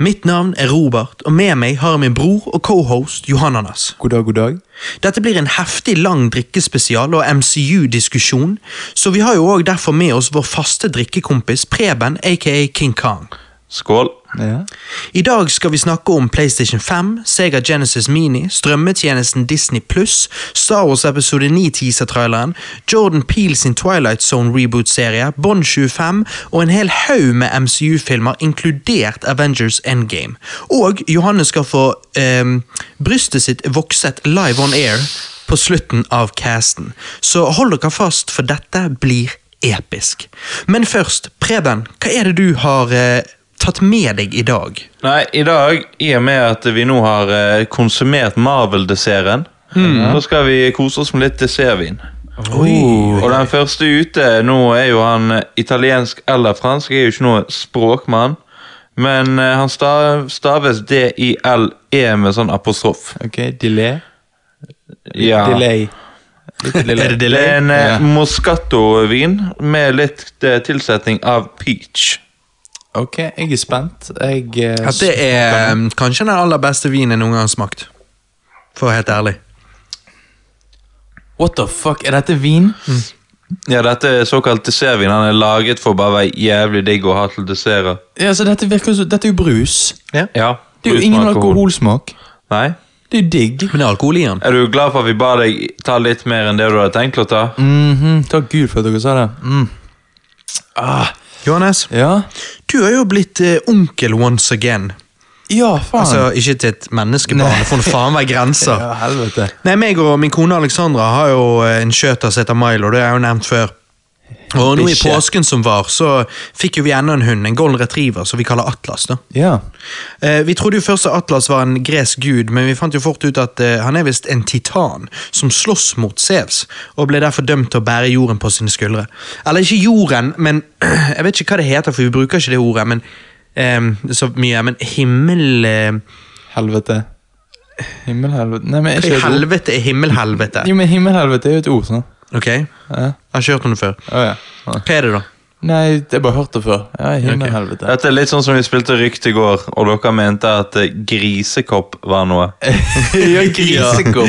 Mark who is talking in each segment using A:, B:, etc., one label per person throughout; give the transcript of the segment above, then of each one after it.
A: Mitt navn er Robert, og med meg har jeg min bror og cohost Johananas.
B: God dag, god dag.
A: Dette blir en heftig, lang drikkespesial og MCU-diskusjon, så vi har jo òg derfor med oss vår faste drikkekompis Preben, aka King Kong.
C: Skål.
B: Ja.
A: I dag skal vi snakke om PlayStation 5, Sega Genesis Mini, strømmetjenesten Disney Pluss, Star Wars episode 9-teaser-traileren, Jordan Peele sin Twilight Zone-reboot-serie, Bond 25 og en hel haug med MCU-filmer, inkludert Avengers Endgame. Og Johanne skal få ehm, brystet sitt vokset live on air på slutten av casten. Så hold dere fast, for dette blir episk. Men først, Preben, hva er det du har eh, tatt med deg i dag.
C: Nei, i dag, i og med at vi nå har eh, konsumert Marvel-desserten, så skal vi kose oss med litt dessertvin.
A: Oi.
C: Og den første ute nå er jo han eh, italiensk eller fransk. Jeg er jo ikke noe språkmann. Men eh, han stav, staves D-I-L-E med sånn apostrof.
B: Ok, delay.
C: Ja.
B: Delay. Litt delay.
A: Er det
C: Det er
A: delay?
C: en eh,
B: Ja.
C: moscato-vin med litt eh, tilsetning av peach.
B: Ok, jeg er spent. Jeg, eh,
A: At det er um, kanskje den aller beste vinen jeg noen gang har smakt. For å være helt ærlig.
B: What the fuck, er dette vin?
C: Ja, dette er såkalt dessertvin. Han er laget for bare å være jævlig digg å ha til desserter.
B: Ja, så dette virker som, dette er jo brus.
C: Ja,
B: Det er jo
C: uten
B: ingen alkoholsmak.
C: Nei.
B: Det er jo digg.
A: Men det er alkohol i den.
C: Er du glad for at vi ba deg ta litt mer enn det du hadde tenkt å ta?
B: Mhm, Takk Gud for at dere sa det. Mm. Ah,
A: Johannes,
B: ja.
A: du har jo blitt eh, onkel once again.
B: Ja, faen.
A: Altså, ikke til et menneskebarn. Det får nå faen være grenser.
B: ja, helvete.
A: Nei, meg og min kone Alexandra har jo eh, en skjøter som heter Milo, det har jeg jo nevnt før. Og nå i
B: Bikkje.
A: påsken som var, så fikk jo vi enda en hund, en golden retriever, som vi kaller Atlas. da.
B: Ja.
A: Eh, vi trodde jo først at Atlas var en gresk gud, men vi fant jo fort ut at eh, han er visst en titan som slåss mot Sevs, og ble derfor dømt til å bære jorden på sine skuldre. Eller ikke jorden, men Jeg vet ikke hva det heter, for vi bruker ikke det ordet men eh, så mye. Men himmel eh,
B: Helvete. Himmelhelvete. Nei, men er ikke det et ord?
A: Helvete er himmelhelvete.
B: Jo, men himmelhelvete er jo et ord, sånn.
A: Ok? Jeg
B: Ja.
A: har ikke hørt om det før.
B: Å, ja. Ja.
A: Hva er det, da?
B: Nei, jeg har bare hørt det før. Ja, himmelhelvete.
C: Dette er litt sånn som vi spilte Rykt i går, og dere mente at eh, grisekopp var noe.
B: Eh, ja, grisekopp.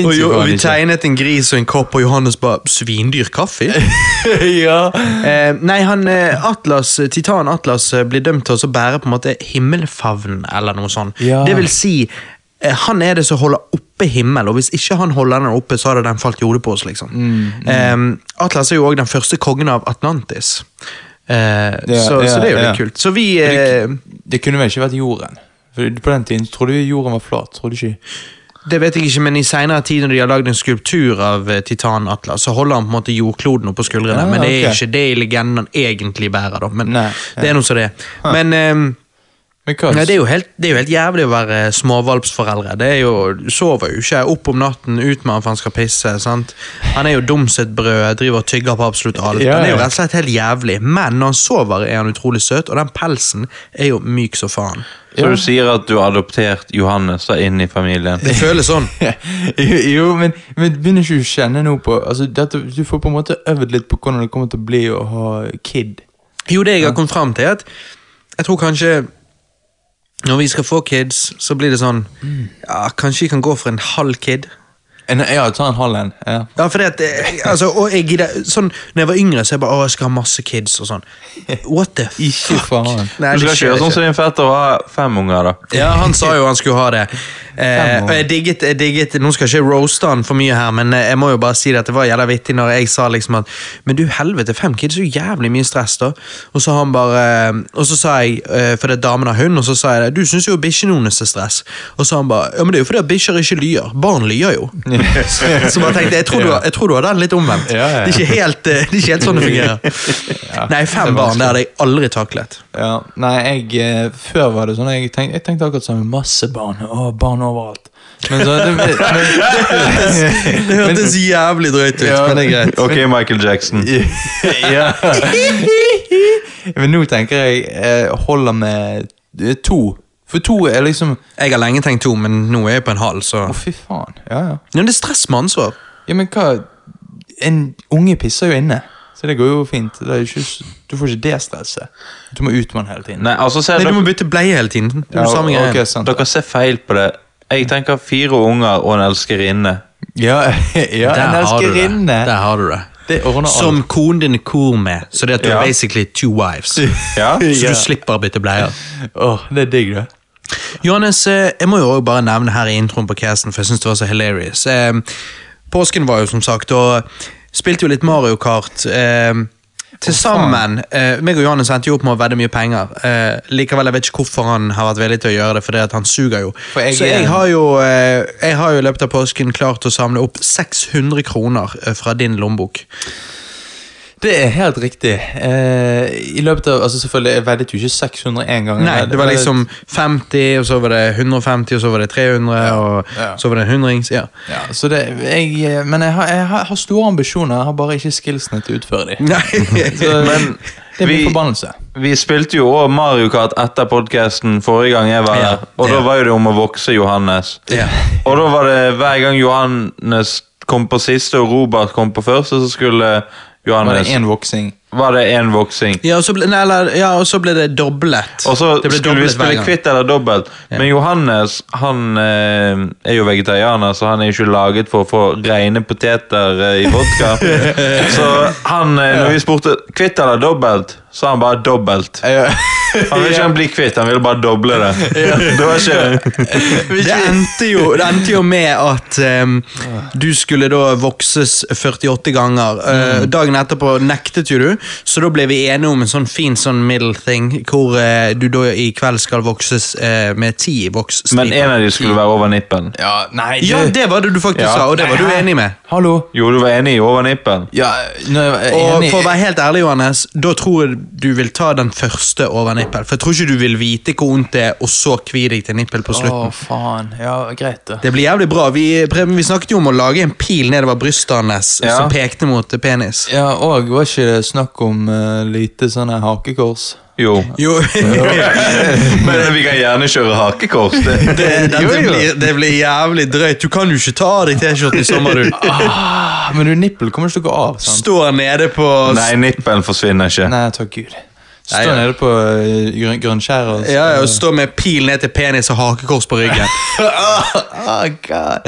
A: Og jo, vi tegnet en gris og en kopp, og Johannes bare Svindyr kaffe?
B: ja.
A: Eh, nei, han eh, Atlas, eh, Titan Atlas eh, blir dømt til å så bære på en måte himmelfavn eller noe sånt.
B: Ja.
A: Det vil si, eh, han er det som holder oppe himmel, og hvis ikke han holder den oppe, så hadde den falt i hodet på oss, liksom.
B: Mm,
A: Eh, Atlas er jo òg den første kongen av Atlantis. Eh, så,
B: ja,
A: så det er jo
B: ja.
A: litt kult. Så vi eh,
B: Det kunne vel ikke vært jorden? For På den tiden trodde vi jorden var flat. trodde ikke
A: Det vet jeg ikke, men i seinere tid, når de har lagd en skulptur av eh, Titan Atlas, så holder han på en måte jordkloden oppå skuldrene,
B: Ah,
A: men det er
B: ok.
A: ikke det i legenden han egentlig bærer, da. Men
B: Nei,
A: det er nå så det er. Men eh,
B: Men hva?
A: Nei, det, er jo helt, det er jo helt jævlig å være småvalpsforeldre. Det er jo, du sover jo ikke opp om natten, ut med han for han skal pisse. sant? Han er jo dum sitt brød, driver og tygger på absolutt alt.
B: Ja,
A: Han er jo
B: ja.
A: rett og slett helt jævlig, men når han sover, er han utrolig søt, og den pelsen er jo myk som faen.
C: Så du sier at du har adoptert Johannes da inn i familien?
A: Det føles sånn.
B: jo, jo, men, men begynner ikke du å kjenne noe på altså, dette, Du får på en måte øvd litt på hvordan det kommer til å bli å ha kid.
A: Jo, det jeg har kommet fram til, er at jeg tror kanskje når vi skal få kids, så blir det sånn
B: Mm.
A: ja, Kanskje vi kan gå for en halv kid.
B: En, ja, ta en halv en. Ja.
A: Ja, fordi at, eh, altså, og jeg gidder, sånn, når jeg var yngre, så jeg bare, å, jeg skal ha masse kids og sånn. What the
B: Ikke faen.
A: Nei, det
C: Du skal ikke
A: skjer
C: gjøre sånn som din fetter og ha fem unger, da.
A: Ja, han sa jo han skulle ha det. Eh,
B: Fem år.
A: og jeg digget, jeg digget Nå skal jeg ikke roaste han for mye her, men eh, jeg må jo bare si det at det var jævla vittig når jeg sa liksom at Men du helvete, fem kids er jo jævlig mye stress, da. Og så han bare eh, Og så sa jeg, eh, fordi damen har hund, og så sa jeg det, du syns jo bikkjene hennes er stress. Og så han bare Ja, men det er jo fordi at bikkjer ikke lyver. Barn lyver jo. Så bare tenkte jeg, jeg tror du har, jeg tror du har den litt omvendt.
B: Ja, ja.
A: Det, er ikke helt, eh, det er ikke helt sånn det fungerer. Nei, fem barn, det hadde jeg aldri taklet.
B: Ja, nei, jeg, eh, før var det sånn Jeg tenkte, jeg tenkte akkurat sånn Masse barn. Å, barn overalt. Men så, det, men,
A: Det hørtes jævlig drøyt ut,
B: Ja.
A: men det er greit.
C: Ok, Michael Jackson.
B: ja. men nå tenker jeg eh, holder med eh, to. For to er liksom Å,
A: Jeg har lenge tenkt to, men nå er jeg på en halv, så
B: fy faen. Ja, ja.
A: Men det er stress med ansvar.
B: Ja, men hva En unge pisser jo inne. Så det går jo fint. Det er jo ikke, s- du får ikke det stresset. Du må ut med den hele tiden.
C: Nei, altså, ser
A: Nei, du
C: dere,
A: må bytte bleie hele tiden. Det er jo samme
B: ok,
A: greien.
B: sant.
C: dere ser feil på det. Jeg tenker fire unger og en elskerinne.
B: Ja, ja en
A: Der har du det.
B: elskerinne.
A: Der har du det.
B: Det ordner alt.
A: Som konen din er kor med, så det er at du
C: Ja.
A: er basically two wives.
C: Ja?
A: Så
B: Ja.
A: du slipper å bytte bleier.
B: Åh, det er digg, det.
A: Johannes, eh, jeg må jo også bare nevne her i introen på casten, for jeg synes det var så hilarious. Eh, Påsken var jo som sagt, og spilte jo litt Mario Kart. Eh, til sammen eh, meg og Johannes endte jo opp med å vedde mye penger. Eh, likevel, jeg vet ikke hvorfor han har vært villig til å gjøre det, for det at han suger jo.
B: For jeg
A: så
B: er-
A: jeg har, jo, eh, jeg har jo i løpet av påsken klart å samle opp 600 kroner eh, fra din lommebok.
B: Det er helt riktig. Eh, I løpet av, altså selvfølgelig, Jeg veddet jo ikke 600 en gang. Eh,
A: Nei,
B: Jeg
A: det var
B: veddet-
A: liksom 50, og så var det 150, og så var det 300, og
B: Ja.
A: så var det en hundrings. Ja.
B: ja, så det, jeg, Men jeg har, jeg har har store ambisjoner, jeg har bare ikke skillsene til å utføre dem.
A: Nei.
B: Så
C: Men
B: det er min
C: vi-
B: forbannelse.
C: Vi spilte jo òg Mario Kart etter podkasten forrige gang jeg var
A: Ja,
C: her. Og da
A: ja.
C: var jo det om å vokse Johannes.
A: Ja.
C: Og da var det hver gang Johannes kom på siste og Robert kom på første, så skulle
B: Var det
C: Johannes
B: én voksing?
C: Var det én voksing?
A: Ja, og så ble, nei, eller, ja, og så ble det doblet.
C: Og så
A: det ble
C: skulle vi
A: doblet hver
C: spille
A: gang.
C: kvitt eller dobbelt. Men Johannes han eh, er jo vegetarianer, så han er jo ikke laget for å få rene poteter eh, i vodka. så han, eh, når vi spurte kvitt eller dobbelt, sa han bare dobbelt.
B: Ja.
C: Han ville ikke han bli kvitt, han ville bare doble det. Det var ikke
A: Det endte, jo, det endte jo med at ehm, du skulle da vokses 48 ganger. Eh, dagen etterpå nektet jo du, så da ble vi enige om en sånn fin sånn middle thing, hvor eh, du da i kveld skal vokses eh, med ti voksstriper.
C: Men en av de skulle være over nippen.
B: Ja, nei,
A: Ja, det var det du faktisk
C: Ja.
A: sa, og det var du enig med.
B: Hallo?
C: Jo, du var enig i over nippen.
B: Ja, nå er jeg
A: Og
B: enig.
A: for å være helt ærlig, Johannes, da tror jeg du vil ta den første over nippel. For jeg tror ikke du vil vite hvor vondt det er, og så kvi deg til nippel på
B: Å,
A: slutten.
B: faen. Ja, greit, det.
A: Det blir jævlig bra. Vi, Preben, vi snakket jo om å lage en pil nedover brystet hans
C: Ja.
A: som pekte mot penis.
B: Ja, og var ikke det snakk om eh, lite sånne hakekors?
C: Jo.
A: Jo,
C: Men vi kan gjerne kjøre hakekors. Det.
A: det, dette
B: Jo, jo.
A: Blir, det blir jævlig drøyt. Du kan jo ikke ta av deg T-skjorten i sommer, du.
B: Ah, men du, nippel kommer ikke til å gå av, sant?
A: Står nede på
C: Nei, nippelen forsvinner ikke.
B: Nei, takk gud. Stå
A: Nei, ja.
B: nede på eh, grøn, Grønskjæret og
A: Ja, ja, og Stå med pil ned til penis og hakekors på ryggen
B: Ah, god.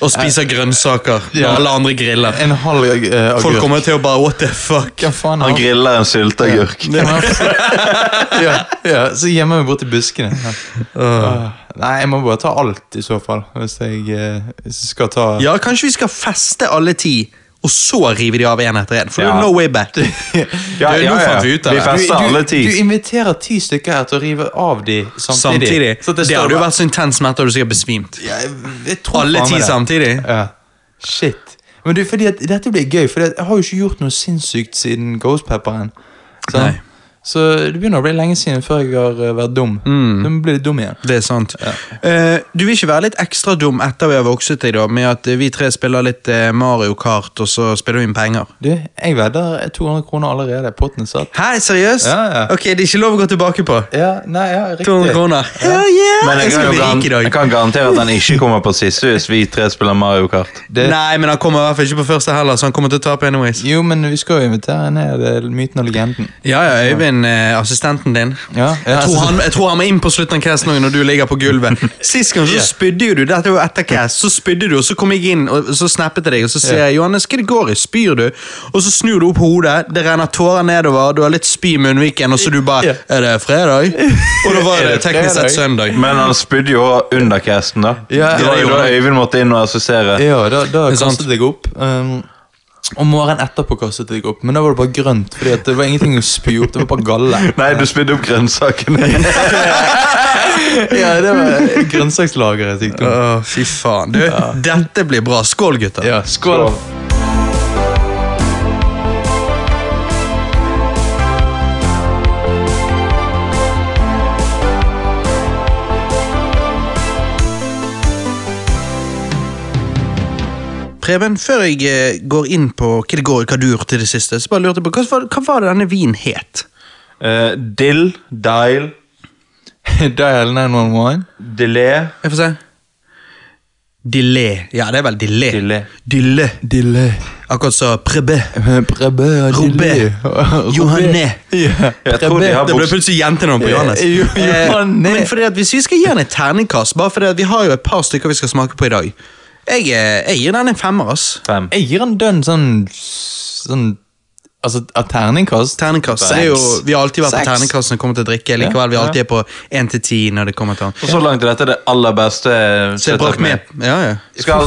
A: og spiser grønnsaker når
B: Ja.
A: alle andre griller.
B: En halv uh, agurk.
A: Folk kommer til å bare What the fuck?
B: Hva faen
C: Han
B: har
C: griller en sylteagurk.
B: ja, ja, Så gjemmer vi bort i buskene. Ja. Ah, Nei, jeg må bare ta alt, i så fall. Hvis jeg, eh, hvis jeg skal ta
A: Ja, kanskje vi skal feste alle ti, og så rive de av én etter én. For det
C: Ja.
A: er jo no way back.
C: Ja,
A: Det er-
C: ja,
A: nå
C: ja.
A: fant vi ut av
C: Vi
A: det.
C: fester
B: du,
C: alle ti.
B: du inviterer ti stykker her til å rive av de samtidig.
A: Samtidig.
B: Så
A: Det,
B: står
A: hadde jo
B: bare-
A: vært så intens smerte, hadde du sikkert besvimt.
B: Ja, jeg, jeg tror
A: Alle
B: faen meg
A: ti
B: det.
A: samtidig.
B: Ja. Shit. Men du, fordi at, dette blir gøy, for jeg har jo ikke gjort noe sinnssykt siden Ghost Pepperen. Så,
A: Nei.
B: så det begynner å bli lenge siden før jeg har eh, vært dum. Mm. Så nå blir det dum igjen.
A: Det er sant. Eh, du vil ikke være litt ekstra dum etter vi har vokset i dag, med at eh, vi tre spiller litt eh, Mario Kart, og så spiller vi inn penger?
B: Du, jeg vedder 200 kroner allerede. Potten er satt.
A: Hæ, seriøst?
B: Ja, ja.
A: Ok, det er ikke lov å gå tilbake på.
B: Ja, nei, ja,
A: 200
B: riktig.
A: kroner. Hell yeah!
C: Men jeg
A: jeg
C: kan,
A: skal
C: jo
A: bli rik i
C: garan-
A: dag.
C: jeg kan garantere at han ikke kommer på siste hvis vi tre spiller Mario Kart.
B: Det-
A: Nei, men han kommer i hvert fall ikke på første heller, så han kommer til å tape anyways.
B: Jo, men vi skal jo invitere ned eh, myten og legenden.
A: Ja, ja, Øyvind, eh, assistenten din.
B: Ja, ja,
A: jeg, tror
B: altså-
A: han, jeg tror han må inn på slutten av casten også, når du ligger på gulvet. Sist gang så spydde jo du, dette var jo etter cast, så spydde du, og så kom jeg inn og så snappet jeg deg, og så sier jeg 'Johannes, hva det går i? Spyr du?' Og så snur du opp hodet, det renner tårer nedover, du har litt spy i munnviken, og så du bare
B: Ja.
A: 'Er det fredag?' Og da var
B: Er
A: det
B: det
A: teknisk sett
B: fredag?
A: søndag.
C: Men han spydde jo også under casten, da.
B: Ja,
C: det var
B: det
C: jo
B: gjorde
C: da
B: han.
C: Øyvind måtte inn og assistere.
B: Ja, da, da
A: er sant.
B: kastet jeg opp. Um, om morgenen etterpå kastet jeg opp, men da var det bare grønt. Fordi at det var ingenting å spy opp, det var bare galle.
C: Nei, du spydde opp grønnsakene.
B: Ja, det var grønnsakslageret. tenkte jeg.
A: Å, fy faen. Du, dette blir bra. Skål, gutter.
B: Ja, skål.
A: Preben, før jeg eh, går inn på hva det går i hva du gjorde til det siste, så bare lurte jeg på hva, var- hva var det denne vinen het?
C: Eh, dill, dial,
B: Dial 911.
C: delay
A: Jeg får se. Dillé. Ja, det er vel dillé.
C: Dillé.
A: Dillé.
B: Dille.
A: Akkurat som prebé.
B: Eh, Prebe.
A: Robé. Johanne.
B: Ja.
C: Jeg tror de har
A: Det ble
C: bokst-
A: plutselig jentenavn på Johannes.
B: Jo-
A: Eh,
B: Johanne.
A: Men fordi at hvis vi skal gi han et terningkast, bare fordi at vi har jo et par stykker vi skal smake på i dag Jeg, eh, jeg gir den en femmer, ass.
C: Fem.
B: Jeg gir en dønn sånn Sånn Altså, av terningkast.
A: Terningkast.
B: Seks.
A: Det er jo, vi har alltid vært
B: Seks.
A: på terningkast når det kommer til drikke. Likevel, vi alltid er på 1-10 når det kommer til han.
C: Og så langt er dette det aller beste. eh,
A: Så jeg brakk med. Ja, ja.
C: Skal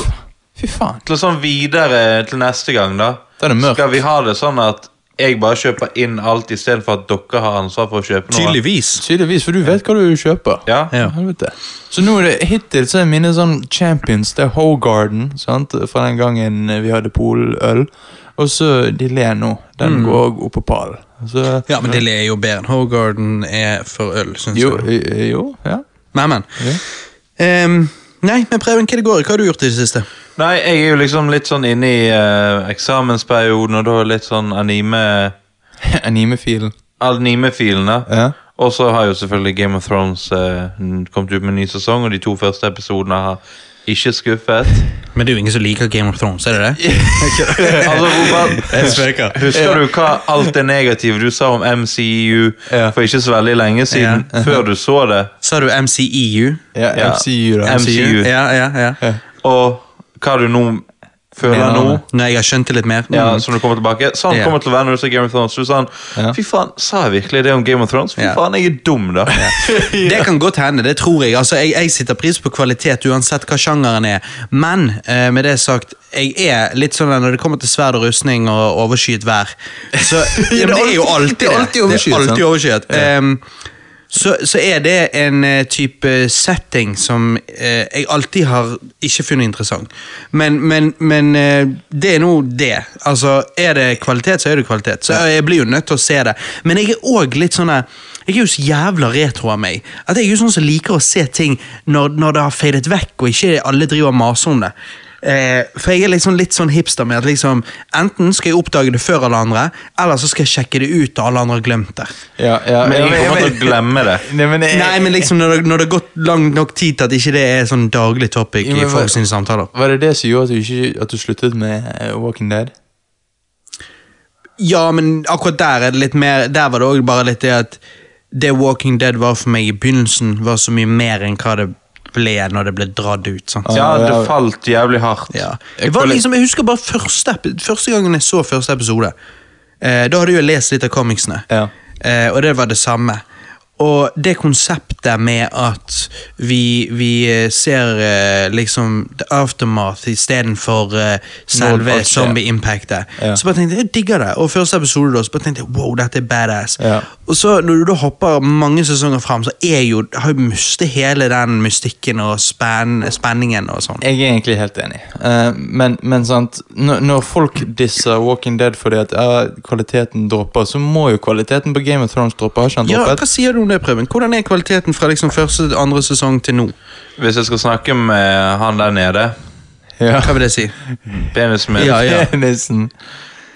B: Fy faen.
C: til sånn videre til neste gang, da.
B: Da er det mørkt.
C: Skal vi ha det sånn at jeg bare kjøper inn alt istedenfor at dere har ansvar for å kjøpe noe?
A: Tydeligvis.
B: Tydeligvis, for du vet hva du kjøper.
C: Ja.
A: Ja.
B: Helvete. Så nå er det hittil så er mine sånn champions Det er Hogarden, sant? fra den gangen vi hadde poløl. Og så Dillé nå. Den går også opp på pallen. Så
A: Mm. Ja, men Dillé er jo bedre enn Hogarden er for øl, syns
B: Jo,
A: jeg.
B: eh, jo ja.
A: Men, men. Ehm, nei, men Preben, hva det går i? Hva har du gjort i det siste?
C: Nei, jeg er jo liksom litt sånn inne i eh, eksamensperioden, og da er litt sånn anime
B: Animefilen.
C: Anime-filene.
B: Ja.
C: Og så har jo selvfølgelig Game of Thrones eh, n- kommet ut med en ny sesong, og de to første episodene har ikke skuffet.
A: Men det er jo ingen som liker Game of Thrones, er det det?
C: Altså, Robert,
A: spøker.
C: husker du hva alt det negative du sa om MCU
B: Ja.
C: for ikke så veldig lenge siden, før du så det?
A: Sa du E MCEU?
B: Ja,
C: Ja.
B: MCU, da.
C: M- MCU.
A: Ja, ja, ja.
C: Og hva du nå føler
B: Mener
C: nå?
B: du?
A: Når jeg har skjønt det litt mer. Mm.
C: Ja, som du kommer tilbake Sånn
A: Ja.
C: kommer det til å være når du ser Game of Thrones. Du sa han,
B: Ja.
C: Fy faen, sa jeg virkelig det om Game of Thrones? Fy
A: Ja.
C: faen, jeg er dum, da.
A: Det kan godt hende, det tror jeg. Altså, jeg. Jeg sitter pris på kvalitet uansett hva sjangeren er. Men eh, med det sagt, jeg er litt sånn at når det kommer til sverd og rustning og overskyet vær så, ja, men Det er jo alltid det.
B: alltid overskyet,
A: Det er
B: sant?
A: alltid overskyet. Ehm, så, så er det en eh, type setting som eh, jeg alltid har ikke funnet interessant. Men, men, men eh, det er nå det. Altså, er det kvalitet, så er det kvalitet. Så jeg blir jo nødt til å se det. Men jeg er òg litt sånn der- jeg er jo så jævla retro av meg. At Jeg er jo sånn som liker å se ting når, når det har fadet vekk, og ikke alle driver og maser om det. Eh, for jeg er liksom litt sånn hipster med at liksom, enten skal jeg oppdage det før alle andre, eller så skal jeg sjekke det ut da alle andre har glemt det.
B: Ja, ja,
C: Men
B: ja,
C: jeg kommer til å glemme det.
B: Nei, men jeg-
A: Nei, men liksom når det, når det har gått lang nok tid til at ikke det er sånn daglig topic
B: Jo, men
A: i
B: hva-
A: folk sine samtaler.
B: Var det det som gjorde at du, ikke, at du sluttet med eh, Walking Dead?
A: Ja, men akkurat der er det litt mer Der var det òg bare litt det at det Walking Dead var for meg i begynnelsen, var så mye mer enn hva det ble når det ble dratt ut. sant?
C: Ja, det falt jævlig hardt.
A: Ja. Det var liksom, jeg husker bare første, epi- første gangen jeg så første episode. Eh, da hadde jeg jo lest litt av comicsene,
B: Ja.
A: eh, og det var det samme. Og det konseptet med at vi, vi eh, ser eh, liksom the aftermath istedenfor eh,
B: Når alt
A: selve
B: skjer.
A: zombie-impactet.
B: Ja.
A: Så bare tenkte jeg jeg digger det. Og første episode da, så bare tenkte jeg wow, dette er badass.
B: Ja.
A: Og så når du da hopper mange sesonger fram, så er jo, har jo mistet hele den mystikken og spenn, spenningen og sånn.
B: Jeg er egentlig helt enig. Eh, men, men sant, når, når folk disser Walking Dead fordi at ja, kvaliteten dropper, så må jo kvaliteten på Game of Thrones droppe. Har ikke den
A: Ja,
B: droppet?
A: hva sier du om det, Preben? Hvordan er kvaliteten fra liksom første andre sesong til nå?
C: Hvis jeg skal snakke med han der nede,
B: Ja.
A: Hva vil det si?
C: penis min
A: Ja, ja.
B: Nissen.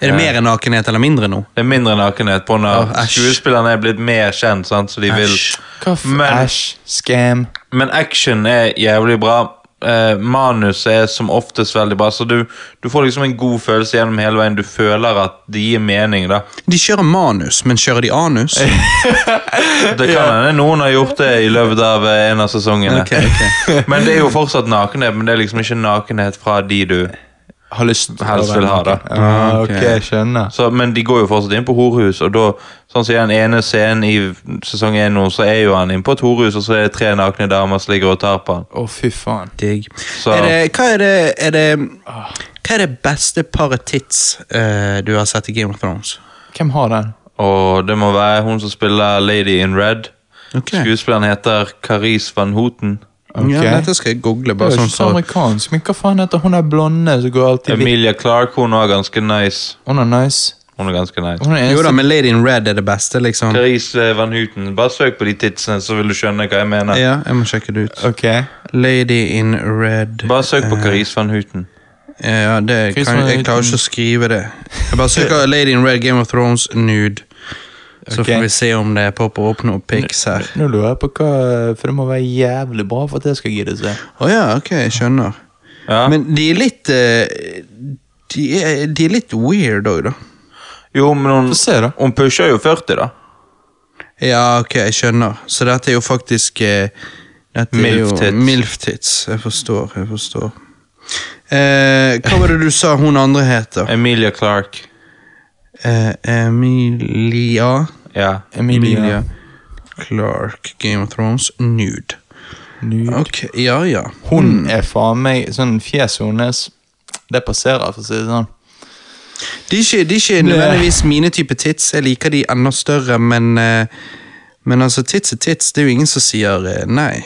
A: Er det mer nakenhet eller mindre nå?
C: Det er mindre nakenhet på når
A: Åh, æsj.
C: skuespillerne er blitt mer kjent, sant, så de vil
A: Æsj.
B: Hva f...
C: Men-
B: Æsj. Scam.
C: Men action er jævlig bra. Eh, manus er som oftest veldig bra, så du, du får liksom en god følelse gjennom hele veien. Du føler at det gir mening, da.
A: De kjører manus, men kjører de anus?
C: Det kan hende noen har gjort det i løpet av eh, en av sesongene.
A: Ok, ok.
C: Men det er jo fortsatt nakenhet, men det er liksom ikke nakenhet fra de du
B: Har lyst til å
C: Helst
B: være
C: vil ha
B: naken.
C: det.
B: Ah, ok,
A: Ok.
B: skjønner.
C: så, Men de går jo fortsatt inn på horhus, og da Sånn som i den ene scenen i sesong 1 nå, så er jo han inne på et horhus, og så er det tre nakne damer som ligger og tar på han.
B: Å, fy faen.
A: Digg.
C: Så-
A: Er det, hva, er det, er det,
B: Ah.
A: hva er det beste paret tits eh, du har sett i Game of Thrones?
B: Hvem har den?
C: Og det må være hun som spiller Lady in Red.
A: Ok.
C: Skuespilleren heter Karis van Houten.
B: Ok.
A: Ja, dette skal jeg google.
B: Det
A: bare
B: er
A: sånn
B: jo ikke så
A: så.
B: amerikansk, men hva faen heter hun der blonde som går alltid hvitt?
C: Emilia Clark, hun er ganske nice.
B: Hun er nice.
C: Hun er ganske nice.
B: Hun er
A: Jo da,
B: eneste
A: men Lady in Red er det beste, liksom.
C: Karis eh, van Houten. Bare søk på de tidsene, så vil du skjønne hva jeg mener.
A: Ja, jeg må sjekke det ut.
B: Ok.
A: Lady in Red
C: Bare søk på Karis van Houten.
A: Ja, det
B: Chris
A: kan,
B: var
A: jeg klarer
B: uten-
A: ikke å skrive det. Jeg bare søker Lady in Red Game of Thrones nude. Så
B: Ok.
A: får vi se om det popper opp noen pics her.
B: Nå lurer jeg på hva For det må være jævlig bra for at jeg skal gidde å se.
A: Å ja, ok, jeg skjønner.
C: Ja.
A: Men de er litt eh, de er, de er litt weird òg, da.
C: Jo, men hun,
B: Få se, da.
C: hun pusher jo 40, da.
A: Ja, ok, jeg skjønner. Så dette er jo faktisk eh, dette er jo-
C: Milf-tits.
A: Milf-tits. jeg forstår, jeg forstår. Eh, hva var det du sa hun andre het, da?
C: Emilia Clark.
A: Eh, Emilia
C: Ja.
B: Emilia.
A: Emilia Clark, Game of Thrones, nude.
B: Nude.
A: Ok, ja, ja.
B: Hun er faen meg sånn Fjeset hennes Det passerer, for å si det sånn.
A: De er ikke, de er ikke nødvendigvis mine type tits. Jeg liker de enda større, men eh, Men altså, tits er tits. Det er jo ingen som sier eh, nei.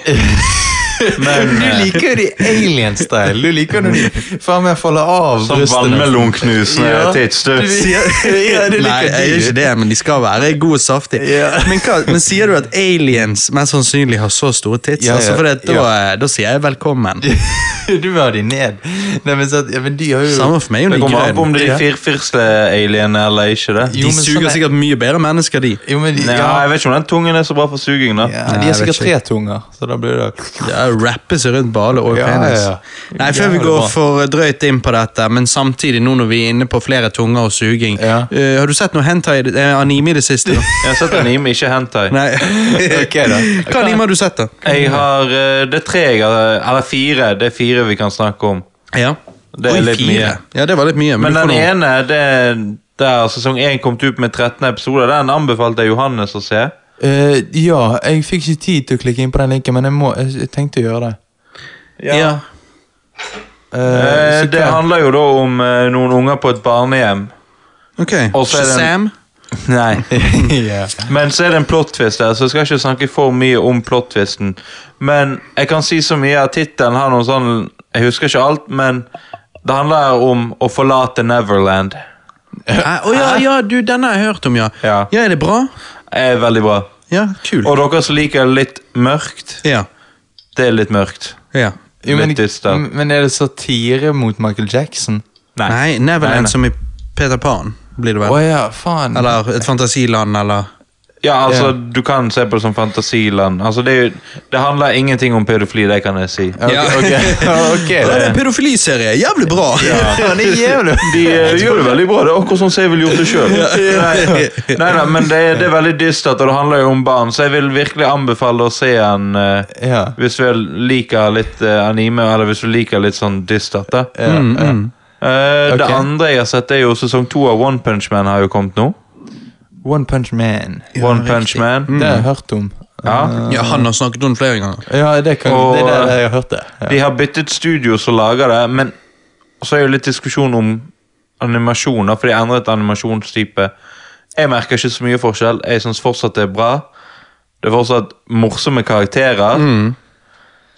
C: Men
B: Du
C: eh,
B: liker jo de alien-style. Du liker når de faen meg faller av
C: sånn vannmelonknusende
B: eh, Ja.
C: tits, du.
B: Ja, ja, det liker
A: Nei, jeg
B: de.
A: gjør ikke det, men de skal være gode og saftige.
B: Ja.
A: Men, hva, men sier du at aliens mest sannsynlig har så store tits?
B: Ja,
A: altså,
B: ja,
A: for det, da, eh, da sier jeg velkommen.
B: Du har de ned. Nei, men, så, at- ja, men de har jo
A: Samme for meg,
C: Det
A: jo
C: kommer an på om
A: grønn.
C: de er firfirste alienene eller ikke. det.
B: Jo,
A: De
B: men
A: suger
B: sånn er-
A: sikkert mye bedre mennesker, de.
B: Jo, men de,
C: Nei,
B: ja,
C: jeg vet ikke om den tungen er så bra for suging, da.
B: ja,
A: Nei,
B: de
A: jeg
B: har sikkert
A: vet
B: tre tunger, så da blir det
A: Ja, rappe seg rundt bale og
B: Ja,
A: penis.
B: ja, ja.
A: Nei, Før vi
B: Jævlig
A: går
B: bra.
A: for eh, drøyt inn på dette, men samtidig, nå når vi er inne på flere tunger og suging
B: Ja.
A: eh, Har du sett noe hentai, eh, anime i det siste? nå?
C: Jeg har sett anime, ikke hentai.
A: Nei.
B: Ok, da.
A: Hva anime har du sett, da?
C: Jeg har, eh, Det er tre jeg har Eller fire. Det er fire vi kan snakke om.
A: Ja.
C: Det er litt mye.
A: Ja, det var litt mye.
C: Men
A: du får
C: den
A: noe-
C: ene, det er der sesong 1 kom ut med 13 episoder, den anbefalte jeg Johannes å se.
B: Eh, Ja, jeg fikk ikke tid til å klikke inn på den linken, men jeg, må, jeg, jeg tenkte å gjøre det.
A: ja.
B: Eh,
C: Eh,
B: så
C: det
B: hva-
C: handler jo da om eh, noen unger på et barnehjem.
A: Ok.
C: Og så er den-
A: Shazam?
C: Nei.
B: ja.
C: Men så er det en plot-twist der, så jeg skal ikke snakke for mye om plot-twisten. Men jeg kan si så mye at tittelen har noe sånn Jeg husker ikke alt, men det handler om å forlate Neverland.
A: Å ja, ja, du, denne har jeg hørt om, ja.
C: Ja.
A: Ja, Er det bra?
C: Er veldig bra.
A: Ja, kult.
C: Og dere som liker litt mørkt,
A: Ja.
C: det er litt mørkt.
A: ja.
B: jo, men,
C: Litt dyster.
B: men er det satire mot Michael Jackson?
A: Nei, Neverland som i Peter Pan, blir det
B: Å
A: vel?
B: ja, faen.
A: Eller Et fantasiland, eller
C: Ja, altså, du kan se på det som fantasiland. Altså, det, er jo- det handler ingenting om pedofili, det kan jeg si.
B: Ok,
A: Ja.
B: ok.
A: Ja,
B: ok,
A: det er
B: det.
A: en pedofiliserie! Jævlig bra!
B: Han er jævlig
C: De eh, gjør det veldig bra. Det er akkurat sånn som jeg ville gjort det sjøl. Nei, nei, men det, er- det er veldig dystert, og det handler jo om barn, så jeg vil virkelig anbefale å se en eh,
B: Ja.
C: hvis du liker litt eh, anime, eller hvis du liker litt sånn dystert. da.
B: Ja, ja.
C: Eh, Det
B: Ok.
C: andre jeg har sett, er jo sesong to av One Punch Man har jo kommet nå.
B: One Punch Man. Mm.
C: One
A: riktig.
C: Punch Man.
B: Det har jeg hørt om.
C: Ja.
A: Ja, Han har snakket om det flere ganger.
B: Ja, det, kan,
C: Og-
B: det er der jeg har hørt det. Ja.
C: De har byttet studio som lager det, men så er jo litt diskusjon om animasjoner, for de har endret animasjonstype. Jeg merker ikke så mye forskjell. Jeg syns fortsatt det er bra. Det er fortsatt morsomme karakterer.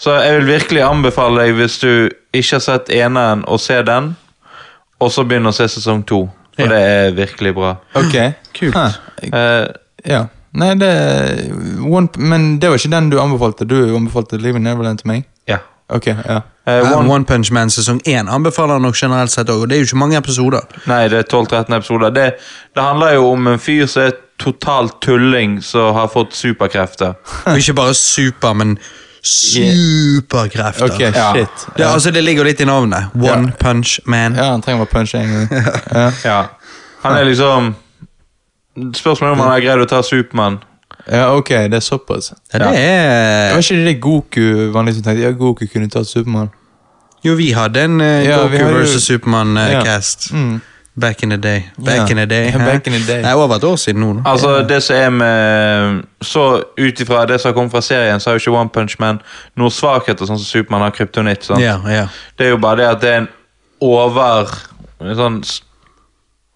C: Så jeg vil virkelig anbefale deg, hvis du ikke har sett eneren, å se den, og så begynne å se sesong to. For
A: Ja.
C: det er virkelig bra.
B: Ok.
A: Kult.
B: Hæ.
C: Eh,
B: Ja. Nei, det One, Men det var ikke den du anbefalte. Du anbefalte Living Neverland til meg.
C: ja.
B: Ok, ja.
C: Eh,
A: Ja,
C: One,
A: One Punch Man sesong 1 anbefaler han nok generelt sett òg, og det er jo ikke mange episoder.
C: nei, det er 12-13 episoder. Det, det handler jo om en fyr som er totalt tulling, som har fått superkrefter.
A: Og ikke bare super, men superkrefter.
B: Ok, shit.
A: Det, altså, det ligger jo litt i navnet. One Punch Man.
B: Ja, han trenger bare punche en gang. Ja.
C: Ja. Han er liksom Spørsmålet er om han har greid å ta Supermann.
B: ja, ok, det er såpass.
A: Ja, det
B: Var
A: er
B: ikke det det Goku vanligvis som tenkte? Ja, Goku kunne tatt Supermann.
A: Jo, vi hadde en eh,
B: Ja, vi
A: Goku
B: hadde jo-
A: versus
B: Ja.
A: Supermann-cast.
B: Mm.
A: Back in the day. Back
B: Ja.
A: in the day.
B: Ja,
A: hæ?
B: back in the day.
A: Det er over et år siden nå. da.
C: Altså, det som er med Så ut ifra det som har kommet fra serien, så har jo ikke One Punch Man noen svakheter, sånn som Supermann har kryptonitt. sant?
A: Ja, ja.
C: Det er jo bare det at det er en over en Sånn s-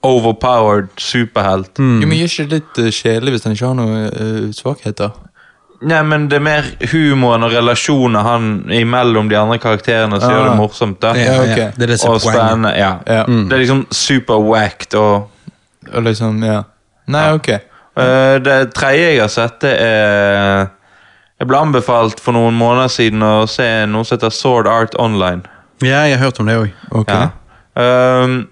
C: overpowered superhelt.
B: Jo, men Gjør ikke det litt eh, kjedelig hvis han ikke har noen eh, svakheter?
C: Nei, men det er mer humoren og relasjoner han imellom de andre karakterene som
B: Ah.
C: gjør det morsomt. da.
A: Ja,
B: ok.
A: ja. Det er det som er
C: Og
A: poenget. Mm.
C: spennende. Ja.
B: Ja.
C: Det er liksom super whacked og
B: Og liksom, ja. Nei, ok.
C: Eh, Det tredje jeg har sett, det er Jeg ble anbefalt for noen måneder siden å se noe som heter Sword Art Online.
A: Ja, jeg har hørt om det òg.
B: Ok.
C: Ja. Ehm,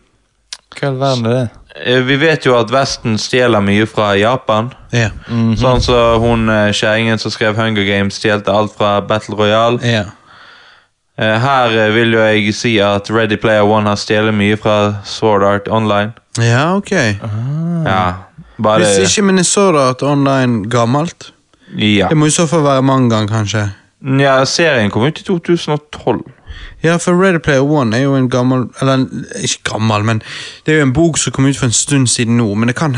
B: Hva i all verden er det?
C: eh, vi vet jo at Vesten stjeler mye fra Japan.
A: Ja.
C: Sånn som så hun eh, kjerringen som skrev Hunger Games, stjelte alt fra Battle Royale.
A: Ja.
C: Eh, Her eh, vil jo jeg si at Ready Player One har stjålet mye fra Sword Art Online.
A: Ja, ok.
C: Ja, bare
A: Hvis ikke Minnesota at online gammelt.
C: ja.
A: Det må i så fall være mangaen, kanskje.
C: ja, serien kom ut i 2012.
A: Ja, for Ready Player One er jo en gammel Eller en- ikke gammel, men det er jo en bok som kom ut for en stund siden nå, men det kan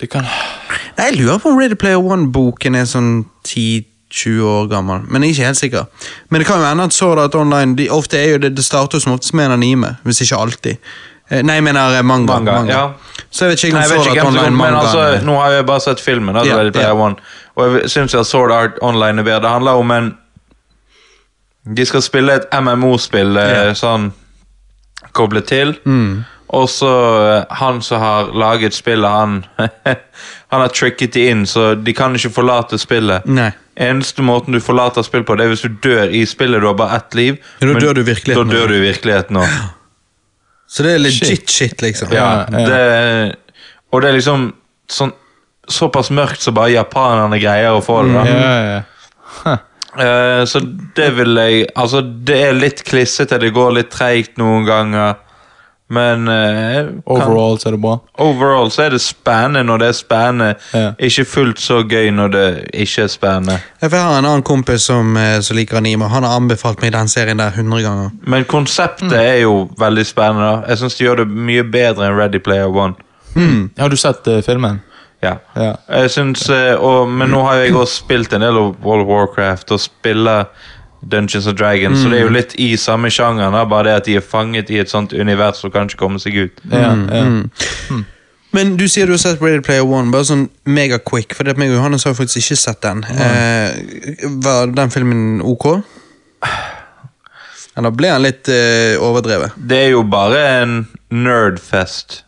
B: Det kan
A: Nei, Jeg lurer på om Ready Player One-boken er sånn 10-20 år gammel, men jeg er ikke helt sikker. Men det kan jo hende at Sword Art Online de, ofte er jo det, det starter jo som oftest med en anime, hvis ikke alltid. Eh, Nei, jeg mener eh, manga.
C: Manga, ja.
A: Så jeg vet ikke
C: Nei,
A: om
C: jeg vet
A: Sword
C: ikke
A: Art
C: hvem som kom, men
A: Online-manga
C: altså, Nå har jeg bare sett filmen, altså,
A: Ja,
C: Ready Player
A: ja.
C: One. og jeg syns at Sword Art Online er bedre. Det handler om en De skal spille et MMO-spill eh,
A: Ja. Mm.
C: sånn koblet til. Og så eh, han som har laget spillet, han Han har tricket det inn, så de kan ikke forlate spillet.
A: Nei.
C: Eneste måten du forlater spill på, det er hvis du dør i spillet. Du har bare ett liv.
A: Ja, da
C: men
A: dør du i virkeligheten.
C: Da dør du i virkeligheten også.
A: Så det er legit shit, liksom.
C: Ja,
B: Ja, ja.
C: det, og det er liksom sånn, såpass mørkt så bare japanerne greier å få det. da.
B: Mm, Ja, ja, ja.
C: Eh, så det vil jeg Altså, det er litt klissete, det går litt treigt noen ganger, men eh, kan-
B: Overall så er det bra.
C: overall så er det spennende når det er spennende.
B: Ja.
C: Ikke fullt så gøy når det ikke er spennende.
A: Ja, for Jeg har en annen kompis som, eh, som liker anime, og han har anbefalt meg den serien der 100 ganger.
C: Men
B: Mm.
C: konseptet er jo veldig spennende. da. Jeg syns de gjør det mye bedre enn Ready Player One.
B: Har du sett eh, filmen?
C: Ja.
B: Ja.
C: Jeg syns, eh, og, Men nå har jo jeg også spilt en del av World of Warcraft og spiller Dungeons and Dragons, så det er jo litt i samme sjangeren, da, bare det at de er fanget i et sånt univers og kan ikke komme seg ut.
B: Ja,
A: Mm,
B: ja.
A: Men du sier du har sett Ready Player One, bare sånn megaquick, for det at meg og Johannes har faktisk ikke sett den. Eh, var den filmen ok? Eller ble han litt eh, overdrevet?
C: Det er jo bare en nerdfest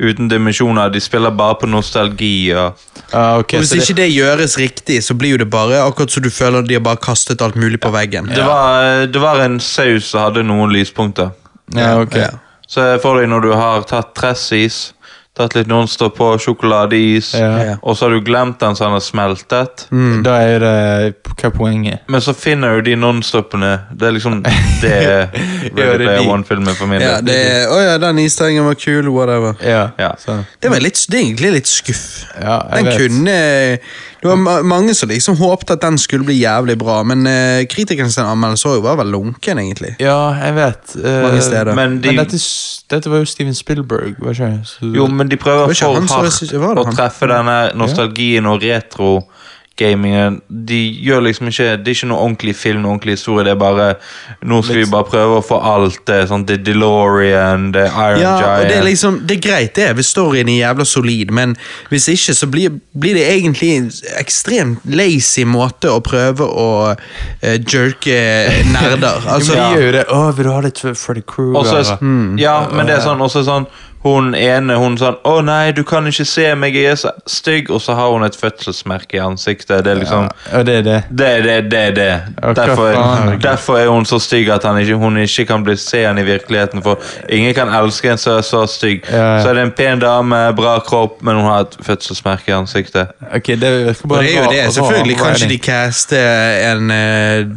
C: uten dimensjoner. De spiller bare på nostalgi og
B: Ah, ok,
A: Og hvis
B: så det-
A: ikke det gjøres riktig, så blir jo det bare akkurat så du føler de har bare kastet alt mulig på veggen.
C: det, var, eh, det var en saus som hadde noen lyspunkter.
B: Ja, ok.
A: Ja.
C: Så jeg får deg når du har tatt tressis, tatt litt Nonstop på sjokoladeis,
B: Ja.
C: og så har du glemt den så den har smeltet.
A: Mm.
B: Da er det Hva er poenget?
C: Men så finner jo de nonstopene Det er liksom det
B: Ja, det
C: Ready
B: er
C: Player
B: de.
C: One-filmen for min del.
A: Ja, det er, Å ja, den isterningen var kul, whatever.
B: Ja.
C: Ja.
B: Så,
A: Det, var litt, det er egentlig litt skuff.
B: ja
A: Den
B: jeg vet.
A: kunne eh, Det var ma- mange som liksom håpte at den skulle bli jævlig bra, men eh, kritikernes anmeldelse var jo bare vel lunken, egentlig.
B: Ja, jeg vet. eh,
A: Mange steder.
C: Men
B: Men,
C: de-
B: dette, s- dette var jo Steven Spielberg, var ikke det? Så-
C: Jo, men de prøver
A: var ikke
C: for
A: han som jeg synes- var
C: hardt
A: det
C: å
A: han?
C: treffe denne nostalgien og retro-gamingen. De gjør liksom ikke Det er ikke noe ordentlig film, noe ordentlig historie. Det er bare Nå skal vi bare prøve å få alt det. Sånn The DeLorean, The Iron
A: Ja, og Det er
C: Giant
A: liksom, det er greit, det, hvis storyen er jævla solid, men hvis ikke, så blir, blir det egentlig en ekstremt lazy måte å prøve å eh, jerke nerder. Altså,
B: men de gjør jo det. Å, vil du ha litt Freddy Krueger?
C: Og så er,
A: Mm.
C: ja, men det er sånn, også sånn Hun ene hun sånn 'Å nei, du kan ikke se meg, jeg er så stygg.' Og så har hun et fødselsmerke i ansiktet. Det er liksom
B: Ja, det er det.
C: Det er det, det er det.
B: hva
C: Derfor,
B: faen?
C: derfor er hun så stygg at han ikke, hun ikke kan bli seende i virkeligheten. For ingen kan elske en som er så stygg.
B: Ja, ja.
C: Så er det en pen dame, bra kropp, men hun har et fødselsmerke i ansiktet.
B: Ok, det virker
A: og
B: bare
A: det er jo
B: rar-
A: det,
B: rar
A: selvfølgelig. Kanskje de
B: writing.
A: caster en eh,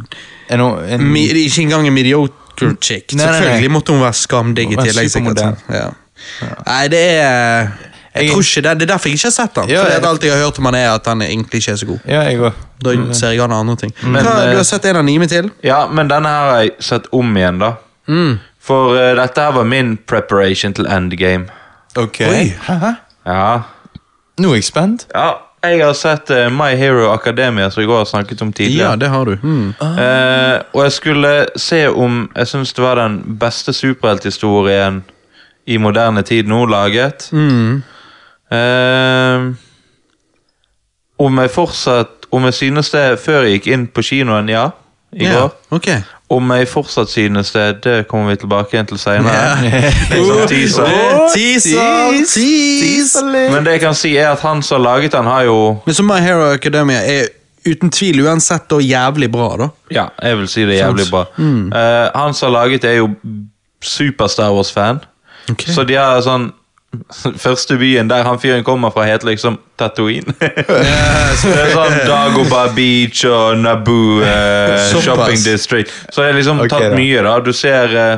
B: Er no- en,
A: mi, Ikke engang en mediocre chick.
B: Nei, nei, nei.
A: Selvfølgelig måtte hun være skamdigg i
B: Hun var
A: tillegg. sikkert,
B: supermodell.
A: sant? Ja. Nei, det er jeg
B: Jeg-
A: tror ikke det, det er derfor jeg ikke har sett han
B: Ja,
A: For det er
B: jeg-
A: alt jeg har hørt om han er at han egentlig ikke er så god.
B: Ja, jeg òg.
A: Da ser jeg han andre ting.
C: Men,
A: Hva, du
C: eh,
A: har sett en anime til?
C: Ja, men denne her har jeg sett om igjen, da.
B: Mm.
C: For eh, dette her var min preparation til endgame.
B: Ok.
A: Oi.
B: Haha.
C: Ja.
B: Nå er jeg spent.
C: ja jeg har sett eh, My Hero Academia, som jeg også har snakket om tidligere.
A: Ja, Mm. det har du.
C: Eh, og jeg skulle se om jeg syns det var den beste superhelthistorien i moderne tid nå laget.
A: Mm.
C: Eh, om jeg fortsatt Om jeg synes det før jeg gikk inn på kinoen, ja. I
A: Ja,
C: går.
A: ok.
C: Om jeg fortsatt synes det, det kommer vi tilbake igjen til
A: Ja.
C: seinere.
A: Oh,
C: teaser.
A: oh, teaser, teaser.
C: Men det jeg kan si, er at han som har laget den, har jo
A: Men så My Hero Academia er uten tvil uansett da jævlig bra, da.
C: Ja, jeg vil si det er jævlig bra.
A: Mm.
C: Eh, han som har laget det, er jo super Star Wars-fan.
A: Ok.
C: Så de har sånn Første byen der han fyren kommer fra, heter liksom Tatooine. Så det er sånn Dagoba Beach og Naboo eh,
B: Såpass.
C: Shopping District. Så jeg har liksom
B: Ok, da.
C: tatt mye, da. Du ser eh,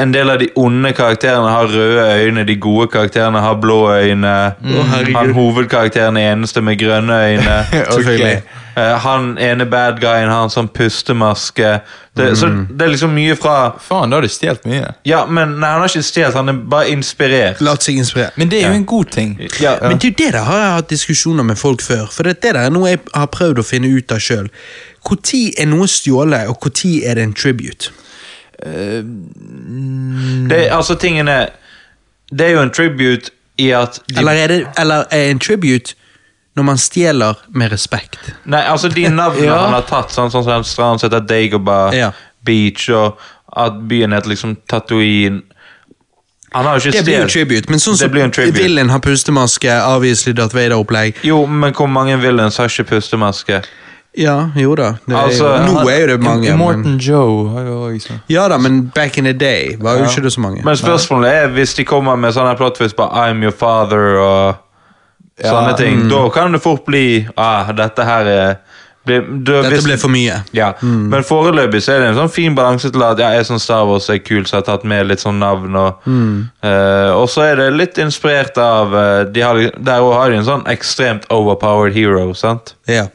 C: en del av de onde karakterene har røde øyne, de gode karakterene har blå øyne.
B: Mm.
A: herregud.
C: Han hovedkarakteren er eneste med grønne øyne.
A: Selvfølgelig.
C: Eh, han ene bad guyen har en sånn pustemaske. Det, Så
B: Mm.
C: det er liksom mye fra
B: Faen, da har du stjålet mye.
C: Ja, men nei, han har ikke stjålet, han er bare inspirert.
A: Latt seg inspirere.
B: Men det er jo en god ting.
C: Ja.
A: Men det er jo det der har jeg hatt diskusjoner med folk før. For det, det der er noe jeg har prøvd å finne ut av sjøl. Når er noe stjålet, og når er det en tribute?
C: Det, altså, tingen er Det er jo en tribute i at de,
A: Eller er, det, eller er en tribute når man stjeler med respekt?
C: Nei, altså, de navnene han har tatt, sånn sånn som den stranden som heter Dagoba
A: Ja.
C: Beach, og at byen heter liksom Tatooine Han har jo ikke
A: Det blir jo
C: stjålet
A: tribute, men sånn
C: Det
A: som
C: blir en tribute.
A: Villain har pustemaske, avviselig Darth Vader-opplegg
C: Jo, men hvor mange villains har ikke pustemaske?
A: Ja, jo da. Det er
C: Altså,
A: jo, nå
C: han-
A: er jo det mange. Men,
B: Morton Joe har jo også sånn.
A: ja da, men back in the day var jo ikke det så mange.
C: Men spørsmålet er, hvis de kommer med sånne plottvist på I'm your father og sånne ting,
A: mm.
C: da kan det fort bli ah, dette her er blir- da-
A: Dette
C: hvis-
A: ble for mye.
C: Ja, men foreløpig så er det en sånn fin balanse til at ja, jeg syns Star Wars er kul, så jeg har tatt med litt sånn navn. Og eh, og så er det litt inspirert av eh, de har, Der òg har de en sånn ekstremt overpowered hero, sant?
A: Ja.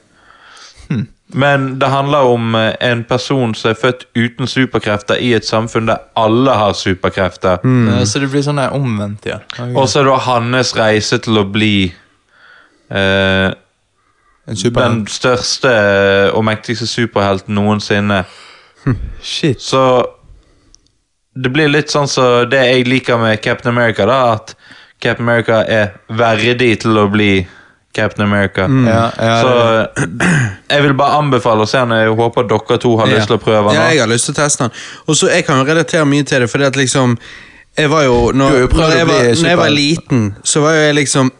C: Men det handler om eh, en person som er født uten superkrefter i et samfunn der alle har superkrefter.
B: Eh, Så det blir sånn der omvendt, ja.
C: Og så er det hans reise til å bli eh,
B: en
C: den
B: superhelt.
C: største og mektigste superhelten noensinne.
B: Shit.
C: Så det blir litt sånn som det jeg liker med Captain America, da, at Captain America er verdig til å bli Captain America.
B: Ja, ja,
C: så eh, jeg vil bare anbefale å se han. og Jeg håper dere to har lyst til å prøve
A: Ja,
C: han.
A: jeg har lyst til å teste den. Og så Jeg kan jo relatere mye til det, fordi at liksom Jeg var jo
B: Du
A: Når,
B: har jo prøvd
A: når,
B: å
A: jeg,
B: bli
A: var, når jeg var
B: superhelt.
A: liten, så var jo jeg liksom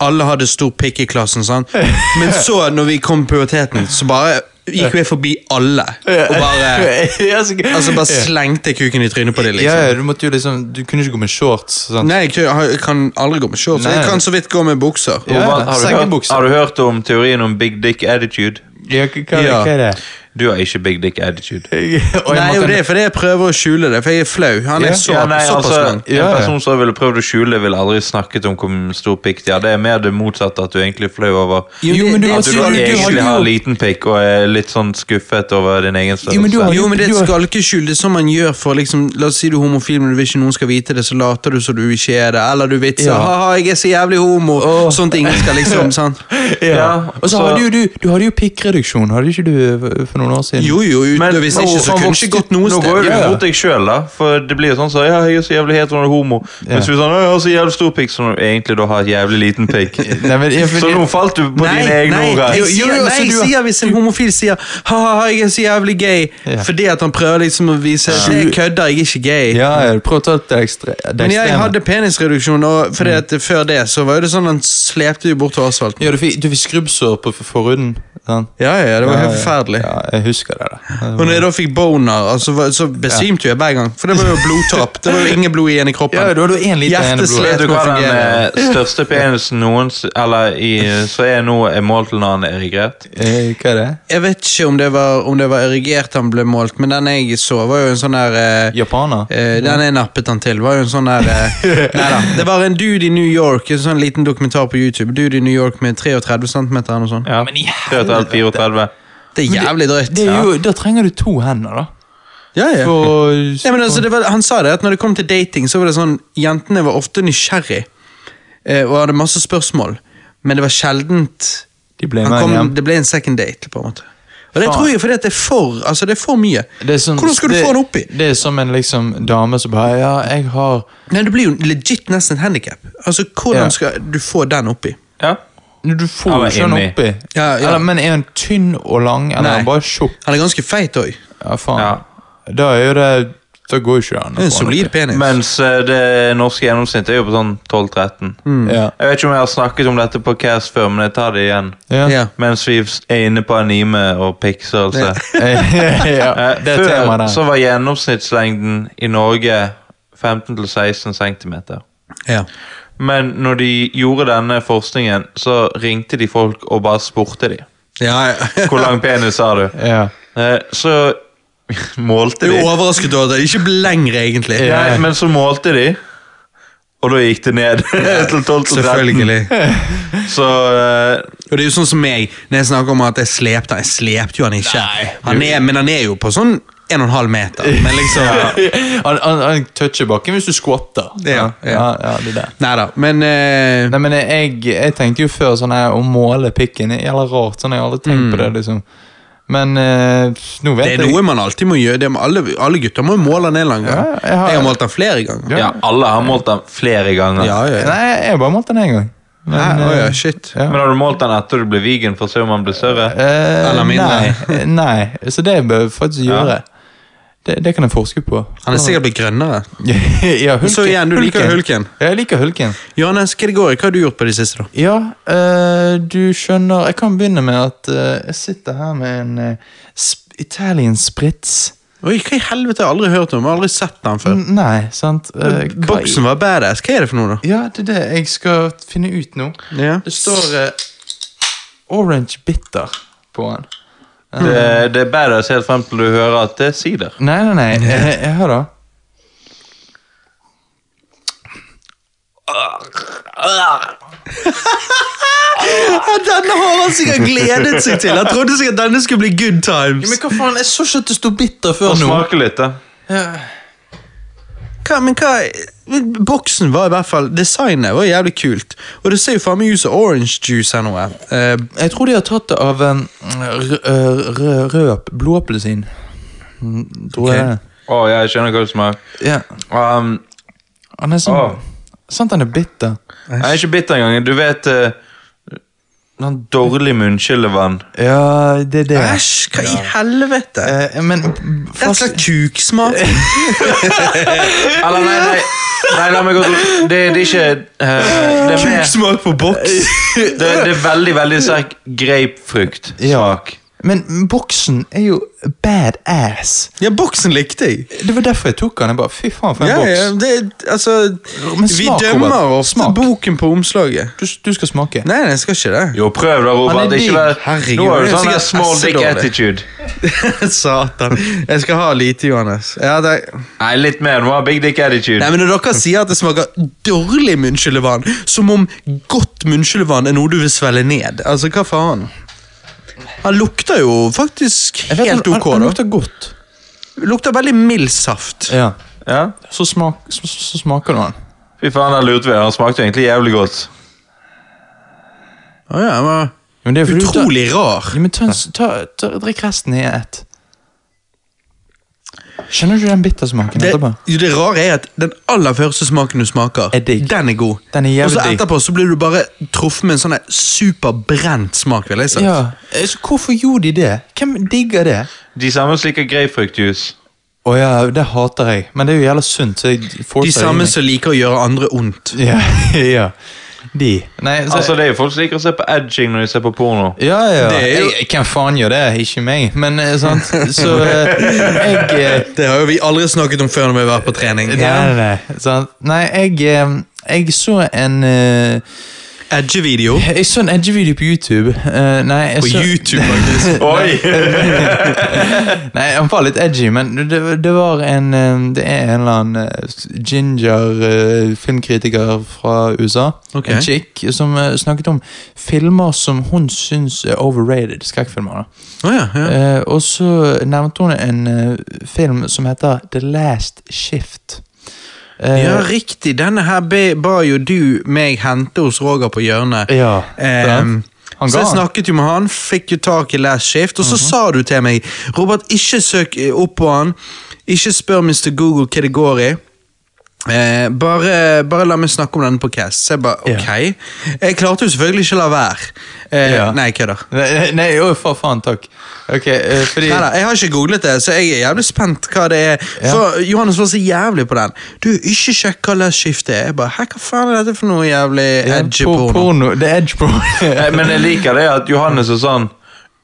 A: Alle hadde stor pikk i klassen, sant? Men så, når vi kom på puberteten, så bare gikk vi forbi alle. Og bare
B: Ja, så gøy.
A: Altså bare slengte kuken i trynet på dem,
B: Ja,
A: liksom.
B: ja, du måtte jo liksom Du kunne ikke gå med shorts. sånn. Sant?
A: Nei, jeg kan- jeg kan aldri gå med shorts. Jeg
B: Nei.
A: kan så vidt gå med bukser.
B: Ja,
C: Håvard, har, du hørt,
B: sengebukser.
C: har du hørt om teorien om big dick attitude?
B: Ja, hva, hva,
A: Ja.
B: hva er det?
C: Du har ikke big dick attitude.
B: Oi,
A: Nei,
B: Morten-
A: jo det er fordi jeg prøver å skjule det, for jeg er flau. Han er
B: Ja.
A: så,
C: ja, nei,
A: såpass
C: altså,
A: lang.
B: Ja,
C: En
B: ja.
C: person som ville prøvd å skjule, ville aldri snakket om hvor stor pikk de har. Det er mer det motsatte, at du egentlig er flau over
A: Jo,
B: Jo,
A: det-
B: men du,
A: det-
C: at du,
A: du-
B: har- du har
C: egentlig
B: jo-
C: har liten pikk og er litt sånn skuffet over din egen størrelse.
B: Jo, men du har-
A: Jo, men det er
B: Du
A: et
B: har-
A: skalkeskjul. Det er sånn man gjør for liksom, La oss si du er homofil, men du vil ikke noen skal vite det, så later du som du ikke er det. Eller du vitser
B: Ja.
A: ha-ha, jeg er så jævlig homo.
B: Åh.
A: Sånn at ingen skal liksom sånn.
C: Ja,
B: Og så
C: så-
B: hadde jo du, du hadde jo pikkreduksjon, hadde ikke du for- for noen år siden?
A: Jo, jo, uten,
C: Men
A: hvis
C: nå-
A: ikke så
C: nå
A: kunne
C: vokste-
A: det ikke gått noe
C: Nå går
A: sted.
C: jo du
B: Ja, ja.
C: mot deg sjøl, da. For det blir jo sånn så, ja, jeg er så jævlig hetero og homo. Mens du er sånn, «Å, jeg har så jævlig stor pikk, som du egentlig da har et jævlig liten pikk.
B: Nei, men, ja, for,
C: Så nå falt du på dine egne
A: nei,
C: ord her.
A: jeg
B: Jo,
A: sier,
B: jo,
A: nei,
B: altså,
A: jeg
B: du-
A: sier hvis en homofil sier ha-ha, jeg er så jævlig gay,
B: Ja.
A: fordi at han prøver liksom å vise at jeg kødder, jeg er ikke gay.
B: Ja, ja, prøv å ta det ekstra det
A: Men jeg
B: ekstreme.
A: hadde penisreduksjon, og fordi at før det så var jo det sånn han slepte jo bortover asfalten.
B: Ja, du fikk, du fikk skrubbsår på for- forhuden. sant?
A: Ja, ja, det var
B: Ja,
A: helt
B: ja.
A: forferdelig.
B: Ja, jeg husker det. da.
A: Og når jeg da fikk boner, altså, var- så besvimte jeg hver gang. For det var jo blodtapp. Det var jo ingen blod igjen i kroppen.
B: Ja, du hadde jo én liter
A: Hjerteslet.
B: eneblod.
C: Vet du hva
A: Hvordan
C: den
A: fungerer
C: eh, største penisen noensinne Eller i, så er nå er målt til når han er erigert?
B: Eh, Hva er det?
A: Jeg vet ikke om det var, om det var erigert han ble målt, men den jeg så, var jo en sånn der eh,
B: Japaner?
A: eh, Den jeg nappet han til, var jo en sånn der eh, Neida. Det var en dude i New York, en sånn liten dokumentar på YouTube. Dude i New York med 33 cm eller noe sånt.
C: Ja. 34-34.
A: Det er jævlig drøyt.
B: Det er jo, da trenger du to hender, da.
A: Ja, ja.
B: For
A: Nei, men altså, det var, han sa det at når det kom til dating, så var det sånn Jentene var ofte nysgjerrig eh, og hadde masse spørsmål, men det var sjeldent
B: De ble
A: Han
B: med
A: kom,
B: hjem.
A: det ble en second date, på en måte. Og det
B: Faen.
A: tror jeg fordi at det er for altså det er for mye.
B: Det er som-
A: Hvordan skal du
B: det-
A: få den oppi?
B: Det er som en liksom dame som bare Ja, jeg har
A: Nei, Det blir jo legit nesten et handikap. Altså, hvordan
B: Ja.
A: skal du få den oppi?
C: Ja.
B: Når Du får jo
C: Eller
B: ikke den
C: inni.
B: oppi.
A: Ja, ja.
B: Eller, men er hun tynn og lang, eller
A: Nei.
B: er hun bare tjukk?
A: Han er ganske feit òg.
B: Ja, faen.
C: Ja.
B: Da er jo det Da går jo ikke an. å få
A: En
B: den
A: solid
B: oppi.
A: penis.
C: Mens eh, det norske gjennomsnittet er jo på sånn 12-13.
B: Ja.
C: Jeg vet ikke om jeg har snakket om dette på Cast før, men jeg tar det igjen.
B: Ja.
A: ja.
C: Mens vi er inne på anime og pixelse.
B: ja.
C: Eh,
B: Det er
C: Før
B: temaet der.
C: så var gjennomsnittslengden i Norge 15-16 cm.
A: ja.
C: Men når de gjorde denne forskningen, så ringte de folk og bare spurte de.
A: Ja, ja.
C: Hvor lang penis har du?
B: Ja.
C: Eh, Så målte
A: Jeg
C: de.
A: er overrasket over at det ikke ble lengre, egentlig.
C: Nei, men så målte de, og da gikk det ned til 12-13.
A: Selvfølgelig.
C: Så eh,
A: Og det er jo sånn som meg, når jeg snakker om at jeg slepte han. Jeg slepte jo han ikke.
B: Nei.
A: han er, men han er jo på sånn 1,5 meter. Men liksom
B: Han, han, han toucher bakken hvis du skvatter.
A: Ja, ja.
B: ja, ja, det er det.
A: Nei da, men eh,
B: Nei, men jeg, jeg tenkte jo før sånn her, å måle pikken er jævla rart. Sånn, jeg har aldri tenkt på det, liksom. Men eh, nå
A: det
B: vet
A: er noe man alltid må gjøre. Det må alle, alle gutter må jo måle han en eller annen gang.
B: Ja,
A: jeg,
B: jeg
A: har,
B: har-
A: målt han flere ganger.
C: ja, alle har målt den flere ganger.
A: Ja, ja,
B: jeg.
A: ja.
B: Nei, jeg har bare målt den én gang. Men,
A: Hæ? Å ja,
B: eh,
A: shit.
B: ja.
C: Men har du målt den etter du ble vegan for å se om han ble større?
B: Eh,
A: Eller mindre.
B: Nei, nei, så det bør jeg faktisk gjøre. Det, det kan jeg forske på.
A: Han er sikkert blitt grønnere.
B: ja, hulken.
A: Så igjen, du liker hulken.
B: Ja, jeg liker hulken.
A: Johannes, hva, det går, i? hva har du gjort på det siste, da?
B: Ja, eh, du skjønner Jeg kan begynne med at eh, jeg sitter her med en eh, sp Italian spritz.
A: Oi, Hva i helvete, jeg har aldri hørt om Jeg har aldri sett den før.
B: N- Nei, sant? Eh, hva-
A: Boksen var badass. Hva er det for noe, da?
B: Ja, det er det jeg skal finne ut nå.
A: Ja.
B: Det står eh, Orange Bitter på den.
C: Det, det er bedre å se helt frem til du hører at det er sider.
B: Nei, nei, nei. Jeg, jeg hører da.
A: Denne har han sikkert gledet seg til. Han trodde sikkert denne skulle bli good times.
B: Men hva faen, jeg så ikke at det sto bitter før
C: Og
B: nå.
C: smake litt, da.
A: Hva, men hva Boksen var i hvert fall Designet var jævlig kult. Og det ser jo faen meg ut som orange juice her nå. eh. Eh,
B: Jeg tror de har tatt det av eh, en rød, rød, blåappelsin. Mm, Tror jeg
A: Ok.
B: det.
C: Å, ja, jeg skjønner hva du smaker.
B: Ja.
C: Um,
B: Han er sånn
C: Åh.
B: Sant han er bitter?
C: jeg er ikke bitter engang. Du vet eh, den dårlige munnskyllevann.
B: Ja, det er det.
A: Æsj, hva i helvete?
B: Eh, men
A: Det er slags kuksmak.
C: Eller nei, nei, nei la meg gå til Det, det er ikke eh, det, er mer,
A: Kuksmak på boks.
C: det, det er veldig, veldig sterk grapefruktsmak.
B: Men boksen er jo badass.
A: Ja, boksen likte jeg.
B: Det var derfor jeg tok han. Jeg bare, Fy faen, for en
A: Ja,
B: boks.
A: ja, det, altså,
B: Men
A: vi
B: smak,
A: dømmer
B: Robert.
A: ofte
B: Smak.
A: boken på omslaget.
B: Du, du skal smake.
A: Nei, nei, jeg skal ikke det.
C: Jo, prøv da,
B: Han
C: Robert.
B: er
C: Ikke
B: digg.
C: vær,
A: Herregud,
C: nå er
A: han er
C: du sånn
A: sikkert
C: der small dick
A: assedårlig.
C: attitude.
A: Satan. Jeg skal ha lite, Johannes. Ja, det...
C: Nei, litt mer. Du må ha big dick attitude.
A: Nei, men Når dere sier at det smaker dårlig munnskyllevann, som om godt munnskyllevann er noe du vil svelle ned Altså, hva faen? Han lukter jo faktisk
B: Jeg vet
A: helt
B: han,
A: ok,
B: han, han
A: da.
B: lukter godt.
A: Lukter veldig mild saft.
B: Ja.
C: Ja?
B: Så, smak, så, så, så smaker du han.
C: Fy faen, der lurte vi. Han smakte egentlig jævlig godt.
A: Å ja, men...
B: Men det er fordi du tar-
A: Utrolig rar.
B: Ja, men ta, en s- ta, ta, drikk resten i ett. Skjønner du den bittersmaken
A: Det,
B: etterpå?
A: jo, det rare er at den aller første smaken du smaker,
B: Er digg.
A: den er god.
B: Den er jævlig
A: Og så
B: digg.
A: etterpå så blir du bare truffet med en sånn der superbrent smak. vil jeg si.
B: Ja, eh, så Hvorfor gjorde de det? Hvem digger det?
C: De samme som liker grapefruktjuice.
B: Å ja, det hater jeg, men det er jo jævla sunt. Så jeg får
A: De
B: seg
A: samme
B: inn i-
A: som liker å gjøre andre ondt.
B: ja, ja, de. Nei, så,
C: Altså, det er jo folk som liker å se på edging når de ser på porno.
B: ja, ja.
A: Det er jo-
B: jeg, hvem faen gjør det? Ikke meg, men eh, sant. Så eh, jeg eh,
A: Det har jo vi aldri snakket om før når vi har vært på trening.
B: Nei, nei, nei. Sant? Nei, jeg, eh, jeg så en eh,
A: Edge-video.
B: Jeg så en edge-video på YouTube. Eh, nei, jeg
A: På
B: så,
A: YouTube, faktisk.
C: Oi!
B: Nei, han var litt edgy, men det, det var en eh, Det er en eller annen eh, ginger eh, filmkritiker fra USA.
A: Ok.
B: En chick som eh, snakket om filmer som hun syns er overrated. Skrekkfilmer. da.
A: Å ja, ja.
B: Eh, og så nevnte hun en eh, film som heter The Last Shift. Eh,
A: ja, riktig. Denne her be, ba jo du meg hente hos Roger på hjørnet.
B: ja, sant?
A: Ehm,
B: Han
A: så
B: ga
A: jeg
B: han. Mhm.
A: snakket jo med han, fikk jo tak i Last Shift, og så sa du til meg Robert, ikke søk eh, opp på han. Ikke spør Mr. Google hva det går i. Eh, bare, bare la meg snakke om denne på Cass. Så jeg bare,
B: Ja.
A: ok. Jeg klarte jo selvfølgelig ikke å la være. Eh,
B: Ja.
A: Nei, kødder.
B: Nei, nei, eh, nei å, for faen, takk. Ok, eh, fordi
A: Neida, jeg har ikke googlet det, så jeg er jævlig spent hva det er. For Johannes var så jævlig på den. Du, ikke sjekk hva det skiftet er. Jeg bare, hæ, hva faen er dette for noe jævlig edgy porno?
B: Por- porno. Det er edge porno.
C: Nei, Men jeg liker det at Johannes er sånn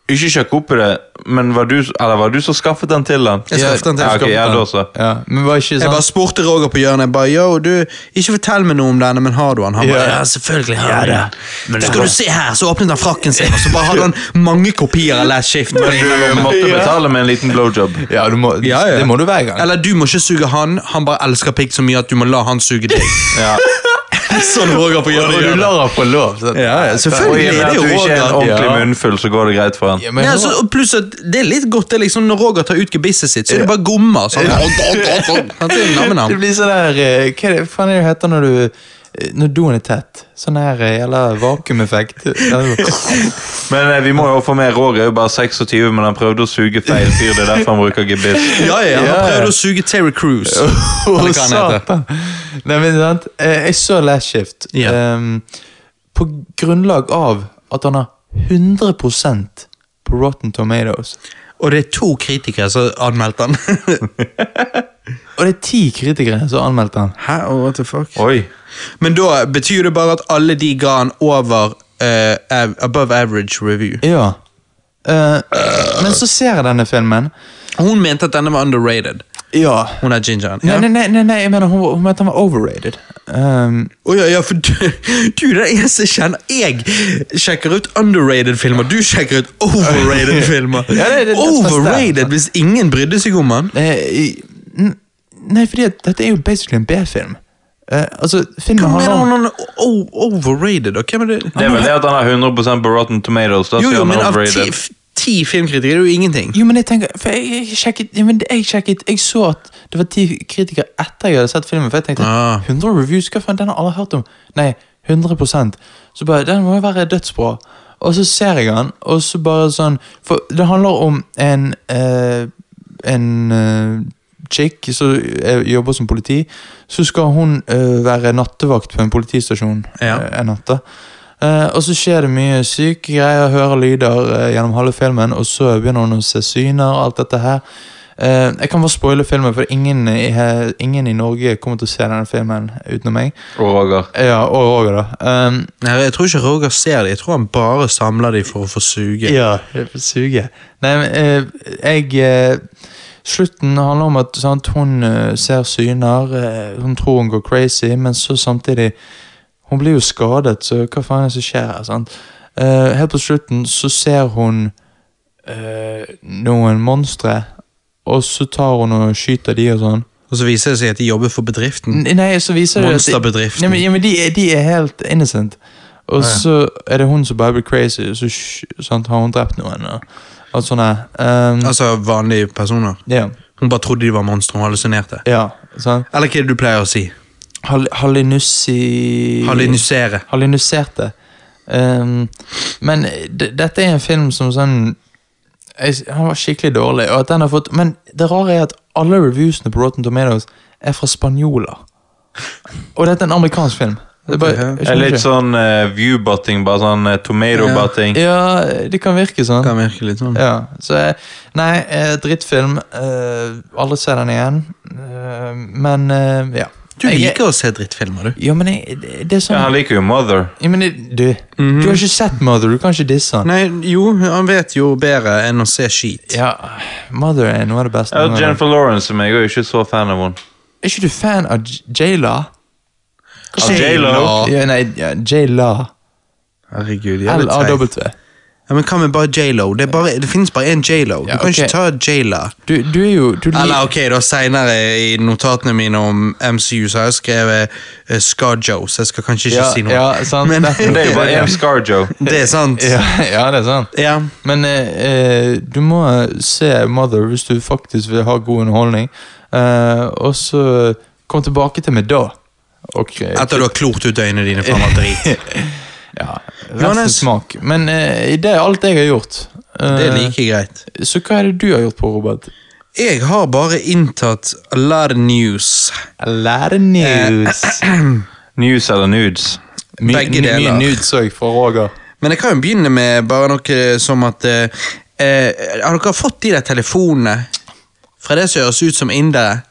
C: Ikke sjekk opp i det, Men var du, eller var du som skaffet den til han?
A: Jeg skaffet den til
C: Ja, ok,
A: han.
C: ja, da så.
B: Ja, men var ikke
A: Jeg
B: sånn
A: bare spurte Roger på hjørnet. Jeg bare, Yo, du, ikke fortell meg noe om denne, men har du den? Han bare, ja,
B: Ja.
A: selvfølgelig har jeg den. Skal du se her, så åpnet han frakken sin, og så bare hadde han mange kopier av Last Shift. på det ene
C: Du
A: rommet.
C: måtte betale med en liten blowjob.
B: ja, du må,
A: Ja, ja.
B: det må du hver gang.
A: Eller du må ikke suge han, han bare elsker pikk så mye at du må la han suge deg.
C: Ja.
A: sånn Roger på
B: Og
A: hjørnet
B: du
A: gjør det.
B: lar henne få lov. sånn.
A: Ja, ja,
C: Og i
A: selvfølgelig.
C: og
A: Det
C: med
A: er
C: at
A: jo
C: du ikke er en
A: Roger.
C: ordentlig
B: ja.
C: munnfull, så går det greit for han.
B: Ja, men
A: Ja,
B: nå-
A: altså, og pluss at det er litt godt det er liksom, når Roger tar ut gebisset sitt, så er det bare gommer. Sånn. Han tar en namn,
B: Det
A: han.
B: blir sånn der eh, Hva er det faen er det det heter når du eh, Når doen er tett? Sånn her eh, jævla vakuumeffekt.
C: Men eh, vi må jo få med Roger, er jo bare 26, men han prøvde å suge feil fyr. Det er derfor han bruker gebiss.
A: Ja, ja, han
B: Ja, ja.
A: prøvde å suge Terry Cruise.
B: Å,
A: Eller hva han heter.
B: satan! Nei, men sant? eh, Jeg så Last Shift
A: Ja.
B: ehm, på grunnlag av at han har 100 på Rotten Tomatoes.
A: Og det er to kritikere som anmeldte han.
B: Og det er ti kritikere som har anmeldt han.
A: Hæ? Oh, what the fuck?
C: Oi.
A: Men da betyr det bare at alle de ga han over eh, av- above average review.
B: Ja. Eh, men så ser jeg denne filmen.
A: Hun mente at denne var underrated.
B: Ja.
A: Hun er gingeren.
B: Nei,
A: Ja.
B: nei, nei, nei, nei jeg mener hun, hun mente han var overrated. Ehm,
A: Å ja, ja, for du, du det er den eneste jeg kjenner. Jeg sjekker ut underrated-filmer, du sjekker ut overrated-filmer.
B: Ja, det er det- det er
A: overrated hvis ingen brydde seg om han.
B: Eh, i- n- Nei, fordi at dette er jo basically en B-film. Eh, altså, filmen
A: Hva mener
B: handler om
A: hun han er o- overrated? Og hvem er det?
C: Det er vel det at han har 100 på Rotten Tomatoes. Da
A: Jo,
C: sier
A: jo,
C: han
A: men av ti,
C: overrated.
A: f- ti filmkritikere er det jo ingenting.
B: Jo, men jeg tenker For jeg, jeg sjekket ja, men jeg sjekket Jeg så at det var ti kritikere etter jeg hadde sett filmen, for jeg tenkte
A: Ah.
B: 100 reviews, hva faen, den har alle hørt om? Nei, 100 Så bare Den må jo være dødsbra. Og så ser jeg han, og så bare sånn For det handler om en eh, En eh, chick som eh, jobber som politi. Så skal hun eh, være nattevakt på en politistasjon
A: Ja.
B: eh, en natt. da. Eh, og så skjer det mye syke greier, hører lyder eh, gjennom halve filmen, og så begynner hun å se syner og alt dette her. Eh, jeg kan bare spoile filmen, for ingen i, he- ingen i Norge kommer til å se denne filmen utenom meg.
C: Og Roger.
B: Ja, og Roger, da. Um,
A: Nei, Jeg tror ikke Roger ser det. Jeg tror han bare samler de for å få suge.
B: Ja, jeg får suge. Nei, men eh, jeg eh, Slutten handler om at sant, hun eh, ser syner, eh, hun tror hun går crazy, men så samtidig Hun blir jo skadet, så hva faen er det som skjer her? sant? Eh, helt på slutten så ser hun eh, noen monstre, og så tar hun og skyter de og sånn.
A: Og så viser det seg at de jobber for bedriften.
B: N- Nei, så viser det at de-
A: Monsterbedriften.
B: Nei, men, ja, men de, er- de er helt innocent. Og så er det hun som bare blir crazy, og så sk- sant, har hun drept noen. Og, og sånn her. Um,
A: Altså vanlige personer.
B: ja,
A: Hun bare trodde de var monstre, hun hallusinerte.
B: ja, sant.
A: Eller hva er det du pleier å si?
B: Hal Halinussi...
A: Hallusinere.
B: Hallinuserte. Um, men d dette er en film som sånn jeg, s- Han var skikkelig dårlig. Og at den har fått, men det rare er at alle reviewsene på Rotten Tomatoes er fra spanjoler. Og dette er en amerikansk film. Det er bare, jeg
C: Det er
B: skjønner
C: litt
B: ikke.
C: sånn uh, view-butting, bare sånn eh, tomato-butting.
B: Ja, det kan virke sånn.
A: Kan virke litt sånn.
B: Ja, så jeg- Nei, eh, drittfilm. Eh, alle ser den igjen. Eh, men eh, ja.
A: Du
B: Jeg-
A: liker å se drittfilmer, du.
B: Jo, men jeg, det det er
C: Ja,
B: sånn
C: han Mhm. liker jo Mother.
B: ja, men jeg, du, du har ikke sett Mother, du kan ikke disse den.
A: Nei, jo, han vet jo bedre enn å se skit.
B: Ja, Mother er noe av det beste.
C: Ja,
B: Nå er det-
C: Jennifer Lawrence, som jeg er jo ikke så fan av henne.
B: Er ikke du fan av J- Jayla?
C: Av J.Lo.
A: J.Lo.
B: Ja, nei, ja, Jayla.
A: Herregud, jævlig teit.
B: L-A-W.
A: Ja, men hva med bare J.Lo? Det, er bare, det finnes bare én J.Lo. Du
B: Ja,
A: kan ikke
B: ok.
A: ta J.La.
B: Du, du er jo du lik-
A: Eller ok, da senere i notatene mine om MCU så har jeg skrevet uh, Scarjo, så jeg skal kanskje ikke
B: ja,
A: si noe.
B: ja, sant.
A: Men-
B: Derfor-
C: Men det er jo bare
B: ja.
C: en Scarjo.
A: Det er sant.
B: Ja, ja, det er sant.
A: Ja.
B: Men eh, eh, du må se Mother hvis du faktisk vil ha god underholdning. Eh, og så kom tilbake til meg da. Ok.
A: Etter du har klort ut øynene dine fra batteri.
B: Ja, Resten
A: Johannes?
B: smak. Men eh, det er alt jeg har gjort. Eh,
A: Det er like greit.
B: Så hva er det du har gjort på, Robert?
A: Jeg har bare inntatt a lot of news.
B: Lære news.
C: News eller nudes?
A: begge deler.
B: Mye nudes òg fra Roger.
A: Men jeg kan jo begynne med bare noe som at eh, eh, Har dere fått de der telefonene fra det som høres ut som indere?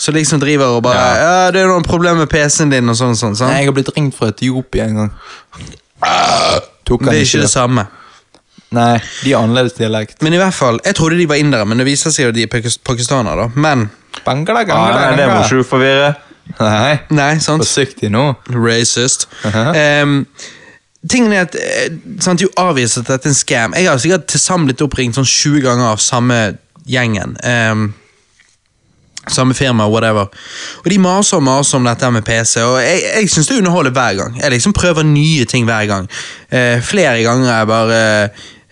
A: Som liksom driver og bare ja. 'Det er noen problemer med PC-en din', og sånn. sånn,
B: Nei,
A: sant?
B: Jeg har blitt ringt fra Etiopia en gang. Tok
A: Det
B: han
A: er ikke det samme.
B: Nei, de har annerledes dialekt.
A: Men i hvert fall, jeg trodde de var indere, men det viser seg jo at de er pakis- pakistanere, da. Men
B: Bangla,
C: Ja,
B: gangla,
C: nei, det må
B: gangla.
C: ikke du forvirre.
B: Nei,
A: Nei, sant?
B: forsiktig nå.
A: Racist. Ehm, tingen er at eh, sant, Jo avviser at dette er en scam. Jeg har sikkert til sammen blitt oppringt sånn 20 ganger av samme gjengen. Ehm, samme firma, whatever. Og de maser og maser om dette her med PC, og jeg, jeg syns det underholder hver gang. Jeg liksom prøver nye ting hver gang. Eh, flere ganger er jeg bare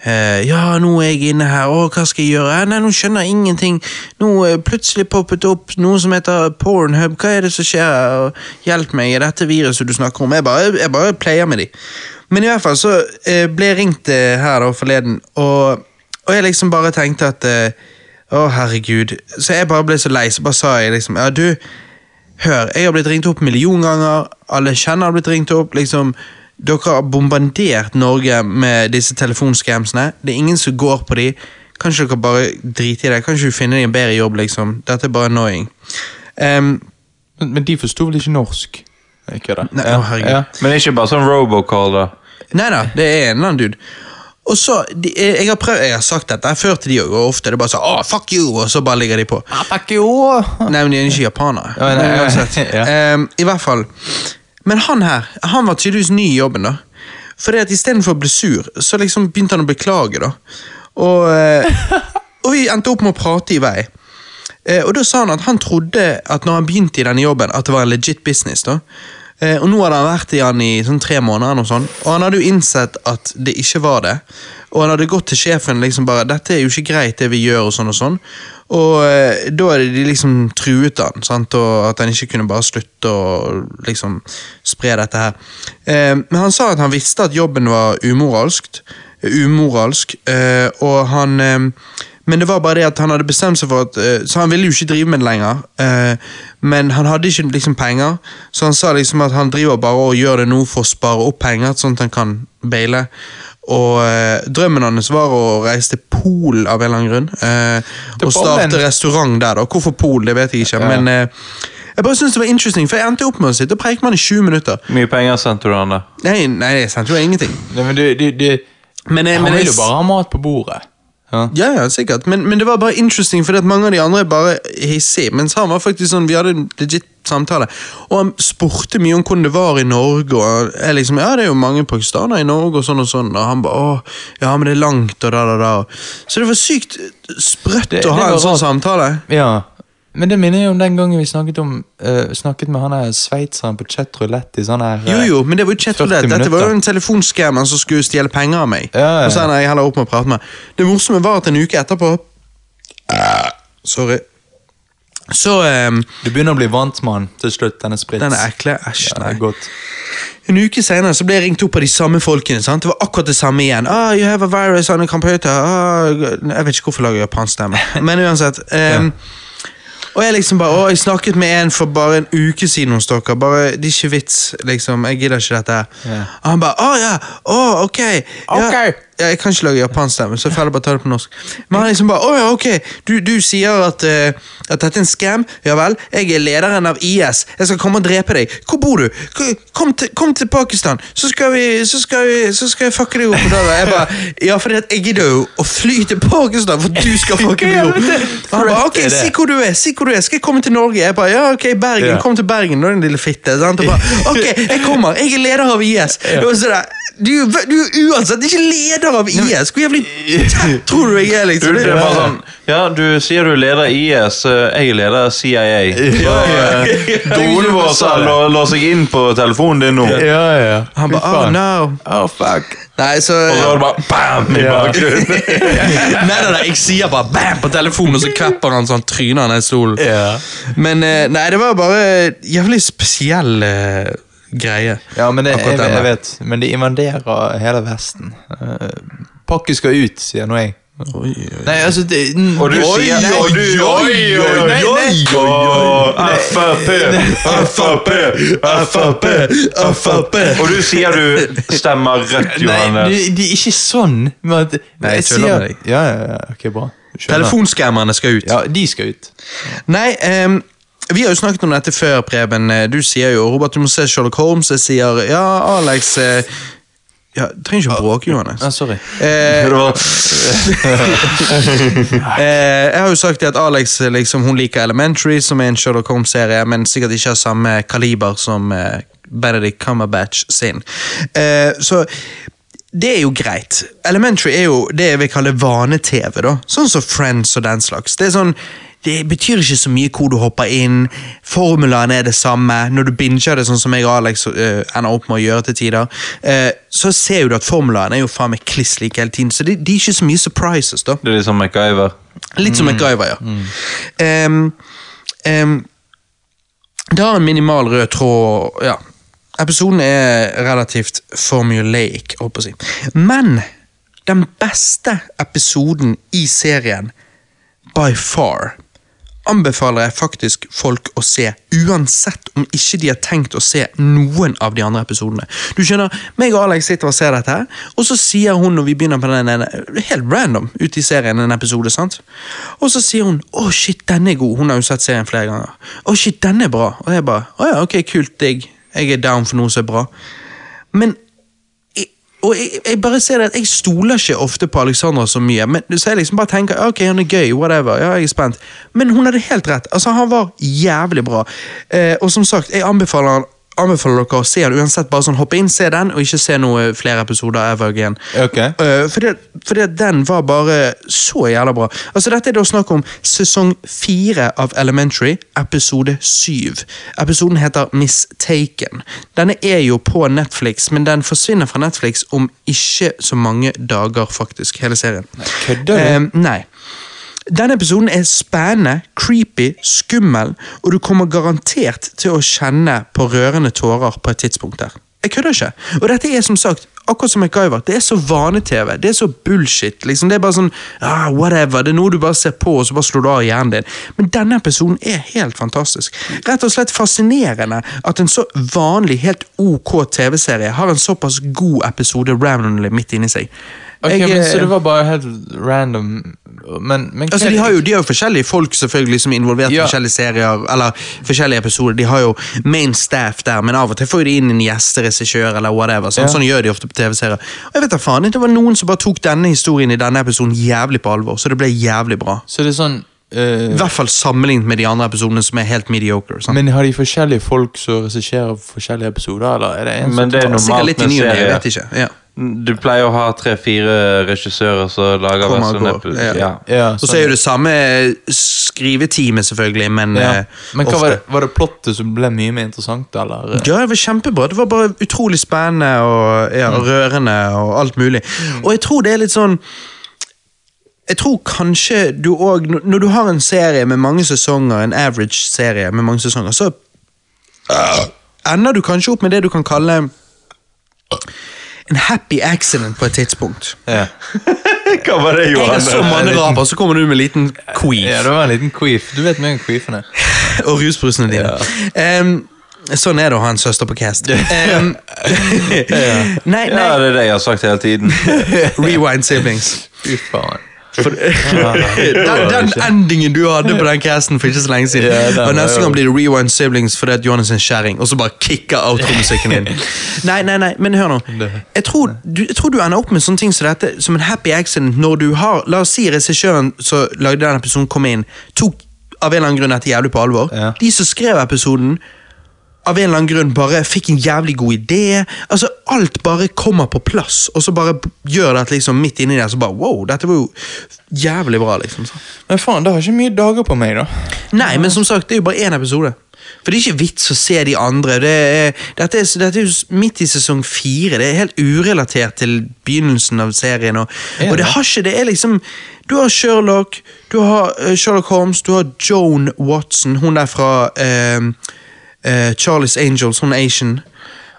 A: eh, ja, nå er jeg inne her, å, hva skal jeg gjøre? Eh, Nei, nå skjønner jeg ingenting. Nå eh, plutselig poppet det opp noe som heter Pornhub, hva er det som skjer? her? Og Hjelp meg, er dette viruset du snakker om? Jeg bare, jeg bare player med de. Men i hvert fall så eh, ble jeg ringt eh, her da forleden, og, og jeg liksom bare tenkte at eh, å, herregud. Så jeg bare ble så lei, så bare sa jeg liksom Ja, du, hør, jeg har blitt ringt opp en million ganger. Alle jeg kjenner har blitt ringt opp. liksom Dere har bombardert Norge med disse telefonscamsene. Det er ingen som går på de. Kanskje dere bare driter i det? Kanskje du finner deg en bedre jobb, liksom? Dette er bare annoying. Ehm,
B: Men men de forsto vel ikke norsk? Jeg kødder.
A: Nei, å, herregud.
C: Men ikke bare sånn robocall, da.
A: Nei da, det er en eller annen dude. Og så, de, jeg, jeg har prøvd, jeg har sagt dette før til de òg, og ofte er det bare sånn Å, fuck you! Og så bare ligger de på. Nei, men de er ikke japanere.
B: Ja, nei,
A: Men
B: ja.
A: uansett. Ehm, I hvert fall. Men han her, han var tydeligvis ny i jobben, da. For det at istedenfor å bli sur, så liksom begynte han å beklage, da. Og, eh, og vi endte opp med å prate i vei. Eh, og da sa han at han trodde at når han begynte i denne jobben, at det var en legit business. da. Eh, og nå hadde han vært i han i sånn tre måneder, eller noe sånt, og han hadde jo innsett at det ikke var det. Og han hadde gått til sjefen liksom bare 'Dette er jo ikke greit, det vi gjør', og sånn og sånn. Og eh, da hadde de liksom truet han, sant? og at han ikke kunne bare slutte å liksom spre dette her. Eh, men han sa at han visste at jobben var umoralskt, umoralsk, eh, og han eh, men det var bare det at han hadde bestemt seg for at eh, Så han ville jo ikke drive med det lenger. eh, men han hadde ikke liksom penger, så han sa liksom at han driver bare og gjør det nå for å spare opp penger, sånn at han kan baile. Og eh, drømmen hans var å reise til Polen av en eller annen grunn. eh,
B: Til
A: og starte
B: Polen?
A: restaurant der, da. Hvorfor Polen, det vet jeg ikke. Men eh, jeg bare synes det var interesting, for jeg endte opp med å sitte og preike med han i 20 minutter.
C: Hvor mye penger sendte du han, da?
A: Nei, nei, jeg sendte jo ingenting.
B: Nei, men de, de, de,
A: Men, eh,
B: Han
A: men
B: vil
A: jeg,
B: jo bare ha mat på bordet. Ja.
A: Ja, ja, sikkert. Men, men det var bare interesting, fordi at mange av de andre er bare hissige. Mens han var faktisk sånn, vi hadde en legit samtale. Og han spurte mye om hvordan det var i Norge. Og jeg liksom, ja, det er jo mange pakistanere i Norge, og sånn og sånn. Og han bare, åh, ja, men det er langt, og da, da, da. Så det var sykt sprøtt
B: Det- det
A: å ha
B: var
A: en sånn
B: rart.
A: samtale.
B: Ja, men det minner jo om den gangen vi snakket om eh, Snakket med han der sveitseren på Chet Roulette i sånn her eh,
A: Jo, jo, men det var jo ikke
B: 40
A: rett. Dette var jo
B: minutter.
A: en telefonskammer som skulle stjele penger av meg.
B: Ja, ja, ja.
A: Og så ender jeg heller opp med å prate med han. Det morsomme var at en uke etterpå Ah, Sorry. Så ehm,
B: Du begynner å bli vant med han til slutt, denne sprits.
A: Den er ekle. Æsj,
B: Ja, det
A: nei.
B: er godt.
A: En uke senere så ble jeg ringt opp av de samme folkene. sant? Det var akkurat det samme igjen. Ah, you have a virus on a computer. Ah, jeg vet ikke hvorfor jeg lager japansk stemme. Men uansett. ehm, og jeg liksom bare, å, jeg snakket med en for bare en uke siden hos dere. Bare, Det er ikke vits, liksom. Jeg gidder ikke dette. her.
B: Ja.
A: Og han bare Å ja! Å, ok! Ja,
B: Ok.
A: ja, jeg kan ikke lage japansk stemme, så jeg får heller bare ta det på norsk. Men han liksom bare Å ja, ok, du, du sier at, eh, at dette er en scam. Ja vel, jeg er lederen av IS. Jeg skal komme og drepe deg. Hvor bor du? K- Kom til, kom til Pakistan, så skal, vi, så, skal vi, så skal jeg fucke deg opp. Og da var jeg bare Ja, for jeg gidder jo å fly til Pakistan for at du skal fucke meg opp. Og Han bare ok,
B: Crap er det.
A: si hvor du er, si hvor du er. Skal jeg komme til Norge? Jeg bare ja, ok, Bergen.
B: Ja.
A: Kom til Bergen, da, din lille fitte. Sant? Og bare ok, jeg kommer. Jeg er leder av IS. Og så der, du, er jo- du er jo uansett ikke leder av IS! Hvor jævlig tett tror du jeg er,
C: Du,
A: liksom?
C: det er bare sånn, ja, du sier du er leder IS, eh, jeg er leder CIA. Så, eh, Doen vår sa la, la seg inn på telefonen din nå. Og
B: Ja, ja.
A: Han bare oh no.
B: Oh, fuck.
A: Nei, så
C: så var det bare bam i
B: Ja.
C: bakgrunnen.
A: Nei, nei, nei, jeg sier bare bam på telefonen, og så kvepper han sånn tryner han i stolen.
B: Ja.
A: Men eh, nei, det var bare jævlig spesiell eh, greie.
B: ja, men det,
A: Akkurat
B: jeg,
A: den
B: jeg,
A: der.
B: vet. Men de invaderer hele Vesten. Uh, Pakke skal ut, sier nå jeg. Nei, altså det,
C: Og du
B: Oi,
C: sier
B: nei,
C: og du, oi, oi, oi,
B: nei, nei.
C: oi, oi, Frp, Frp, Frp, Frp. Og du sier du stemmer rødt,
B: Nei,
C: Johannes.
B: de, de er ikke sånn. Men at,
A: Nei, jeg
B: sier-
A: tuller med deg.
B: Ja, ja, ja, ok, bra. Skjønner.
A: Telefonskammerne skal ut.
B: Ja, de skal ut.
A: Nei, ehm, vi har jo snakket om dette før, Preben. Eh, Du sier jo Robert, du må se Sherlock Holmes. Jeg sier ja, Alex eh, ja, Trenger ikke å bråke, Johannes.
B: Ja, sorry.
A: Eh,
C: Det var,
A: Eh, jeg har jo sagt det at Alex eh, liksom, hun liker Elementary, som er en Sherlock Holmes-serie, men sikkert ikke har samme kaliber som eh, Benedict Cumberbatch sin. Eh, så det er jo greit. Elementary er jo det jeg vil kalle vane-TV. da. Sånn som Friends og den slags. Det er sånn, det betyr ikke så mye hvor du hopper inn, formulaen er det samme. Når du binger det sånn som jeg og Alex eh, ender opp med å gjøre til tider, eh, så ser jo du at formulaen er jo faen meg kliss lik hele tiden. Så det, det er ikke så mye surprises, da.
C: det er litt som MacGyver.
A: Litt som MacGyver, ja. Ehm, ehm, det har en minimal rød tråd ja. Episoden er relativt formulaic, håper jeg å si. Men den beste episoden i serien, by far, anbefaler jeg faktisk folk å se, uansett om ikke de har tenkt å se noen av de andre episodene. Du skjønner, meg og Alex sitter og ser dette, her, og så sier hun når vi begynner på den ene, helt random ute i serien, en episode, sant? Og så sier hun 'Å, shit, denne er god'. Hun har jo sett serien flere ganger. 'Å, shit, denne er bra'. Og jeg bare 'Å ja, ok, kult, digg. Jeg er down for noe som er bra'. Men jeg- og jeg, jeg bare ser det at jeg stoler ikke ofte på Alexandra så mye. Men Så jeg liksom bare tenker ja, ok, han er gøy, whatever. Ja, jeg er spent. Men hun hadde helt rett. Altså, Han var jævlig bra. Eh, og som sagt, jeg anbefaler han anbefaler dere å se han uansett. Bare sånn, Hoppe inn, se den, og ikke se noe flere episoder ever again.
B: Ok.
A: Eh, fordi, fordi at den var bare så jævla bra. Altså Dette er da snakk om sesong fire av Elementary, episode syv. Episoden heter Mistaken. Denne er jo på Netflix, men den forsvinner fra Netflix om ikke så mange dager, faktisk. Hele serien.
B: kødder du?
A: Eh, nei. Denne episoden er spennende, creepy, skummel, og du kommer garantert til å kjenne på rørende tårer på et tidspunkt der. Jeg kødder ikke. Og dette er som sagt, akkurat som MacGyver, det er så vane-TV. Det er så bullshit. liksom. Det er bare sånn ah, whatever. Det er noe du bare ser på, og så bare slår du av hjernen din. Men denne episoden er helt fantastisk. Rett og slett fascinerende at en så vanlig, helt ok TV-serie har en såpass god episode randomly midt inni seg.
B: Ok,
A: Jeg,
B: men
A: eh,
B: Så det var bare helt random Men, men
A: Altså, de har jo, de har jo forskjellige folk selvfølgelig som er involvert i
B: Ja.
A: forskjellige serier eller forskjellige episoder. De har jo main staff der, men av og til får de inn en gjesteregissør eller whatever. Sånn,
B: Ja.
A: sånn gjør de ofte på TV-serier. Og jeg vet da faen, Det var noen som bare tok denne historien i denne episoden jævlig på alvor, så det ble jævlig bra.
B: Så det er sånn eh,
A: I hvert fall sammenlignet med de andre episodene som er helt mediocre. sånn. Sant?
B: Men har de forskjellige folk som regisserer forskjellige episoder, eller er det en
C: Men det er
A: Sikkert
C: normalt
A: litt i
C: med
A: ny og ne, jeg vet
C: serier.
A: ikke. Ja.
C: Du pleier å ha tre-fire regissører som lager hver
A: Kommer og
C: sånn
A: går,
C: episode.
A: ja.
C: Ja.
B: Ja,
A: Og så er jo det samme skriveteamet, selvfølgelig, men,
B: ja.
A: eh,
B: Men hva
A: ofte.
B: var det, var det plottet som ble mye mer interessant, eller?
A: Ja, det var kjempebra. Det var bare utrolig spennende og ja, rørende og alt mulig. Og jeg tror det er litt sånn jeg tror kanskje du òg Når du har en serie med mange sesonger, en average serie med mange sesonger, så ender du kanskje opp med det du kan kalle en happy accident på et tidspunkt.
B: Ja.
C: Hva var det,
A: Jeg har så mange
B: liten-
A: raper, så kommer du med en liten queef.
B: ja, det var en liten queef. Du vet mye om queefene.
A: Og rusbrusene dine. Em, sånn er det å ha en søster på cast. Em, nei, nei.
C: Ja, det er det jeg har sagt hele tiden.
A: Rewind siblings.
B: Fy faen.
A: Den, den endingen du hadde på den casten for ikke så lenge siden.
B: Ja, den
A: og
B: var
A: Neste
B: jo-
A: gang blir det Rewind siblings fordi at Johannes er en kjerring, og så bare kicker outro-musikken inn. Nei, nei, nei, men hør nå. Jeg tror, du, jeg tror du ender opp med sånne ting som dette som en happy accident når du har La oss si regissøren som lagde den episoden, kom inn, tok av en eller annen grunn dette jævlig på alvor.
B: Ja.
A: De som skrev episoden, av en eller annen grunn bare fikk en jævlig god idé. Altså, Alt bare kommer på plass, og så bare gjør det at liksom midt inni der så bare wow, dette var jo jævlig bra. liksom. Så.
B: Men faen, det har ikke mye dager på meg, da.
A: Nei, men som sagt, det er jo bare én episode. For det er ikke vits å se de andre. Det er, dette, er, dette er jo s- midt i sesong fire. Det er helt urelatert til begynnelsen av serien. Og,
B: det?
A: og det har ikke det er liksom Du har Sherlock, du har eh, Sherlock Holmes, du har Joan Watson, hun der fra eh, eh, Charlie's Angels, hun er Asian.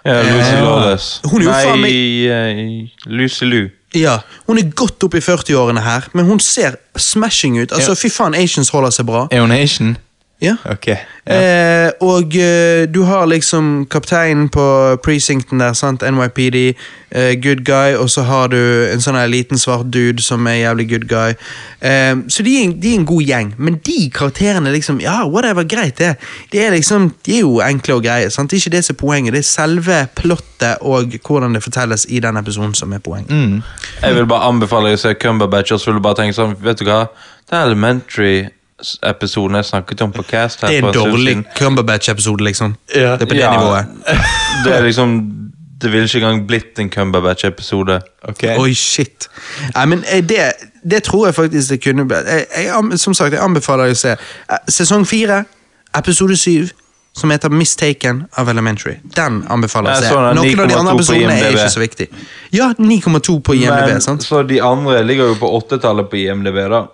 C: Ja, Lucy
B: Ja.
C: Lawless.
A: Hun er jo faen meg-
C: Nei, eh, Lucy Lou.
A: Ja, Hun er godt oppe i 40-årene her, men hun ser smashing ut. Altså,
B: Ja.
A: Fy faen, Asians holder seg bra.
B: Er hun Asian?
A: Ja.
B: Ok. Ja.
A: Eh, og eh, du har liksom kapteinen på precincten der, sant? NYPD, eh, good guy, og så har du en sånn her liten svart dude som er jævlig good guy. Eh, så de er, en- de er en god gjeng, men de karakterene liksom, ja, whatever, greit det. De er liksom, de er jo enkle og greie, sant? Det er ikke det som er poenget, det er selve plottet og hvordan det fortelles i den episoden som er poenget.
B: Mm.
C: Jeg vil bare anbefale deg å se Cumberbatch, og så vil du bare tenke sånn Vet du hva? Den elementary-episoden jeg snakket om på Cast her
A: Det er en
C: for stund
A: dårlig
C: siden,
A: Cumberbatch-episode, liksom.
B: Ja.
A: Det er på det
C: Ja.
A: nivået.
C: Det er liksom Det ville ikke engang blitt en Cumberbatch-episode.
B: Ok.
C: Eh.
A: Oi, shit. Nei, men eh, det, det tror jeg faktisk det kunne blitt. Jeg, jeg, an- som sagt, jeg anbefaler deg å se Eh, sesong fire, episode syv, som heter Mistaken of Elementary. Den anbefaler jeg å
C: Jeg
A: se.
C: så den,
A: Noen av de
C: 9,2
A: andre
C: på
A: episodene er
C: IMDb.
A: ikke så viktig. Ja, 9,2 på IMDb,
C: Men
A: sant?
C: så de andre ligger jo på åttetallet på IMDb, da.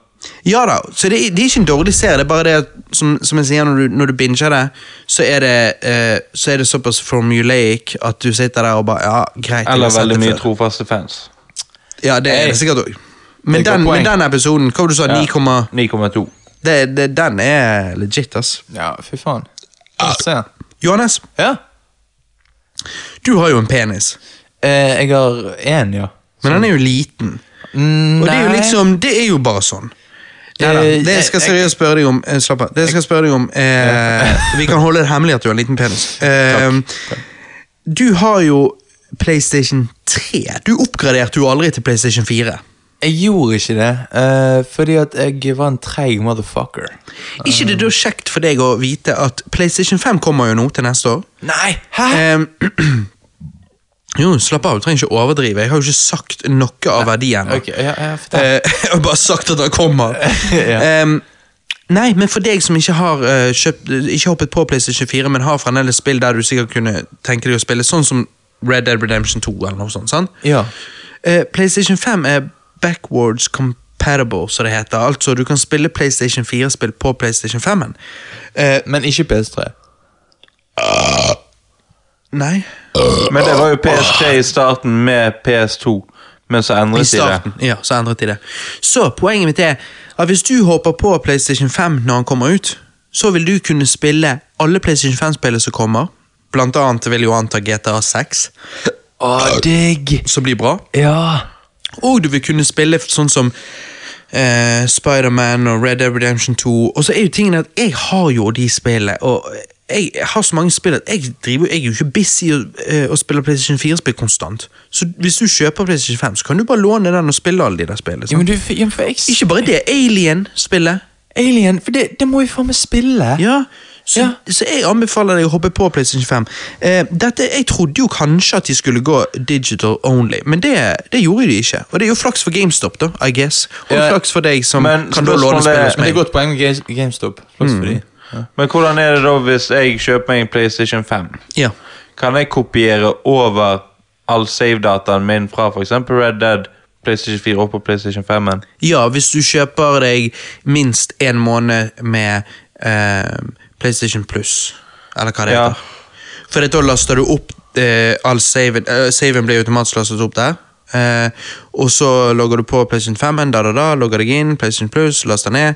A: Ja da, så det, er- det er ikke en dårlig serie, det er bare det at, som, som jeg sier, når du, når du binger det, så er det, eh, så er det såpass formulaic at du sitter der og bare, ja, greit. jeg har
C: Eller
A: sett det
C: veldig mye
A: før.
C: trofaste fans.
A: Ja, det er det sikkert òg. Men,
B: Det er et
A: den-
B: godt
A: men
B: poeng.
A: den episoden, hva var det du sa,
C: Ja.
A: 9,...
C: 9,2.
A: Det, det, den er legit, ass.
B: Ja, fy faen. Få Se.
A: Johannes,
B: Ja.
A: du har jo en penis,
B: Eh, jeg har én, ja.
A: men den er jo liten.
B: Mm,
A: Og det er jo
B: nei.
A: liksom, det er jo bare sånn. Ja, da.
B: Eh,
A: Det jeg skal
B: jeg-
A: seriøst spørre deg om. eh, Slapp av. Det jeg skal spørre deg om eh, Vi kan holde det hemmelig at du har en liten penis. Eh, du har jo PlayStation 3. Du oppgraderte jo aldri til PlayStation 4.
B: Jeg gjorde ikke det, eh, fordi at jeg var en treig motherfucker.
A: Ikke det da kjekt for deg å vite at PlayStation 5 kommer jo nå til neste år?
B: Nei! Hæ?
A: Ehm, jo, slapp av, du trenger ikke overdrive. Jeg har jo ikke sagt noe av verdien.
B: Ok, ja, ja, fortell.
A: Eh, jeg har bare sagt at det kommer.
B: Ja.
A: Ehm, nei, men for deg som ikke har eh, kjøpt, ikke hoppet på PlayStation 4, men har fremdeles spill der du sikkert kunne tenke deg å spille, sånn som Red Dead Redemption 2 eller noe sånt, sant?
B: Ja.
A: Eh, PlayStation 5 er backwards compatible, som det heter. Altså, du kan spille PlayStation 4-spill på PlayStation 5-en.
B: Men ikke PS3.
A: Nei,
C: Men det var jo PS3 i starten med PS2, men så
A: I
C: endret de det.
A: starten, ja, så endret de det. Så poenget mitt er at hvis du hopper på PlayStation 5 når han kommer ut, så vil du kunne spille alle PlayStation 5-spillene som kommer. Blant annet vil jeg jo anta GTA 6,
B: Å, digg!
A: som blir bra.
B: Ja.
A: Og du vil kunne spille sånn som eh, Spider-Man og Red Dead Redemption 2. Og så er jo tingen at jeg har jo de spillene, og jeg har så mange spill at jeg, driver, jeg er jo ikke busy og, eh, og spiller PlayStation 4-spill konstant. Så hvis du kjøper PlayStation 5, så kan du bare låne den og spille alle de der spillene. sant?
B: ja men du, ja, for jeg,
A: Ikke bare det, Alien-spillet.
B: Alien, for det, det må vi faen meg spille.
A: Ja. Så, så jeg anbefaler deg å hoppe på PlayStation 5. Eh, dette, jeg trodde jo kanskje at de skulle gå digital only, men det, det gjorde de ikke. Og det er jo flaks for GameStop, da, I guess. Og
B: Ja.
A: flaks for deg som
C: Men
A: kan da låne
C: spørsmålet
A: spill
C: er-
A: hos
B: Men det er
A: meg.
B: godt poeng med Ga- GameStop. Flaks
A: Mm.
B: for de.
C: Men hvordan er det da hvis jeg kjøper meg en PlayStation 5?
A: Ja.
C: Kan jeg kopiere over all save-dataen min fra f.eks. Red Dead, PlayStation 4 og på PlayStation 5-en?
A: ja, hvis du kjøper deg minst en måned med eh, PlayStation Plus, eller hva det
C: Ja.
A: heter. For da laster du opp eh, all saven. Eh, saven blir automatisk lastet opp der. Eh, og så logger du på PlayStation 5, en da, da, da, logger deg inn, PlayStation Plus, laster ned.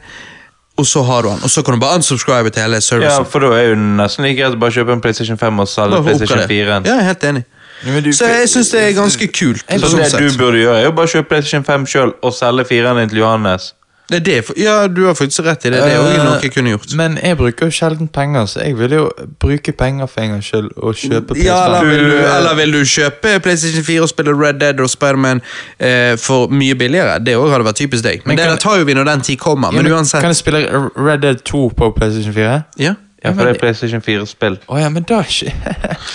A: Og så har du den. Og så kan du bare unsubscribe til hele
C: Ja,
A: servicen.
C: for da er jo det nesten like greit å bare kjøpe en PlayStation 5
A: Bare
C: og selge
A: for å
C: PlayStation
A: oppgradere.
C: 4-en.
A: Ja, jeg er helt enig.
B: Ja, men du-
A: så jeg syns det er ganske kult.
B: Jeg-
C: Så
A: sånn
C: det
A: sett.
C: du burde gjøre, er jo bare kjøpe PlayStation 5 sjøl og selge 4-en din til Johannes.
A: Det er det, for- ja, du har faktisk rett i det. Det er jo
B: Eh,
A: noe jeg kunne gjort.
B: Men jeg bruker jo sjelden penger, så jeg vil jo bruke penger for en gangs skyld og kjøpe PS5.
A: Ja, eller vil, du,
C: Du-
A: eller vil du kjøpe PlayStation 4 og spille Red Dead og Spiderman eh, for mye billigere? Det også hadde vært typisk deg. Men,
B: Men kan-
A: det der tar jo vi når den tid kommer. Men, uansett.
B: Kan jeg spille Red Dead 2 på PlayStation 4?
A: ja.
C: Ja, for det er PlayStation 4-spill.
B: Å ja, men da ikke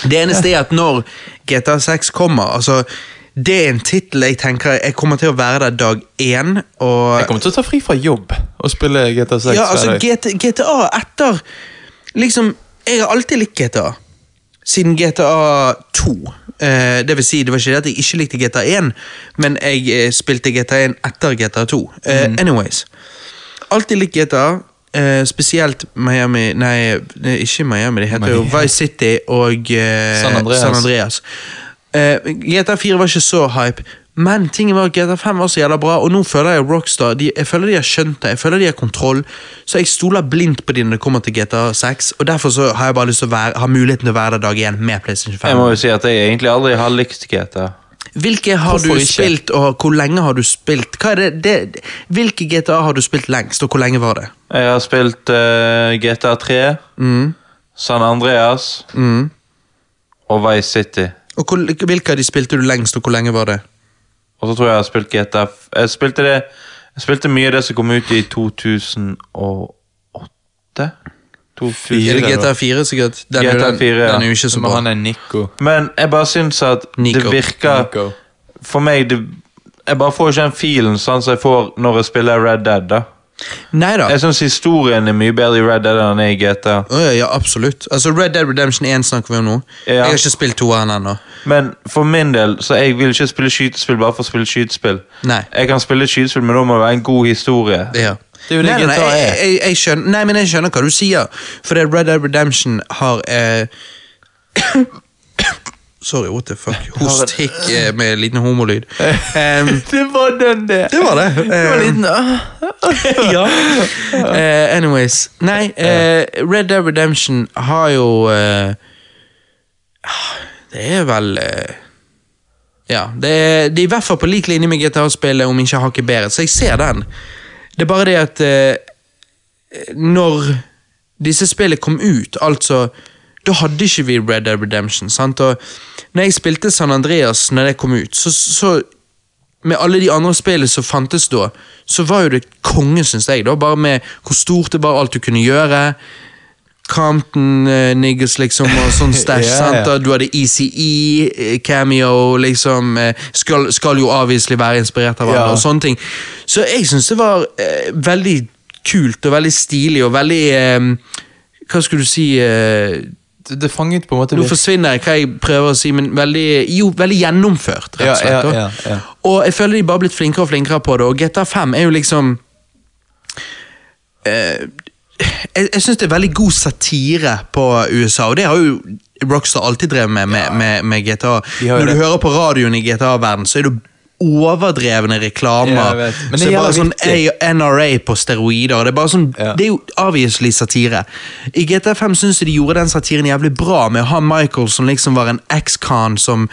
A: Det eneste er at når GTA 6 kommer altså, Det er en tittel jeg tenker Jeg kommer til å være der dag én.
B: Jeg
A: Og,
B: kommer til å ta fri fra jobb og spille GTA 6.
A: ja, altså, GT, GTA etter Liksom, Jeg har alltid likt GTA. Siden GTA 2. Eh, det vil si, det var ikke det at jeg ikke likte GTA 1, men jeg eh, spilte GTA 1 etter GTA 2. Eh,
B: Mhm.
A: Anyways. Alltid likt GTA. Eh, spesielt Miami Nei, eh, ikke Miami, det heter jo
B: Miami.
A: Vice City og eh,
B: San Andreas.
A: San Andreas. Eh, GTA 4 var ikke så hype, Men tingen var at GTA 5 var så jævla bra, og nå føler jeg Rockstar de, Jeg føler de har skjønt det, jeg føler de har kontroll, så jeg stoler blindt på de når det kommer til GTA 6. Og derfor så har jeg bare lyst til å være, ha muligheten til å være der dag igjen med PlayStation 5.
C: Jeg må jo si at jeg egentlig aldri har likt GTA.
A: Hvilke har
B: Hvorfor
A: du
B: ikke?
A: spilt, og hvor lenge har du spilt? Hva er det, det, hvilke GTA har du spilt lengst, og hvor lenge var det?
C: Jeg har spilt eh, GTA 3,
A: Mm.
C: San Andreas og Vice City.
A: Og hvor, hvilke av de spilte du lengst, og hvor lenge var det?
C: Og så tror jeg jeg har spilt GTA f- Jeg spilte, det, jeg spilte mye av det som kom ut i 2008? 2004,
A: Er det
C: da.
A: GTA 4, sikkert? Den, er jo-
C: GTA 4, ja.
A: den er jo ikke så
B: Så må
A: bra.
B: han er Nico.
C: Men jeg bare syns at
A: Nico.
C: det virker
B: Nico.
C: For meg det, Jeg bare får ikke den feelen sånn som jeg får når jeg spiller Red Dead. da
A: Nei da.
C: Jeg syns historien er mye bedre i Red Dead enn den er i GTA.
A: Å ja, ja, absolutt. Altså, Red Dead Redemption 1 snakker vi om nå.
C: Ja.
A: Jeg har ikke spilt toeren ennå.
C: Men for min del så jeg vil ikke spille skytespill bare for å spille skytespill.
A: Nei.
C: Jeg kan spille skytespill, men da må det være en god historie.
A: Ja.
B: Det er jo det
A: nei, nei, nei,
B: GTA er.
A: jeg, jeg, jeg skjønner, nei, men jeg skjønner hva du sier. For det Red Dead Redemption har eh, Sorry, what the fuck. Host, hikk eh, med liten homolyd. Em,
B: Det var den, det.
A: det var det.
B: Det
A: Em,
B: var liten ah.
A: ja. Eh, anyways. Nei, eh, Red Dead Redemption har jo eh, ah, Det er vel eh, Ja, det er, det er i hvert fall på lik linje med GTA-spillet, om ikke hakket bedre, så jeg ser den. Det er bare det at eh, når disse spillene kom ut, altså da hadde ikke vi Red Dead Redemption. sant? Og når jeg spilte San Andreas når det kom ut, så, så med alle de andre spillene som fantes da, så var jo det konge, syns jeg. da, Bare med hvor stort det var, alt du kunne gjøre. Compton eh, niggas, liksom, og sånn stæsj.
B: Ja,
A: sant?
B: ja.
A: Da Du hadde ECE, eh, cameo, liksom eh, Skal, skal jo avviselig være inspirert av hverandre
B: Ja.
A: og sånne ting. Så jeg syns det var eh, veldig kult og veldig stilig og veldig eh, Hva skulle du si eh,
B: Det- Det fanget på en måte
A: Nå
B: litt.
A: forsvinner jeg hva jeg prøver å si, men veldig, jo, veldig gjennomført, rett
B: Ja,
A: og slett.
B: ja,
A: da.
B: ja, ja.
A: Og jeg føler de bare har blitt flinkere og flinkere på det, og GTA5 er jo liksom eh, Jeg, jeg syns det er veldig god satire på USA, og det har jo Rockstar alltid drevet med med, med, med GTA.
B: De har jo
A: Når du
B: det.
A: hører på radioen i GTA-verden, så er det overdrevne reklamer.
B: Ja, jeg vet. Men det
A: så det er bare
B: gjelder
A: sånn
B: vittig.
A: A- NRA på steroider. Det er bare sånn,
B: Ja.
A: det er jo obviously satire. I GTA5 syns jeg de gjorde den satiren jævlig bra med å ha Michael som liksom var en ex-con som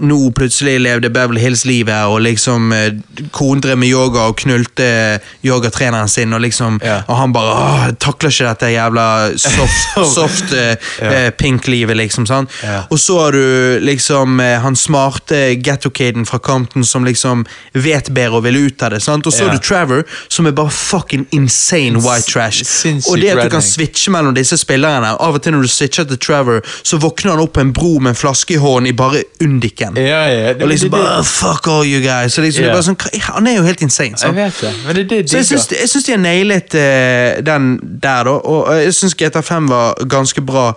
A: nå plutselig levde Beverly Hills-livet og liksom eh, konen drev med yoga og knulte eh, yogatreneren sin, og liksom
B: Ja.
A: Og han bare Åh, jeg takler ikke dette jævla soft, soft eh, eh, pink-livet, liksom. sant?
B: Ja.
A: Og så har du liksom eh, han smarte ghetto-caden fra Compton som liksom vet bedre og vil ut av det. sant? Og så
B: Ja.
A: har du Trevor, som er bare fucking insane white trash.
B: sinnssyk
A: Og det at du kan
B: redneck.
A: switche mellom disse spillerne Av og til når du switcher til Trevor, så våkner han opp på en bro med en flaske i hånden i bare undiken.
B: Ja, ja.
A: Og liksom
B: det- det-
A: bare "Åh, Fuck all you guys. Så liksom, det
B: Ja.
A: er bare sånn, "Hva- han er jo helt insane.
B: Jeg
A: sant?
B: vet det. Men det er det
A: Så jeg syns,
B: digger.
A: jeg syns de har nailet eh, den der, da. Og eh, jeg syns GTA5 var ganske bra.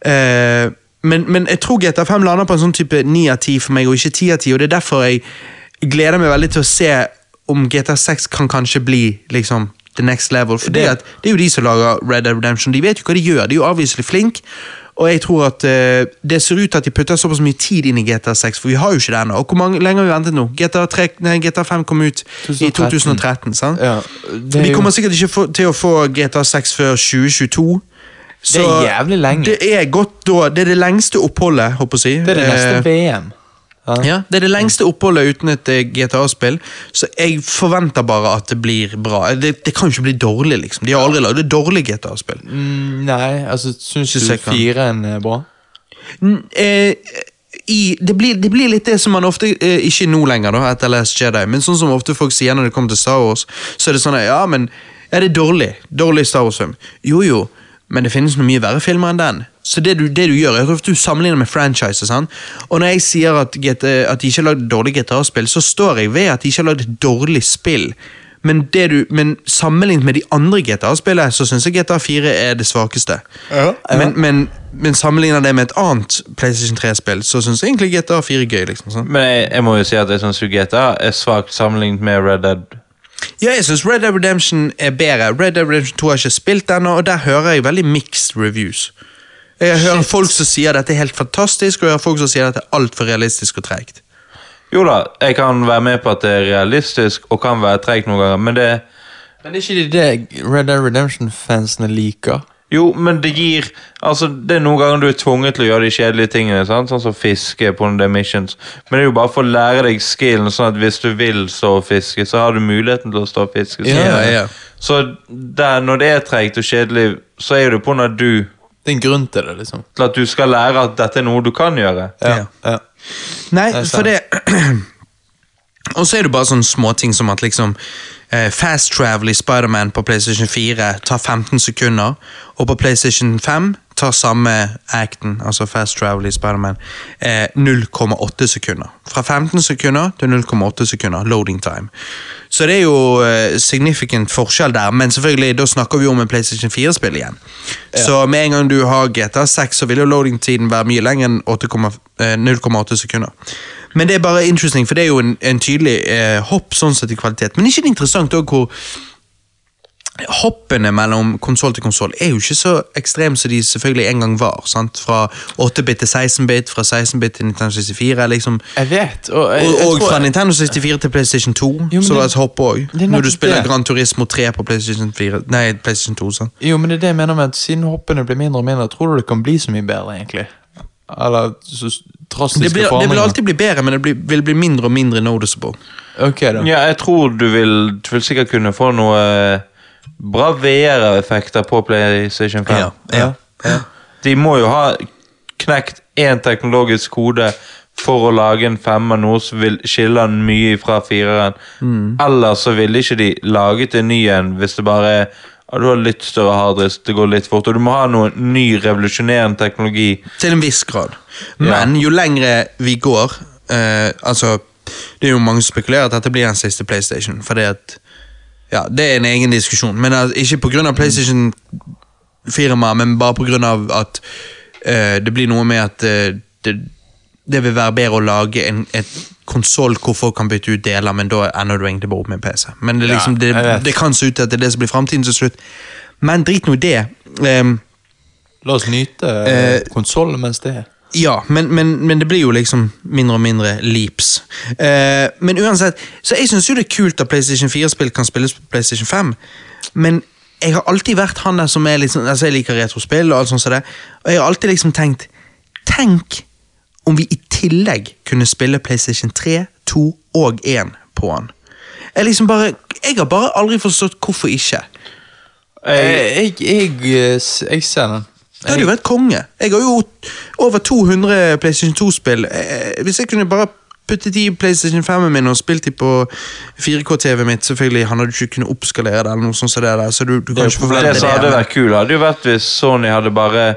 A: Eh, men, men jeg tror GTA5 lander på en sånn type 9 av 10 for meg, og ikke 10 av 10. Og det er derfor jeg gleder meg veldig til å se om GTA6 kan kanskje bli liksom the next level. For det,
B: Det-
A: at, det er jo de som lager Red Dead Redemption. De vet jo hva de gjør. De er jo avviselig flinke. Og jeg tror at eh, det ser ut til at de putter såpass mye tid inn i GTA6, for vi har jo ikke det ennå. Og hvor mange, lenge har vi ventet nå? GTA3, nei, GTA5 kom ut i
B: 2013.
A: 2013, sant?
B: Ja, det er
A: Vi
B: jo-
A: kommer sikkert ikke få, til å få GTA 6 før 2022. Så
B: Det er jævlig lenge.
A: Det er godt da, det er det lengste oppholdet, håper jeg å si. Eh,
B: Det er det neste VM.
A: ja, det er det lengste oppholdet uten et eh, GTA-spill, så jeg forventer bare at det blir bra. Eh, Det, det kan jo ikke bli dårlig, liksom. De har aldri lagd et dårlig GTA-spill.
B: Mm, Nei, altså, syns
A: Synes
B: du
A: jeg kan.
B: fireren er eh, bra?
A: N- eh, i, det, blir, det blir litt det som man ofte eh, Ikke nå lenger, da, etter Last Jedi, men sånn som ofte folk sier når det kommer til Star Wars, så er det sånn at ja, men er det dårlig? Dårlig Star Wars-film? Jo jo, men det finnes noen mye verre filmer enn den. Så det du, det du gjør, er at du sammenligner med franchises. sant? Og når jeg sier at, GT, at de ikke har lagd dårlig GTA-spill, så står jeg ved at de ikke har lagd et dårlig spill. Men, det du, men sammenlignet med de andre GTA-spillene, så syns jeg GTA 4 er det svakeste. Men, men, men sammenligner det med et annet PlayStation 3-spill, så syns jeg egentlig GTA 4 er gøy. liksom sånn.
C: Men jeg, jeg må jo si at jeg syns GTA er svakt sammenlignet med Red Dead.
A: Ja, jeg syns Red Dead Redemption er bedre. Red Dead Redemption 2 har jeg ikke spilt ennå, og der hører jeg veldig mixed reviews. Jeg hører folk som sier dette er helt fantastisk, og jeg hører folk som sier dette er altfor realistisk og treigt.
C: Jo da, jeg kan være med på at det er realistisk og kan være tregt noen ganger, men det
B: Men er ikke det det Red Dead Redemption-fansene liker?
C: Jo, men det gir Altså, det er noen ganger du er tvunget til å gjøre de kjedelige tingene, sant? sånn som fiske på de missions, men det er jo bare for å lære deg skillen, sånn at hvis du vil stå og fiske, så har du muligheten til å stå og fiske. Så,
B: Ja, ja.
C: så der, når det er tregt og kjedelig, så er jo det på grunn av du
B: Det er en grunn til det, liksom.
C: til at du skal lære at dette er noe du kan gjøre.
A: Ja.
B: ja.
A: Nei,
B: er
A: for det Og så er det bare sånne småting som at liksom eh, Fast travel i Spiderman på PlayStation 4 tar 15 sekunder, og på PlayStation 5 tar samme acten, altså fast travel i Spiderman, eh, 0,8 sekunder. Fra 15 sekunder til 0,8 sekunder loading time. Så det er jo eh, significant forskjell der, men selvfølgelig, da snakker vi om en PlayStation 4-spill igjen. Så med en gang du har GTA 6, så vil jo loading-tiden være mye lenger enn 8,5 eh, 0,8 sekunder. Men det er bare interesting, for det er jo en, en tydelig eh, hopp sånn sett i kvalitet. Men ikke det interessant også hvor hoppene mellom konsoll til konsoll er jo ikke så ekstreme som de selvfølgelig en gang var. sant? Fra 8-bit til 16-bit, fra 16-bit til Nintendo 64, liksom.
B: Jeg vet, og jeg,
A: Og,
B: jeg
A: og
B: tror
A: fra
B: jeg-
A: Nintendo 64 til PlayStation 2,
B: men
A: så det var
B: det-
A: et hopp òg.
B: det
A: Når
B: er
A: du
B: nettopp
A: spiller
B: det.
A: Gran Turismo 3 på PlayStation 4, nei, PlayStation 2. sant?
B: Jo, men det er det jeg mener med at siden hoppene blir mindre og mindre, tror du det kan bli så mye bedre, egentlig? Eller så s- drastiske
A: Det, blir, det
B: forandringer?
A: vil alltid bli bedre, men det blir, vil bli mindre og mindre noticeable.
B: Ok, da.
C: Ja, jeg tror du vil, du vil sikkert kunne få noe eh, bra VR-effekter på PlayStation 5.
B: Ja.
C: De må jo ha knekt én teknologisk kode for å lage en femmer, noe som vil skille den mye fra fireren.
B: Mm.
C: Ellers så ville ikke de laget en ny en hvis det bare er ja, du har litt større harddisk, det går litt fort. Og du må ha noe ny, revolusjonerende teknologi.
A: Til en viss grad. Men jo lengre vi går eh, Altså, det er jo mange som spekulerer at dette blir den siste PlayStation. Fordi at Ja, det er en egen diskusjon, men at, ikke pga. PlayStation-firmaet, men bare pga. at eh, det blir noe med at eh, det, det vil være bedre å lage en, et konsoll hvor folk kan bytte ut deler, men da ender du egentlig bare opp med en PC. Men det, er liksom,
B: jeg
A: det,
B: vet.
A: det kan se ut til at det er det som blir framtiden til slutt. Men drit nå i det. Um,
B: La oss nyte eh, konsollen mens det er.
A: Ja, men, men, men det blir jo liksom mindre og mindre leaps. Eh, men uansett, så jeg syns jo det er kult at PlayStation 4-spill kan spilles på PlayStation 5, men jeg har alltid vært han der som er liksom Altså, jeg liker retrospill og alt sånt som det, og jeg har alltid liksom tenkt Tenk om vi i tillegg kunne spille PlayStation 3, 2 og 1 på han. Jeg liksom bare Jeg har bare aldri forstått hvorfor ikke.
B: Jeg, jeg, jeg, eh, s- jeg ser den.
A: Det hadde jo vært konge. Jeg har jo over 200 PlayStation 2-spill. Eh, Hvis jeg kunne bare puttet de i PlayStation 5-en min og spilt de på 4K-TV-en mitt Selvfølgelig, han hadde jo ikke kunnet oppskalere det, eller noe sånt som det der, så du, du kan ikke forvente
C: Det
A: det.
C: som hadde
A: men-
C: vært kul, hadde jo vært hvis Sony hadde bare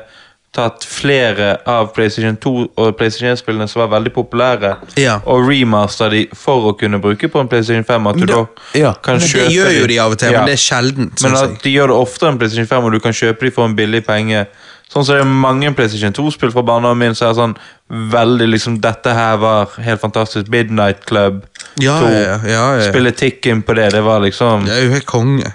C: tatt flere av PlayStation 2 og PlayStation 1-spillene som var veldig populære,
A: Ja.
C: og remaster de for å kunne bruke på en PlayStation 5. At du
A: det-
C: da
B: ja,
C: kan
A: Men
C: kjøpe
A: det gjør jo de av og til,
C: Ja.
A: men det er sjeldent.
C: Men
A: synes jeg.
C: at de gjør det oftere enn PlayStation 5, og du kan kjøpe de for en billig penge. Sånn som det er mange PlayStation 2-spill fra barndommen min, så er det sånn veldig liksom Dette her var helt fantastisk. Midnight Club.
A: Ja,
C: to.
A: ja, ja, ja.
C: Spille Tikken på det, det var liksom
A: Det er jo helt konge.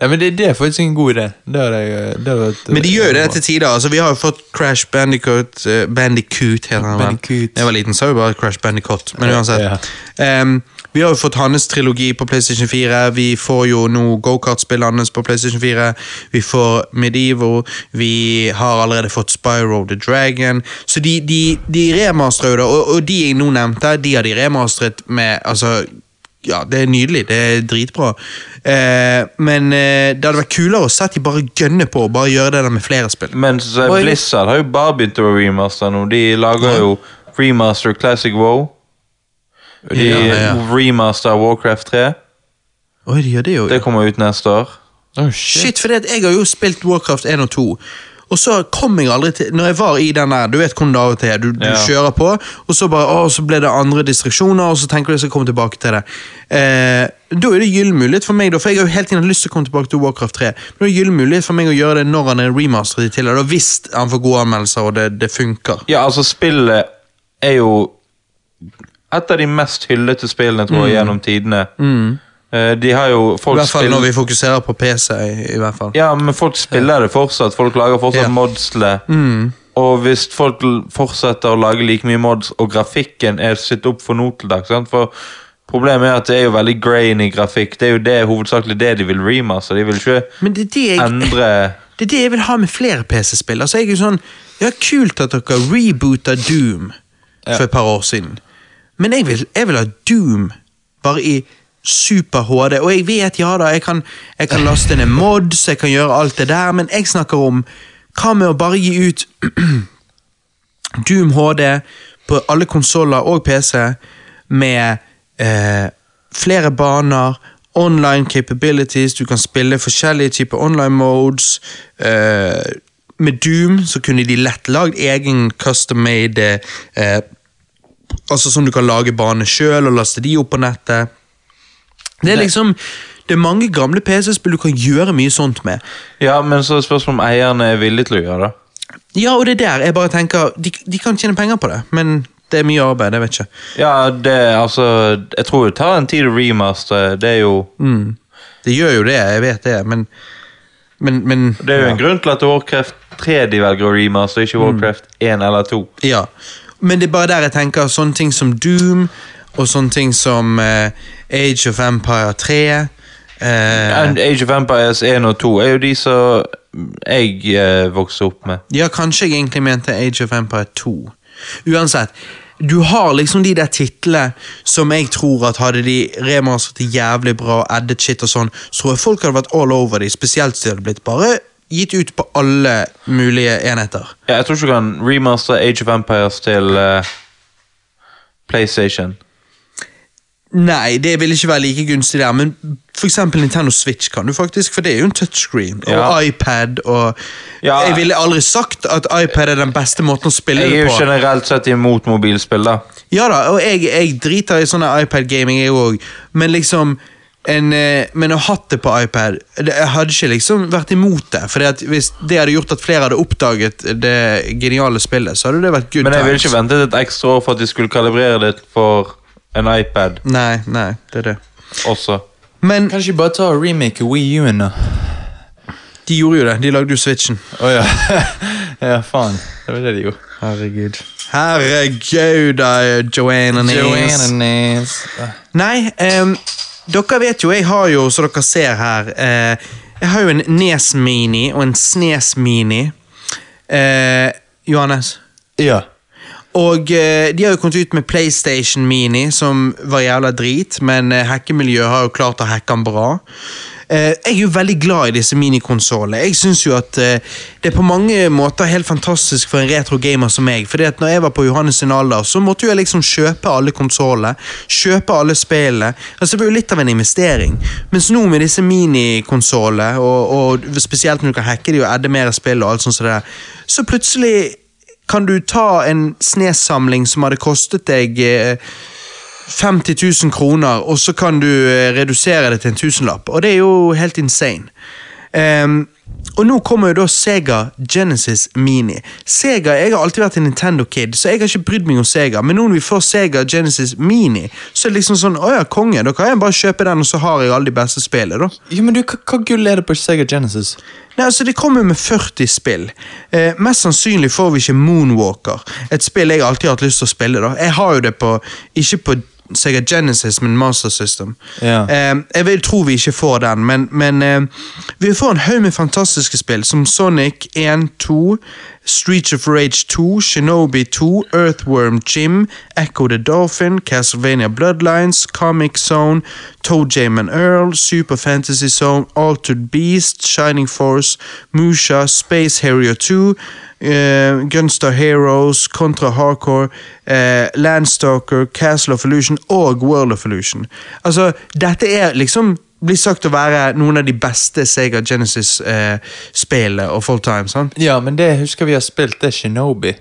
B: ja, men det, det er faktisk en god idé. Det hadde jeg, eh, det hadde vært, eh,
A: Men de gjør jo det til tider. altså Vi har jo fått Crash Bandicoot eh, Bandicoot heter han vel. Da
B: Bandicoot.
A: jeg var liten, så var jo bare Crash Bandicoot. Men uansett.
B: Ja.
A: Ehm, vi har jo fått hans trilogi på PlayStation 4. Vi får jo nå gokartspillet hans på PlayStation 4. Vi får Medievo. Vi har allerede fått Spyro the Dragon. Så de, de, de remasterer jo det, og, og de jeg nå nevnte, de har de remasteret med altså ja, det er nydelig. Det er dritbra. Eh, men eh, det hadde vært kulere å se at de bare gønner på og bare gjøre det der med flere spill.
C: Men så er Blizzard har jo bare begynt å remaster nå. De lager jo remaster Classic WoW. De
A: Ja, ja.
C: remaster Warcraft 3.
A: Oi, de gjør det jo.
C: Det kommer ut neste år.
B: Åh, Oh, shit.
A: Shit, for jeg har jo spilt Warcraft 1 og 2. Og så kom jeg aldri til Når jeg var i den der, du vet hvordan det av og til er. Du, du
C: Ja.
A: kjører på, og så bare, å, så ble det andre distraksjoner, og så tenker du jeg skal komme tilbake til det. Eh, da er det gyllen mulighet for meg, da, for jeg har jo hele tiden hatt lyst til å komme tilbake til Warcraft 3. Men det er gyllen mulighet for meg å gjøre det når han er remasteret i tillegg, da, hvis han får gode anmeldelser og det, det funker.
C: Ja, altså, spillet er jo et av de mest hyllete spillene, tror jeg, gjennom tidene. Eh, De har jo
A: Mm. I
C: folk
A: hvert fall
C: spill-
A: når vi fokuserer på PC, i, i hvert fall.
C: Ja, men folk spiller det fortsatt. Folk lager fortsatt
A: Ja.
C: mods til det. Og hvis folk l- fortsetter å lage like mye mods, og grafikken er sitt opp for nå til dags sant? For Problemet er at det er jo veldig grainy grafikk. Det er jo det, hovedsakelig det de vil remaster. De vil ikke
A: Men det er det jeg,
C: endre
A: det er det jeg vil ha med flere PC-spill. Altså, jeg er jo sånn, ja, Kult at dere rebooter Doom for et par år siden, men jeg vil, jeg vil ha Doom bare i super HD. Og jeg vet, ja da, jeg kan, jeg kan laste ned mods, jeg kan gjøre alt det der, men jeg snakker om hva med å bare gi ut Doom HD på alle konsoller og PC med eh, flere baner, online capabilities, du kan spille forskjellige typer online modes. Eh, med Doom så kunne de lett lagd egen custom-made eh, Altså som du kan lage bane sjøl og laste de opp på nettet. Det er liksom Det er mange gamle PC-spill du kan gjøre mye sånt med.
C: Ja, men så er spørsmålet om eierne er villige til å gjøre det.
A: Ja, og det er der jeg bare tenker De, de kan tjene penger på det, men det er mye arbeid. jeg vet ikke.
C: Ja, det altså Jeg tror det tar en tid å remaster. Det er jo
A: Mm. Det gjør jo det, jeg vet det, men Men, men
C: Det er jo en grunn til at Warcraft 3 de velger å remaster, ikke Warcraft 1 eller 2.
A: Ja. Men det er bare der jeg tenker sånne ting som Doom, og sånne ting som eh, Age of Empire 3 eh,
C: And Age of Empires 1 og 2 er jo de som jeg eh, vokste opp med.
A: Ja, kanskje jeg egentlig mente Age of Empire 2. Uansett. Du har liksom de der titlene som jeg tror at hadde de remastert det jævlig bra og edit shit og sånn, så tror jeg folk hadde vært all over de, spesielt hvis de hadde blitt bare gitt ut på alle mulige enheter.
C: Ja, jeg tror ikke du kan remaster Age of Empires til eh, PlayStation.
A: Nei, det vil ikke være like gunstig der, men for eksempel Nintendo Switch kan du faktisk, for det er jo en touchscreen,
C: Ja.
A: og iPad, og
C: Ja.
A: Jeg ville aldri sagt at iPad er den beste måten å spille
C: Jeg er
A: det på.
C: jo generelt sett imot mobilspill, da.
A: Ja da, og jeg, jeg driter i sånne iPad-gaming, jeg òg, men liksom en, eh, men å ha hatt det på iPad det, Jeg hadde ikke liksom vært imot det. For hvis det hadde gjort at flere hadde oppdaget det geniale spillet, så hadde det vært good
C: Men jeg ville
A: times.
C: ikke ventet et ekstra år for at de skulle kalibrere det for en iPad
A: Nei, nei, det er det.
C: også.
A: Men
B: Kanskje de bare ta og remake Wii U-en, da?
A: de gjorde jo det. De lagde jo Switchen.
B: Å ja. ja, faen. Det var det de gjorde. Herregud.
A: Herregud, da, Joanna Nes.
B: Joanna Nes.
A: Nei, ehm, dere vet jo, jeg har jo, som dere ser her eh, Jeg har jo en Nes-mini og en Snes-mini. Eh, Johannes.
B: Ja.
A: Og eh, de har jo kommet ut med PlayStation Mini, som var jævla drit, men eh, hackemiljøet har jo klart å hacke den bra. Eh, jeg er jo veldig glad i disse minikonsollene. Jeg syns jo at eh, det er på mange måter helt fantastisk for en retro gamer som meg. Fordi at når jeg var på Johannes sin alder, så måtte jo jeg liksom kjøpe alle konsollene. Kjøpe alle spillene. Altså, det var jo litt av en investering. Mens nå med disse minikonsollene, og, og spesielt når du kan hacke de og adde mer spill og alt sånt, som det der, så plutselig kan du ta en snesamling som hadde kostet deg eh, 50 000 kroner, og så kan du eh, redusere det til en tusenlapp. Og det er jo helt insane. Ehm, og nå kommer jo da Sega Genesis Mini. Sega, Jeg har alltid vært en Nintendo-kid, så jeg har ikke brydd meg om Sega. Men nå når vi får Sega Genesis Mini, så er det liksom sånn Å ja, konge. Da kan jeg bare kjøpe den, og så har jeg alle de beste spillene, da.
B: Jo, men du, hva, hva gull er det på Sega Genesis?
A: Nei, altså Det kommer med 40 spill. Eh, mest sannsynlig får vi ikke Moonwalker. Et spill jeg alltid har hatt lyst til å spille. da. Jeg har jo det på, ikke på Sega Genesis, men Master System.
B: Ja.
A: Eh, jeg vil tro vi ikke får den, men, men eh, vi får en haug med fantastiske spill, som Sonic 1, 2, Street of Rage 2, Shinobi 2, Earthworm Jim, Echo the Dolphin, Castlevania Bloodlines, Comic Zone, Toe Jam and Earl, Super Fantasy Zone, Altered Beast, Shining Force, Musha, Space Harrier 2, eh, Gunstar Heroes, Contra Hardcore, eh, Landstalker, Castle of Illusion og World of Illusion. Altså, dette er liksom blir sagt å være noen av de beste Sega Genesis-spillene of all time. sant?
B: Ja, men det jeg husker vi har spilt, det er Shinobi.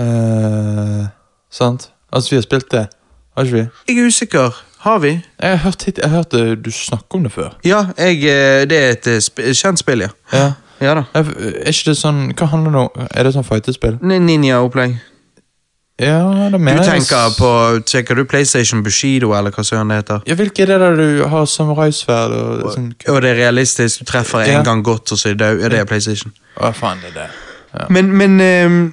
B: Eh, sant? Altså, vi har spilt det. Har ikke vi?
A: Jeg er usikker. Har vi?
B: Jeg har hørt, hit, jeg har hørt eh, du snakke om det før.
A: Ja, jeg, eh, det er et eh, sp kjent spill, ja.
B: Ja.
A: Ja da.
B: Er er ikke det sånn Hva handler det om? Er det sånn fightespill?
A: Ni- Ninja-opplegg.
B: Ja, det
A: Du
B: mener jeg.
A: tenker på Tenker du PlayStation Bushido, eller hva søren det heter?
B: Ja, hvilke er det der du har samuraisverd og sånn
A: Og det er realistisk, du treffer en
B: Ja.
A: gang godt, og så er du død. Ja, det er PlayStation.
B: Hva faen er det?
A: Men, men ehm,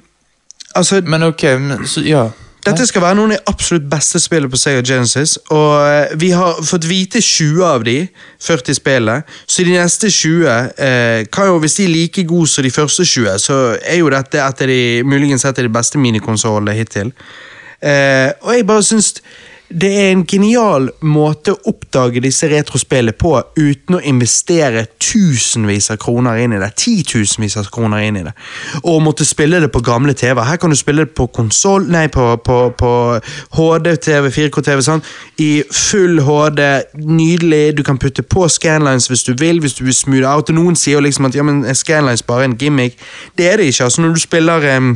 A: Altså,
B: Men ok, men, så, ja.
A: dette skal være noen av de absolutt beste spillene på Sega Genesis, og eh, vi har fått vite 20 av de, 40 spillene, så de neste 20 eh, kan jo, hvis de er like gode som de første 20, så er jo dette et av de, muligens et av de beste minikonsollene hittil. Eh, og jeg bare syns det er en genial måte å oppdage disse retrospillene på uten å investere tusenvis av kroner inn i det. Titusenvis av kroner inn i det. Og måtte spille det på gamle TV. Her kan du spille det på konsoll, nei, på, på, på HD-TV, 4K-TV, sånn. I full HD, nydelig. Du kan putte på scanlines hvis du vil, hvis du vil smooth out. Og noen sier jo liksom at ja, men er scanlines bare en gimmick. Det er det ikke. altså Når du spiller em,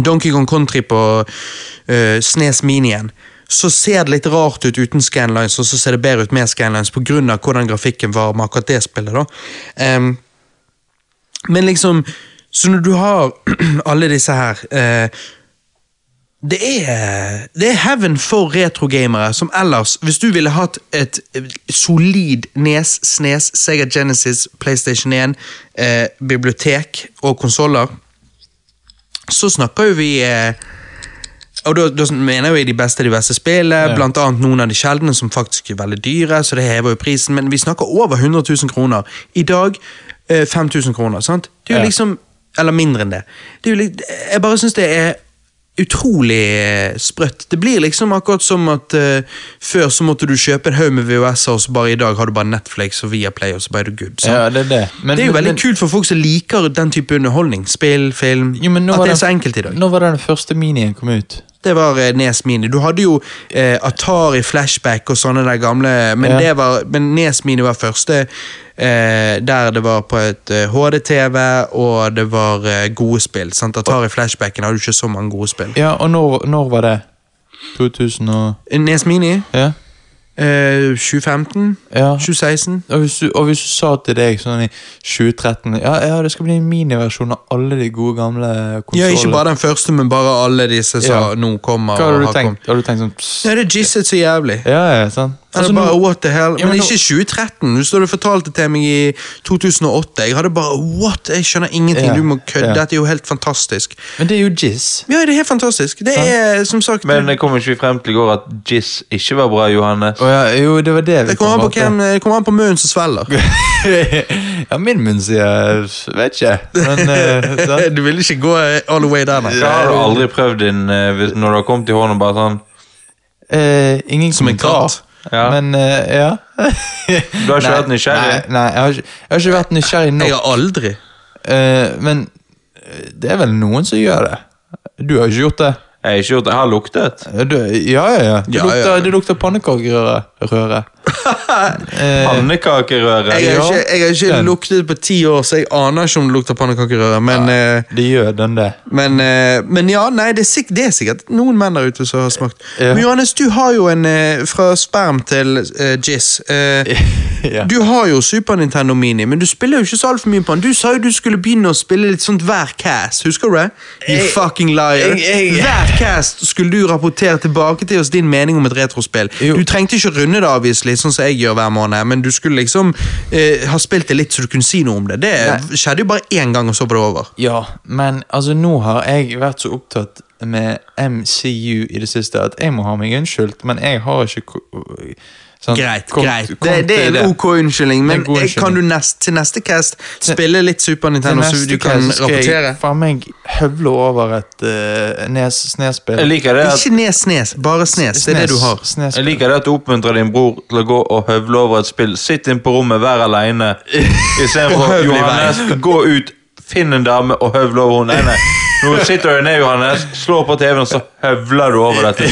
A: Donkey Kong Country på eh, Snes Minien, så ser det litt rart ut uten scanlines, og så ser det bedre ut med scanlines pga. hvordan grafikken var med akkurat det spillet. da. Em, men liksom, så når du har alle disse her eh, det er, det er heaven for retrogamere som ellers Hvis du ville hatt et eh, solid Nes, Snes, Sega Genesis, PlayStation 1, eh, bibliotek og konsoller, så snakker jo vi eh, og da, da mener jo jeg de beste av de beste spillene, blant annet noen av de sjeldne som faktisk er veldig dyre, så det hever jo prisen, men vi snakker over 100 000 kroner. I dag eh, 5000 kroner, sant? Det er jo
B: Ja.
A: liksom, eller mindre enn det. det er jo, litt- jeg bare synes det er utrolig eh, sprøtt. Det blir liksom akkurat som at eh, før så måtte du kjøpe en haug med VHS-er, og så bare i dag har du bare Netflix og Viaplay, og så bare er du good. sant?
B: Ja, det er det. Men-
A: det er jo
B: men-
A: veldig kult for folk som liker den type underholdning. Spill, film.
B: Jo, men nå
A: at
B: var
A: det er
B: den-
A: så enkelt i dag.
B: Nå var det den første minien kom ut.
A: Det var eh, Nes Mini. Du hadde jo eh, Atari Flashback og sånne der gamle, men,
B: Ja.
A: det var, men Nes Mini var første eh, der det var på et eh, HD-TV, og det var eh, gode spill. Sant? Atari Flashbacken hadde jo ikke så mange gode spill.
B: Ja, og når, når var det? 2000 og
A: Nes Mini
B: Ja?
A: eh, 2015?
B: ja.
A: 2016?
B: Og hvis, du, og hvis du sa til deg sånn i 2013 Ja, ja det skal bli en miniversjon av alle de gode, gamle
A: Ja, ikke
B: konsollene.
A: bare den første, men bare alle disse som
B: Ja.
A: nå kommer.
B: Hva
A: og
B: hadde du
A: har kommet.
B: tenkt? Hadde du tenkt sånn pss,
A: Nei, det er jisset så jævlig.
B: Ja, ja, sant?
A: Altså,
B: Altså,
A: bare,
B: nå,
A: what the hell?
B: Ja,
A: men
B: men nå-
A: ikke 2013. Du stod og fortalte til meg i 2008. Jeg hadde bare What? Jeg skjønner ingenting.
B: Ja,
A: Du må kødde.
B: ja.
A: Dette er jo helt fantastisk.
B: men det er jo jizz.
A: Ja, det er helt fantastisk. Det er som sagt
C: Men det kom ikke vi frem til i går at Jizz ikke var bra, Johannes.
B: Å ja, jo, det var det vi
A: Det kommer an på
B: opp til.
A: hvem Det kommer an på munnen som svelger.
B: ja, min munn sier Vet ikke. Men eh, sant?
A: Du vil ikke gå eh, all the way der, nei.
C: Det har du aldri prøvd din eh, hvis- når du har kommet i hånden bare sånn
B: Eh, Ingen
A: Som en
B: kommentar.
A: katt.
C: Ja.
B: Men eh, ja.
C: Du har ikke vært nysgjerrig?
B: Nei, nei jeg, har ikke, jeg har ikke vært nysgjerrig
A: Jeg
B: nok.
A: har aldri.
B: Eh, men eh, det er vel noen som gjør det. Du har ikke gjort det?
C: Jeg har ikke gjort det. Jeg har luktet.
B: Eh, Du, ja, ja, ja. Det
A: Ja, ja, ja.
B: lukter, det lukter pannekakerøre. røre. Eh,
C: Pannekakerøre.
A: Jeg har
B: Ja.
A: ikke, jeg har ikke
B: Den.
A: luktet på ti år, så jeg aner ikke om det lukter pannekakerøre. Men, eh,
B: det gjør den det.
A: men, eh, men ja, nei, det er, sikkert, det er sikkert noen menn der ute som har smakt.
B: Ja.
A: Men Johannes, du har jo en eh, fra sperm til eh, jizz. Eh,
B: ja.
A: Du har jo Super Nintendo Mini, men du spiller jo ikke så altfor mye på den. Du sa jo du skulle begynne å spille litt sånt hver cast, husker du det? You
B: Jeg-
A: fucking liar.
B: jeg- jeg-
A: Hver cast skulle du rapportere tilbake til oss din mening om et retrospill.
B: Jo.
A: Du trengte ikke å runde det, obviously, sånn som jeg gjør hver måned, men du skulle liksom eh, ha spilt det litt så du kunne si noe om det. Det skjedde jo bare én gang, og så var det over.
B: Ja, men altså nå har jeg vært så opptatt med MCU i det siste at jeg må ha meg unnskyldt, men jeg har ikke ko- sånn,
A: Greit,
B: kom-
A: greit.
B: kom
A: Det, det
B: til
A: er en ok unnskyldning, men
B: Det er en god
A: jeg, kan du
B: unnskyldning.
A: nest, til neste cast spille litt Super
B: Til
A: Nintendo, så
B: neste
A: du kan
B: gang skal
A: rapportere?
B: jeg faen meg høvle over et uh, nes, snespill.
C: Jeg liker det at
A: Ikke nes, snes, bare snes. Det er det du har.
C: jeg liker det at du oppmuntrer din bror til å gå og høvle over et spill. Sitt inn på rommet, vær aleine.
A: Og
C: Istedenfor
A: høvl i
C: Johannes, gå ut, finn en dame og høvle over henne. Nei, nei. Nå sitter du ned, Johannes, slår på TV-en, og så høvler du over dette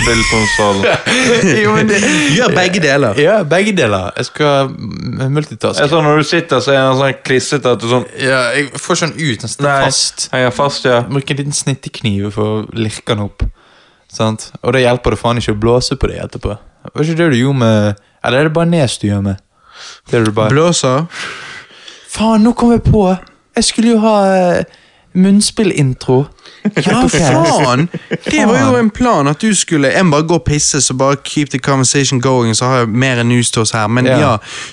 C: spillkonsollen.
B: jo, men det
A: Gjør begge deler.
B: Ja, begge deler. Jeg skal m- multitaske.
C: Jeg så Når du sitter, så er den sånn klissete at du sånn
B: Ja, jeg får sånn ut, den sitter
C: Nei,
B: fast.
C: henger fast, ja.
B: Jeg bruker en liten snittekniv for å lirke den opp. Sant? Og det hjelper det faen ikke å blåse på det etterpå. Var ikke det du gjorde med Eller er det bare nes du gjør med? Det er det bare
A: Blåser.
B: Faen, nå kom jeg på! Jeg skulle jo ha eh, munnspillintro.
A: Ja, faen! Det var jo en plan at du skulle Jeg må bare gå og pisse, så bare keep the conversation going, så har jeg mer news til oss her. Men
B: Ja.
A: ja,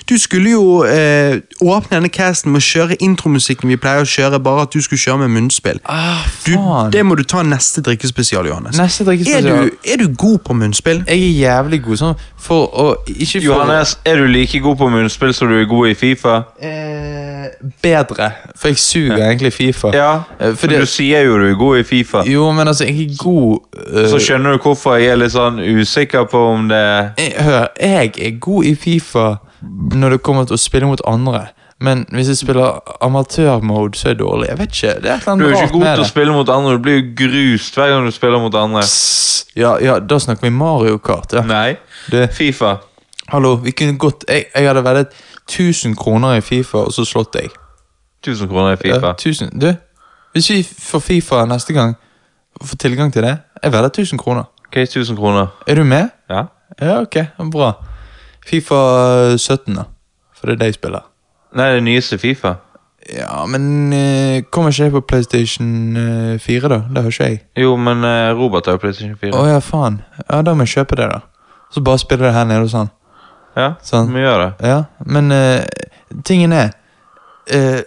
A: du skulle jo eh, åpne denne casten med å kjøre intromusikken vi pleier å kjøre, bare at du skulle kjøre med munnspill.
B: Ah,
A: Du,
B: faen.
A: det må du ta neste drikkespesial, Johannes.
B: Neste drikkespesial.
A: Er du, er du god på munnspill?
B: Jeg er jævlig god sånn for å ikke for,
C: Johannes, er du like god på munnspill som du er god i Fifa?
B: Eh, bedre. For jeg suger egentlig i Fifa.
C: Ja,
B: Eh,
C: for
B: fordi,
C: du sier jo du er god i Fifa.
B: jo, men altså, jeg er god eh,
C: Så skjønner du hvorfor jeg er litt sånn usikker på om det
B: jeg, Hør, jeg er god i Fifa når det kommer til å spille mot andre. Men hvis jeg spiller amatørmode, så er jeg dårlig. Jeg vet ikke, det er et eller
C: Du er
B: annet
C: jo ikke
B: rart
C: god
B: med
C: til å
B: det.
C: spille mot andre, du blir jo grust hver gang du spiller mot andre.
B: Pss, Ja, ja, da snakker vi Mario Kart. Ja.
C: Nei.
B: Det,
C: Fifa.
B: hallo, vi kunne godt Jeg, jeg hadde veddet 1000 kroner i Fifa, og så slått deg.
C: 1000 kroner i
B: Ja,
C: Fifa.
B: 1000. Du, hvis vi får Fifa neste gang, får tilgang til det, jeg vedder 1000 kroner.
C: Ok, 1000 kroner.
B: Er du med?
C: Ja.
B: Ja, ok, bra. Fifa 17, da. For det er det jeg spiller.
C: Nei, det nyeste Fifa.
B: Ja, men eh, kommer ikke jeg på PlayStation eh, 4, da? Det har ikke jeg.
C: Jo, men eh, Robert har jo PlayStation 4.
B: Å ja, faen. Ja, da må jeg kjøpe det, da. Så bare spille det her nede hos han.
C: Ja,
B: Sånn.
C: vi gjør det.
B: Ja, men eh, tingen er eh,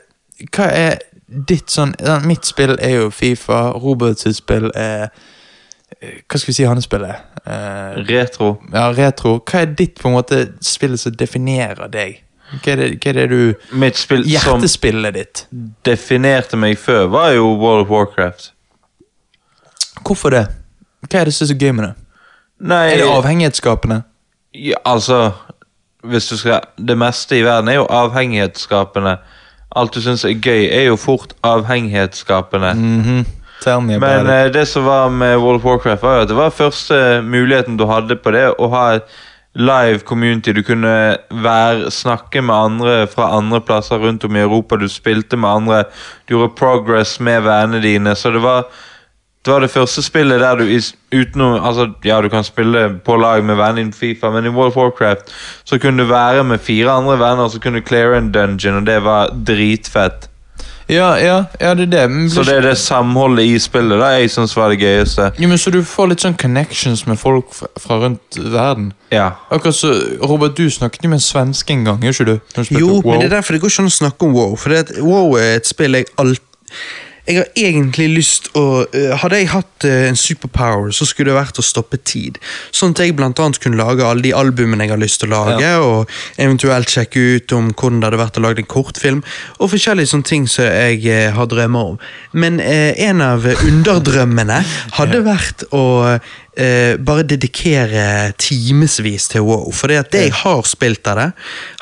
B: Hva er ditt sånn ja, Mitt spill er jo Fifa, Roberts sitt spill er eh, Hva skal vi si hans spill er? Eh,
C: Retro.
B: ja, retro. Hva er ditt på en måte spill som definerer deg? Hva er det, hva er det du
C: Mitt spill som
B: Hjertespillet ditt.
C: definerte meg før, var jo World of Warcraft.
B: Hvorfor det? Hva er det som er så gøy med det?
C: Nei,
B: Er det avhengighetsskapende?
C: Ja, altså hvis du skal, Det meste i verden er jo avhengighetsskapende. Alt du syns er gøy, er jo fort avhengighetsskapende.
B: Mhm. Tell me about
C: Men
B: it.
C: eh, det som var med World of Warcraft, var jo at det var første muligheten du hadde på det, å ha et live community. Du kunne være, snakke med andre fra andre plasser rundt om i Europa. Du spilte med andre, du gjorde progress med vennene dine. Så det var det var det første spillet der du is- utenom Altså, ja, du kan spille på lag med venner innen Fifa, men i World of Warcraft så kunne du være med fire andre venner, og så kunne du cleare en dungeon, og det var dritfett.
B: Ja, ja, ja, det er det. Men
C: Så
B: blir
C: det er det samholdet i spillet da jeg syns var det gøyeste.
B: Jo, men Så du får litt sånn connections med folk fra, fra rundt verden?
C: Ja.
B: Akkurat så, Robert, du snakket jo med en svenske en gang, gjør ikke du? Når du spilte
A: Jo,
B: WoW.
A: men det er derfor det går ikke an å snakke om wow. For det at wow er et spill jeg alt... Jeg har egentlig lyst å eh, Hadde jeg hatt eh, en superpower, så skulle det vært å stoppe tid. Sånn at jeg blant annet kunne lage alle de albumene jeg har lyst til å lage, og eventuelt sjekke ut om hvordan det hadde vært å lage en kortfilm, og forskjellige sånne ting som jeg eh, har drømmer om. Men eh, en av underdrømmene hadde vært å eh, bare dedikere timevis til wow. For det at det jeg har spilt av det,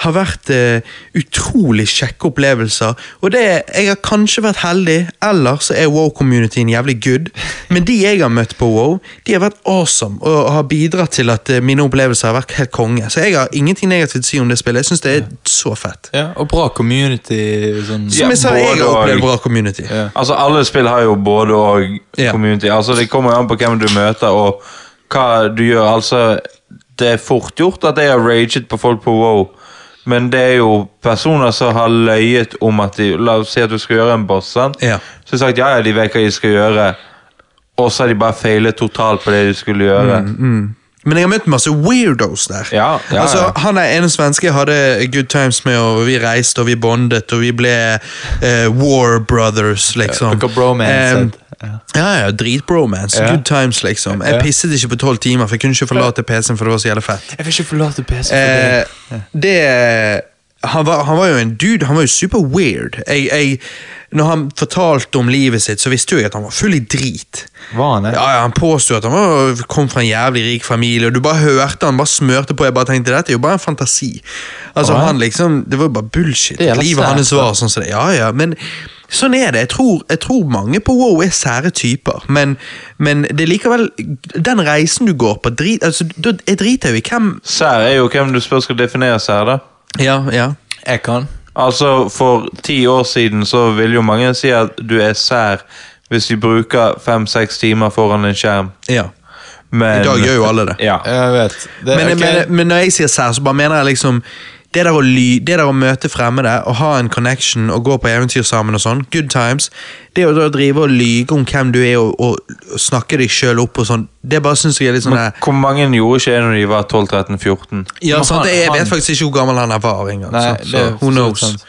A: har vært eh, utrolig kjekke opplevelser. Og det, jeg har kanskje vært heldig, eller så er wow-communityen jævlig good. Men de jeg har møtt på wow, de har vært awesome og har bidratt til at eh, mine opplevelser har vært helt konge. Så jeg har ingenting negativt å si om det spillet. Jeg syns det er så fett.
B: Ja, og bra community sånn.
A: Som jeg sa, jeg har
C: både og.
A: opplevd bra community.
B: Ja.
C: Altså, alle spill har jo både og
A: Ja.
C: community. Altså, det kommer jo an på hvem du møter, og hva du gjør. Altså, det er fort gjort at jeg har raget på folk på WoW, men det er jo personer som har løyet om at de La oss si at du skal gjøre en boss, sant?
A: Ja.
C: Så har de sagt ja, ja, de vet hva de skal gjøre, og så har de bare feilet totalt på det de skulle gjøre.
A: Mm, Men jeg har møtt masse weirdos der.
C: Ja, ja, ja.
A: altså, Han er ene svenske jeg hadde good times med, og vi reiste og vi bondet, og vi ble eh, war brothers, liksom.
B: dere bromance,
A: Em,
B: ja.
A: ja, ja, dritbromance.
B: Ja.
A: Good times, liksom. Jeg
B: Ja.
A: pisset ikke på tolv timer, for jeg kunne ikke forlate PC-en, for det var så jævlig fett.
B: Jeg vil ikke forlate PC.
A: Eh, det han var, han var jo en dude, han var jo super weird. Jeg, jeg, når han fortalte om livet sitt, så visste jo jeg at han var full i drit.
B: Var han eh? det?
A: Ja, ja, Han påsto at han var, kom fra en jævlig rik familie, og du bare hørte han bare smørte på. Jeg bare tenkte, dette er jo bare en fantasi. Altså,
B: Ja.
A: han liksom, Det var jo bare bullshit.
B: Det er jævla
A: Livet
B: sterkt,
A: hans var sånn som det. Ja, ja, men sånn er det. Jeg tror, jeg tror mange på Wow er sære typer, men, men det er likevel Den reisen du går på, drit, altså, da- jeg driter jo i hvem
C: Sær er jo hvem du spør skal definere sær, da.
A: Ja, ja.
B: Jeg kan.
C: Altså, for ti år siden så vil jo mange si at du er sær hvis du bruker fem-seks timer foran en skjerm.
A: ja.
C: Men,
A: I dag gjør jo alle det. Eh,
C: Ja.
B: Jeg vet. Det,
A: Men,
B: Eh,
A: eh,
B: ok.
A: men, men når jeg sier sær, så bare mener jeg liksom Det der, å ly, det der å møte fremmede og ha en connection og gå på eventyr sammen og sånn, good times Det å da drive og lyge om hvem du er og, og snakke deg sjøl opp og sånn, det bare syns jeg er litt sånn der-
C: Hvor mange gjorde ikke det når de var 12-13-14?
A: ja,
B: Men
A: sant,
B: han-
A: Jeg
B: han-
A: vet faktisk ikke hvor gammel han er var engang.
B: Nei,
A: sant,
B: det
A: Så
B: er
A: who
B: for så vidt
A: knows?
B: sant.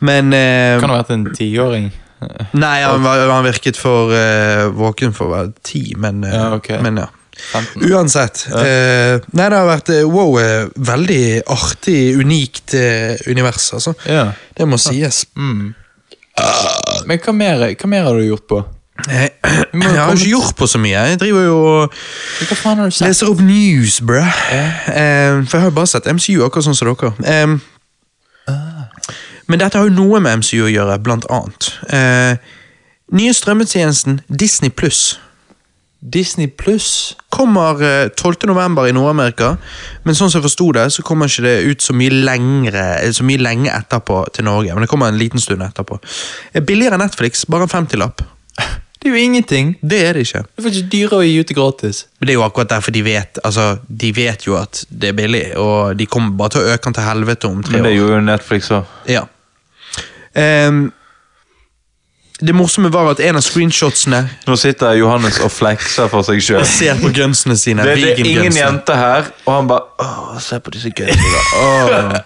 A: Men eh,
B: Kan ha vært en tiåring. Eh,
A: Nei, han, var, han virket for eh, våken for å være ti, men, eh,
B: Ja, ok.
A: men ja.
B: 15.
A: Mm. Uansett. eh, nei, det har vært eh, wow, eh, veldig artig, unikt eh, univers, altså.
B: Ja.
A: Det må sies.
B: Mm. Men hva mer, hva mer har du gjort på?
A: Jeg,
B: må
A: jeg Eh, har
B: komme-
A: ikke gjort på så mye. Jeg driver jo og
B: Hva faen har du sett?
A: leser opp news, bruh. Eh, for jeg har jo bare sett MCU, akkurat sånn som dere. Em, Men dette har jo noe med MCU å gjøre, blant annet. Eh, nye strømmetjenesten Disney pluss
B: Disney pluss?
A: kommer eh, 12. november i Nord-Amerika, men sånn som jeg forsto det, så kommer ikke det ut så mye, lengre, eh, så mye lenge etterpå til Norge. Men det kommer en liten stund etterpå. Eh, Billigere enn Netflix, bare en 50-lapp.
B: Det er jo ingenting.
A: Det er det ikke.
B: Du får ikke dyrere å gi ut det gratis.
A: Men det er jo akkurat derfor de vet altså, de vet jo at det er billig, og de kommer bare til å øke den til helvete om tre
C: Men det
A: år.
C: gjorde jo Netflix òg.
A: Ja. Ehm, det morsomme var at en av screenshotsene
C: Nå sitter Johannes og flekser for seg sjøl.
A: ser på gunsene sine.
C: Det, det er ingen
A: vegan-gunsene.
C: jenter her, og han bare Åh, se på disse gunsene.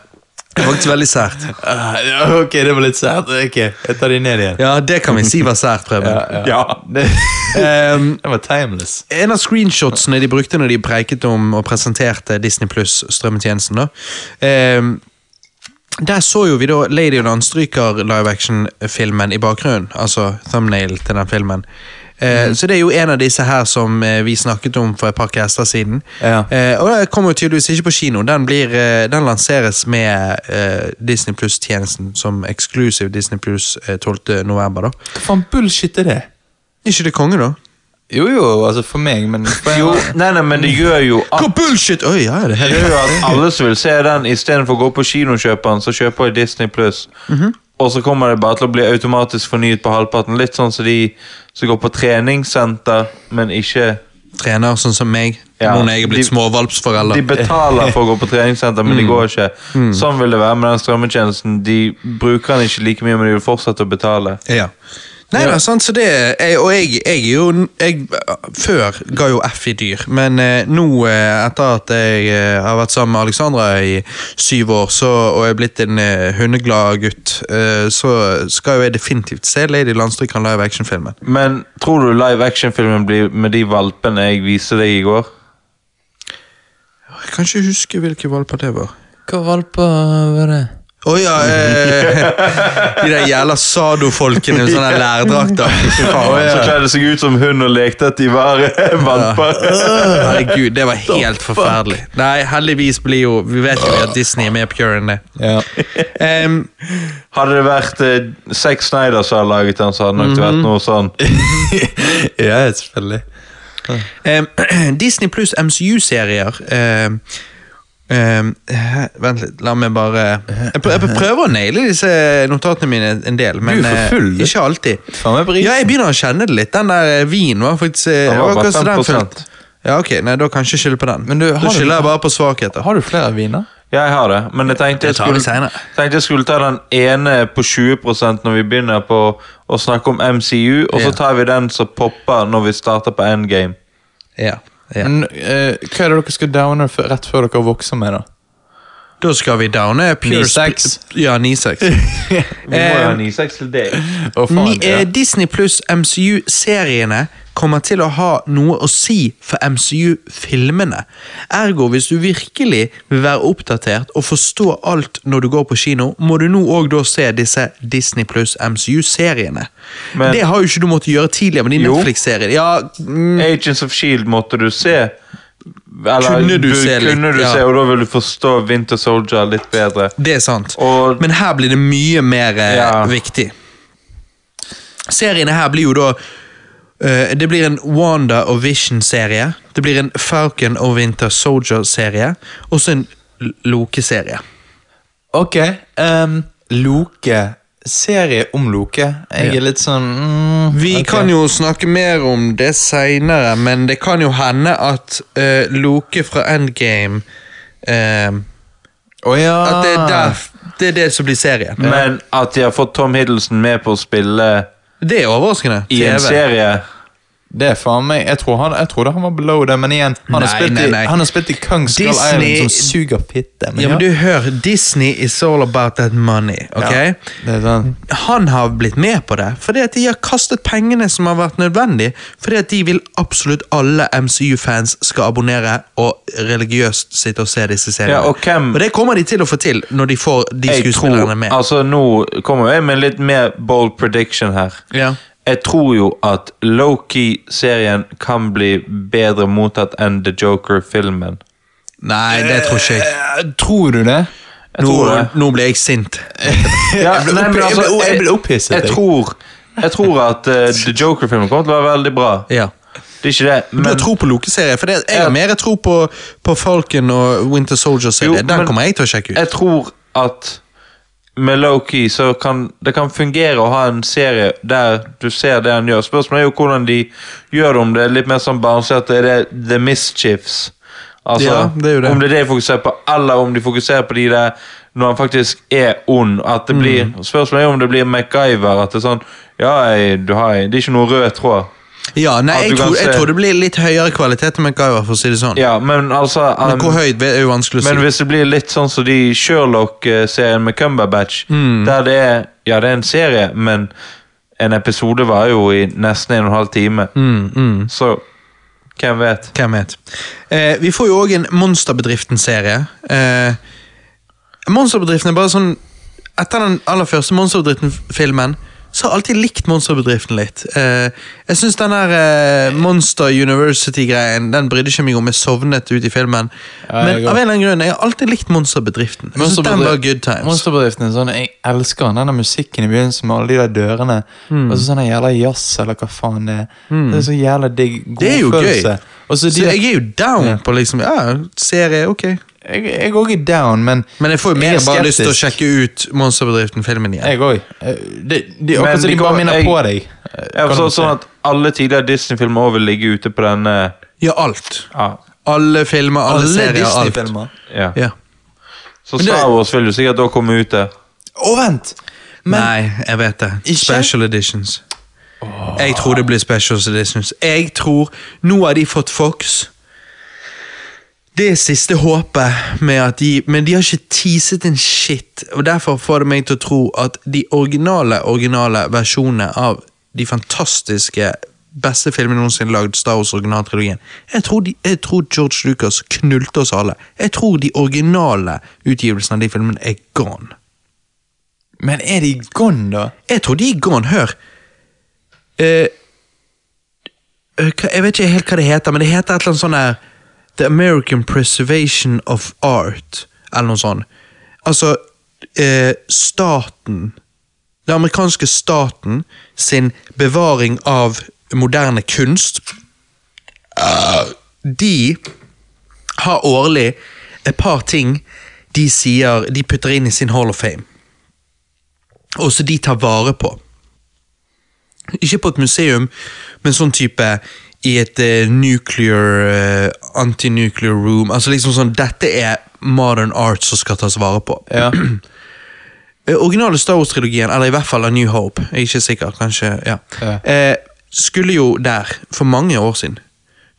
A: Det er faktisk veldig sært.
B: Ah, ok, det var litt sært. Ok, jeg tar de ned igjen.
A: Ja, det kan vi si var sært, Preben.
C: Ja.
B: Det,
A: Ehm,
B: det var timeless.
A: En av screenshotsene de brukte når de preiket om og presenterte Disney Pluss strømmetjenesten, da. ehm, der så jo vi da Lady Land stryker live action-filmen i bakgrunnen. Altså thumbnail til den filmen. Eh, Så det er jo en av disse her som eh, vi snakket om for et par caster siden.
B: Ja.
A: Eh, og den kommer jo tydeligvis ikke på kino. Den, blir, eh, den lanseres med eh, Disney Pluss-tjenesten som exclusive Disney Pluss eh, 12. november, da.
B: Hva faen bullshit er det?
A: Ikke det konge, da?
B: Jo, jo, altså for meg, men
C: Jo, nei, nei, men det gjør jo at
A: Hva bullshit! Oi, ja, det er
C: det gjør jo at alle som vil se den, istedenfor å gå på kino og kjøpe den, så kjøper de Disney Pluss. Og så kommer det bare til å bli automatisk fornyet på halvparten. Litt sånn som de som går på treningssenter, men ikke
A: trener, sånn som meg.
C: Ja.
A: Nå når jeg er blitt
C: De-
A: småvalpsforelder.
C: De betaler for å gå på treningssenter, men de går ikke. Sånn vil det være med den strømmetjenesten. De bruker den ikke like mye, men de vil fortsette å betale.
A: ja. Nei da, sant, så det er, Og jeg, jeg er jo jeg, Før ga jo F i dyr, men eh, nå, eh, etter at jeg eh, har vært sammen med Alexandra i syv år så, og er blitt en eh, hundeglad gutt, eh, så skal jo jeg definitivt se Lady Landstrykan live action-filmen.
C: Men tror du live action-filmen blir med de valpene jeg viste deg i går?
A: Jeg kan ikke huske hvilke valper det var.
B: Hva valper var det?
A: Å ja! Eh, de der jævla sado-folkene med sånne lærdrakter. Fy faen,
C: Så kledde seg ut som hund og lekte at de var valper.
A: Herregud, det var helt forferdelig. Nei, heldigvis blir jo Vi vet jo at Disney er mer pure enn det.
B: Ja.
A: Em,
C: Hadde det vært eh, Zack Snyder som hadde laget den, så hadde det nok vært
A: Mhm.
C: noe sånn.
B: ja, selvfølgelig.
A: em, Disney pluss MCU-serier em, em, hæ, Vent litt, la meg bare Jeg prø- jeg prøver å naile disse notatene mine en del, men
B: Du er for full,
A: eh,
B: du.
A: ikke alltid.
B: Faen meg brisen.
A: Ja, jeg begynner å kjenne det litt. Den der eh, vinen var faktisk eh,
C: Den var
A: det
C: bare
A: akkurat så den
C: 5%.
A: fulgte. Ja, ok, nei, Da kan jeg ikke skylde på den.
B: Men du, har
A: da
B: du-
A: skylder jeg bare på svakheter.
B: Har du flere viner?
C: Jeg har det, men jeg tenkte jeg,
A: Det tar vi
C: skulle,
A: senere.
C: tenkte jeg skulle ta den ene på 20 når vi begynner på å snakke om MCU, og
A: Ja.
C: så tar vi den som popper når vi starter på Endgame.
A: Ja, ja.
B: Men eh, hva er det dere skal downe for, rett før dere vokser med, da?
A: Da skal vi downe pure
B: 9-6.
A: sp- Ja, 9-6.
C: Vi må jo
A: Eh,
C: ha 96 til det.
B: Å,
A: Ni,
B: faen, ja.
A: eh, Disney pluss MCU-seriene kommer til å ha noe å si for MCU-filmene. Ergo, hvis du virkelig vil være oppdatert og forstå alt når du går på kino, må du nå òg da se disse Disney pluss MCU-seriene.
C: Men-
A: Det har jo ikke du måttet gjøre tidligere med de
C: Jo.
A: Netflix-seriene. Ja, mm,
C: Agents of Shield E måtte du se. Eller,
A: Kunne du se litt,
C: kunne du
A: ja.
C: se, og da vil du forstå Winter Soldier litt bedre.
A: det er sant.
C: Og
A: Men her blir det mye mer eh,
C: Ja.
A: viktig. Seriene her blir jo da eh, Det blir en Wanda og Vision-serie. Det blir en Falcon og Winter Soldier-serie. Og så en L- Loke-serie.
B: Ok. ehm, Loke. Serie om Loke. Jeg
A: Ja.
B: er litt sånn mm,
A: Vi
B: ok.
A: kan jo snakke mer om det seinere, men det kan jo hende at eh, Loke fra Endgame eh,
B: Å ja.
A: At det er, der, det er det som blir serien.
C: Men at de har fått Tom Hiddleston med på å spille
A: Det er overraskende.
C: i en
A: TV.
C: serie
B: Det er faen meg Jeg tror han, jeg trodde han var below det, men igjen Han har
A: Nei,
B: spilt,
A: nei,
B: i-
A: nei.
B: han har spilt i Kong's Skull
A: Disney-
B: Island, som suger fitte.
A: Ja, men du hør, Disney is all about that money. ok?
B: Det er sånn.
A: han har blitt med på det, fordi at de har kastet pengene som har vært nødvendig, fordi at de vil absolutt alle MCU-fans skal abonnere og religiøst sitte og se disse seriene.
C: Ja, og hvem-
A: det kommer de til å få til når de får de
C: Jeg tror,
A: skuespillerne med.
C: altså Nå kommer jeg med en litt mer bold prediction her.
A: Ja.
C: Jeg tror jo at Loki-serien kan bli bedre mottatt enn The Joker-filmen.
A: Nei, det tror ikke jeg.
B: Eh, Tror du det?
C: Jeg
A: Nå,
C: tror det.
A: nå ble jeg sint.
C: Ja,
B: Jeg ble
C: nei, men
B: opp- jeg
C: altså,
B: ble- jeg ble opphisset,
C: Jeg,
B: jeg.
C: tror, jeg tror at eh, The Joker-filmen kommer til å være veldig bra.
A: Ja.
C: Det er ikke det,
A: Du har
C: men
A: tro på Loke-serier, for det, jeg
C: Ja.
A: har mer tro på, på Falcon og Winter
C: Jo,
A: Soldier-serien. Den
C: men-
A: kommer jeg til å sjekke ut.
C: jeg tror at med Loki så kan det kan fungere å ha en serie der du ser det han gjør. Spørsmålet er jo hvordan de gjør det, om det er litt mer sånn barnslig at det er det The Mischiefs. Altså,
A: Ja, det er jo det.
C: Om det er det de fokuserer på, eller om de fokuserer på de der når han faktisk er ond.
A: Mm.
C: At det blir, Spørsmålet er om det blir MacGyver. At det er sånn Ja, jeg, du har, det er ikke noe rød tråd.
A: Ja, nei,
C: At du
A: jeg
C: kan
A: tror, jeg
C: se-
A: tror det blir litt høyere kvalitet enn MacGyver, for å si det sånn.
C: Ja, men altså um,
A: Men hvor høyt det er jo vanskelig å si.
C: Men hvis det blir litt sånn som de Sherlock-serien med Cumberbatch,
A: Mm.
C: der det er Ja, det er en serie, men en episode var jo i nesten en og en halv time.
A: Mm,
C: Så hvem vet?
A: Hvem vet. Eh, vi får jo òg en Monsterbedriften-serie. Eh, Monsterbedriften er bare sånn Etter den aller første Monsterbedriften-filmen så har jeg alltid likt Monsterbedriften litt. Eh, jeg syns den der eh, Monster University-greien Den brydde ikke meg om. Jeg sovnet ut i filmen.
B: Ja,
A: Men av en
B: jeg går.
A: eller annen grunn, jeg har alltid likt Monsterbedriften. Jeg synes den var good times.
B: Monsterbedriften er sånn, Jeg elsker den, denne musikken i begynnelsen med alle de der dørene.
A: Hmm.
B: Og så sånn en jævla jazz, eller hva faen det er. Det er så jævla digg. God
A: Det er jo
B: følelse.
A: gøy.
B: Og så de,
A: Så jeg er jo down
B: Ja.
A: på liksom Ja, serie, ok.
B: jeg, jeg er også down, men
A: Men jeg får jo
B: Jeg er
A: mer bare lyst til å
B: skeptisk.
A: sjekke ut Monsterbedriften-filmen igjen.
B: jeg òg. De, de,
C: Men
B: akkurat som
C: de
B: de bare
C: kommer-
B: minner
C: jeg-
B: på deg.
C: Jeg forstår sånn at alle tidligere Disney-filmer også vil ligge ute på denne
A: Ja, alt.
C: Ja.
A: Alle filmer, alle,
B: Alle
A: serier, alt.
B: Disney-filmer.
C: ja.
A: Ja.
C: Så
A: Men det-
C: Star Wars vil jo sikkert da komme ut der.
B: Å, vent!
A: Nei, jeg vet det.
B: Ikke?
A: Special editions. Jeg tror det blir special editions. Jeg tror Nå har de fått Fox. Det er siste håpet med at de Men de har ikke teaset en shit. Og Derfor får det meg til å tro at de originale originale versjonene av de fantastiske beste filmene noensinne lagd, Star Wars originaltrilogien jeg tror, de, jeg tror George Lucas knulte oss alle. Jeg tror de originale utgivelsene av de filmene er gone.
B: Men er de gone, da?
A: Jeg tror de er gone. Hør. Eh, eh, hva- jeg vet ikke helt hva det heter, men det heter et eller annet sånn her The American Preservation of Art, eller noe sånt. Altså eh, staten Den amerikanske staten sin bevaring av moderne kunst Ah, De har årlig et par ting de sier de putter inn i sin Hall of Fame og som de tar vare på. Ikke på et museum, men sånn type i et eh, nuclear eh, Anti-nuclear room. Altså liksom sånn Dette er modern art som skal tas vare på.
B: Ja.
A: Eh, originale Star Wars-trilogien, eller i hvert fall A New Hope, jeg er ikke sikker, kanskje, ja,
B: Ja.
A: Eh, skulle jo der for mange år siden.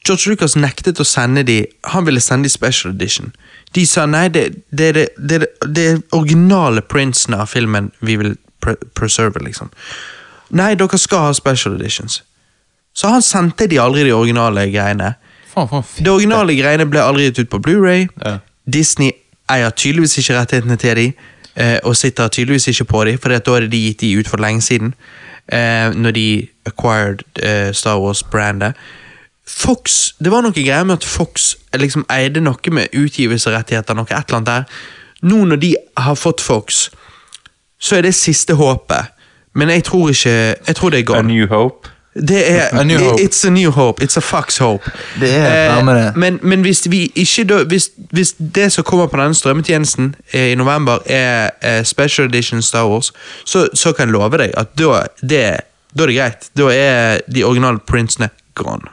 A: George Lucas nektet å sende de, han ville sende de special edition. De sa nei, det, det, er det, det, er det, det er originale printsene av filmen vi vil pre preserve, liksom. Nei, dere skal ha special editions. Så han sendte de aldri de originale greiene.
B: Faen, for en fitte.
A: Det originale greiene ble aldri gitt ut på Blu-ray.
B: Ja.
A: Disney eier tydeligvis ikke rettighetene til dem, og sitter tydeligvis ikke på dem, for da hadde de gitt de ut for lenge siden, eh, når de acquired eh, Star Wars-brandet. Fox, Det var noe greier med at Fox eh, liksom eide noe med utgivelserettigheter, noe et eller annet der. Nå når de har fått Fox, så er det siste håpet. Men jeg tror ikke Jeg tror det er
C: A
A: gone.
C: New Hope.
A: Det er
B: A new
A: i-
B: hope.
A: It's a new hope. It's a fucks hope.
B: Det er
A: Eh,
B: nærmere.
A: men, men hvis vi ikke da, hvis, hvis det som kommer på denne strømmetjenesten eh, i november, er eh, special edition Star Wars, så, så kan jeg love deg at da, det, da er det greit. Da er de originale printsene gone.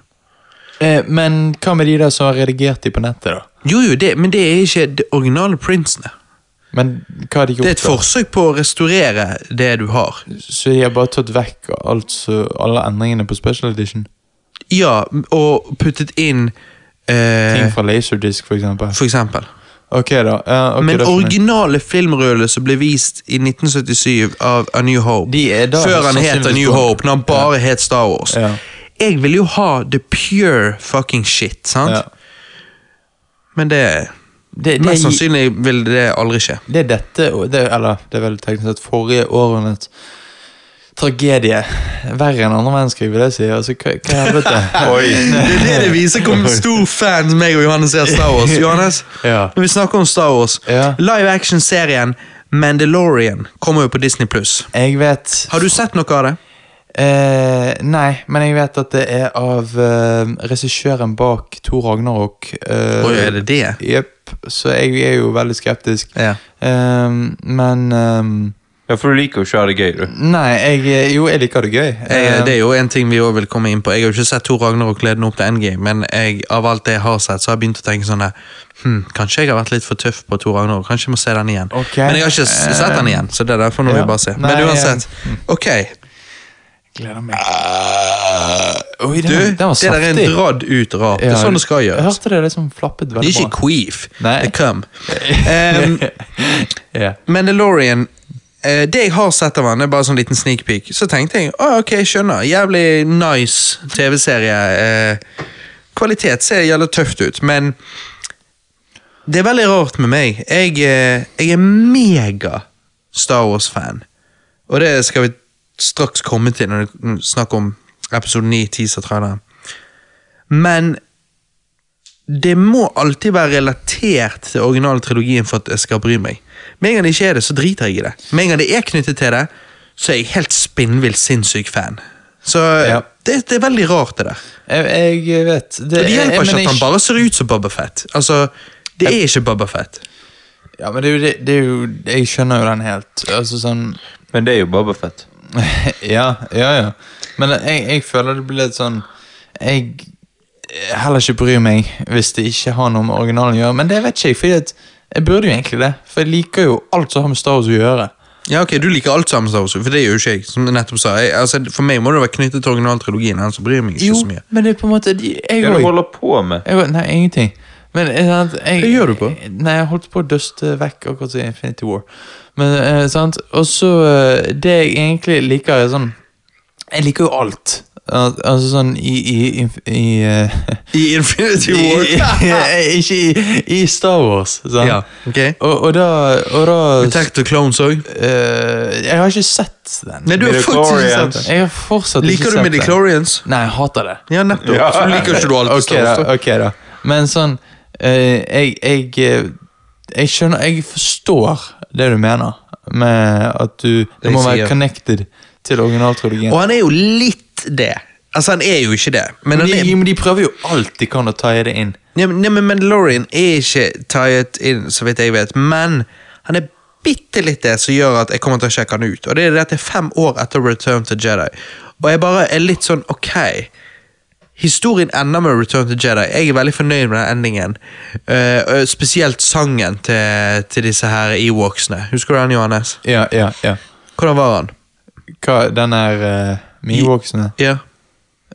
B: Eh, Men hva med de der som har redigert de på nettet, da?
A: Jo, jo, det, men det er ikke de originale printsene.
B: Men hva har de
A: Det er
B: gjort,
A: et forsøk på å restaurere det du har.
B: da? Så de har bare tatt vekk alt, så- alle endringene på special edition?
A: Eh. Ja, og puttet inn eh,
B: Ting fra Laserdisc, for eksempel?
A: For eksempel.
B: Ok, da. Ja, ok,
A: Men
B: da skjønner jeg.
A: originale filmruller som ble vist i 1977 av A New Hope,
B: De er da
A: før han het A
B: sannsynligvis
A: New
B: gone.
A: Hope, når han bare het Star Wars
B: Ja.
A: Jeg vil jo ha the pure fucking shit, sant?
B: Ja.
A: Men det
B: Det, det,
A: Mest sannsynlig vil det aldri skje.
B: det er dette, og det, eller det er vel teknisk sett forrige århundrets tragedie. Verre enn andre verdenskrig, vil jeg si. Altså, hva, hva i helvete?
C: Oi.
A: Det er det det viser hvor stor fans meg og Johannes er av Star Wars. Johannes,
B: Ja.
A: når vi snakker om Star Wars
B: Ja.
A: Live action-serien Mandalorian kommer jo på Disney Pluss.
B: Jeg vet
A: Har du sett noe av det?
B: eh, Nei, men jeg vet at det er av eh, regissøren bak Tor Ragnarok. Eh,
A: Oi, er det det?
B: Jepp. Så jeg er jo veldig skeptisk.
A: Ja.
B: Eh, men eh,
C: Ja, for du liker jo ikke å ha det gøy, du.
B: Nei, jeg eh, Jo, jeg liker det gøy. Eh, Ehm.
A: Jeg, eh, det er jo en ting vi også vil komme inn på. Jeg har jo ikke sett Tor Ragnarok ledende opp til NG, men jeg, av alt det jeg har sett, så har jeg begynt å tenke sånn der, hm, Kanskje jeg har vært litt for tøff på Tor Ragnarok. Kanskje jeg må se den igjen.
B: Ok.
A: Men jeg har ikke s- sett den igjen, så det der får nå
B: Ja.
A: vi bare se.
B: Nei, eh, mm.
A: Men
B: jeg-
A: uansett. Ok,
B: gleder meg. Oi, den,
A: du.
B: var- den var
A: det der er
B: saftig.
A: en dradd ut rart. Det
B: Ja,
A: er sånn det skal
B: Jeg
A: gjøres.
B: hørte det liksom flappet
A: Det
B: veldig
A: er ikke queef. Det
B: Nei.
A: er cum. Um,
B: Ja.
A: Mandalorian eh, Det jeg har sett av han, det er bare sånn liten sneak peek. Så tenkte jeg ah, ok, jeg skjønner. Jævlig nice TV-serie. Eh, kvalitet ser jævlig tøft ut, men det er veldig rart med meg. Jeg, eh, jeg er mega Star Wars-fan. Og det skal vi straks komme til når vi snakker om episode 9, teaser-traileren. Men det må alltid være relatert til originaltrilogien for at jeg skal bry meg. Med en gang det ikke er det, så driter jeg i det. Med en gang det er knyttet til det, så er jeg helt spinnvill sinnssyk fan. Så
B: Ja.
A: det, det er veldig rart, det der.
B: Jeg, jeg vet det,
A: Og det
B: jeg-
A: hjelper
B: Eh, men
A: ikke
B: jeg-
A: at han bare ser ut som Boba Fett. Altså, det er ikke Boba Fett.
B: Ja, men det er jo det, det er jo Jeg skjønner jo den helt. Altså sånn
C: Men det er jo Bobafett.
B: Ja, ja, ja. Men jeg, jeg føler det blir litt sånn Jeg heller ikke bryr meg hvis det ikke har noe med originalen å gjøre, men det vet ikke jeg, fordi at jeg burde jo egentlig det. For jeg liker jo alt som har med Star Wars å gjøre.
A: Ja, ok, Du liker alt sammen, Star Wars, for det er jo ikke jeg. som jeg nettopp sa. Jeg, altså, for meg må det være knyttet til originaltrilogien. ellers så bryr jeg meg ikke
B: Jo,
A: så mye.
B: men det er på en måte de- Jeg
C: Hva er det du
B: òg.
C: holder på med?
B: Nei, ingenting. Men eh, sant, jeg,
A: Hva gjør du på?
B: Nei, Jeg holdt på å duste vekk akkurat som i Infinity War. Men, eh, sant? Og så eh, Det jeg egentlig liker, er sånn Jeg liker jo alt. Al- altså sånn i, i, i, i eh,
A: I Infinity War.
B: i- i- Ikke i, i Star Wars. Sant?
A: Ja, ok.
B: Og, og da, og da
A: Attack the Clones òg.
B: eh, Jeg har ikke sett den.
A: Nei, du har faktisk ikke sett
C: Midichlorians.
A: det.
B: Jeg har fortsatt ikke
A: Liker
B: sett
A: du
B: den.
A: Midichlorians?
B: Nei, jeg hater det.
A: Ja, nettopp.
C: Ja.
A: Så liker ikke du alt
B: Ok da, ok da. Men sånn eh, jeg, jeg, eh, jeg skjønner Jeg forstår det du mener med at du
A: Det
B: det må
A: jeg
B: være
A: sier.
B: connected til originaltrilogien.
A: Og han er jo litt det. Altså, han er jo ikke det. Men,
B: Men
A: han
B: de,
A: er,
B: men de prøver jo alt de kan å tie det inn.
A: Nei, men- nei, men Mandalorian er ikke tiet inn, så vidt jeg vet. Men han er bitte litt det som gjør at jeg kommer til å sjekke han ut. Og det er det at det er fem år etter Return to Jedi. Og jeg bare er litt sånn ok. Historien ender med Return to Jedi. Jeg er veldig fornøyd med den endingen. Eh, og spesielt sangen til, til disse her Ewoksene. Husker du den, Johannes?
B: Ja, ja, ja.
A: Hvordan var han?
B: Hva, den der uh, Miwoksene
A: Ja.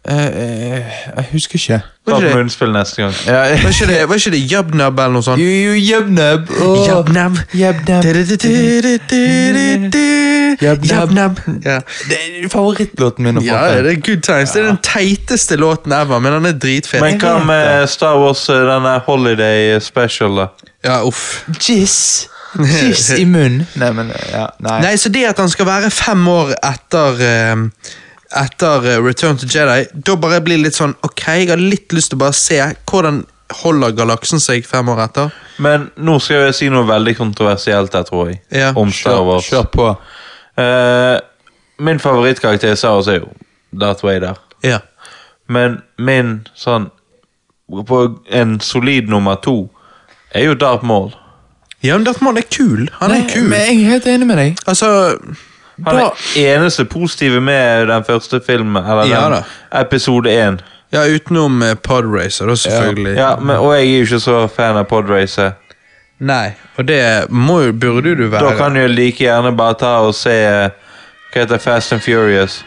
B: Eh, Jeg husker ikke.
A: Var
C: Ta
A: ikke det-
C: munnspill neste gang.
B: Ja,
A: Var ikke det, var ikke det Jabnab eller noe sånt?
B: jo, jo, Jebneb. åh.
A: Jabnab.
B: Jebneb. Jabnab.
A: Jabnab. Ja.
B: Det er favorittlåten min. å få
A: ja,
B: til.
A: det er good times. Det er den teiteste låten ever, men den er dritfet.
C: Men hva med Star Wars, eh, denne holiday eh, special, da?
A: Ja, uff.
B: Jizz. Jizz i munnen. Nei, men eh, ja, nei.
A: Nei, så det at han skal være fem år etter eh, Etter eh, Return to Jedi, da bare blir det litt sånn Ok, jeg har litt lyst til å bare se hvordan holder galaksen seg fem år etter.
C: Men nå skal jeg si noe veldig kontroversielt her, tror jeg.
A: Ja.
C: Om Star
B: kjør,
C: Wars.
B: kjør på.
C: Eh, min favorittkarakter i Star Wars er jo Darth Vader.
A: Ja.
C: Men min sånn På en solid nummer to er jo Darth Maul.
A: ja, men Darth Maul er kul. Han er kul.
B: Eh, Men jeg er helt enig med deg.
A: Altså
C: Han
A: da-
C: er eneste positive med den første filmen, eller den,
A: Ja da.
C: episode én.
A: Ja, utenom eh, Podracer, da, selvfølgelig.
C: Ja, men, og jeg er jo ikke så fan av Podracer.
A: Nei, og det må, jo- burde du være.
C: Da kan du jo like gjerne bare ta og se eh, Hva heter Fast and Furious?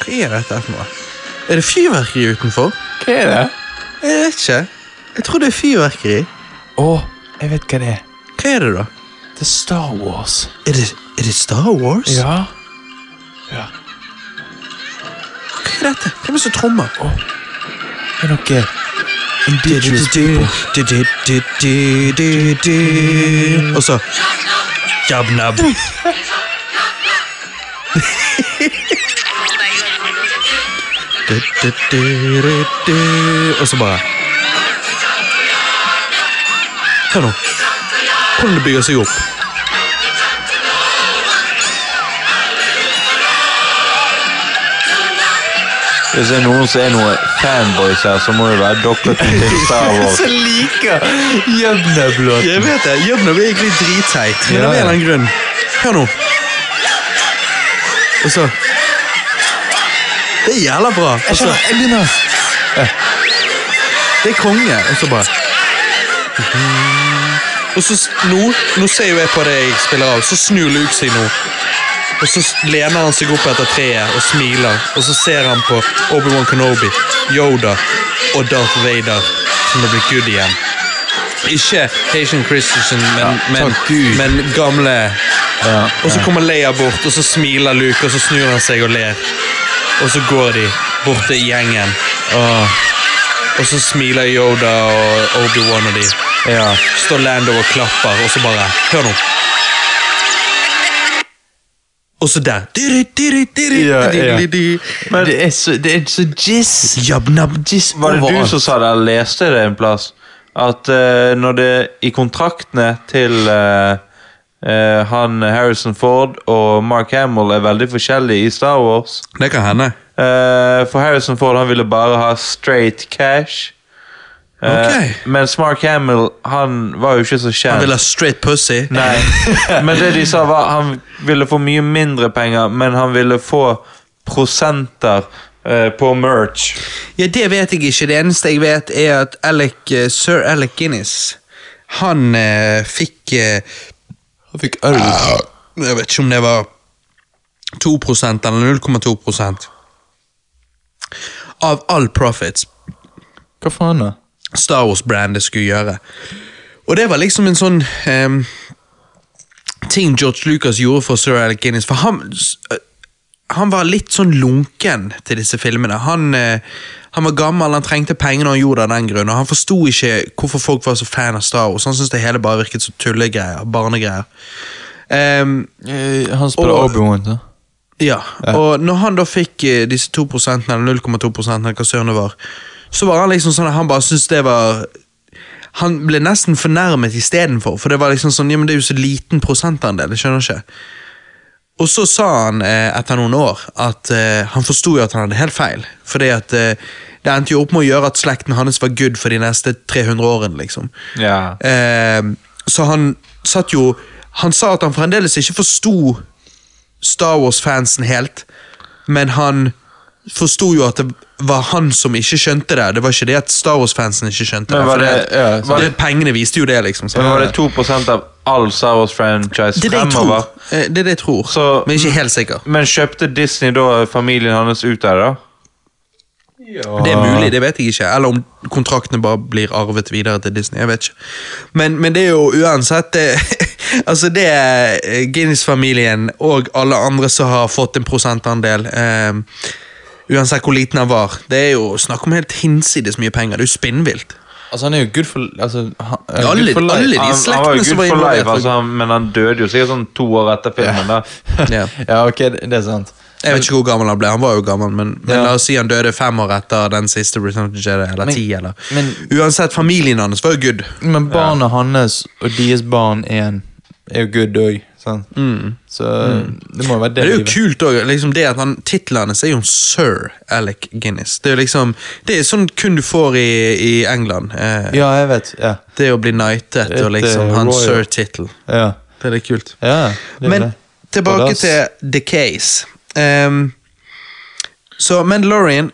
A: Hva er dette for noe? Er det fyrverkeri utenfor?
B: Hva er det?
A: Jeg vet ikke. Jeg tror det er fyrverkeri.
B: Å, jeg vet hva det er.
A: Hva er det, da?
B: Det er Star Wars.
A: Er det, er det Star Wars?
B: Ja.
A: Hva er dette? Hvem er det som trommer?
B: Det er noe indigenous people.
A: Og så Jabnab. Og så bare Hør nå. Hvordan det bygger seg opp.
C: Hvis det er noen som er noen fanboys her, så må det være dere to til Star Wars.
B: Jeg liker jevneblåten.
A: Jeg vet det. Jøbnab er egentlig dritteit, men av
B: Ja,
A: en
B: ja.
A: eller annen grunn. Hør nå. Og så Det er jævla bra. Og så
B: Jeg begynner.
A: Det er konge. Og så bare Og så s- nå, nå ser jo jeg på det jeg spiller av, så snur Luke seg nå. Og så s- lener han seg opp etter treet og smiler, og så ser han på Obi-Wan Kenobi, Yoda og Darth Vader, som har blitt good igjen. Ikke Haitian Christensen, men, men,
B: takk Gud.
A: men gamle Og så kommer Leia bort, og så smiler Luke, og så snur han seg og ler. Og så går de bort til gjengen.
B: Åh,
A: Og så smiler Yoda og Obi-Wan og de.
B: ja.
A: Står Lando og klapper, og så bare Hør nå. Og så der.
B: Ja, ja. Men det er så, det er så jizz.
A: Jabnab.
B: Jizz
C: Var det du
B: overalt.
C: som sa det, eller leste det en plass? At eh, når det i kontraktene til eh, eh, han Harrison Ford og Mark Hamill er veldig forskjellige i Star Wars
A: Det kan hende.
C: Eh, For Harrison Ford han ville bare ha straight cash. Eh,
A: Ok.
C: Mens Mark Hamill han var jo ikke så kjent.
A: Han vil ha straight pussy.
C: Nei, men det de sa var han ville få mye mindre penger, men han ville få prosenter eh, på merch.
A: Ja, det vet jeg ikke. Det eneste jeg vet, er at Alec, eh, sir Alec Guinness Han eh, fikk eh,
B: Han fikk øl.
A: Jeg vet ikke om det var 2 eller 0,2 av all profits
B: Hva faen da?
A: Star Wars-brandet skulle gjøre. Og det var liksom en sånn ehm, ting George Lucas gjorde for Sir Alec Guinness. For han, s- øh, han var litt sånn lunken til disse filmene. Han, eh, han var gammel, han trengte penger når han gjorde det av den grunn, og han forsto ikke hvorfor folk var så fan av Star Wars. Han syntes det hele bare virket som tullegreier, barnegreier. Ehm,
B: Eh, Han spiller
A: Og-
B: Obi-Wan, da.
A: ja, og når han da fikk eh, disse 2 eller 0,2 eller hva søren det var, så var han liksom sånn at han bare syntes det var Han ble nesten fornærmet istedenfor, for det var liksom sånn Ja, men det er jo så liten prosentandel, jeg skjønner ikke. Og så sa han eh, etter noen år at eh, han forsto jo at han hadde helt feil. Fordi at eh, det endte jo opp med å gjøre at slekten hans var good for de neste 300 årene, liksom.
C: Ja.
A: Eh, så han satt jo Han sa at han fremdeles ikke forsto Star Wars-fansen helt, men han forsto jo at det var han som ikke skjønte det. Det var ikke det at Star Wars-fansen ikke skjønte
C: Men
A: det.
C: var
A: for
C: det-
A: det-
C: ja, var
A: det-
C: det-
A: Pengene viste jo det, liksom. sant?
C: Men var det 2 av all Star Wars-franchise
A: det er det jeg tror.
C: fremover?
A: Eh, Det er det jeg tror.
C: Så-
A: men ikke helt sikker.
C: Men kjøpte Disney da familien hans ut der, da?
A: Det er
B: Ah.
A: mulig, det vet jeg ikke. Eller om kontraktene bare blir arvet videre til Disney. jeg vet ikke. Men, men det er jo uansett det, Altså, det er eh, Guinness-familien og alle andre som har fått en prosentandel eh, Uansett hvor liten han var. Det er jo snakk om helt hinsides mye penger. Det er jo spinnvilt.
B: Altså, han er jo good for Altså, han, eh,
A: Ja, alle-
B: good for life.
A: alle de
C: Han, han var
A: slektene
C: jo
A: som
C: good
A: var
C: for life,
A: involvert.
C: altså, han, men han døde jo sikkert sånn to år etter filmen. da.
A: Ja.
B: ja, ok, det, det er sant.
A: Jeg vet ikke hvor gammel han ble. Han var jo gammel, men, men
B: Ja.
A: la oss si han døde fem år etter den siste Return of the Jedi, eller
B: Men-
A: ti, eller
B: men-
A: Uansett, familien hans var jo good.
B: Men barnet hans og deres barn igjen er jo good òg, sant? Så det må jo være Mm. det.
A: Men det er jo
B: livet.
A: kult også, liksom det at han, titlene hans er jo en Sir Alec Guinness. Det er jo liksom, det er sånn kun du får i, i England. Eh,
B: Ja, jeg vet. Ja.
A: Det å bli knightet
B: Et,
A: og liksom
B: eh,
A: ha en
B: royal.
A: Sir-tittel.
B: Ja.
A: Det er litt kult.
B: ja det er
A: Men
B: det. Og
A: tilbake
B: das-
A: til The Case. Ehm, så Mandalorian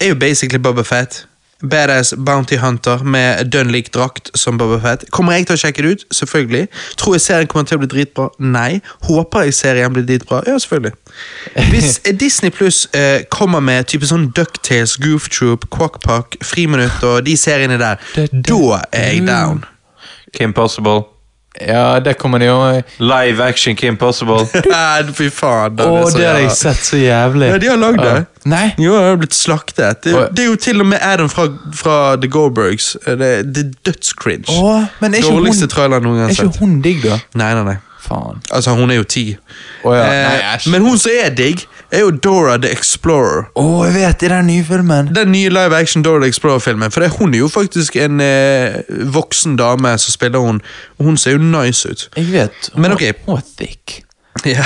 A: er jo basically Boba Fett. Badass Bounty Hunter med dønn lik drakt som Boba Fett. Kommer jeg til å sjekke det ut? Selvfølgelig. Tror jeg serien kommer til å bli dritbra? Nei. Håper jeg serien blir dritbra? Ja, selvfølgelig. Hvis Disney Pluss eh, kommer med type sånn Ducktails, Goof Troop, Quackpack, Friminutt og de seriene der, da er jeg down.
B: Mm.
C: Kim Possible.
B: Ja, det kommer de jo
C: Live action Kim Possible.
A: Nei, Fy faen. den
B: Å,
A: er så
B: det har
A: jævla-
B: jeg sett så jævlig.
A: Ja, de har lagd det.
B: Ja. Nei?
A: Jo, han har blitt slaktet. Det,
B: Oi.
A: det er jo til og med Adam fra, fra The Goldbergs. Det, det er dødscringe.
B: Å, men er ikke
A: Dårligste
B: hun,
A: traileren noen gang
B: er ikke
A: sett.
B: hun digg, da?
A: Nei, nei, nei.
B: Faen.
A: Altså, hun er jo ti.
B: Å ja.
A: Eh,
B: Nei, æsj.
A: men hun som er digg, er jo Dora the Explorer.
B: Å, jeg vet, i den nye filmen.
A: Den nye live action Dora the Explorer-filmen. For det, hun er jo faktisk en eh, voksen dame som spiller hun. Og hun ser jo nice ut.
B: Jeg vet.
A: Men ok.
B: Hun er thick.
A: Ja,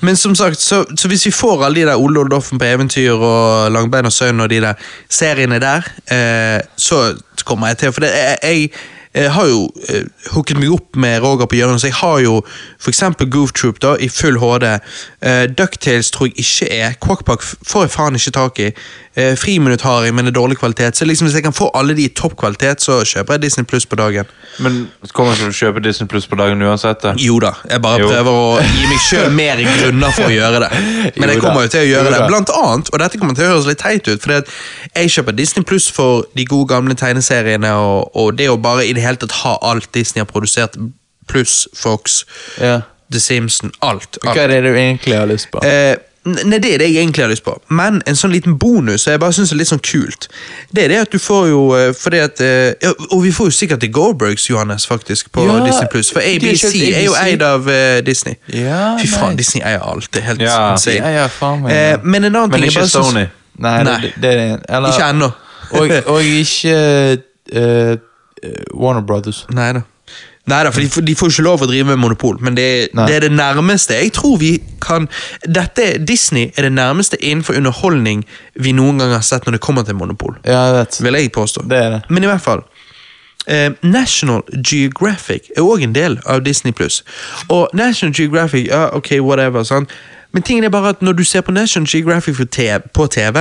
A: Men som sagt, så, så hvis vi får alle de der Ole og Doffen på eventyr og Langbein og Søvn og de der seriene der, eh, så kommer jeg til For det, jeg, jeg, eh, har jo eh, hooket meg opp med Roger på hjørnet, så jeg har jo f.eks. Goof Troop da, i full HD. Eh, Ducktails tror jeg ikke er. Quackpack f- får jeg faen ikke tak i. Eh, Friminutt har jeg, men det er dårlig kvalitet. Så liksom hvis jeg kan få alle de i topp kvalitet, så kjøper jeg Disney Pluss på dagen.
C: Men kommer ikke du til å kjøpe Disney Plus på dagen uansett? det?
A: Jo da, jeg bare
C: Jo.
A: prøver å gi meg sjøl mer grunner for å gjøre det. Men jeg
B: Jo da,
A: kommer jo til å gjøre
B: jo
A: det.
B: da.
A: Blant annet, og dette kommer til å høres litt teit ut, fordi at jeg kjøper Disney Pluss for de gode gamle tegneseriene, og, og det å bare i det hele tatt ha alt Disney har produsert, pluss Fox,
B: Ja.
A: The Simpsons, alt.
B: Hva
A: alt.
B: er det du egentlig har lyst på?
A: Eh, n- Nei, Det er det jeg egentlig har lyst på, men en sånn liten bonus som jeg bare synes er litt sånn kult, det er det at du får jo eh, fordi at, eh, ja, Og vi får jo sikkert The Goldbergs, Johannes, faktisk, på
B: Ja,
A: Disney Pluss. For
B: de har
A: ABC
B: kjøpt
A: er jo
B: ABC.
A: eid av eh, Disney.
B: Ja,
A: Fy faen,
B: nice.
A: Disney eier alt. Det er helt
C: Ja.
A: insane.
B: De eier faen meg, ja.
A: eh, men en annen
C: Men
A: ting jeg
C: ikke
A: bare synes-
C: Sony.
B: Nei,
A: nei.
B: Det, det, det, eller,
A: Ikke ennå.
B: og, og ikke eh, eh, Warner Brothers.
A: Nei da. Nei da, for de, får- de får ikke lov å drive med monopol, men det,
B: Nei.
A: det er det nærmeste. Jeg tror vi kan dette, Disney er det nærmeste innenfor underholdning vi noen gang har sett når det kommer til monopol.
B: Ja, jeg vet.
A: Vil jeg påstå.
B: Det er det.
A: Men i hvert fall. Eh, National Geographic er òg en del av Disney Pluss. Og National Geographic ja, ok, whatever, sant? Men tingen er bare at når du ser på National Geographic på TV, på TV,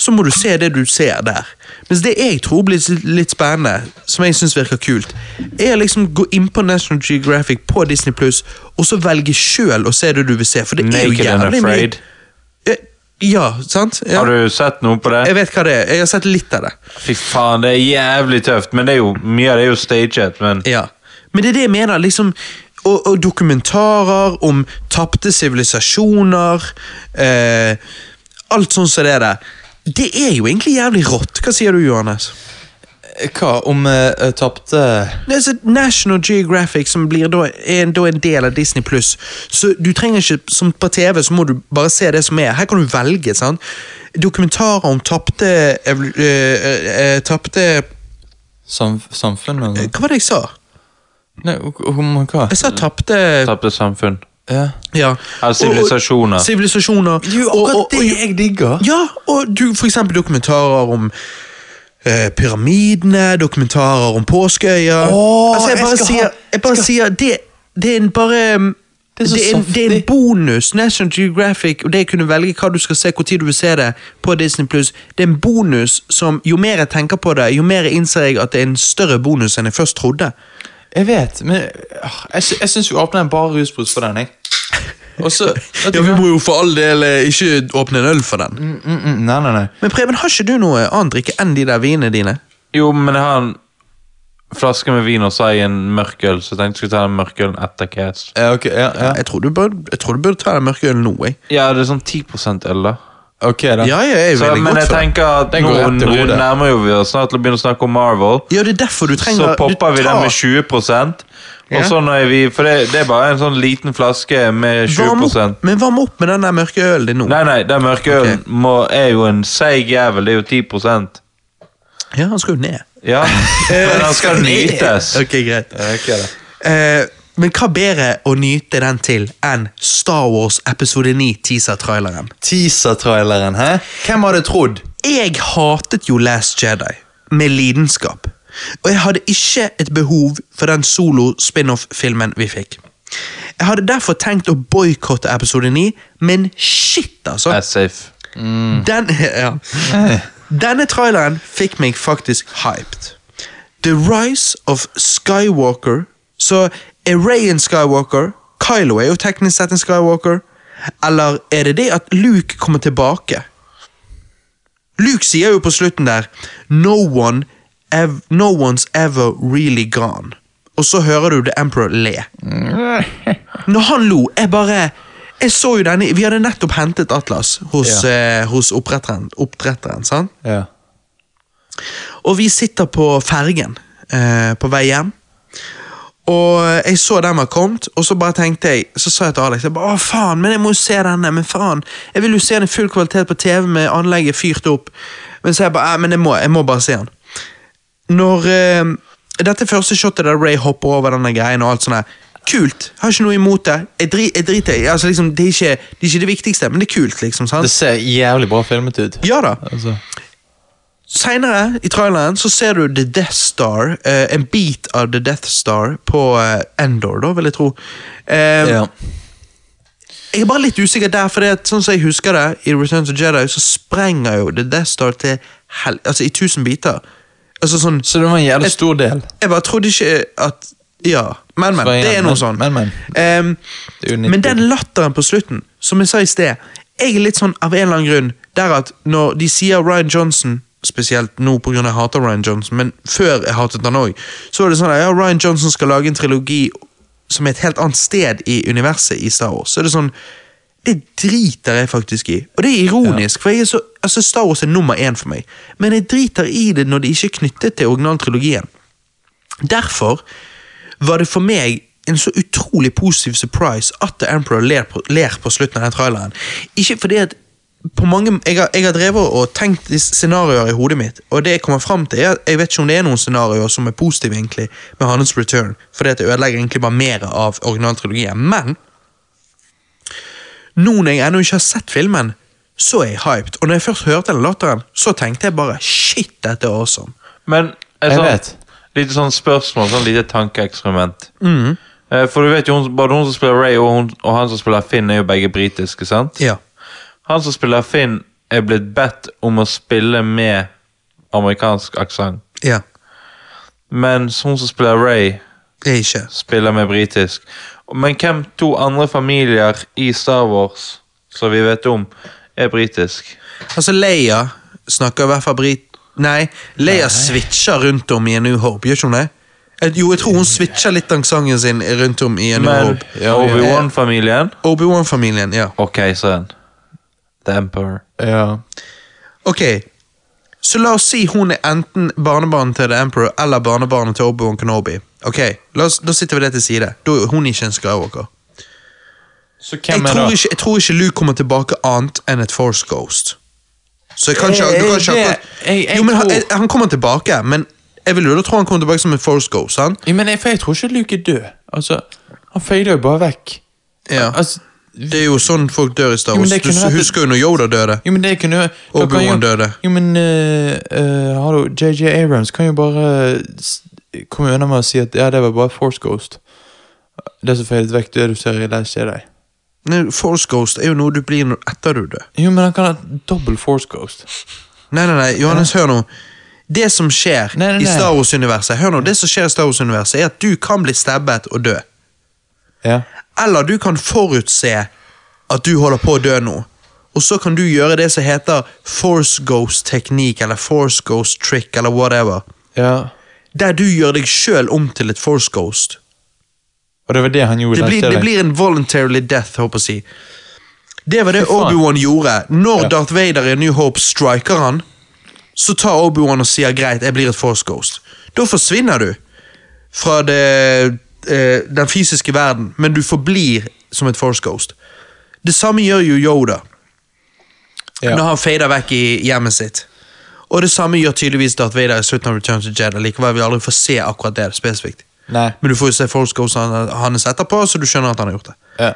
A: så må du se det du ser der. Mens det jeg tror blir litt- litt spennende, som jeg syns virker kult, er å liksom gå inn på National Geographic på Disney Pluss, og så velge sjøl å se det du vil se, for det er jo
C: Naked and
A: jævlig mye
C: Afraid.
A: Eh, Ja, sant? Ja.
C: Har du sett noe på det?
A: Jeg vet hva det er. Jeg har sett litt av det.
C: Fy faen, det er jævlig tøft. Men det er jo, mye av det er jo staged. Men
A: Ja, men det er det jeg mener, liksom og, og dokumentarer om tapte sivilisasjoner eh, Alt sånn som det er der. Det er jo egentlig jævlig rått. Hva sier du, Johannes?
B: Hva om uh, tapte
A: Det er så altså, National Geographic som blir da, er da en del av Disney Pluss. Så du trenger ikke, som på TV, så må du bare se det som er. Her kan du velge. sant? Dokumentarer om tapte evol- eh, eh, eh, Tapte
B: sam, samfunnet? eller?
A: Hva var det jeg sa?
B: Nei, om om hva?
A: Jeg sa tapte
C: tapte samfunn.
B: Ja.
A: Ja.
C: Ja, sivilisasjoner.
A: Og- og- Sivilisasjoner. Og- og- og-
B: jeg digger.
A: Ja, og du, for eksempel dokumentarer om eh, pyramidene, dokumentarer om påskeøya.
B: Åh,
A: altså, jeg
B: jeg
A: bare
B: skal
A: sier,
B: ha-
A: jeg bare
B: skal-
A: sier det, det er en bare um,
B: Det er så
A: det, er en, det er en
B: saftig.
A: bonus. National Geographic og det å kunne velge hva du skal se, hvor tid du vil se det på Disney det er en bonus som jo mer jeg tenker på det, jo mer innser jeg at det er en større bonus enn jeg først trodde.
B: Jeg vet, men ah, jeg, sy- jeg syns vi åpner en bar rusbrus for den, jeg. Og så vet du hva?
A: må jo for all del eh, ikke åpne en øl for den.
B: Mm, mm, mm, Nei, nei, nei.
A: Men Preben, har ikke du noe annet drikke enn de der vinene dine?
C: Jo, men jeg har en flaske med vin og så har jeg en mørk øl, så jeg tenkte jeg skulle ta den mørke ølen etter Cats.
B: Ja, ok, ja, ja.
A: Jeg tror du burde, jeg tror du burde ta den mørke ølen nå, jeg.
C: Ja, det er sånn 10 øl, da.
B: Ok, da.
A: Ja, ja, jeg er
C: Så,
A: veldig
C: men
A: godt
C: jeg
A: for det.
C: tenker at
B: Den
C: nå
B: går rett i hodet.
C: nærmer jo vi oss snart til å begynne å snakke om Marvel.
A: Ja, det er derfor du trenger
C: så popper vi
A: du
C: den
A: tar-
C: med 20
A: Ja.
C: og så når vi, For det, det er bare en sånn liten flaske med
A: Varm
C: 20
A: opp, men varm opp med den der mørke ølen din nå.
C: Nei, nei, den mørke
A: Ok.
C: ølen må- er jo en seig jævel. Det er jo 10
A: Ja, han skal jo ned.
C: Ja, men den skal nytes.
A: ok, greit.
B: Ja, ok, da.
A: Eh, men hva bedre å nyte den til enn Star Wars episode 9 teaser-traileren?
B: Teaser-traileren, hæ? Hvem hadde trodd?
A: Jeg hatet jo Last Jedi med lidenskap. Og jeg hadde ikke et behov for den solo-spin-off-filmen vi fikk. Jeg hadde derfor tenkt å boikotte episode 9, men shit, altså.
C: As if.
A: Den, ja. Denne traileren fikk meg faktisk hyped. The Rise of Skywalker. Så er Ray en Skywalker? Kylo er jo teknisk sett en Skywalker. Eller er det det at Luke kommer tilbake? Luke sier jo på slutten der no, one ev no one's ever really gone. Og så hører du The Emperor le. Når han lo, jeg bare Jeg så jo denne Vi hadde nettopp hentet Atlas hos, eh, hos oppdretteren, oppdretteren sant?
B: Ja.
A: Og vi sitter på fergen eh, på vei hjem. Og jeg så den var kommet, og så bare tenkte jeg Så sa jeg til Alex jeg bare, Å faen, men jeg må jo se denne, men faen Jeg vil jo se den i full kvalitet på TV med anlegget fyrt opp. Men så jeg bare, «Nei, men jeg må, jeg må bare se den. Når eh, Dette første shotet der Ray hopper over denne greien og alt sånt der, Kult! Har ikke noe imot det. Jeg, dri, jeg driter i altså, liksom, det. Er ikke, det er ikke det viktigste, men det er kult, liksom. sant?
B: Det ser jævlig bra filmet ut.
A: Ja da.
B: Altså,
A: Senere i traileren så ser du The Death Star, eh, en bit av The Death Star på eh, Endor, da, vil jeg tro. Eh,
B: ja.
A: Jeg er bare litt usikker der, for sånn som jeg husker det, i Return to Jedi så sprenger jo The Death Star til hel altså i tusen biter. Altså sånn
B: Så det var en jævlig stor del.
A: Jeg bare trodde ikke at Ja, men, men.
B: Sprenger,
A: Det er noe
B: men-
A: sånn.
B: men, men.
A: Ehm,
B: Det er jo
A: men
B: 90.
A: den latteren på slutten, som jeg sa i sted Jeg er litt sånn av en eller annen grunn der at når de sier Ryan Johnson Spesielt nå pga. jeg hater Ryan Johnson, men før jeg hatet han òg. Så var det sånn at ja, Ryan Johnson skal lage en trilogi som er et helt annet sted i universet i Star Wars. Så er det sånn Det driter jeg faktisk i. Og det er ironisk, for jeg er så, altså Star Wars er nummer én for meg. Men jeg driter i det når det ikke er knyttet til originaltrilogien. Derfor var det for meg en så utrolig positiv surprise at The Emperor ler på, ler på slutten av den traileren. Ikke fordi at på mange, jeg, har, jeg har drevet og tenkt disse scenarioer i hodet mitt, og det jeg kommer frem til er at jeg vet ikke om det er noen scenarioer som er positive egentlig med hans return, fordi at det ødelegger egentlig bare mer av originaltrilogien. Men nå når jeg ennå ikke har sett filmen, så er jeg hyped. Og når jeg først hørte den latteren, så tenkte jeg bare shit, dette er awesome.
C: Men et
B: Jeg
C: sånt,
B: vet.
C: lite sånn spørsmål, sånn lite tankeeksperiment.
B: Mm.
C: Eh, For du vet jo, hun- både hun som spiller Ray og, hun, og han som spiller Finn, er jo begge britiske, sant?
A: Ja.
C: Han som spiller Finn, er blitt bedt om å spille med amerikansk aksent.
A: Ja.
C: Mens hun som spiller Ray,
A: Det er ikke.
C: spiller med britisk. Men hvem to andre familier i Star Wars som vi vet om, er britisk?
A: Altså, Leia snakker i hvert fall brit... Nei, Leia switcher rundt om i A New Hope, gjør ikke hun det? Eh, Jo, jeg tror hun switcher litt den sangen sin rundt om i A New
C: Men
A: Hope.
C: Obi-Wan-familien
A: Obi-Wan-familien, ja.
C: og keiseren. The Emperor.
B: ja.
A: Ok, så la oss si hun er enten barnebarnet til The Emperor eller barnebarnet til Obi-Wan Kenobi. Ok, la oss, da sitter vi det til side. Da er hun ikke en Skywalker.
B: Så
A: Jeg
B: hvem er
A: tror,
B: det?
A: ikke, jeg tror ikke Luke kommer tilbake annet enn et Force Ghost. Så jeg kan ikke, du kan ikke
B: Eh, Det-
A: akkurat...
B: jeg- jeg
A: Jo, men han,
B: tror-
A: jeg, han kommer tilbake, men jeg vil jo da tro han kommer tilbake som et Force Ghost, sant?
B: Ja, men jeg, for jeg tror ikke Luke er død. Altså, han fader jo bare vekk.
A: Ja.
B: Altså,
A: Det er jo sånn folk dør i Star
B: Jo, men
A: Wars.
B: det
A: Du
B: kunne vært-
A: husker jo når Yoda døde.
B: jo, men det kunne jo da kan
A: Obi-Wan
B: jo-
A: døde.
B: Jo, men eh, eh, hallo, JJ Abrams kan jo bare eh, s- komme unna med å si at ja, det var bare Force Ghost. Det som fadet vekk, det du ser i Last Jedi.
A: Nei, Force Ghost er jo noe du blir når- etter du dør.
B: Jo, men han kan ha dobbel Force Ghost.
A: Nei, nei, nei, Johannes, hør nå. Det som skjer
B: Nei, nei,
A: i
B: nei.
A: Star Wars-universet, Hør nå, det som skjer i Star Wars-universet er at du kan bli stabbet og dø.
B: Ja.
A: Eller du kan forutse at du holder på å dø nå. Og så kan du gjøre det som heter force ghost teknikk, eller force ghost trick, eller whatever.
B: ja.
A: Der du gjør deg sjøl om til et force ghost.
B: Og det var det han gjorde i
A: Det
B: Last
A: blir,
B: Jedi.
A: det blir en voluntarily death, håper jeg å si. Det var det
B: faen.
A: Obi-Wan gjorde. Når
B: Ja.
A: Darth Vader i New Hope striker han, så tar Obi-Wan og sier greit, jeg blir et Force Ghost. Da forsvinner du fra det, eh, den fysiske verden, men du forblir som et Force Ghost. Det samme gjør jo Yoda
B: Ja.
A: når han fader vekk i hjemmet sitt. Og det samme gjør tydeligvis Darth Vader i slutten av Return to Jedi. Likevel vil vi aldri få se akkurat det spesifikt.
B: Nei.
A: Men du får jo se Force Ghost hans etterpå, så du skjønner at han har gjort det.
B: Ja.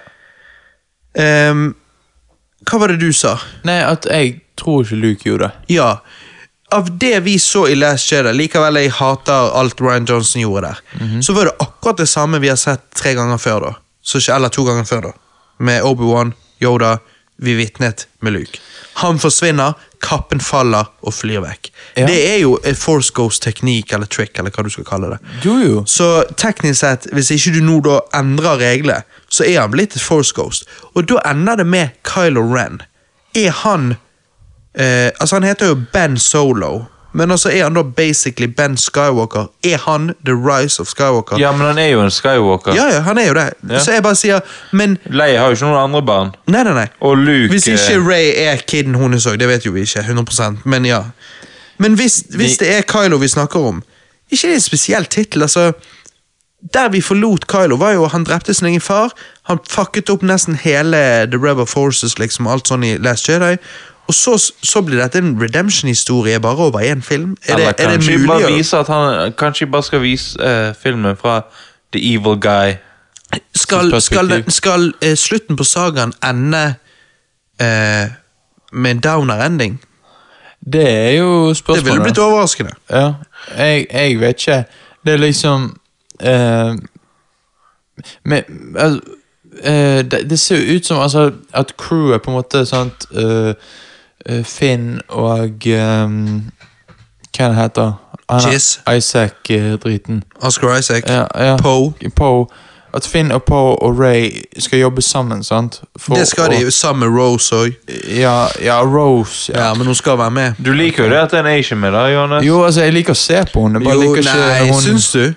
A: Ehm, hva var det du sa?
B: Nei, at jeg tror ikke Luke gjorde det.
A: Ja. Av det vi så i Last Jedi, likevel jeg hater alt Ryan Johnson gjorde der, så var det akkurat det samme vi har sett tre ganger før, da. Så, ikke- eller to ganger før, da. Med Obi-Wan, Yoda, vi vitnet med Luke. Han forsvinner, kappen faller og flyr vekk.
B: Ja.
A: Det er jo en force ghost-teknikk eller trick, eller hva du skal kalle det.
B: Jo, jo.
A: Så teknisk sett, hvis ikke du nå da endrer reglene, så er han blitt et force ghost. Og da ender det med Kylo Ren. Er han eh, Altså, han heter jo Ben Solo. Men altså er han da basically Ben Skywalker? Er han The Rise of Skywalker?
C: Ja, men han er jo en Skywalker.
A: ja, ja, han er jo det.
C: Ja.
A: Så jeg bare sier Men
C: Leia har jo ikke noen andre barn.
A: nei, nei, nei.
C: Og Luke
A: Hvis
C: eh,
A: ikke Ray er kiden hun er så, det vet jo vi ikke, 100 men ja. Men hvis, hvis det er Kylo vi snakker om, ikke det er en spesiell tittel, altså. Der vi forlot Kylo, var jo han drepte sin egen far. Han fucket opp nesten hele The Rebel Forces, liksom, alt sånn i Last Jedi. Og så, så blir dette en redemption-historie bare over én film. Er det,
C: Eller
A: er det
C: kanskje
A: mulig?
C: bare
A: å-
C: vise at han Kanskje bare skal vise eh, filmen fra The Evil Guy.
A: Skal, skal,
B: perspektiv.
A: den- skal eh, slutten på sagaen ende eh, med en downer-ending?
B: Det er jo
A: Det ville
B: spørsmålet.
A: blitt overraskende.
B: Ja, jeg, jeg vet ikke. Det er liksom eh, men, altså, eh, det, det ser jo ut som altså, at crewet på en måte sant, eh, eh, Finn og eh, Hva det heter han?
A: Jizz.
B: Isaac-driten.
A: Oscar Isaac,
B: Ja, ja.
A: Poe.
B: Poe. At Finn og Poe og Ray skal jobbe sammen, sant? For
A: Det skal
B: å-
A: de jo sammen med Rose òg.
B: Ja, ja Rose. Ja.
A: Ja, men hun skal være med.
C: Du liker jo det at det er en Asian med, da, Johannes?
B: Jo, altså, jeg liker å se på henne. Bare
A: Jo,
B: liker ikke
A: nei,
B: hun...
A: syns du?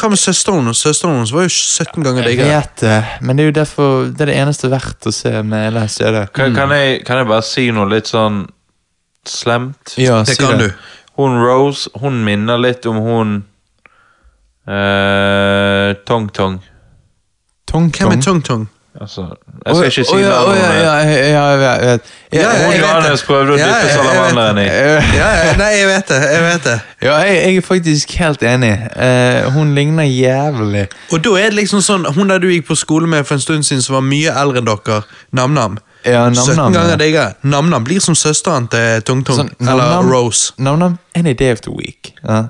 A: Hva med søsteren hennes? Søsteren hennes var jo 17 ganger
B: Jeg
A: diggere.
B: vet det, men det er jo derfor Det er det eneste verdt å se med Last Jedi.
C: Kan, kan, jeg, kan jeg bare si noe litt sånn slemt?
B: Mm. Ja,
A: Det
B: si
A: kan du.
C: Hun Rose, hun minner litt om hun eh, Tong Tong.
B: Tong
A: Hvem er
B: Tong.
A: Tong Tong?
C: Altså, jeg skal ikke si
B: Å, ja,
C: navnet.
B: å, ja, ja, ja, ja, jeg vet. Ja,
A: Ja,
C: Hun
A: jeg vet
C: Johannes
A: det.
C: prøvde å
A: Ja,
C: dyppe
A: jeg- jeg vet
C: salamanderen i.
B: eh,
A: Ja, ja, nei, jeg vet det. jeg vet det.
B: ja jeg, jeg er faktisk helt enig. Eh, hun ligner jævlig.
A: Og da er det liksom sånn, Hun der du gikk på skole med for en stund siden, som var mye eldre enn dere, Nam-Nam
B: Ja, Nam
A: 17
B: Nam,
A: ganger
B: ja.
A: diggere. Nam-Nam blir som søsteren til Tong Tong.
B: Sånn,
A: eller
B: Nam Nam-
A: Rose.
B: Nam-Nam Any day of the week. Ja.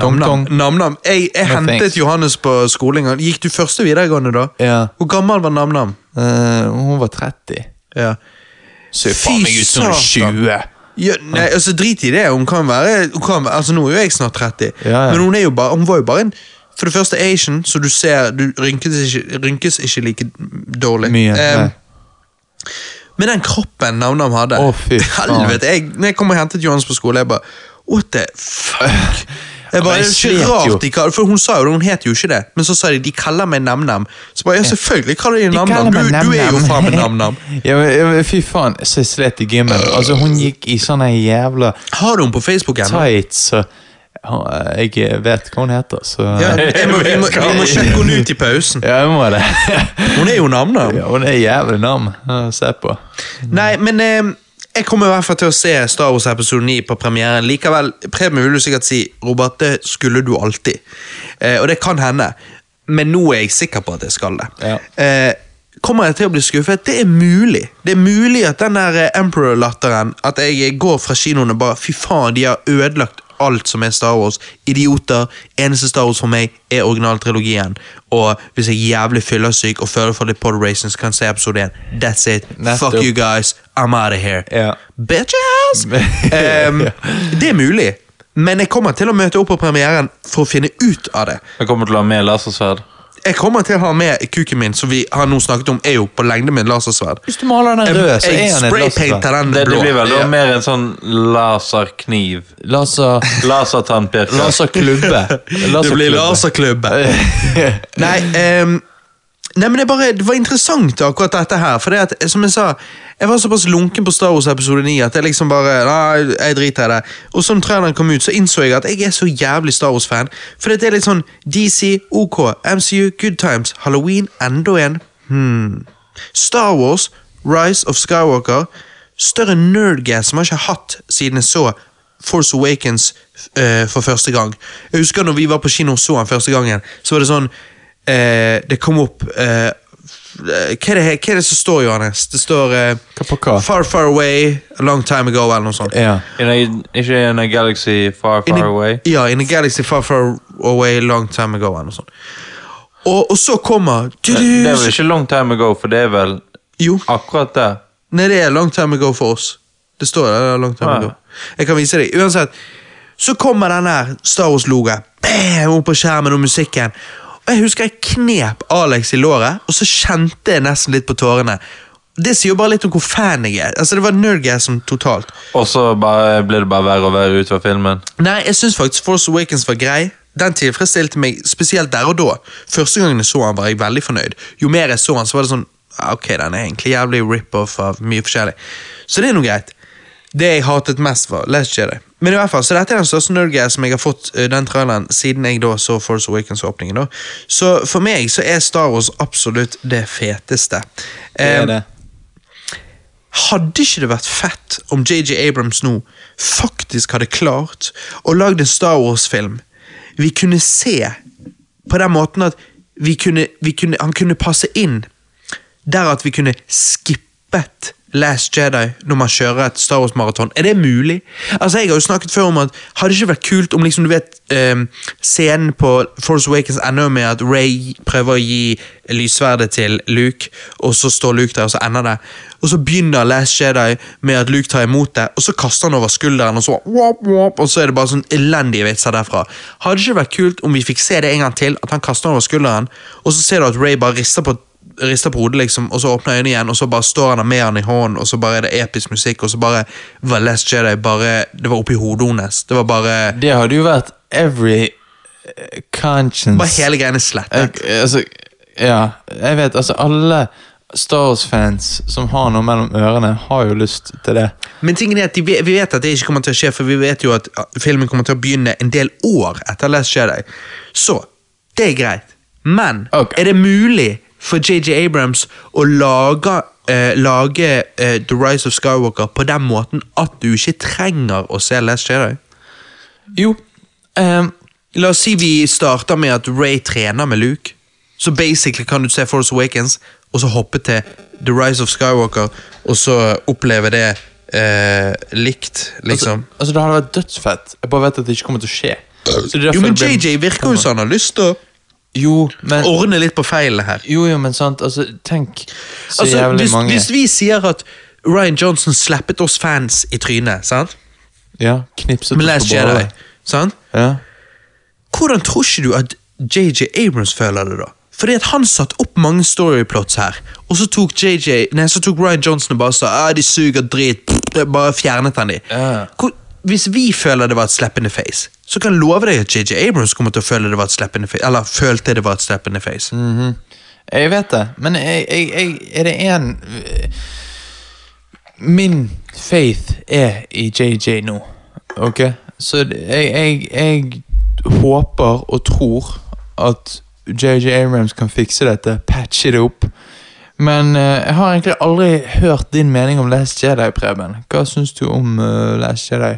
B: Tong
A: Nam-Nam.
B: Tong.
A: Nam-Nam. Jeg, jeg
B: No
A: hentet
B: thanks.
A: Johannes på skolen. en gang. Gikk du første videregående da?
B: Ja.
A: Hvor gammel var Nam-Nam?
B: eh, hun var 30.
A: Ja.
B: Ser
A: Fy
B: faen meg ut som hun er
A: satan.
B: 20.
A: Ja, nei, altså Drit i det. Hun kan være hun kan, Altså Nå er jo jeg snart 30,
B: Ja, ja.
A: men hun, er jo bare, hun var jo bare en For det første Asian, så du ser Du rynkes ikke, rynkes ikke like dårlig.
B: Mye.
A: Eh,
B: nei.
A: men den kroppen Nam-Nam hadde
B: Å, fy faen.
A: Helvete! Jeg, når jeg kom og hentet Johannes på skole, jeg bare What the fuck? Jeg bare, det er
B: jeg
A: ikke
B: slet jo.
A: rart de kaller For Hun sa jo det, hun het jo ikke det, men så sa de de kaller meg Nam-Nam. Så bare, ja, selvfølgelig kaller de deg Nam-Nam.
B: kaller meg
A: Du, du er jo
B: Nam-Nam.
A: faen meg Nam-Nam.
B: ja, men, ja, men, fy faen, så slett i gymmen. Altså, hun gikk i sånne jævla
A: Har du henne på Facebook ennå?
B: tights og Ja, Jeg vet hva hun heter, så
A: Ja,
B: Ja,
A: jeg må, vi, må, vi må sjekke henne ut i pausen.
B: jeg må det.
A: Hun er jo navnet.
B: Ja, hun er jævlig nam å se på. Mm.
A: Nei, men eh, jeg kommer i hvert fall til å se Star Wars episode 9 på premieren. Likevel, Preben vil jo sikkert si Robert, det skulle du alltid. Eh, og det kan hende. Men nå er jeg sikker på at jeg skal det.
B: Ja.
A: Eh, kommer jeg til å bli skuffet? Det er mulig. Det er mulig at den der eh, Emperor-latteren At jeg går fra kinoen og bare Fy faen, de har ødelagt alt som er Star Wars. Idioter. Eneste Star Wars for meg er originaltrilogien. Og hvis jeg er jævlig fyllesyk og føler for litt pod racing, så kan jeg se episode 1. That's it.
B: Nettopp.
A: Fuck you guys. I'm out of here.
B: Ja.
A: Bitch ass! Em, det er mulig. Men jeg kommer til å møte opp på premieren for å finne ut av det.
C: Jeg kommer til å ha med lasersverd.
A: Jeg kommer til å ha med kuken min, som vi har nå snakket om, er jo på lengde med en lasersverd.
B: Hvis du maler den rød, så
A: Jeg
B: er han et laser.
A: spraypainter den
C: Det, det
A: blå.
C: blir vel da
A: Ja.
C: mer en sånn laserkniv.
B: Laser...
C: Lasertannpirker.
B: Laserklubbe.
A: Det blir laserklubbe. Nei, ehm, nei, men det, bare, det var interessant akkurat dette her. For det at, som jeg sa, jeg var såpass lunken på Star Wars episode 9 at jeg liksom bare Nei, jeg driter i det. Og som traileren kom ut, så innså jeg at jeg er så jævlig Star Wars-fan. For det er litt sånn DC, OK, MCU, Good Times, Halloween, enda en. Hmm. Star Wars, Rise of Skywalker. Større nerdgas som jeg ikke har hatt siden jeg så Force Awakens eh, for første gang. Jeg husker når vi var på kino og så han første gangen, så var det sånn eh, Det kom opp eh, hva, er det, he- hva er det som står, Johannes? Det står eh,
B: Hva på hva? Eh,
A: Far, far away, a long time ago, eller noe sånt.
B: Ja.
C: In a, ikke in a galaxy far,
A: In
C: far
A: a-
C: away.
A: Ja, In a galaxy far, far away, long time ago, eller noe sånt. Og, og så kommer
C: Det er vel ikke long time ago, for det er vel
A: Jo.
C: akkurat det.
A: Nei, det er long time ago for oss. Det står der. det er long time
C: Ja.
A: ago. Jeg kan vise deg. Uansett, så kommer den her Star Wars-logoen bam, opp på skjermen og musikken. Og Jeg husker jeg knep Alex i låret, og så kjente jeg nesten litt på tårene. Det sier jo bare litt om hvor fan jeg er. Altså, Det var nerdgasm totalt.
C: Og så bare, ble det bare verre og verre utover filmen.
A: Nei, jeg syns faktisk Force Awakens var grei. Den tilfredsstilte meg spesielt der og da. Første gangen jeg så han var jeg veldig fornøyd. Jo mer jeg så han, så var det sånn ah, Ok, den er egentlig jævlig rip-off av mye forskjellig. Så det er noe greit. Det jeg hatet mest, var Last Jedi. Men i hvert fall, så dette er den største nerdgassen jeg har fått eh, den traileren siden jeg da så Force Awakens-åpningen. da. Så for meg så er Star Wars absolutt det feteste.
B: Det
A: Eh,
B: er det.
A: hadde ikke det vært fett om JJ Abrams nå faktisk hadde klart å lage en Star Wars-film vi kunne se på den måten at vi kunne, vi kunne, han kunne passe inn der at vi kunne skippet Last Jedi når man kjører et Star Wars-maraton. Er det mulig? Altså, Jeg har jo snakket før om at hadde det ikke vært kult om liksom, du vet, ehm, scenen på Force Awakens ender med at Ray prøver å gi lyssverdet til Luke, og så står Luke der, og så ender det. Og så begynner Last Jedi med at Luke tar imot det, og så kaster han over skulderen, og så wop, wop, og så er det bare sånn elendige vitser derfra. Hadde det ikke vært kult om vi fikk se det en gang til, at han kaster han over skulderen, og så ser du at Ray bare rister på rister på hodet, liksom, og så åpner øynene igjen, og så bare står han der med han i hånden, og så bare er det episk musikk, og så bare var Last Jedi bare Det var oppi hodet hennes. Det var bare
B: Det hadde jo vært every eh, conscience
A: Bare hele greiene
B: jeg,
A: slettet.
B: altså, Ja, jeg vet altså alle Star Wars-fans som har noe mellom ørene, har jo lyst til det.
A: Men tingen er at de, ve- vi vet at det ikke kommer til å skje, for vi vet jo at ja, filmen kommer til å begynne en del år etter Last Jedi. Så det er greit. Men
B: Ok.
A: er det mulig for JJ Abrams å lage eh, lage eh, The Rise of Skywalker på den måten at du ikke trenger å se Last Jedi?
B: Jo, ehm,
A: La oss si vi starter med at Ray trener med Luke. Så basically kan du se Force Awakens, og så hoppe til The Rise of Skywalker, og så oppleve det eh, likt, liksom.
B: altså, altså, det hadde vært dødsfett. Jeg bare vet at det ikke kommer til å skje. Så det er derfor
A: jo, men
B: det blir-
A: JJ virker jo som han har lyst til å
B: Jo, men,
A: ordne litt på feilene her.
B: jo, jo, men sant, altså, tenk så
A: Altså,
B: jævlig
A: hvis,
B: mange
A: hvis vi sier at Ryan Johnson slappet oss fans i trynet, sant?
B: Ja, knipset
A: Med Last
B: oss på
A: Jedi,
B: badet.
A: sant?
B: Ja.
A: Hvordan tror ikke du at JJ Abrams føler det, da? Fordi at han satt opp mange storyplots her, og så tok JJ, nei, så tok Ryan Johnson og bare sa «Ah, de suger drit, pff, det bare fjernet han de.
B: Ja.
A: Hvor, hvis vi føler det var et slap in the face, så kan jeg love deg at JJ Abrams kommer til å føle det var et slap in the face, eller følte det var et slap in the face.
B: Mhm. Jeg vet det, men jeg, jeg, jeg, er det én Min faith er i JJ nå, ok? Så jeg, jeg, jeg håper og tror at JJ Abrams kan fikse dette, patche det opp. Men eh, jeg har egentlig aldri hørt din mening om Last Jedi, Preben. Hva syns du om eh, Last Jedi?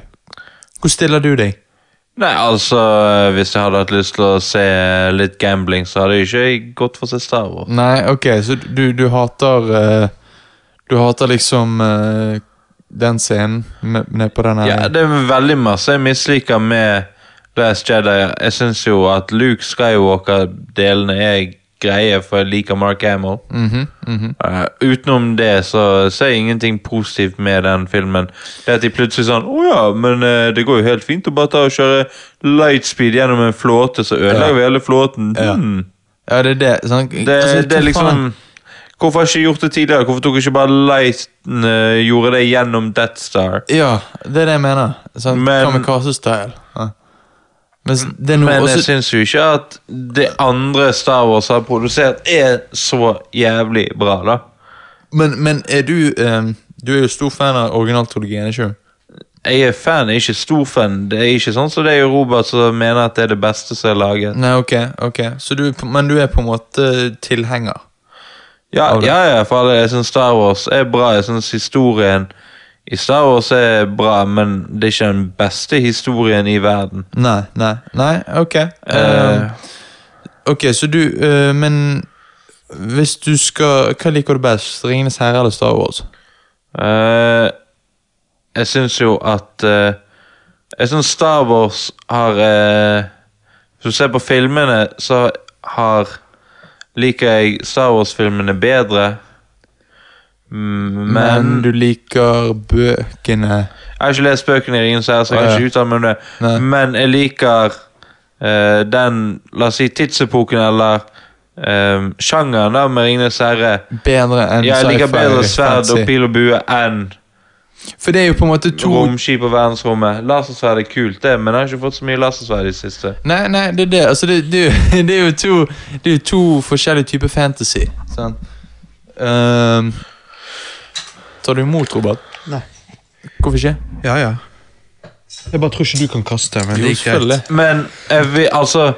B: Hvor stiller du deg?
C: Nei, altså, hvis jeg hadde hatt lyst til å se litt gambling, så hadde jeg ikke gått for å se Star Wars.
B: Nei, ok, så du, du hater eh, Du hater liksom eh, den scenen med, med på den her
C: Ja, det er veldig masse jeg misliker med Last Jedi. Jeg syns jo at Luke Skywalker-delene er greie, for jeg liker Mark Hamill.
B: Mhm, mhm.
C: Eh, utenom det så ser jeg ingenting positivt med den filmen. Det at de plutselig sånn Å ja, men eh, det går jo helt fint å bare ta og kjøre lightspeed gjennom en flåte, så ødelegger vi hele flåten.
B: Ja.
C: Hmm.
B: ja, det er det. Sånn,
C: Det,
B: altså,
C: det er
B: hva
C: liksom
B: faen?
C: Hvorfor har jeg ikke gjort det tidligere? Hvorfor tok jeg ikke bare lighten eh, Gjorde det gjennom Death Star?
B: Ja, det er det jeg mener. Sånn
C: Men-
B: Kamikaze-style. Ja. Men s- det er noe
C: Men jeg
B: også
C: syns jo ikke at det andre Star Wars har produsert, er så jævlig bra, da.
B: men, men er du eh, Du er jo stor fan av originaltologien, ikke sant?
C: Jeg er fan, jeg er ikke stor fan. Det er ikke sånn som det er jo Robert som mener at det er det beste som er laget.
B: Nei, ok, ok. Så du, er på- men du er på en måte tilhenger?
C: Ja,
B: Av det.
C: ja, ja for alle, jeg syns Star Wars er bra. Jeg syns historien i Star Wars er bra, men det er ikke den beste historien i verden.
B: Nei, nei, nei, ok.
C: Eh.
B: Eh, ok, så du, eh, men hvis du skal, hva liker du best? Ringenes Herre eller Star Wars?
C: Eh, jeg syns jo at eh, Jeg syns Star Wars har eh, Hvis du ser på filmene, så har Liker jeg Star Wars-filmene bedre. Mm,
B: Men
C: Men
B: du liker bøkene.
C: Jeg har ikke lest bøkene i Ringens herre, så
B: Å,
C: jeg kan
B: ja.
C: ikke uttale meg om det.
B: Nei.
C: Men jeg liker eh, den, la oss si, tidsepoken eller eh, sjangeren da, med Ringenes herre.
B: Bedre enn
C: Jeg liker
B: sci-fi,
C: bedre sverd og
B: fantasy.
C: pil og bue enn
B: For det er jo på en måte to
C: romskip og verdensrommet. Lasersverd er kult, det, men jeg har ikke fått så mye lasersverd i det siste.
B: Nei, nei, det er det. Altså, det, det, er jo- det er jo to Det er jo to forskjellige typer fantasy. Sant? Ehm, tar du imot, Robert?
A: Nei.
B: Hvorfor ikke?
A: Ja, ja. Jeg bare tror ikke du kan kaste, men det gikk greit.
B: selvfølgelig.
C: Men jeg vil, altså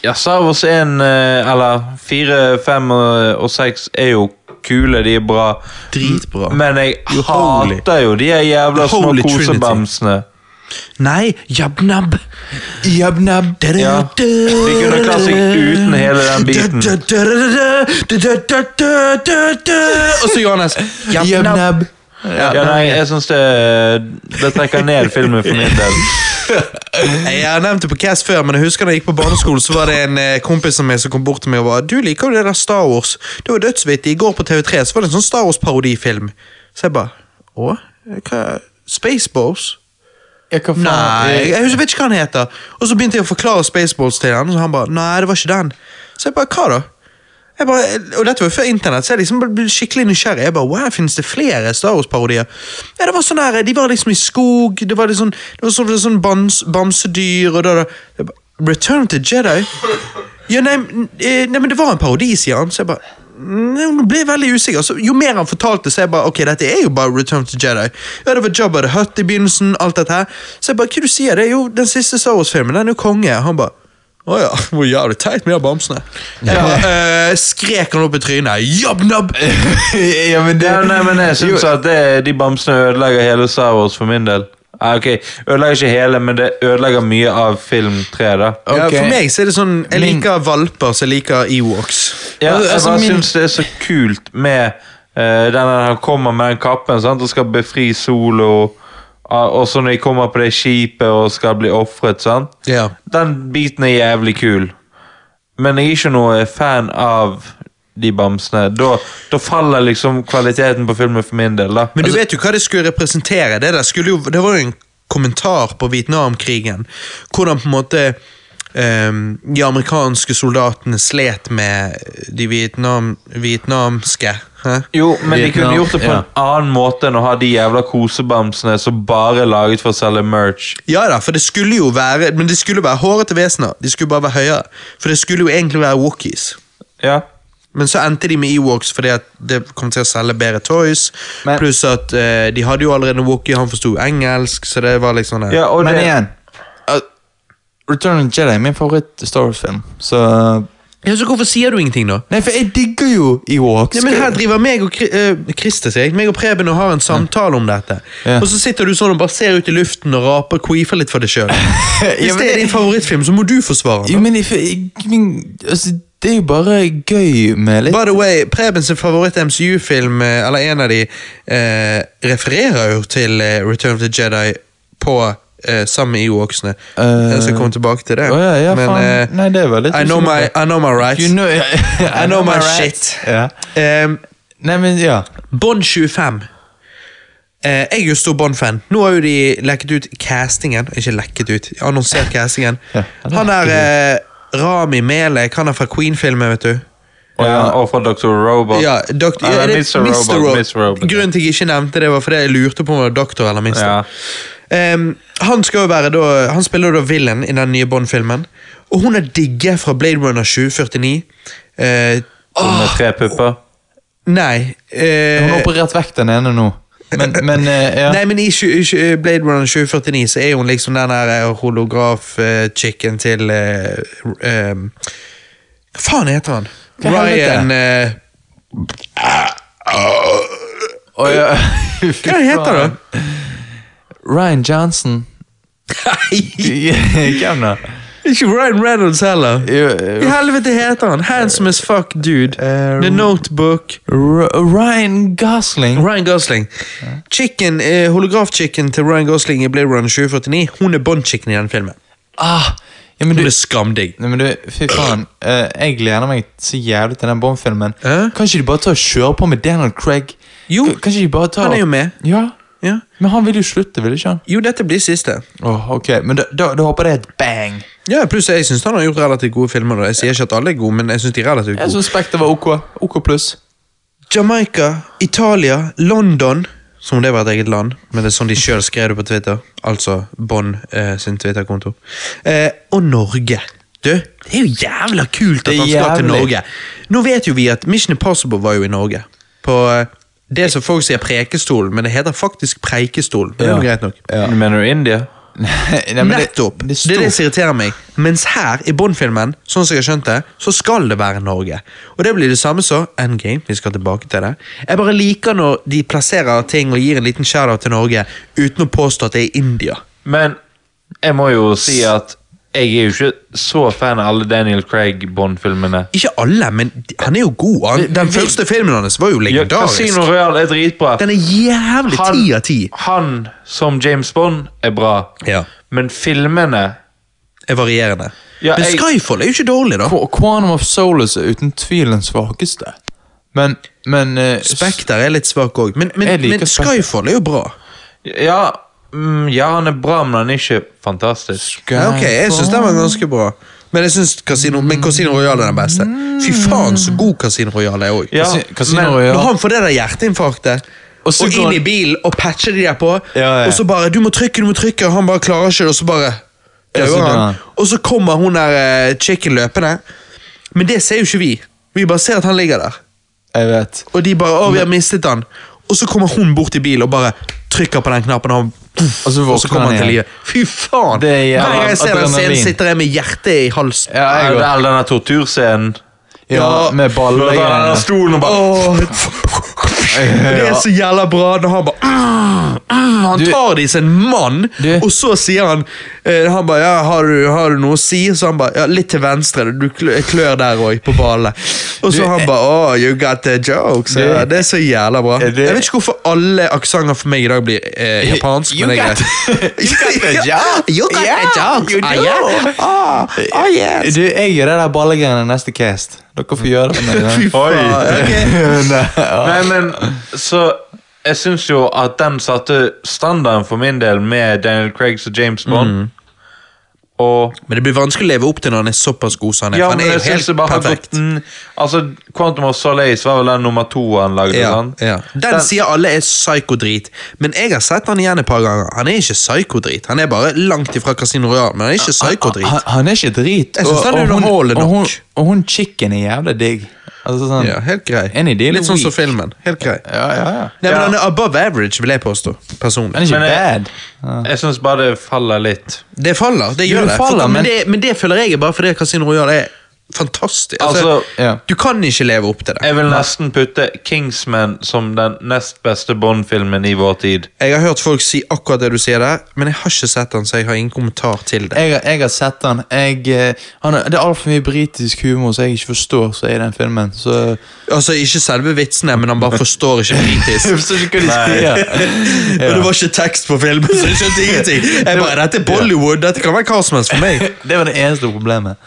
C: Ja, Star Wars 1, eh, eller 4, 5 og 6 er jo kule, de er bra.
A: Dritbra.
C: Men jeg
A: Jo, holy.
C: hater jo de her jævla
A: The
C: små
A: holy trinity.
C: kosebamsene.
A: Nei, jabnab.
B: Jabnab.
C: Ja. Vi kunne klart seg uten hele den biten.
B: Og så Johannes.
A: Jabnab.
B: Jabnab.
C: Ja, nei, jeg syns det eh, Det trekker ned filmen for min del.
A: Jeg har nevnt det på Cast før, men jeg husker da jeg gikk på barneskolen, så var det en eh, kompis av meg som kom bort til meg og bare 'Du liker jo det der Star Wars.' Det var dødsvittig. I går på TV3 så var det en sånn Star Wars-parodifilm. Så jeg bare 'Å? Hva? Spaceballs?'
B: Ja, hva faen?
A: Nei, jeg husker- vet ikke hva han heter. Og så begynte jeg å forklare Spaceballs til han, og så han bare 'Nei, det var ikke den'. Så jeg bare 'Hva da?' Jeg bare, og dette var jo før internett, så jeg liksom ble skikkelig nysgjerrig. Jeg bare, wow, Finnes det flere Star Wars-parodier? Ja, det var sånn her, De var liksom i skog, det var litt sånn, det var sånn, det var sånn bams, bamsedyr og da, da. Jeg bare, Return to Jedi? Ja, nei, n- eh, nei, men det var en parodi, sier han. Så jeg bare nei, Nå ble jeg veldig usikker. Så jo mer han fortalte, så jeg bare Ok, dette er jo bare Return to Jedi. Ja, det var Jabba the Hutt i begynnelsen, alt dette her. Så jeg bare, hva du sier, det er jo den siste Star Wars-filmen, den er jo konge. Han bare å ja, hvor jævlig teit med de bamsene. Jeg bare, eh, skrek han opp i trynet. Jabnab!
B: ja, men det
C: Ja, nei, men jeg syns at det, de bamsene ødelegger hele Star Wars for min del. Ah, ok, Ødelegger ikke hele, men det ødelegger mye av film 3, da.
A: Ja,
B: Ok.
A: for meg så er det sånn Jeg
B: Min-
A: liker valper, så jeg liker Ewoks.
C: Ja,
B: Altså,
C: jeg
B: altså,
C: bare
B: min-
C: syns det er så kult med eh, den der han kommer med den kappen sant? og skal befri Solo. ah, Og så når de kommer på det skipet og skal bli ofret. sant?
A: Ja.
C: Den biten er jævlig kul. Men jeg er ikke noe fan av de bamsene. Da, da faller liksom kvaliteten på filmen for min del. da. Altså,
A: Men du vet jo hva det skulle representere. Det, der skulle jo, det var jo en kommentar på Vietnamkrigen. Hvordan på en måte ehm, de amerikanske soldatene slet med de vietnam, vietnamske. Hæ?
C: Jo, men de
B: Vietnam,
C: kunne gjort det på
B: ja.
C: en annen måte enn å ha de jævla kosebamsene som bare er laget for å selge merch.
A: Ja da, for det skulle jo være Men det skulle være hårete vesener. De skulle bare være høyere. For det skulle jo egentlig være walkies.
C: Ja.
A: Men så endte de med Ewoks fordi at det kom til å selge bedre toys.
B: Men-
A: Pluss at eh, de hadde jo allerede Wookie, han forsto engelsk, så det var liksom det.
C: ja og
B: Men
C: det,
B: igjen uh, Return of the Jedi er min favoritt-Star Wars-film. Så
A: Ja, så hvorfor sier du ingenting, da?
B: Nei, for jeg digger jo Ewoks.
A: Nei, men her driver meg og Kri- eh, Christer, sier jeg. Meg og Preben og har en samtale om dette.
B: Ja.
A: Og så sitter du sånn og bare ser ut i luften og raper queefer litt for deg sjøl. Hvis
B: men
A: det
B: det-
A: er din favorittfilm, så må du forsvare
B: Jo,
A: den. da.
B: men if, jeg, men, altså, det er jo bare gøy med litt
A: By the way, Preben sin favoritt-MCU-film, eh, eller en av de, eh, refererer jo til eh, Return of the Jedi på eh, sammen med Ewoksene.
B: Eh,
A: jeg skal komme tilbake til det.
B: Å ja, ja,
A: men
B: faen.
A: eh,
B: Nei, det var litt
A: I, know my,
B: usikker.
A: I know my rights.
B: You know,
A: I know my shit.
B: Ja.
A: Ehm,
B: Nei, men ja.
A: Bond 25. Eh, jeg er jo stor Bond-fan. Nå har jo de lekket ut castingen. Ikke lekket ut, annonsert castingen.
B: Ja, det
A: Han er eh, Rami Melek, han er fra Queen-filmen, vet du.
C: Og, ja, og fra Dr. Robot.
A: Ja, dokt-
C: Eller
A: ja, det er
C: Mr. Robot, Mr. Robot.
A: Grunnen til jeg ikke nevnte det, var fordi jeg lurte på om det var doktor eller mister.
C: Ja.
A: Ehm, han, skal jo være da, han spiller jo da villain i den nye Bond-filmen. Og hun er digge fra Blade Runner 2049. Eh,
C: Som med tre pupper.
A: nei eh,
B: Hun har operert vekk den ene nå. Men, men eh, ja.
A: Nei, men i tju- tju- Blade Runner 2049 så er hun liksom den der holograf-chicken til eh, r- eh, Hva faen heter han?
B: Hva helvete?
A: Ryan eh,
B: Å, ja.
A: Hva heter han?
B: Ryan Johnson.
A: Nei,
B: Hvem da?
A: ikke Ryan Reynolds heller.
B: Jo,
A: I
B: eh,
A: helvete heter han? Handsome as fuck dude.
B: Eh,
A: The Notebook.
B: R- Ryan Gosling.
A: Ryan Gosling. Chicken, eh, Holograf-chicken til Ryan Gosling i Blade Runner 2049. Hun er Bond-chicken i den filmen.
B: Ah, ja, men
A: Hun
B: du,
A: er skamdigg.
B: Nei, men du, fy faen. eh, jeg gleder meg så jævlig til den Bond-filmen.
A: Hæ?
B: Kan ikke de bare ta og kjøre på med Daniel Craig?
A: Jo,
B: K- Kanskje de bare tar
A: han er jo med.
B: Ja,
A: Ja.
B: Men han vil jo slutte, vil ikke han?
A: Jo, dette blir siste.
B: Åh, ok, Men da, da, da håper jeg det er et bang.
A: Ja, pluss jeg syns han har gjort relativt gode filmer. da. Jeg sier ikke at alle er gode, men jeg syns de er relativt
B: Jeg
A: gode.
B: syns Spekter var OK. OK pluss.
A: Jamaica, Italia, London Som om det var et eget land, men det er sånn de sjøl skrev det på Twitter. Altså Bond eh, sin Twitter-konto. Eh, og Norge. Du, det er jo jævla kult at
B: Det er
A: han skal til
B: jævlig.
A: Norge. Nå vet jo vi at Mission Impossible var jo i Norge. På eh, det som folk sier Prekestolen, men det heter faktisk Preikestolen. Men Det er jo
B: Ja.
A: greit nok.
B: Ja.
C: Mener du India?
B: Nei, men det-
A: Nettopp!
B: Det,
A: Det, er det som irriterer meg. Mens her, i Bond-filmen, sånn som jeg har skjønt det, så skal det være Norge. Og det blir det samme som Endgame. Vi skal tilbake til det. Jeg bare liker når de plasserer ting og gir en liten shadow til Norge uten å påstå at det er India.
C: Men jeg må jo si at jeg er jo ikke så fan av alle Daniel Craig-Bond-filmene.
A: Ikke alle, men de- han er jo god. Han, den første filmen hans var jo
C: Ja,
A: legendarisk.
C: Casino Royale er dritbra.
A: Den er jævlig ti av ti.
C: han som James Bond er bra,
A: Ja.
C: men filmene
A: Er varierende.
C: Ja,
A: men
C: jeg-
A: Skyfall er jo ikke dårlig, da.
B: Qu- Quantum of Solace er uten tvil den svakeste. Men, men eh,
A: Spekter er litt svak òg, men, men,
B: Jeg liker
A: men
B: Spectre.
A: Skyfall er jo bra.
C: Ja, mm, ja han er bra, men han er ikke fantastisk.
B: Sky-
A: Ja, ok, jeg synes den var ganske bra. Men jeg synes Casino, men Casino Royale er den beste. Fy faen, så god Casino Royale er òg.
C: Ja,
B: Kasi- Mm. Casino
C: men-
B: Royale.
A: Når han får det der hjerteinfarktet, og,
B: Og så går
A: inn
B: han-
A: i bilen og patcher de der på,
B: Ja, ja.
A: og så bare 'Du må trykke, du må trykke', og han bare klarer ikke det, og så bare
B: Ja, så
A: dauer
B: dør
A: han.
B: han.
A: Og så kommer hun der eh, chicken løpende. Men det ser jo ikke vi. Vi bare ser at han ligger der.
B: Jeg vet.
A: Og de bare 'Å, vi har mistet han'. Og så kommer hun bort til bilen og bare trykker på den knappen, og, han,
B: Og så
A: og så
B: våkner
A: kommer han
B: han
A: til live.
B: igjen.
A: Fy faen!
B: Det er
A: Hver
B: jævla
A: gang jeg ser den scenen,
B: adrenalin.
A: sitter jeg med hjertet i halsen.
B: Ja, jeg
C: All
B: går.
C: all denne torturscenen.
A: Ja.
B: Ja, med
C: Når han tar denne
B: ballegreiene.
C: stolen og bare
A: Åh. Det er så jævla bra når han bare "Ah, Han
B: Du-
A: tar det i sin mann,
B: Du-
A: og så sier han eh, Han bare ja, har du, 'Har du noe å si?' Så han bare ja, 'Litt til venstre, du klør, jeg klør der òg, på ballen'. Og så
B: eh-
A: han bare 'Oh, you got the jokes'. Ja, det er så jævla bra.
B: Er det-
A: Jeg vet ikke hvorfor alle aksenter for meg i dag blir eh, japansk,
B: eh, You
A: men det er
B: got-
A: greit.
B: You got the joke.
A: You got
B: Yeah,
A: the jokes.
B: you
A: Ah,
B: do.
A: yeah. Ah, ah, yes.
B: Du, jeg gjør det der ballegreiene neste cast. Dere får gjøre det. med
A: Fy
B: meg.
A: faen. ok.
C: Nei, men så Jeg syns jo at den satte standarden for min del med Daniel Craig og James Bond.
A: Mm.
C: Og
A: Men det blir vanskelig å leve opp til når han er såpass god som han er.
C: ja,
A: for
C: men
A: han er
C: jeg
A: jo
C: synes
A: helt
C: det bare har
A: perfekt.
C: gått en Altså, Quantum of Solace var vel den nummer to han lagde?
A: Ja,
C: sant?
A: ja. Den sier alle er psykodrit, men jeg har sett han igjen et par ganger. Han er ikke psykodrit. Han er bare langt ifra Casino Royal, men han er ikke
B: Han,
A: psykodrit.
B: han er ikke drit.
A: Jeg synes
B: og-
A: han er
B: og hun-
A: underholdende
B: og hun-
A: nok.
B: Og hun chicken er jævlig digg. Altså sånn
A: Ja, helt grei.
B: Any deal
A: Litt sånn som
B: week.
A: filmen. Helt grei.
B: ja, ja, ja.
A: Nei, men
C: Ja.
A: Han er above average, vil jeg påstå.
B: Han er
A: personlig.
B: ikke
C: Men jeg-
B: bad. Ja.
C: Jeg syns bare det faller litt.
A: Det faller, det
B: Jo,
A: gjør
B: det
A: det.
B: faller,
A: For, men,
B: men-
A: det men det føler jeg er bare fordi Casino Royal er fantastisk. Altså,
C: Altså,
B: ja.
A: Du kan ikke leve opp til det.
C: Jeg vil nesten putte Kingsman som den nest beste Bond-filmen i vår tid.
A: Jeg har hørt folk si akkurat det du sier der, men jeg har ikke sett den, så jeg har ingen kommentar til det.
B: Jeg, har- jeg har sett han. Jeg, eh, han er, det er altfor mye britisk humor som jeg ikke forstår så er i den filmen. Så
A: Altså, ikke selve vitsene, men han bare forstår ikke britisk.
B: forstår ikke hva de
A: Og det var ikke tekst på filmen, så jeg skjønte ingenting. Jeg bare, Dette er Bollywood, dette kan være hva som helst for meg.
B: Det var det eneste problemet.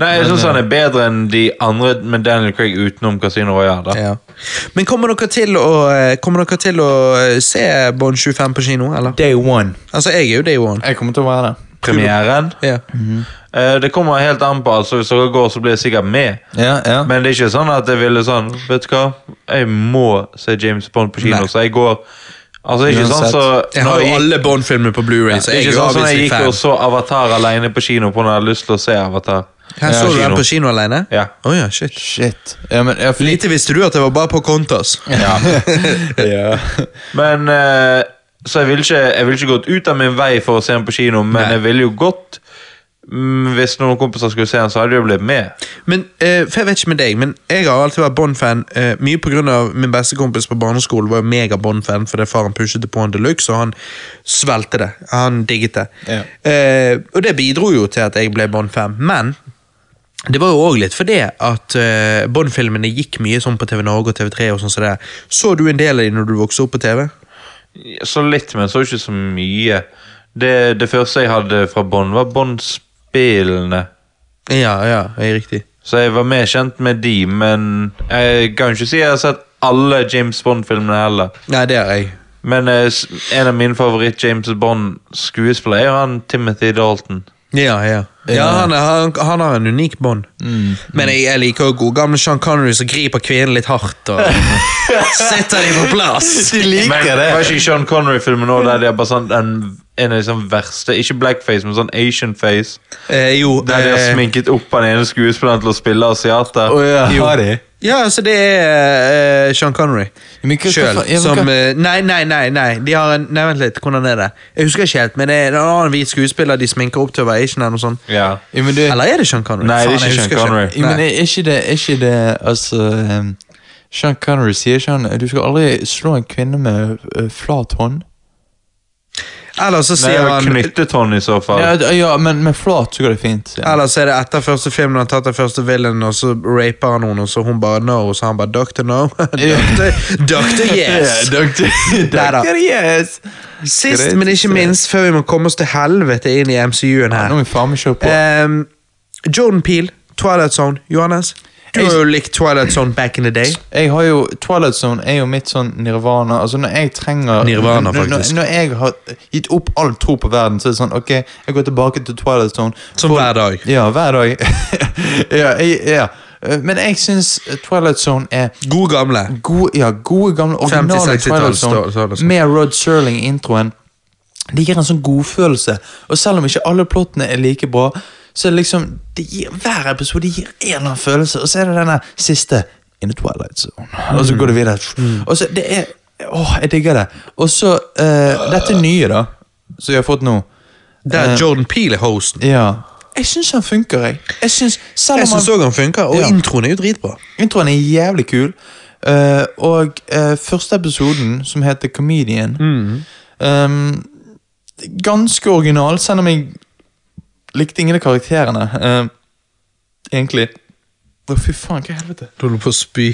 C: Nei, jeg
A: eh,
C: syns han er bedre enn de andre med Daniel Craig utenom Casino Royale. da.
A: Men kommer dere til å, eh, kommer dere til å eh, se Bond 25 på kino, eller?
B: Day one.
A: Altså, jeg er jo day one.
B: Jeg kommer til å være der.
C: Premieren.
A: Ja.
C: Eh, det kommer helt an på. altså Hvis dere går, så blir jeg sikkert med.
B: Ja, ja.
C: Men det er ikke sånn at jeg ville sånn Vet du hva, jeg må se James Bond på kino,
A: Nei.
C: så jeg går Altså, det er ikke sånn
B: Uansett.
C: så
A: Jeg
C: når
A: har jo
C: jeg-
A: alle Bond-filmer på Blu-ray, så
C: Det
A: jeg
C: er
A: er
C: ikke
A: jo
C: sånn som jeg
A: obviously
C: gikk
A: fan.
C: og så Avatar alene på kino på når jeg hadde lyst til å se Avatar.
A: Her
C: Ja,
A: så du den
C: kino.
A: på kino alene?
C: Ja.
A: Å ja, shit.
B: Shit. Ja, men ja, for
A: Lite visste du at det var bare på Contas.
B: ja.
C: Men eh, Så jeg ville ikke, jeg ville ikke gått ut av min vei for å se den på kino, men jeg ville jo gått mm, Hvis noen kompiser skulle se den, så hadde jeg jo blitt med.
A: Men, eh, for jeg vet ikke med deg, men jeg har alltid vært Bond-fan. eh, mye pga. min beste kompis på barneskolen var jo mega Bond-fan fordi faren pushet på han deluxe, og han svelgte det. Han digget det.
B: Ja.
A: Eh, og det bidro jo til at jeg ble Bond-fan, men det var jo òg litt fordi at eh, Bond-filmene gikk mye sånn på TV Norge og TV3. og sånn som det. Så du en del av dem når du vokste opp på TV?
C: Så litt, men så ikke så mye. Det, det første jeg hadde fra Bond, var Bond-spillene.
A: Ja, ja, jeg er riktig.
C: Så jeg var mer kjent med de, men jeg kan jo ikke si jeg har sett alle James Bond-filmene heller.
A: Nei, det har jeg.
C: Men eh, s- en av mine favoritt-James Bond-skuespillere er jo han Timothy Dalton.
A: Ja, ja. ja han, er- han, han har en unik bånd.
C: Mm,
A: Men jeg, jeg liker jo god gamle Sean Connery som griper kvinnen litt hardt og setter dem på plass.
B: De
C: Men
B: liker
C: var
B: det.
C: ikke Sean Connery-filmen nå der de har bare sånn en, en av de sånn verste Ikke blackface, men sånn Asian face.
A: Eh, jo,
C: Der de har
A: eh,
C: sminket opp han ene skuespilleren til å spille asiater.
B: Å, ja.
A: Jo.
B: Har de?
A: ja, altså det er eh, Sean Connery
B: Men hva-
A: sjøl
B: hva- ja, men
A: som
B: hva-
A: eh, Nei, nei, nei. nei De har en, nei, Vent litt, hvordan er det? Jeg husker ikke helt, men det er en annen hvit skuespiller de sminker opp til å være Asian eller noe sånt.
C: Ja.
B: Ja, men du,
A: Eller er det Sean Connery?
C: Eh, Nei, det er
A: Faen, jeg
C: ikke Sean
A: husker ikke.
C: Connery.
B: Ja, men
A: Nei.
B: er ikke det, er ikke det altså, ehm, Sean Connery sier ikke han Du skal aldri slå en kvinne med ø, flat hånd.
A: Eller så
C: Nei,
A: sier han
C: knyttet hånd i så fall.
B: Ja, d- ja men med flat så går det fint. sier han.
A: Eller så er det etter første film når han tatt den første villen, og så raper han henne, og så hun bare no, og så han bare doctor no. doctor, doctor yes.
B: Ja, doktor,
A: Neida.
B: doktor, yes.
A: Sist, men ikke
B: Greit.
A: minst, før vi må komme oss til helvete inn i MCU-en
B: Ja,
A: her.
B: Nå må vi faen meg kjøre på.
A: Ehm, Jordan Peel, Twilight Zone. Johannes, du har jo likt Twilight Zone back in the day.
B: Jeg har jo, Twilight Zone er jo mitt sånn nirvana. Altså Når jeg trenger
A: Nirvana,
B: når-
A: faktisk.
B: Når, når jeg har gitt opp all tro på verden, så er det sånn Ok, jeg går tilbake til Twilight Zone.
A: Som
B: For-
A: hver dag.
B: Ja, hver dag. ja, jeg, ja. Eh, Men jeg syns Twilight Zone er
A: God gamle.
B: Gode, ja, gode gamle originale
A: 50-60-tallet
B: Twilight
A: står- står det
B: Zone
A: sånn.
B: med Rod Serling i introen. Det gir en sånn godfølelse. Og selv om ikke alle plottene er like bra, så er det liksom det gir, Hver episode gir en eller annen følelse, og så er det denne siste In the Twilight Zone. Og så går det videre.
A: Mm.
B: Og så det er Åh, jeg digger det. Og så eh, Dette nye, da, som jeg har fått nå.
A: Der
B: Eh,
A: Jordan Peel er hosten.
B: Ja. Jeg syns han funker, jeg. Jeg synes, selv om
A: Jeg
B: han-
A: syns òg han funker, og
B: Ja.
A: introen er jo dritbra.
B: Introen er jævlig kul. Eh, og eh, første episoden, som heter Comedian
A: Mm.
B: ehm, Ganske original, selv om jeg likte ingen av karakterene. eh, egentlig. Å, fy faen, hva i helvete?
A: Du holder på å spy.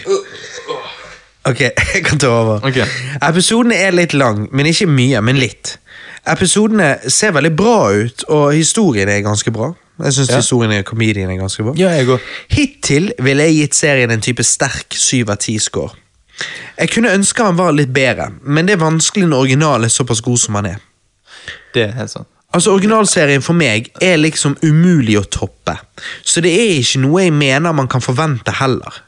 A: Ok, jeg kan ta over.
B: Ok.
A: Episodene er litt lang, men ikke mye, men litt. Episodene ser veldig bra ut, og historien er ganske bra. Jeg synes
B: Ja.
A: historien i komedien er ganske bra.
B: Ja, jeg òg.
A: Hittil ville jeg gitt serien en type sterk 7 av 10-score. Jeg kunne ønske han var litt bedre, men det er vanskelig når originalen er såpass god som han er.
B: Det er helt sånn. sant.
A: Altså Originalserien for meg er liksom umulig å toppe, så det er ikke noe jeg mener man kan forvente heller.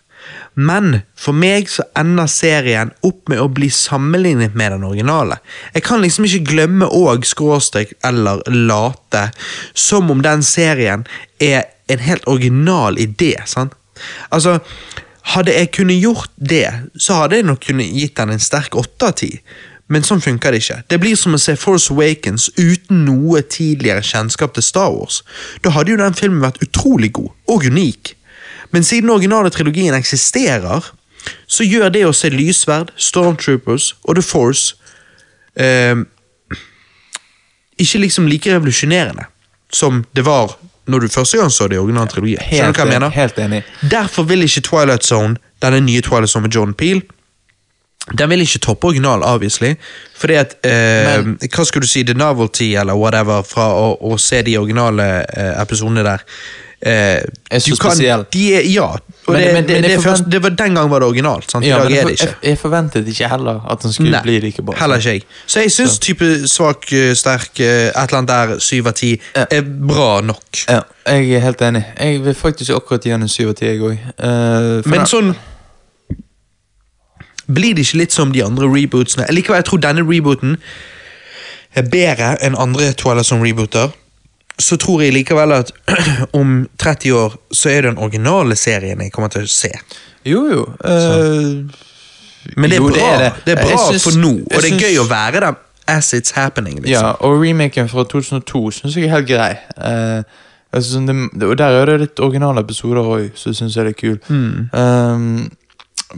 A: Men for meg så ender serien opp med å bli sammenlignet med den originale. Jeg kan liksom ikke glemme og skråstrek eller late som om den serien er en helt original idé. sant? Altså, Hadde jeg kunnet gjort det, så hadde jeg nok kunnet gitt den en sterk åtte av ti. Men sånn funker det ikke. Det blir som å se Force Awakens uten noe tidligere kjennskap til Star Wars. Da hadde jo den filmen vært utrolig god, og unik. Men siden den originale trilogien eksisterer, så gjør det å se Lysverd, Stormtroopers og The Force eh, ikke liksom like revolusjonerende som det var når du første gang så det i original trilogi. Skjønner du hva jeg mener?
B: helt enig.
A: Derfor vil ikke Twilight Zone, denne nye Twilight Zone med Jordan Peele, den vil ikke toppe originalen, obviously. Fordi at eh, Hva skulle du si, The Novelty eller whatever fra å, å se de originale eh, episodene der eh,
B: Er så
A: du kan-
B: spesiell.
A: De er, ja. Og
B: Men-
A: det,
B: men-
A: det,
B: men
A: det,
B: jeg
A: er først,
B: forvent-
A: det var Den gang var det originalt. Sant? I
B: Ja, men
A: dag er
B: jeg,
A: det ikke.
B: jeg, jeg forventet ikke heller at den skulle
A: Nei,
B: bli like bra.
A: Heller ikke jeg. Så jeg syns type svak, eh, sterk, eh, et eller annet der, syv av ti,
B: Ja.
A: er bra nok.
B: Ja, jeg er helt enig. Jeg vil faktisk akkurat gi den en syv av ti, jeg Eh, òg.
A: Men sånn Blir det ikke litt som de andre rebootsene? Likevel, jeg tror denne rebooten er bedre enn andre Twilight Zone-rebooter. Så tror jeg likevel at om 30 år så er det den originale serien jeg kommer til å se.
B: Jo, jo. eh,
A: Men det er
B: Jo,
A: bra, det er, bra
B: Jeg syns-
A: for nå, og
B: jeg
A: det er
B: syns-
A: gøy å være der as it's happening. liksom.
B: Ja, og remaken fra 2002 syns jeg er helt grei. Eh, altså, sånn, det, og der er det litt originale episoder òg, så syns jeg det er kul. Ehm,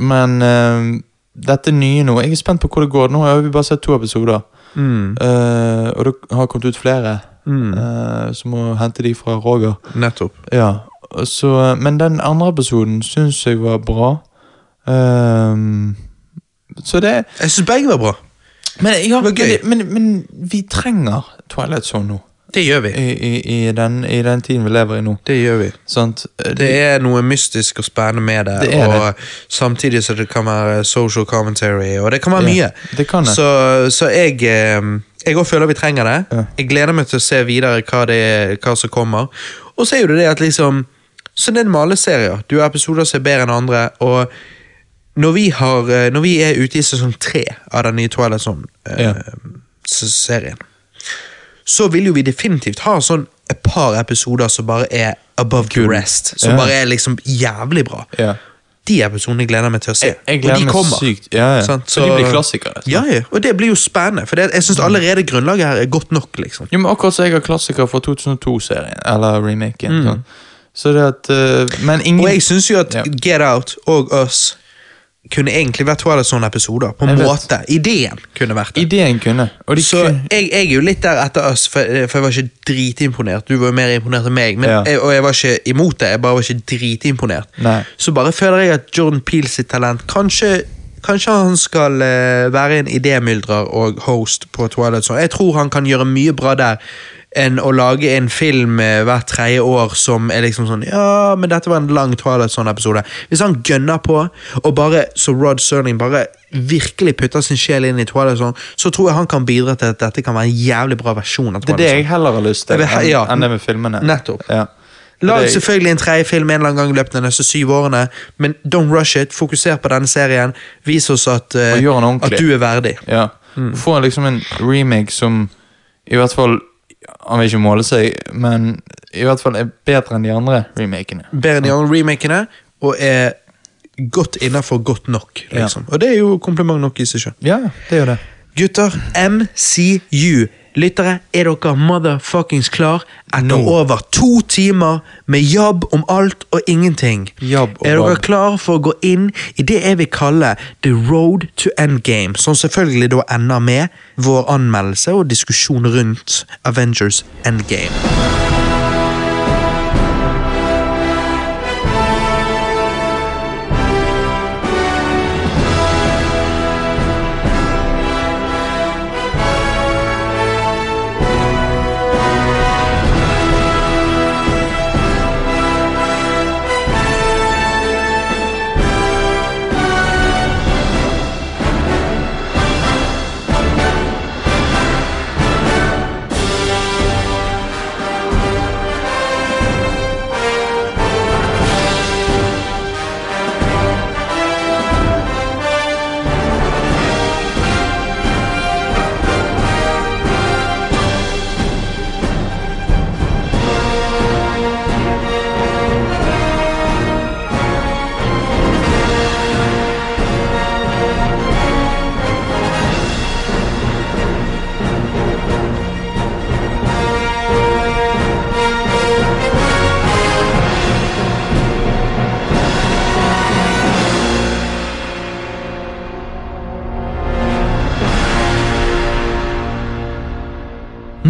B: men ehm, dette nye nå Jeg er spent på hvor det går. Nå har vi bare sett to episoder. Eh, og det har kommet ut flere. Eh, så må jeg hente de fra Roger.
A: Nettopp.
B: Ja, og så, Men den andre episoden syns jeg var bra. Ehm, så det
A: Jeg syns begge var bra.
B: men, ja,
A: var
B: men,
A: gøy.
B: det- men, men vi trenger Twilight Zone nå.
A: Det gjør vi.
B: i, i, i, den, i den tiden vi lever i nå.
A: Det gjør vi.
B: Sant?
A: Det er noe mystisk og spennende med det,
B: Eh, Det er det.
A: og samtidig så det kan være social commentary, og det kan være
B: Ja,
A: mye.
B: det kan det.
A: Så, så jeg eh, jeg også føler vi trenger det.
B: Ja.
A: Jeg gleder meg til å se videre hva, det er, hva som kommer. Og så er jo det det at liksom Sånn er det med alle serier. Du har episoder som er bedre enn andre, og når vi, har, eh, når vi er ute i sesong tre av den nye Twilight
B: Ja.
A: Zone-serien, så vil jo vi definitivt ha sånn et par episoder som bare er above the rest. Som
B: Ja.
A: bare er liksom jævlig bra.
B: Ja.
A: De episodene gleder jeg meg til å se.
B: Jeg- jeg gleder
A: og
B: meg
A: de kommer.
B: sykt. Ja, ja.
A: Sant?
B: For de blir klassikere, sant?
A: Ja, ja. Og det blir jo spennende, for det, jeg
B: Mm.
A: syns allerede grunnlaget her er godt nok. liksom.
B: Jo, men akkurat så jeg har klassiker fra 2002-serien, eller remaken. Sånn. Så det at eh, Men ingen
A: Og jeg syns jo at
B: Ja.
A: Get Out og Us kunne egentlig vært Twilight sånne episoder. På en
B: Jeg vet.
A: måte. Ideen kunne vært det.
B: Ideen kunne. Og de
A: Så
B: kunne
A: jeg, jeg er jo litt der etter oss, for, for jeg var ikke dritimponert. Du var jo mer imponert enn meg, men,
B: Ja.
A: jeg, og jeg var ikke imot det. Jeg bare var ikke dritimponert.
B: Nei.
A: Så bare føler jeg at Jordan Peele sitt talent Kanskje, kanskje han skal eh, være en idémyldrer og host på Twilight Zone. Jeg tror han kan gjøre mye bra der. Enn å lage en film eh, hvert tredje år som er liksom sånn Ja, men dette var en lang Twilight Zone-episode. Hvis han gønner på, og bare, så Rod Serling bare virkelig putter sin sjel inn i Twilight Zone, så tror jeg han kan bidra til at dette kan være en jævlig bra versjon av
B: Det er
A: Twilight
B: det
A: Zone.
B: jeg heller har lyst
A: Jeg
B: til
A: vil he-
B: enn
A: ja.
B: enn det med filmene.
A: Nettopp.
B: Ja.
A: Lag
B: Det-
A: selvfølgelig en tredje film en eller annen gang i løpet av de neste syv årene, men don't rush it. Fokuser på denne serien. Vis oss at, eh,
B: Og gjør den
A: at
B: ordentlig.
A: du er verdig.
B: Ja. Få liksom en remake som i hvert fall Han vil ikke måle seg, men i hvert fall er bedre enn de andre remakene.
A: Bedre enn de andre remakene, og er godt innafor godt nok. liksom. Og det er jo kompliment nok i seg sjøl.
B: Ja, det er jo det.
A: Gutter, MCU. Lyttere, er dere motherfuckings klar etter
B: Nå.
A: over to timer med jobb om alt og ingenting?
B: Jabb og
A: er dere
B: babb.
A: klar for å gå inn i det jeg vil kalle the road to endgame, som selvfølgelig da ender med vår anmeldelse og diskusjon rundt Avengers Endgame.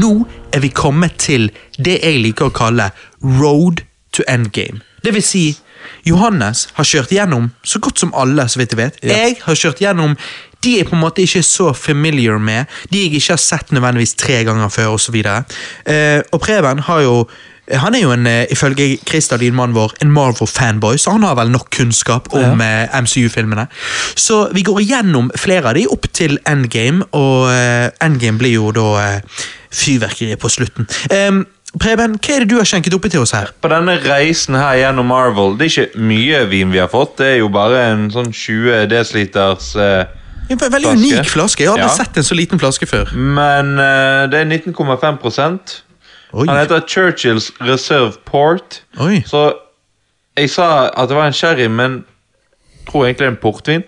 A: Nå er vi kommet til det jeg liker å kalle road to endgame. Det vil si, Johannes har kjørt gjennom så godt som alle, så vidt jeg vet. Jeg har kjørt gjennom de jeg på en måte ikke er så familiar med, de jeg ikke har sett nødvendigvis tre ganger før, osv. Eh, og Preben har jo han er jo en, eh, ifølge Christer, lydmannen vår, en Marvel-fanboy, så han har vel nok kunnskap om eh, MCU-filmene. Så vi går igjennom flere av de opp til Endgame, og eh, Endgame blir jo da eh, fyrverkeriet på slutten. Em, Preben, hva er det du har skjenket oppi til oss her?
C: På denne reisen her gjennom Marvel, det er ikke mye vin vi har fått. Det er jo bare en sånn 20 desiliters eh,
A: En ve- veldig
C: Flaske.
A: unik flaske. Jeg har aldri
C: Ja.
A: sett en så liten flaske før.
C: Men eh, det er 19,5
A: Oi.
C: Han heter Churchills Reserve Port.
A: Oi.
C: Så jeg sa at det var en sherry, men jeg tror egentlig det er en portvin.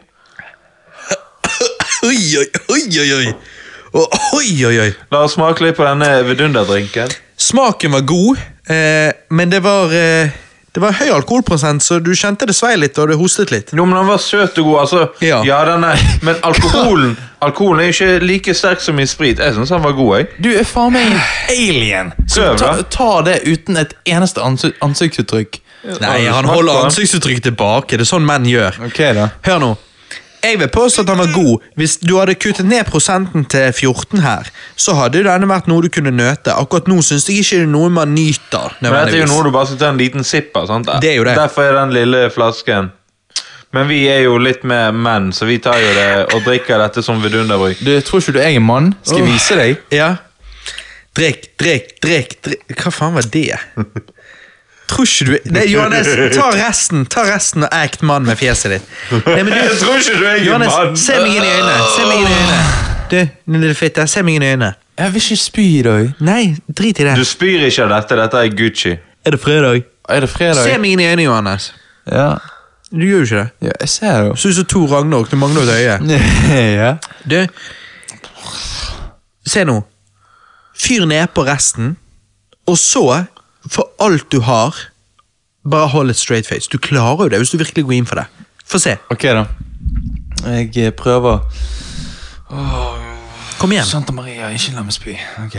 A: Oi, oi, oi, oi, oi. Og, oi, oi, oi.
C: La oss smake litt på denne vidunderdrinken.
A: Smaken var god, eh, men det var eh, det var høy alkoholprosent, så du kjente det svei litt og det hostet litt.
C: Jo, men han var søt og god. altså.
A: Ja.
C: den er, Men alkoholen alkoholen er jo ikke like sterk som i sprit. Jeg syns han var god. jeg.
B: Du er faen meg en alien!
C: Søv,
B: ta,
C: da.
B: ta det uten et eneste ansi- ansiktsuttrykk.
A: Nei, han
C: Smakte
A: holder
C: han?
A: ansiktsuttrykk tilbake. Det er sånn menn gjør.
B: Ok, da.
A: Hør nå. Jeg vil påstå at den var god. Hvis du hadde kuttet ned prosenten til 14 her, så hadde jo denne vært noe du kunne nøte. Akkurat nå syns jeg ikke det er noe man nyter.
C: Men dette er jo
A: nødvendigvis.
C: noe du bare skal ta en liten sipp av. sant?
A: Det er jo det.
C: Derfor er den lille flasken. Men vi er jo litt mer menn, så vi tar jo det og drikker dette som vidunderbruk.
B: Du, jeg tror ikke du er en mann. Skal jeg
A: Åh.
B: vise deg?
A: Ja. Drikk, drikk, drikk, drikk Hva faen var det? Tror ikke du Nei, Johannes, ta resten ta resten og act mann med fjeset ditt. Nei, men
C: Jeg tror ikke du er en
A: Johannes,
C: mann.
A: se meg inn i øynene. Se meg inn i øynene. Du, din lille fitte, se meg inn i øynene.
B: Jeg vil ikke spy i dag.
A: Nei, drit i det.
C: Du spyr ikke av dette. Dette er Gucci.
A: Er det fredag?
B: Er det fredag?
A: Se meg inn i øynene, Johannes.
B: Ja.
A: Du gjør jo ikke det.
B: ja, jeg ser jo.
A: Du ser ut som to Ragnarok. Du mangler et øye.
B: ja.
A: Du, se nå. Fyr ned på resten, og så, for alt du har, bare hold et straight face. Du klarer jo det hvis du virkelig går inn for det. Få se.
B: Ok, da. Jeg eh, prøver.
A: Kom igjen.
B: Santa Maria, ikke la meg spy. Ok.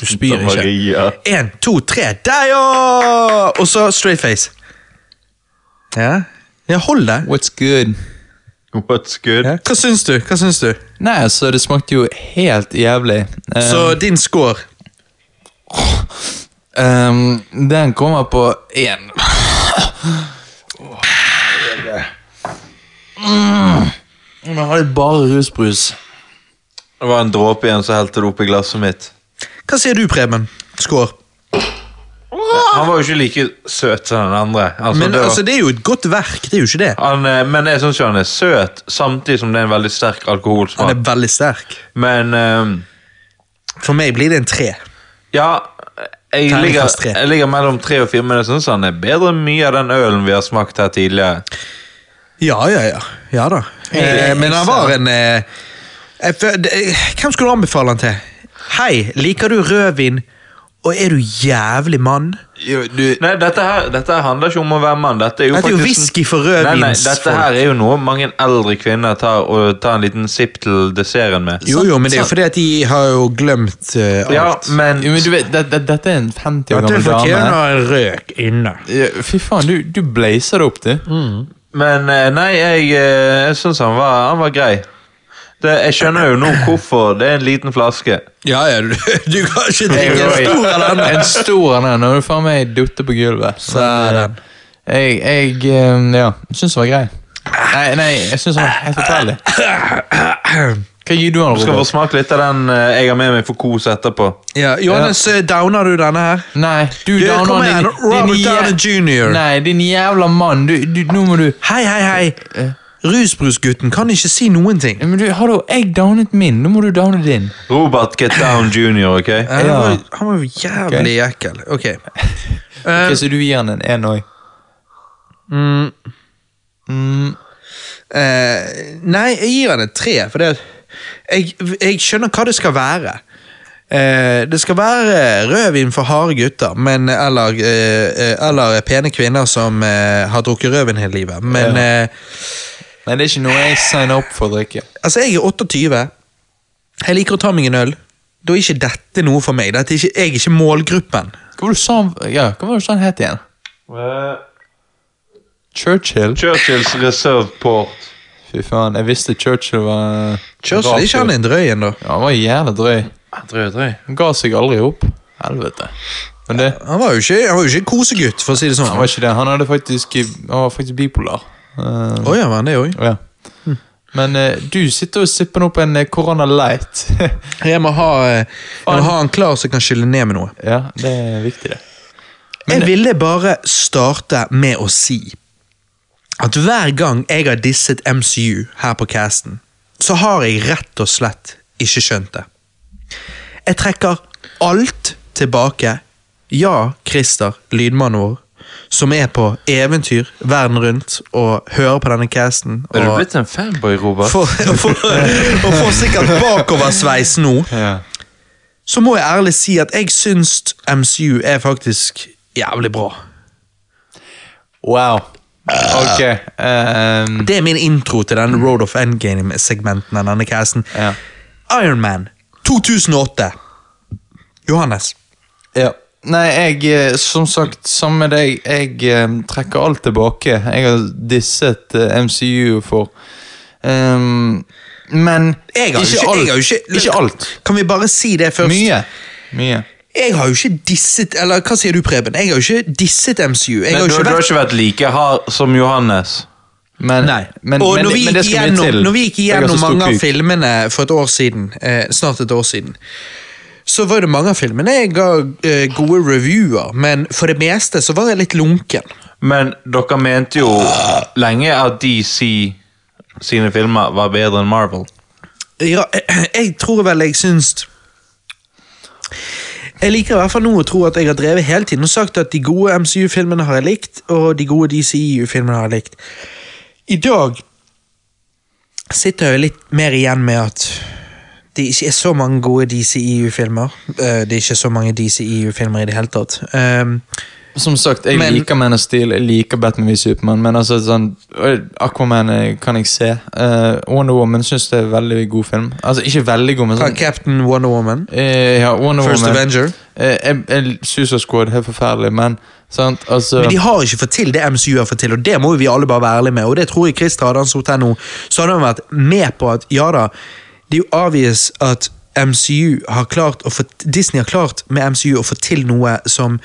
A: Du spyr ikke.
C: Maria.
A: Én, to, tre, der, ja! Og så straight face. Ja, ja hold det.
B: What's good?
C: What's good?
A: Hva syns du? Hva syns du?
B: Nei, altså, det smakte jo helt jævlig. Eh,
A: Så din score
B: Ehm, den kommer på én. Mm. Men har de bare rusbrus?
C: Det var en dråpe igjen som helte det oppi glasset mitt.
A: Hva sier du, Preben? Score.
C: Han var jo ikke like søt som den andre. Altså,
A: Men
C: det var,
A: altså, det er jo et godt verk. Det er jo ikke det.
C: han, eh, men jeg syns jo han er søt, samtidig som det er en veldig sterk
A: Han er
C: alkoholsmak.
A: veldig sterk.
C: Men eh,
A: For meg blir det en tre.
C: ja jeg
A: Terningkast
C: ligger,
A: tre.
C: jeg ligger mellom tre og fire, men jeg syns han er bedre enn mye av den ølen vi har smakt her tidligere.
A: Ja, ja, ja. Ja da. Eh, men han var en eh, jeg fø- det- eh, Hvem skulle du anbefale han til? Hei, liker du rødvin, og er du jævlig mann?
C: Nei, dette her, dette her handler ikke om å være mann. Dette er jo
A: Dette er jo
C: faktisk en-
A: whisky for
C: Nei, nei,
A: rødvins.
C: dette her er jo noe mange eldre kvinner tar og tar en liten sipp til desserten med.
A: Jo, jo, men det er jo fordi at de har jo glemt eh, alt.
C: Ja, men
B: Jo, men du vet, det, det, Dette er en 50 år
A: At du
B: gammel dame.
A: fortjener en røk inne.
B: Ja, Fy faen, du, du blazer det opp, du.
A: Mm.
C: Men eh, nei, jeg, eh, jeg syns han, var- han var grei. Det, jeg skjønner jo nå hvorfor. Det er en liten flaske.
A: Ja, ja, du, du kan ikke drikke en
B: Oi.
A: stor eller annen.
B: En stor en, når du faen meg dutter på gulvet.
A: Satan.
B: Jeg, jeg eh, ja, syns den var grei. Nei, nei, jeg syns den var helt forferdelig. Hva gir du han,
C: Du skal få
B: Robert?
C: smake litt av den eh, jeg har med meg for kos etterpå.
A: Ja, Johannes, eh, downer du denne her?
B: Nei, du,
A: Du,
B: Down,
A: kom
B: han,
A: igjen,
B: din-
A: Robert
B: din jæ-
A: Downey Jr.
B: Nei, din jævla mann. Du, du, nå må du
A: Hei, hei, hei. Rusbrusgutten kan ikke si noen ting.
B: Nei, men du, Hallo, jeg downet min. Nå må du downe din.
C: Robert Get Down Jr., ok?
A: Ja. Han, var,
B: Ja.
A: han var jo jævlig ekkel. Ok. Eh,
B: Ok, så du gir han en én òg?
A: eh, nei, jeg gir han et tre, for det, jeg, jeg skjønner hva det skal være. Eh, det skal være rødvin for harde gutter, men, eller, eh, eh, eller pene kvinner som eh, har drukket rødvin hele livet. Men eh,
B: Nei, det er ikke noe jeg signer opp for å drikke.
A: altså, jeg er 28. Jeg liker å ta meg en øl. Da er ikke dette noe for meg. Dette er ikke, jeg er ikke målgruppen.
B: Hva var det du sa han ja, hva var det du sa han het igjen?
C: Eh,
B: Churchill?
C: Churchills Reserve Port.
B: Fy faen, jeg visste Churchill var
A: Churchill, er ikke han en drøy en, da?
B: Ja, han var jævla drøy.
C: Drøy, drøy.
B: Han ga seg aldri opp. Helvete. Men det
A: Han var jo ikke, han var jo ikke kosegutt, for å si det sånn.
B: han var ikke det. Han, hadde faktisk, han var faktisk bipolar. Eh,
A: Å ja, var han det òg?
B: ja. Men eh, du sitter og sipper opp en eh, Corona Light.
A: Jeg må ha, eh, jeg må ha han klar så jeg kan skylle ned med noe.
B: ja, det er viktig, det.
A: Jeg ville bare starte med å si at hver gang jeg har disset MCU her på casten, så har jeg rett og slett ikke skjønt det. Jeg trekker alt tilbake. Ja, Christer, lydmannen vår, som er på eventyr verden rundt og hører på denne casten.
C: Er du
A: og-
C: blitt en fanboy, Robert?
A: for, for, og får sikkert bakoversveis nå,
B: Ja.
A: så må jeg ærlig si at jeg syns MCU er faktisk jævlig bra.
B: Wow. Ok. ehm,
A: Det er min intro til den Road of Endgame-segmenten av denne casten.
B: Ja.
A: Iron Man 2008. Johannes.
B: ja. Nei, jeg eh, Som sagt, sammen med deg, jeg eh, trekker alt tilbake. Jeg har disset eh, MCU for Ehm, men
A: Jeg har jo
B: ikke,
A: ikke-
B: alt.
A: jeg har jo ikke-
B: ikke alt.
A: Kan vi bare si det først?
B: Mye. Mye.
A: Jeg har jo ikke disset Eller hva sier du, Preben? Jeg har jo ikke disset MCU. Jeg
C: Men
A: har jo
C: du,
A: ikke
C: du har
A: vært
C: ikke vært like hard som Johannes.
B: Men, men,
A: og
B: men,
A: når
B: det-
A: vi,
B: men det
A: gikk
B: skal mye
A: gjennom,
B: til.
A: når vi gikk
B: Jeg har så
A: igjennom
B: stor
A: mange av
B: kuk.
A: filmene for et år siden, eh, snart et år siden, så var det mange av filmene jeg ga eh, gode reviewer, men for det meste så var jeg litt lunken.
C: Men dere mente jo lenge at DC sine filmer var bedre enn Marvel.
A: Ja, jeg tror vel jeg syns Jeg liker i hvert fall nå å tro at jeg har drevet hele tiden og sagt at de gode MCU-filmene har jeg likt, og de gode DCU-filmene har jeg likt. I dag sitter jeg jo litt mer igjen med at det ikke er så mange gode DCEU-filmer. Eh, Det er ikke så mange DCEU-filmer i det hele tatt. Ehm,
B: Som sagt, jeg
A: Men-
B: liker Man of Steel, jeg liker Batman vs Supermann, men altså sånn øh, Aquaman eh, kan jeg se. Eh, Wonder Woman syns det er veldig god film. Altså ikke veldig god, men sånn
A: Captain Wonder Woman,
B: eh, ja, Wonder
A: First
B: Woman
A: Avenger.
B: eh, jeg, jeg, Suicide Squad er helt forferdelig, men sant, altså
A: Men de har ikke fått til det MCU har fått til, og det må jo vi alle bare være ærlige med. Og det tror jeg Christer hadde han sittet her nå, så hadde han vært med på at ja da, det er jo obvious at MCU har klart å få, Disney har klart med MCU å få til noe som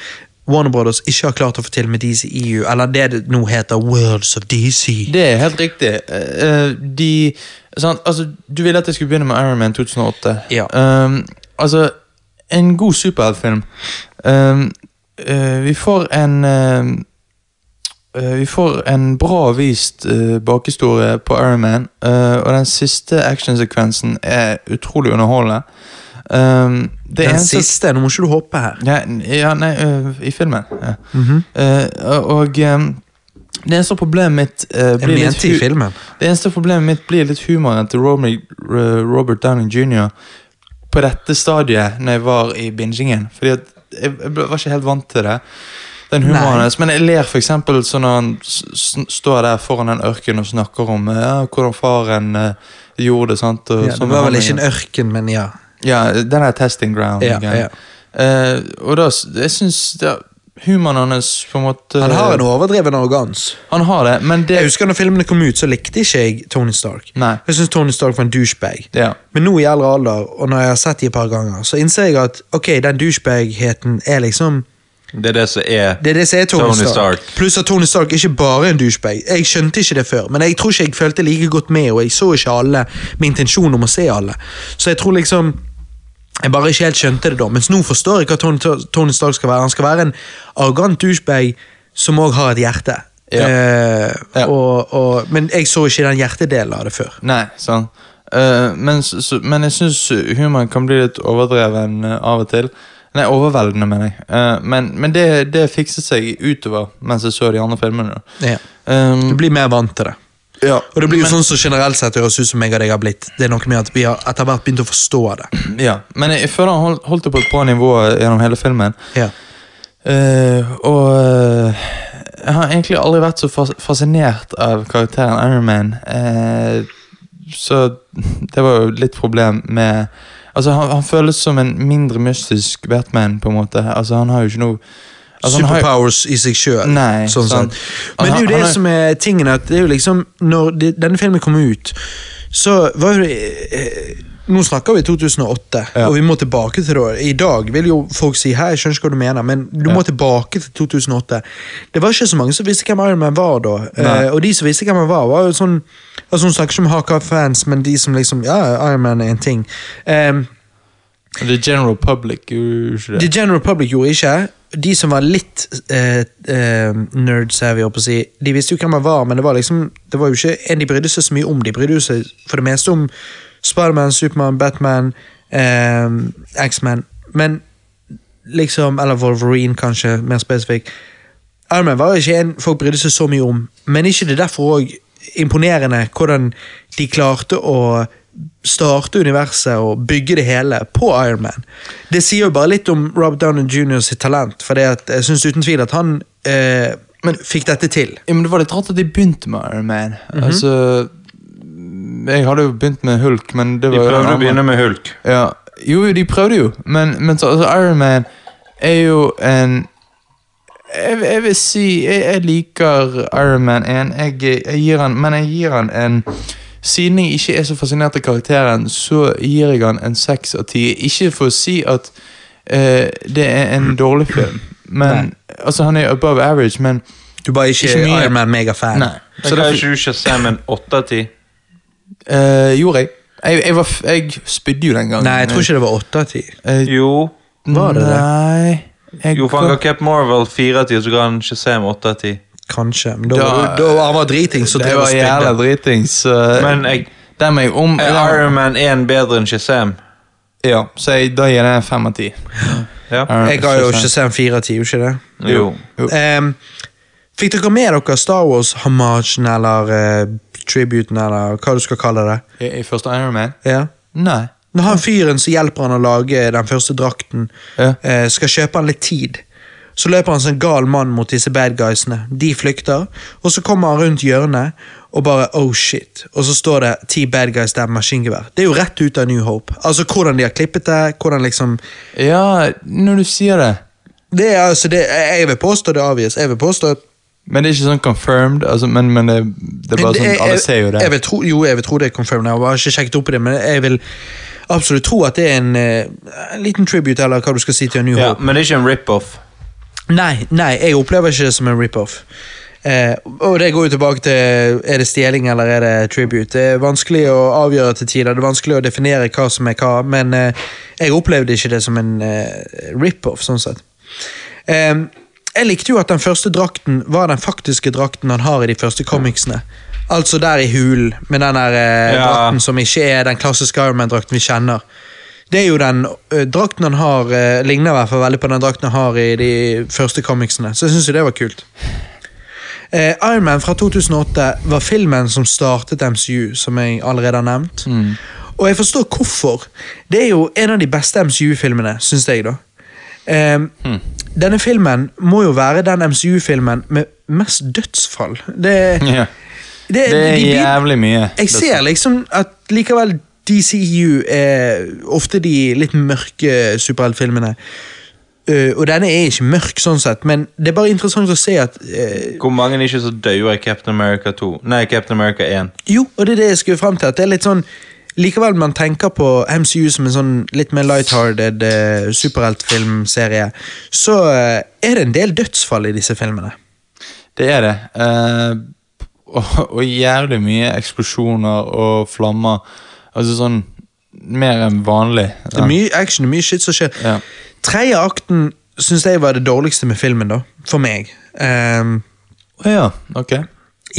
A: Warner Brothers ikke har klart å få til med DCEU, eller det det nå heter Worlds of DC.
B: Det er helt riktig. Eh, eh, de sant, altså, Du ville at jeg skulle begynne med Iron Man 2008.
A: Ja.
B: Um, altså, en god superheltfilm. Um, eh, vi får en um, eh, Vi får en bra vist eh, bakhistorie på Iron Man, eh, og den siste actionsekvensen er utrolig underholdende. Um, det
A: Den
B: eneste-
A: siste, nå må ikke du hoppe her.
B: ja, n- ja nei, ø, i filmen. Ja.
A: Mhm.
B: Eh, og ehm, det eneste problemet mitt eh,
A: Jeg
B: blir litt
A: mente i
B: hu-
A: filmen.
B: Det eneste problemet mitt blir litt humoren til Robert, Robert Downey jr. på dette stadiet når jeg var i bingingen. Fordi at jeg, jeg ble- var ikke helt vant til det. Den
A: Nei.
B: humoren hans. Men jeg ler f.eks. sånn når han s- s- står der foran den ørkenen og snakker om eh, ja, hvordan faren eh, gjorde det. sant? Og
A: Ja,
B: sånn
A: det var vel
B: behandling.
A: ikke en ørken, men ja.
B: Ja, den er testing ground.
A: Ja,
B: greia. Eh, og da, s- jeg syns ja, humoren hans på en måte
A: Han har en overdreven arroganse.
B: Han har det, men
A: Jeg
B: det
A: husker når filmene kom ut, så likte ikke jeg Tony Stark.
B: Nei.
A: Jeg synes Tony Stark var en douchebag.
B: Ja.
A: Men nå i eldre alder, og når jeg har sett de et par ganger, så innser jeg at ok, den douchebagheten er liksom
C: Det er det som er
A: Det er det som er Tony,
C: Tony
A: Stark.
C: Stark.
A: Pluss at Tony Stark ikke bare er en douchebag. Jeg skjønte ikke det før, men jeg tror ikke jeg følte like godt med, og jeg så ikke alle med intensjon om å se alle. Så jeg tror liksom jeg bare ikke helt skjønte det da, mens nå forstår jeg hva Tony, Tony Stark skal være. Han skal være en arrogant douchebag som òg har et hjerte.
B: Ja.
A: Eh,
B: Ja.
A: Og, og, men jeg så ikke den hjertedelen av det før.
B: Nei, sant. Eh, men, s- s- men jeg syns humoren kan bli litt overdreven eh, av og til. Nei, overveldende, mener jeg. Eh, men men det, det fikset seg utover mens jeg så de andre filmene.
A: Ja.
B: Um,
A: Du blir mer vant til det.
B: ja.
A: Og det blir jo sånn som generelt sett høres ut som jeg og deg har blitt. Det er noe med at vi har etter hvert begynt å forstå det.
B: ja. Men jeg, jeg føler han holdt, holdt det på et bra nivå eh, gjennom hele filmen.
A: Ja.
B: Eh, og eh, jeg har egentlig aldri vært så fas fascinert av karakteren Iron Man. Eh, så det var jo litt problem med Altså, han, han føles som en mindre mystisk Batman, på en måte. Altså, han har jo ikke noe altså, han har jo-
A: Superpowers i seg sjøl.
B: Nei,
A: Sånn
B: sant. Altså,
A: sett. Men det er
B: Han-
A: jo det
B: han er-
A: som er tingen, at det er jo liksom Når de, denne filmen kom ut, så var jo det eh, Nå snakker vi 2008,
B: Ja.
A: og vi må tilbake til det. I dag vil jo folk si Hei, jeg skjønner ikke hva du mener, men du må tilbake til 2008. Det var ikke så mange som visste hvem Iron Man var da.
B: Nei.
A: Eh, og de som visste hvem han var, var jo sånn Altså Hun snakker ikke om hardcore-fans, men de som liksom Ja, Iron Man er en ting. Um,
B: The general public gjorde jo ikke
A: The
B: det.
A: General Public gjorde ikke. De som var litt eh, eh, nerds, her, vil jeg holdt på å si, de visste jo hvem han var, men det var liksom Det var jo ikke en de brydde seg så mye om. De brydde jo seg for det meste om Spiderman, Supermann, Batman, eh, X-Man, men liksom Eller Wolverine, kanskje, mer spesifikt. Iron Man var ikke en folk brydde seg så mye om, men ikke det er derfor òg imponerende hvordan de klarte å starte universet og bygge det hele på Iron Man. Det sier jo bare litt om Rob Downey jr. sitt talent, for det at jeg syns uten tvil at han eh, fikk dette til.
B: Ja, men det var litt rart at de begynte med Iron Man. Altså Jeg hadde jo begynt med Hulk, men det var
C: De
B: jo en
C: prøvde å
B: annen-
C: begynne med Hulk.
B: Ja. Jo, jo, de prøvde jo, men, men så, altså, Iron Man er jo en Jeg, jeg vil si jeg, jeg liker Iron Man 1, jeg, jeg gir han, men jeg gir han en Siden jeg ikke er så fascinert av karakteren, så gir jeg han en seks av ti. Ikke for å si at eh, det er en dårlig film, men Altså, han er above average, men
A: Du bare ikke,
B: Ikke mye.
A: Iron Man-megafan.
B: Nei.
C: Så da er ikke du Shazam en åtte av ti?
B: Eh, gjorde jeg. Jeg, jeg, var, f- jeg spydde jo den gangen.
A: Nei, jeg tror ikke det var åtte av ti.
B: Eh,
C: Jo.
A: Var det det?
B: Nei jeg,
C: Jo, for han ga Cap Marvel fire av ti, og så ga han Shazam åtte av ti.
A: Kanskje. Men da,
B: Da-
A: var du- da var han var driting, så
B: Det
A: drev og
B: var jævla
A: spydde.
B: dritings. eh,
C: Men jeg,
B: den må jeg om.
C: er Iron Man 1 bedre enn Shazam?
B: Ja, så jeg, da gir jeg den fem av ti.
C: Ja.
A: Jeg ga jo ikke Sam fire av ti, gjorde ikke det?
C: Jo.
B: Jo.
A: Ehm, fikk dere med dere Star Wars-hamagen eller eh, tributen, eller hva du skal kalle det?
B: I, I første Iron Man?
A: Ja.
B: Nei.
A: Når han fyren som hjelper han å lage den første drakten,
B: Ja.
A: eh, skal kjøpe han litt tid, så løper han som en gal mann mot disse bad guysene. De flykter, og så kommer han rundt hjørnet og bare oh shit. Og så står det ti bad guys der med maskingevær. Det er jo rett ut av New Hope. Altså hvordan de har klippet det, hvordan liksom
B: Ja, når du sier det.
A: Det er altså det Jeg vil påstå det er obvious. Jeg vil påstå at
B: Men det er ikke sånn confirmed, altså, men, men det, det er bare
A: Det-
B: sånn, alle ser jo det.
A: Jeg vil tro, jo, jeg vil tro det er confirmed. Jeg har bare ikke sjekket opp i det, men jeg vil absolutt tro at det er en, eh, en liten tribute, eller hva du skal si, til New
C: Ja,
A: Hope.
C: men det er ikke en rip-off.
A: Nei, nei, jeg opplever ikke det som en rip-off. Eh, og det går jo tilbake til Er det stjeling eller er det tribute. Det er vanskelig å avgjøre til tider, det er vanskelig å definere hva som er hva, men eh, jeg opplevde ikke det som en eh, rip-off, sånn sett. Eh, jeg likte jo at den første drakten var den faktiske drakten han har i de første comicsene. Altså der i hulen, med den der eh,
C: Ja.
A: drakten som ikke er den klassiske Ironman-drakten vi kjenner. Det er jo den eh, drakten han har, eh, ligner i hvert fall veldig på den drakten han har i de første comicsene, så jeg syns jo det var kult. Eh, Ironman fra 2008 var filmen som startet MCU, som jeg allerede har nevnt.
B: Mm.
A: Og jeg forstår hvorfor. Det er jo en av de beste MCU-filmene, syns jeg, da. Eh,
B: Mm.
A: Denne filmen må jo være den MCU-filmen med mest dødsfall. Det,
B: Ja.
A: det,
B: Det er
A: de begynner-
B: jævlig mye.
A: jeg ser liksom at likevel DCU er ofte de litt mørke superheltfilmene. Eh, og denne er ikke mørk, sånn sett, men det er bare interessant å se at eh,
C: Hvor mange er ikke så dauer i Captain America 2? Nei, Captain America 1.
A: Jo, og det er det jeg skulle frem til. At det er litt sånn Likevel man tenker på MCU som en sånn litt mer lighthearted eh, superheltfilmserie, så eh, er det en del dødsfall i disse filmene.
B: Det er det. Eh, og, og jævlig mye eksplosjoner og flammer. Altså sånn mer enn vanlig.
A: Det er mye action og mye shit som skjer.
B: Ja.
A: Tredje akten syns jeg var det dårligste med filmen, da. For meg. Ehm,
B: Å ja, ok. Jeg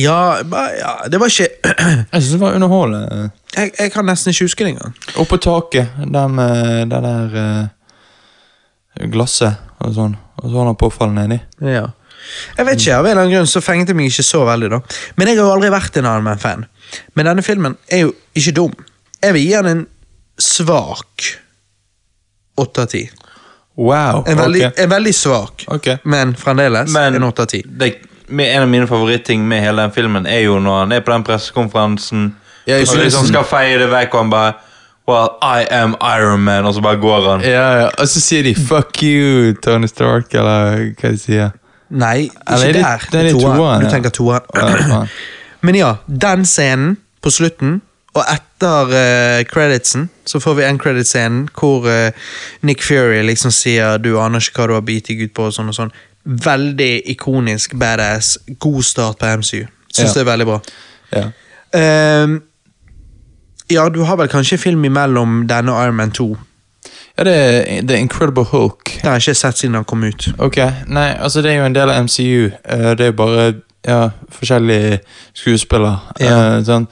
A: Ja, ba- ja Det var ikke
B: syns det var underholdende.
A: jeg, jeg kan nesten ikke huske det engang.
B: Oppå taket, der med det der eh, glasset og sånn. Og så har han påfall nedi.
A: Ja. Jeg vet ikke, Av en eller annen grunn så fenget det meg ikke så veldig. da Men jeg har jo aldri vært en Iron Man-fan. Men denne filmen er jo ikke dum. Jeg vil gi den en svak åtte av ti.
B: Wow.
A: En, veldig-
B: ok.
A: en veldig svak,
B: Ok.
A: men fremdeles
C: Men-
A: en åtte av ti.
C: Det, med, en av mine favorittting med hele den filmen er jo når han er på den pressekonferansen
B: Ja, i
C: og liksom
B: slutten.
C: skal feie det vekk, og han bare Well, I am Iron Man, og så bare går han.
B: Ja, ja. Og så sier de 'fuck you, Tony Stark', eller hva de sier.
A: Nei,
B: Eller
A: ikke
B: er det-
A: der.
B: det er det
A: Toeren.
B: toeren,
A: Du
B: ja.
A: tenker
B: Ja,
A: toeren.
B: faen.
A: Men ja, den scenen på slutten, og etter eh, creditsen, så får vi end-credit-scenen hvor eh, Nick Fury liksom sier 'du aner ikke hva du har bitt deg ut på' og sånn og sånn. Veldig ikonisk, badass, god start på MCU. Syns
B: Ja.
A: det er veldig bra.
B: Ja.
A: Ehm, ja, du har vel kanskje film imellom denne og Iron Man 2.
B: ja, det er The Incredible Hulk.
A: Den har jeg ikke sett siden den kom ut.
B: Ok, nei, altså det er jo en del av MCU. eh, det er jo bare ja, forskjellige skuespillere.
A: Ja.
B: eh, sånn.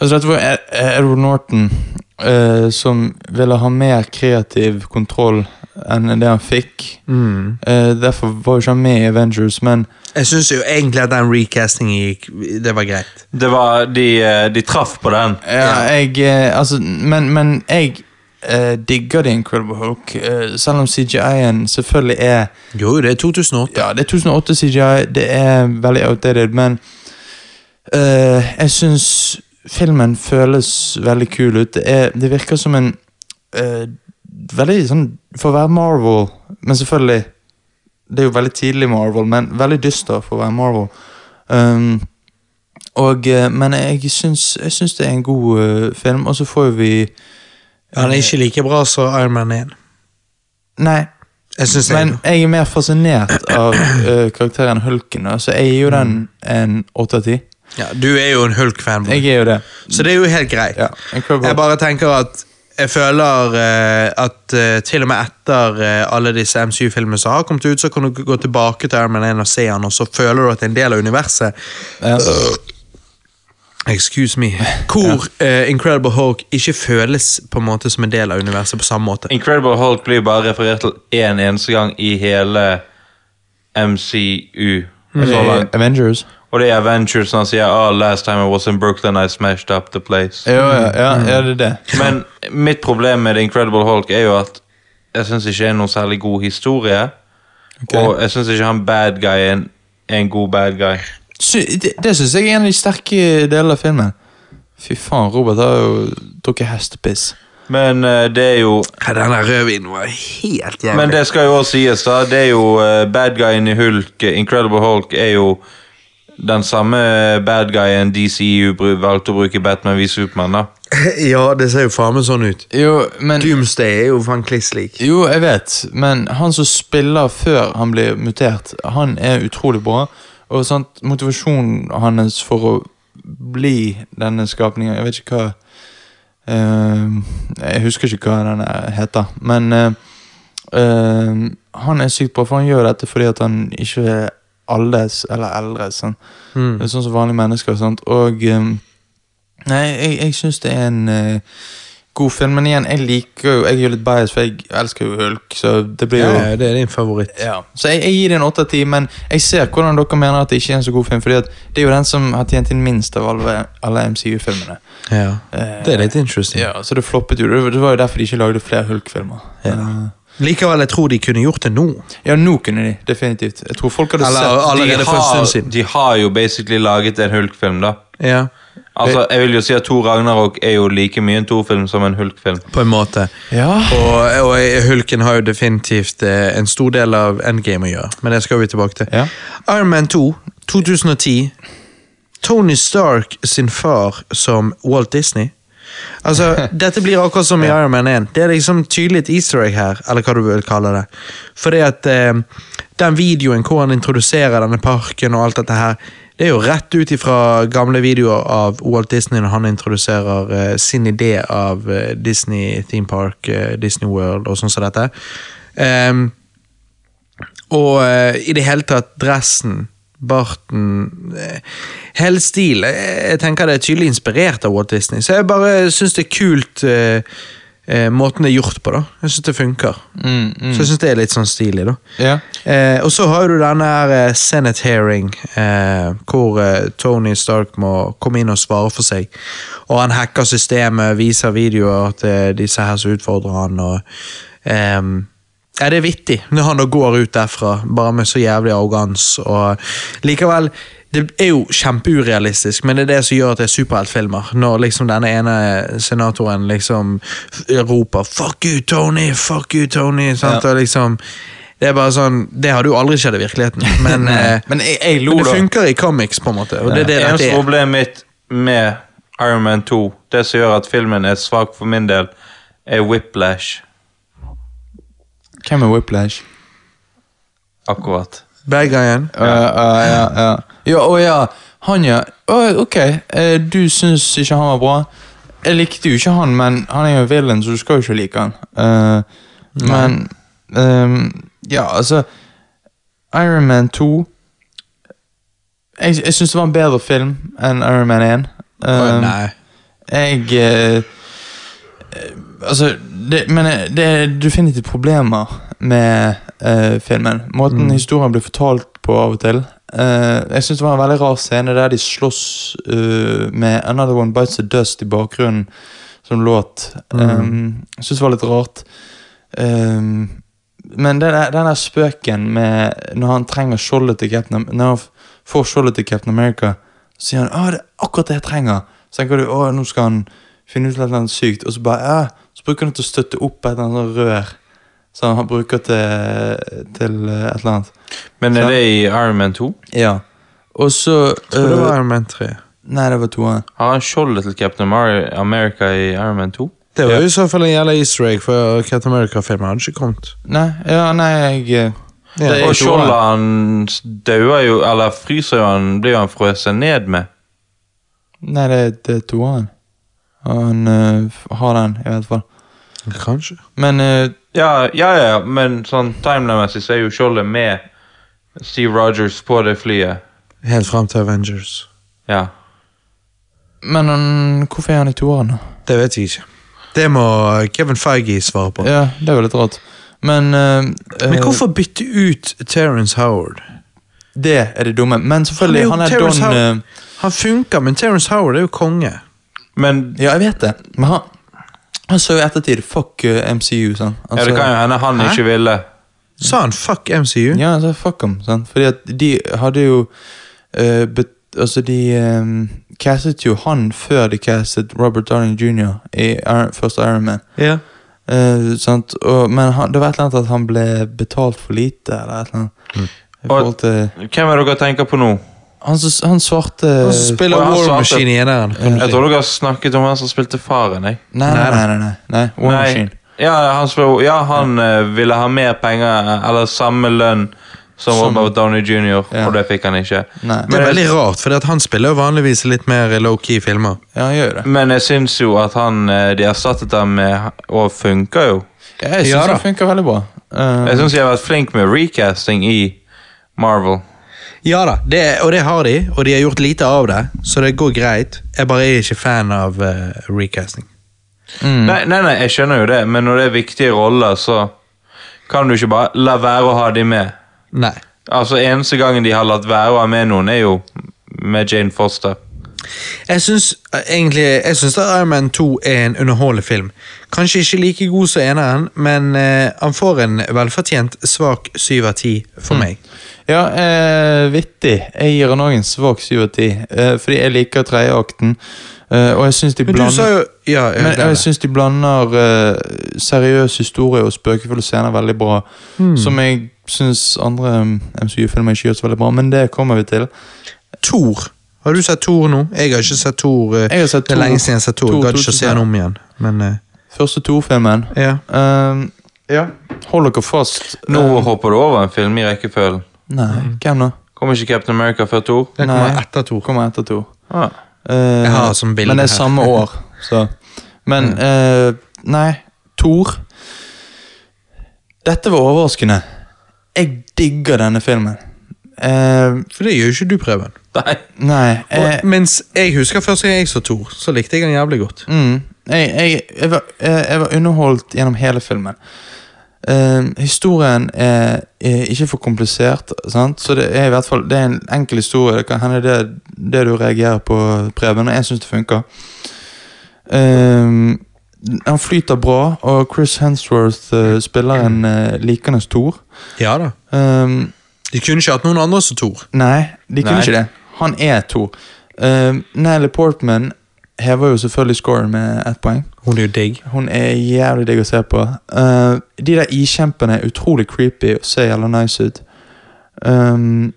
B: Altså dette var Ed- Edward Norton eh, som ville ha mer kreativ kontroll enn det han fikk. Eh, derfor var jo ikke han med i Avengers, men
A: Jeg syns jo egentlig at den recastingen gikk Det var greit.
C: Det var, de, eh, de traff på den.
B: Ja, jeg eh, Altså, men, men jeg eh, digger The Incredible Hulk, eh, selv om CGI-en selvfølgelig er
A: Jo, det er 2008.
B: Ja, det er 1008 CGI, det er veldig outdated, men eh, jeg syns filmen føles veldig kul ut. Det, er, det virker som en eh, veldig sånn For å være Marvel, men selvfølgelig Det er jo veldig tidlig Marvel, men veldig dyster for å være Marvel. Um, Og, eh, men jeg syns, jeg syns det er en god eh, film, og så får jo vi
A: Han er ikke like bra som Iron Man 1.
B: Nei,
A: Jeg synes det er
B: men
A: det.
B: jeg er mer fascinert av eh, karakteren Hulken, da, så jeg gir jo den en åtte av ti.
A: Ja, du er jo en Hulk-fanboy,
B: Jeg er jo det.
A: så det er jo helt greit.
B: Ja, jeg kan
A: Jeg
B: godt-
A: bare tenker at jeg føler eh, at eh, til og med etter eh, alle disse MCU-filmene som har kommet ut, så kan du gå tilbake til Iron Man 1 og se han, og så føler du at det er en del av universet.
B: Ja.
A: Excuse me. Hvor eh, Incredible Hulk ikke føles på en måte som en del av universet på samme måte.
C: Incredible Hulk blir bare referert til én eneste gang i hele MCU. Så
B: Eh,
C: langt.
B: Avengers.
C: Og det er Avengers som sier oh, 'Last time I was in Brooklyn, I smashed up the place'.
B: Ja, ja, ja, ja, det er det.
C: Men mitt problem med The Incredible Hulk er jo at jeg syns ikke det er noen særlig god historie.
B: Ok.
C: Og jeg syns ikke han bad guyen er en god bad guy.
B: Sy det det syns jeg er en av de sterke delene av filmen. Fy faen, Robert har jo drukket hestepiss.
C: Men eh, det er jo
A: Ja, Den der rødvinen var helt jævlig.
C: Men det skal jo også sies, da. Det er jo eh, bad guyen i Hulk, eh, Incredible Hulk, er jo den samme eh, bad guyen DCU bru- valgte å bruke i Batman v Supermann, da.
A: ja, det ser jo faen meg sånn ut.
B: Jo, men
A: Doomsday er jo faen kliss lik.
B: Jo, jeg vet, men han som spiller før han blir mutert, han er utrolig bra. Og sant, motivasjonen hans for å bli denne skapningen Jeg vet ikke hva eh, Jeg husker ikke hva den heter, men eh, eh, han er sykt bra, for han gjør dette fordi at han ikke er aldes eller eldre. Sånn,
A: Mm.
B: sånn som vanlige mennesker. Sant? Og eh, Nei, jeg, jeg syns det er en eh, god film. Men igjen, jeg liker jo Jeg er jo litt bias, for jeg elsker jo Hulk, så det blir jo
A: det er din favoritt.
B: ja. Så jeg, jeg gir det en åtte av ti, men jeg ser hvordan dere mener at det ikke er en så god film. Fordi at det er jo den som har tjent inn minst av alle, alle MCU-filmene.
A: Ja.
B: Eh,
A: Det er litt interesting.
B: Ja, Så det floppet jo. Det det var jo derfor de ikke lagde flere Hulk-filmer. Eh,
A: Likevel, jeg tror de kunne gjort det nå.
B: ja, nå kunne de. Definitivt. Jeg tror folk hadde
A: Eller
B: sett
A: alle- Allerede
C: de,
A: for en stund
C: har,
A: siden.
C: de har jo basically laget en Hulk-film, da.
A: Ja.
C: Altså, jeg vil jo si at Thor Ragnarok er jo like mye en Thor-film som en Hulk-film.
A: På en måte.
B: Ja.
A: Og, og Hulken har jo definitivt eh, en stor del av Endgame å gjøre, men det skal vi tilbake til.
B: Ja.
A: Iron Man 2, 2010. Tony Stark sin far som Walt Disney. Altså, Dette blir akkurat som i Iron Man 1. Det er liksom tydelig et easter egg her, eller hva du vil kalle det. Fordi at eh, den videoen hvor han introduserer denne parken og alt dette her, det er jo rett ut ifra gamle videoer av Walt Disney når han introduserer eh, sin idé av eh, Disney Theme Park, eh, Disney World og sånn som dette. Ehm, og eh, i det hele tatt dressen, barten eh, Hele stilen. Jeg, jeg tenker det er tydelig inspirert av Walt Disney, så jeg bare syns det er kult eh, eh, måten det er gjort på. da. Jeg syns det funker.
B: Mm, mm.
A: Så jeg syns det er litt sånn stilig, da.
B: ja.
A: Eh, og så har du denne her eh, Senate hearing, eh, hvor eh, Tony Stark må komme inn og svare for seg. Og han hacker systemet, viser videoer til disse her som utfordrer han. Og, ehm, ja, det er vittig når han da går ut derfra, bare med så jævlig arrogans. Og likevel, det er jo kjempeurealistisk, men det er det som gjør at det er superheltfilmer. Når liksom denne ene senatoren liksom f- roper 'fuck you, Tony', 'fuck you, Tony'. Sant? Og liksom, det er bare sånn, det hadde jo aldri skjedd i virkeligheten, men, eh,
B: Men jeg, jeg lo,
A: men det
B: da.
A: funker i comics, på en måte. Og det er det det
C: Eneste
A: er.
C: problemet mitt med Iron Man 2, det som gjør at filmen er svak for min del, er whiplash.
B: Hvem er Whiplash?
C: Akkurat.
A: Bad guyen.
B: Ja. ja, ja. Ja, å ja. Han, ja. Å, ok, Eh, du syns ikke han var bra. Jeg likte jo ikke han, men han er jo villain, så du skal jo ikke like han. Eh, men ehm, Ja, altså Iron Man 2 Jeg, jeg syns det var en bedre film enn Iron Man 1.
A: Å,
B: Ehm,
A: nei.
B: jeg eh, eh, Altså, det, men eh, det er definitivt problemer med eh, filmen. Måten historien blir fortalt på av og til. Eh, jeg syns det var en veldig rar scene der de slåss eh, med 'Another One Bites the Dust' i bakgrunnen som låt. Um, jeg syns det var litt rart. Um, men den der, den der spøken med når han trenger skjoldet til Captain Am- Når han f- får skjoldet til Captain America, så sier han at det er akkurat det jeg trenger. Så tenker du å, nå skal han finne ut et eller annet sykt, og så bare «Ja», Så bruker han det til å støtte opp et eller annet rør som han bruker til, til eh, et eller annet.
C: Men er
B: Så-
C: det i Iron Man 2?
B: Ja. Og så
A: Jeg tror det
B: eh,
A: var Iron Man 3.
B: Nei, det var toeren.
C: Har han skjoldet til Captain Mar- America i Iron Man 2?
A: Det var jo i så fall en jævla easter egg, for eh, Captain America-filmen hadde ikke kommet.
B: Nei, ja, nei, jeg eh,
A: Ja.
B: Det er
C: Og
B: toeren.
C: skjoldet hans dauer jo, eller fryser jo han, blir jo han frøset ned med.
B: Nei, det, det er toeren. Og han eh, f- har den, i hvert fall.
A: Kanskje.
B: Men eh,
C: Ja, ja, ja, men sånn timeline-messig så er jo skjoldet med Steve Rogers på det flyet.
A: Helt fram til Avengers.
C: Ja.
B: Men han, hvorfor er han i toeren, da?
A: Det vet jeg ikke. Det må eh, Kevin Feige svare på.
B: Ja, det er jo litt rart. Men eh,
A: Men
B: eh,
A: hvorfor bytte ut Terence Howard?
B: Det er det dumme. Men selvfølgelig,
A: Han
B: han
A: er jo
B: er
A: Terrence
B: Don
A: Howard.
B: eh,
A: Han funker, men Terence Howard er jo konge.
C: Men
B: Ja, jeg vet det. Men han Han så jo i ettertid Fuck eh, MCU, sant. Han
C: ja, det
B: sa-
C: kan jo hende han
A: Altså- Hæ?
C: ikke ville.
A: Sa han fuck MCU?
B: Ja, han sa fuck dem, sant. Fordi at de hadde jo eh, bet, Altså, de eh, castet jo han før de castet Robert Darling jr. i Iron, første Iron Man.
A: Ja.
B: Eh, sant? Og, men han, det var et eller annet at han ble betalt for lite, eller et eller annet. I forhold til
C: Hvem er det dere tenker på nå?
B: Han, s- han svarte
A: eh, Han Eh, som spiller
C: Og han
A: War
C: svarte-
A: Machine i eneren. kan du
C: Jeg
A: si.
C: tror dere har snakket om han som spilte faren. Jeg.
B: Nei, nei, nei. nei, nei, nei. War
C: Nei.
B: Machine.
C: Ja, han, spil, ja, han eh, ville ha mer penger, eh, eller samme lønn som
B: Som-
C: Robert Downey jr.,
B: Ja.
C: og det fikk han ikke.
B: Nei.
A: Det er veldig rart, for han spiller jo vanligvis litt mer low-key filmer.
B: Ja, han gjør jo det.
C: Men jeg syns jo at han eh, de erstattet ham med, og funker jo.
B: Ja, jeg syns
A: Ja, da.
B: det funker veldig bra. Eh,
C: Jeg syns de har vært flink med recasting i Marvel.
A: Ja da, det, og det har de, og de har gjort lite av det, så det går greit. Jeg bare er ikke fan av eh, recasting.
B: mm.
C: Nei, nei, nei, jeg skjønner jo det, men når det er viktige roller, så kan du ikke bare la være å ha de med.
A: Nei.
C: Altså, Eneste gangen de har latt være å ha med noen, er jo med Jane Foster.
A: Jeg syns eh, egentlig Jeg synes at Iron Man 2 er en underholdende film. Kanskje ikke like god som eneren, men eh, han får en velfortjent svak syv av ti for meg.
B: Ja, eh, vittig. Jeg gir han òg en svak syv av ti, eh, fordi jeg liker tredjeakten. Eh, og jeg syns de
A: Men du
B: blander
A: sa jo Ja, jeg
B: Men
A: glemmer
B: jeg
A: det.
B: syns de blander eh, seriøs historie og spøkefulle scener veldig bra.
A: Hmm.
B: Som jeg syns andre mm, MCU-filmer ikke gjør så veldig bra, men det kommer vi til.
A: Thor. Har du sett Thor nå? Jeg har ikke sett Thor. eh,
B: Jeg har sett
A: det er
B: Thor-
A: lenge siden jeg har sett Thor.
B: Thor
A: Jeg gadd ikke å se
B: 2000.
A: den om igjen. Men eh,
B: Første Thor-filmen.
A: ja.
B: Ehm, ja. Hold dere fast.
C: Nå hopper du over en film i rekkefølgen.
B: Nei, hvem da?
C: Kommer ikke Captain America før to?
A: Den Hmm. kommer
B: Nei.
A: etter Thor.
B: Kommer etter Thor.
C: Ah.
B: Eh,
A: Jeg har som bilde
B: men det
A: her.
B: er samme år, så. Men eh, Nei, Thor Dette var overraskende. Jeg digger denne filmen. Eh,
A: For det gjør jo ikke du, Preben.
C: Nei.
B: nei jeg,
A: Og, mens jeg husker første gang jeg så Thor, så likte jeg han jævlig godt.
B: Mm. Jeg, jeg, jeg, var, eh, jeg, jeg var underholdt gjennom hele filmen. Ehm, historien er, er ikke for komplisert, sant? så det er i hvert fall Det er en enkel historie. Det kan hende det, det du reagerer på, Preben, og jeg syns det funker. Ehm, han flyter bra, og Chris Hensworth eh, spiller en uh, likende stor.
A: Ja da.
B: Ehm,
A: De kunne ikke hatt noen andre som Thor.
B: Nei, de kunne
C: Nei.
B: ikke det. Han er to. Um, Natalie Portman hever jo selvfølgelig scoren med ett poeng.
A: Hun er jo digg.
B: Hun er jævlig digg å se på. Eh, de der ikjempene er utrolig creepy og ser jævla nice ut. Um,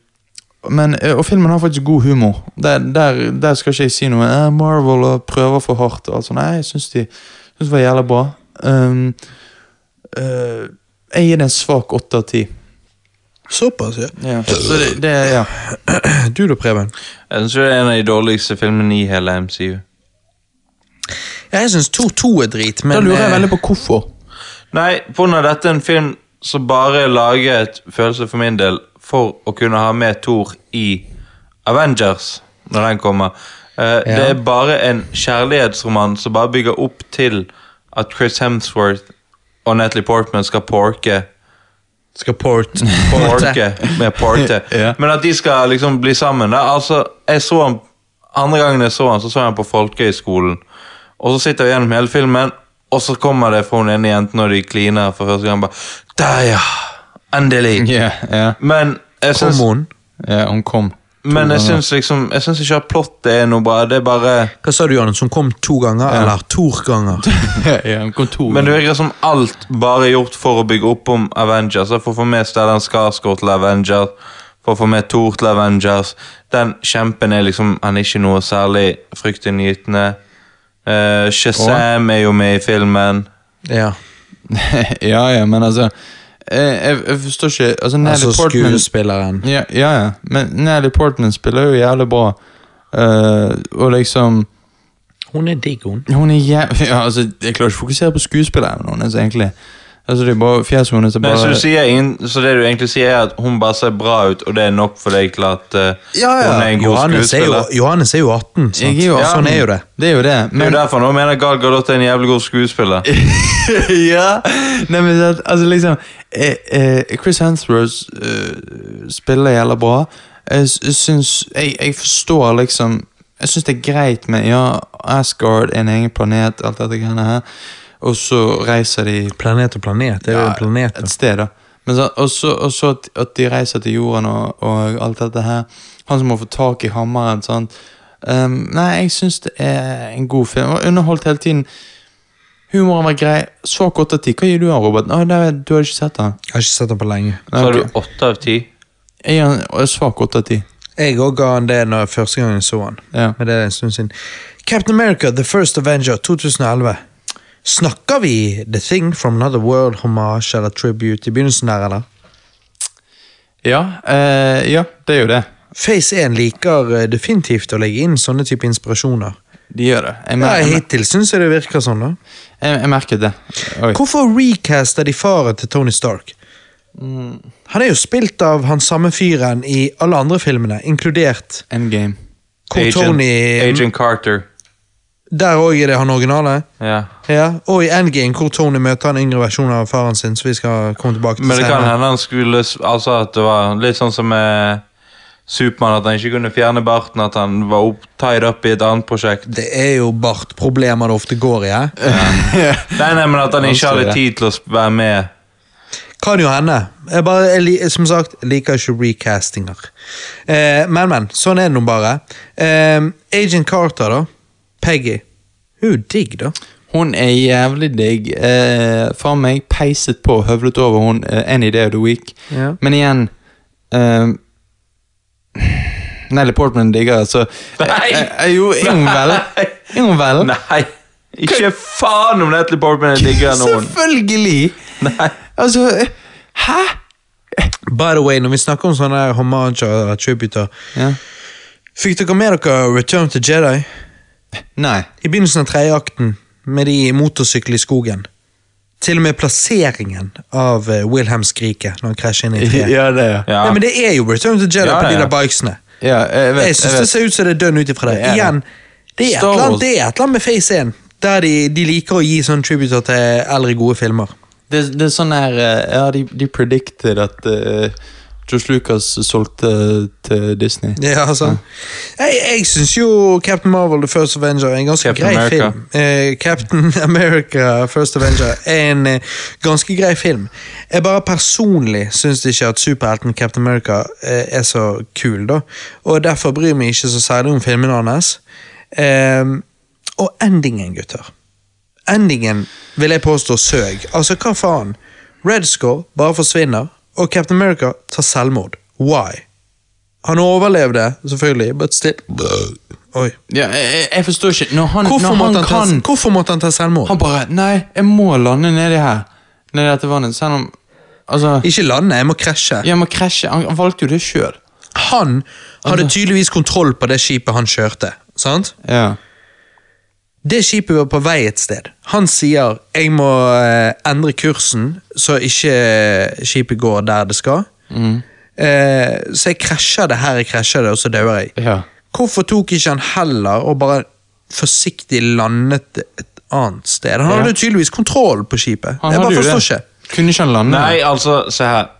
B: men, eh, og filmen har faktisk god humor. Der, der, der skal ikke jeg si noe. Eh, Marvel og prøver for hardt. og alt sånt. Nei, jeg syns de synes det var jævla bra. Um, eh, jeg gir det en svak åtte av ti.
A: Såpass, ja. Eh,
B: Så det, det ja.
A: Du da, Preben?
C: Jeg synes det er en av de dårligste filmene i hele MCU.
A: Ja, jeg syns 2-2 er drit, men
B: Da lurer jeg
A: eh,
B: veldig på hvorfor.
C: Nei, pga. dette er en film som bare er laget, følelse for min del, for å kunne ha med Thor i Avengers når den kommer. Eh, Det er bare en kjærlighetsroman som bare bygger opp til at Chris Hemsworth og Natalie Portman skal porke.
A: Skal port
C: Porke med porte.
B: Ja.
C: Men at de skal liksom bli sammen. Da. Altså, jeg så han, Andre gangen jeg så han, så så jeg han på folkehøyskolen. Og så sitter jeg gjennom hele filmen, og så kommer det fra hun ene jenten når de kliner for første gang. bare, Der, ja!
B: Mm.
C: Endelig! Men jeg syns,
A: Hormon.
B: ja, hun kom.
C: men jeg syns liksom, jeg syns ikke at plottet er noe bra. Det er bare
A: Hva sa du, Johannes? Hun kom to ganger, eller Thor-ganger?
B: ja, hun kom to
C: Men det virker som alt bare er gjort for å bygge opp om Avengers. da, For å få med Stellan Skarsgård til Avengers. for å få med Thor til Avengers. Den kjempen er liksom Han er ikke noe særlig fryktinngytende. Eh, Shazam er jo med i filmen.
A: Ja.
B: ja, ja, men altså Jeg, jeg, jeg forstår ikke altså, Natalie
A: Altså
B: Portman-
A: skuespilleren.
B: Ja, ja, ja. Men Natalie Portman spiller jo jævlig bra. Eh, og liksom
A: Hun er digg, hun.
B: Hun er jævlig ja, altså, Jeg klarer ikke å fokusere på skuespilleren hennes, egentlig. Altså, det er bare fjeset hennes er
C: Men, så,
B: bare
C: du sier, ingen- så det du egentlig sier, er at hun bare ser bra ut, og det er nok for deg til at eh, hun er en god
A: Johannes er, jo,
C: skuespiller?
A: Johannes er jo 18, sant?
B: Jeg er jo
A: Ja, sånn
B: 18.
A: er jo det.
B: Det er jo det.
C: Det er
B: Men
C: jo derfor nå mener Gal Gadot er en jævlig god skuespiller.
B: ja! Nei, men det, altså, liksom eh, eh, Chris Hemsworth eh, spiller jævla bra. Jeg s- syns jeg, jeg forstår liksom Jeg syns det er greit med Ja, Asgard er en egen planet, alt dette greiene her. Og så reiser de
A: Planet og planet. Det er jo
B: Ja,
A: planeter.
B: Et sted, da. Men så, og så, og så at, at de reiser til jorden og, og alt dette her. Han som må få tak i hammeren. Sant? Ehm, nei, jeg syns det er en god film. Jeg var underholdt hele tiden. Humoren var grei. Så kort av tid. Hva gir du han, Robert? Å, nei, du har ikke sett han.
A: Jeg har ikke sett den på lenge.
C: Så
B: Nei, ok.
C: har du åtte av ti.
B: Jeg gir han svak åtte av ti.
A: Jeg òg ga han det når første gang jeg så han.
B: Ja.
A: Men det er en stund siden. Captain America, The First Avenger, 2011. Snakker vi The Thing from Another World, Homage eller Tribute i begynnelsen der, eller?
B: Ja, eh, ja, det er jo det.
A: Phase 1 liker eh, definitivt å legge inn sånne type inspirasjoner.
B: De gjør det. Jeg, mer
A: Ja,
B: jeg,
A: Hittil syns jeg det virker sånn, da.
B: jeg, jeg merket det. Oi.
A: Hvorfor recaster de faren til Tony Stark? Han er jo spilt av han samme fyren i alle andre filmene, inkludert
B: Endgame.
A: hvor Tony
C: Agent Carter.
A: Der òg er det han originale.
C: Ja.
A: Ja, og i Endgame hvor Tony møter en yngre versjon av faren sin, så vi skal komme tilbake til
C: Men det kan
A: senere.
C: hende han skulle s- Altså at det var litt sånn som med Supermann, at han ikke kunne fjerne barten, at han var opp, tied up i et annet prosjekt.
A: Det er jo bartproblemer det ofte går i. Ja.
C: Nei, nei, men at han ikke
B: ser
C: hadde
B: det.
C: tid til å sp- være med.
A: Kan jo hende. Jeg bare, jeg, li- som sagt, jeg liker ikke recastinger. Eh, men, men. Sånn er det nå bare. Eh, Agent Carter, da. Peggy. Hun er jo digg, da.
B: Hun er jævlig digg. Eh, for meg peiset på og høvlet over hun eh, any day of the week.
A: Ja.
B: Men igjen eh, Nelly Portman digger altså
C: Nei!
B: Eh, eh, Jo, er hun vel? Er hun vel?
C: Nei! Ikke faen om Natalie Portman er diggere enn hun!
B: Selvfølgelig!
C: Nei.
B: Altså eh, Hæ?!
A: By the way, når vi snakker om sånne her homager eller tributer
B: Ja.
A: Fikk dere med dere Return to Jedi?
B: Nei.
A: I begynnelsen av tredje akten, med de motorsykler i skogen. Til og med plasseringen av eh, Wilhelm Skrike når han krasjer inn i treet.
B: Ja, det, ja.
C: Ja.
A: Nei, men det er jo Return to Jedi
C: Ja,
A: på
C: ja,
A: de
C: ja.
A: der bikesene.
B: ja jeg vet,
A: Jeg syns det
B: vet.
A: ser ut som det er dønn ut ifra det.
B: Det er det.
A: Igjen, det er et eller
B: Star
A: annet,
B: Wars.
A: det er et eller annet med Phase 1, der de, de liker å gi sånne tributer til eldre, gode filmer.
B: Det, det er sånn her eh, Ja, de, de predicted at eh, Josh Lucas solgte til Disney.
A: Ja, altså. Jeg, jeg syns jo Captain Marvel The First Avenger er en ganske
C: Captain
A: grei
C: America.
A: film. Eh, Captain America First Avenger er en eh, ganske grei film. Jeg bare personlig syns ikke at superhelten Captain America eh, er så kul, da. Og derfor bryr meg ikke så særlig om filmene hans. Eh, og endingen, gutter. Endingen vil jeg påstå søg. Altså, hva faen? Red Score bare forsvinner, og Captain America tar selvmord. Why? Han overlevde, selvfølgelig, but still Oi.
B: Ja, jeg, jeg- jeg forstår ikke Når han,
A: Hvorfor,
B: når
A: måtte
B: han,
A: han
B: kan
A: ta, hvorfor måtte han ta selvmord?
B: Han bare Nei, jeg må lande nedi her. Nedi dette vannet. Selv om Altså
A: Ikke lande, jeg må krasje.
B: Jeg må krasje. Han, han valgte jo det sjøl.
A: Han hadde tydeligvis kontroll på det skipet han kjørte. sant?
B: Ja.
A: Det skipet var på vei et sted. Han sier 'jeg må eh, endre kursen, så ikke eh, skipet går der det skal'.
B: Mm.
A: Eh, så jeg krasjer det her jeg krasjer det, og så dauer jeg.
B: Ja.
A: Hvorfor tok ikke han heller og bare forsiktig landet et annet sted? Han hadde jo tydeligvis kontroll på skipet.
B: Han
A: jeg
B: hadde
A: bare
B: jo
A: forstår
B: det.
A: ikke.
B: Kunne ikke han lande?
C: Nei, altså, se her.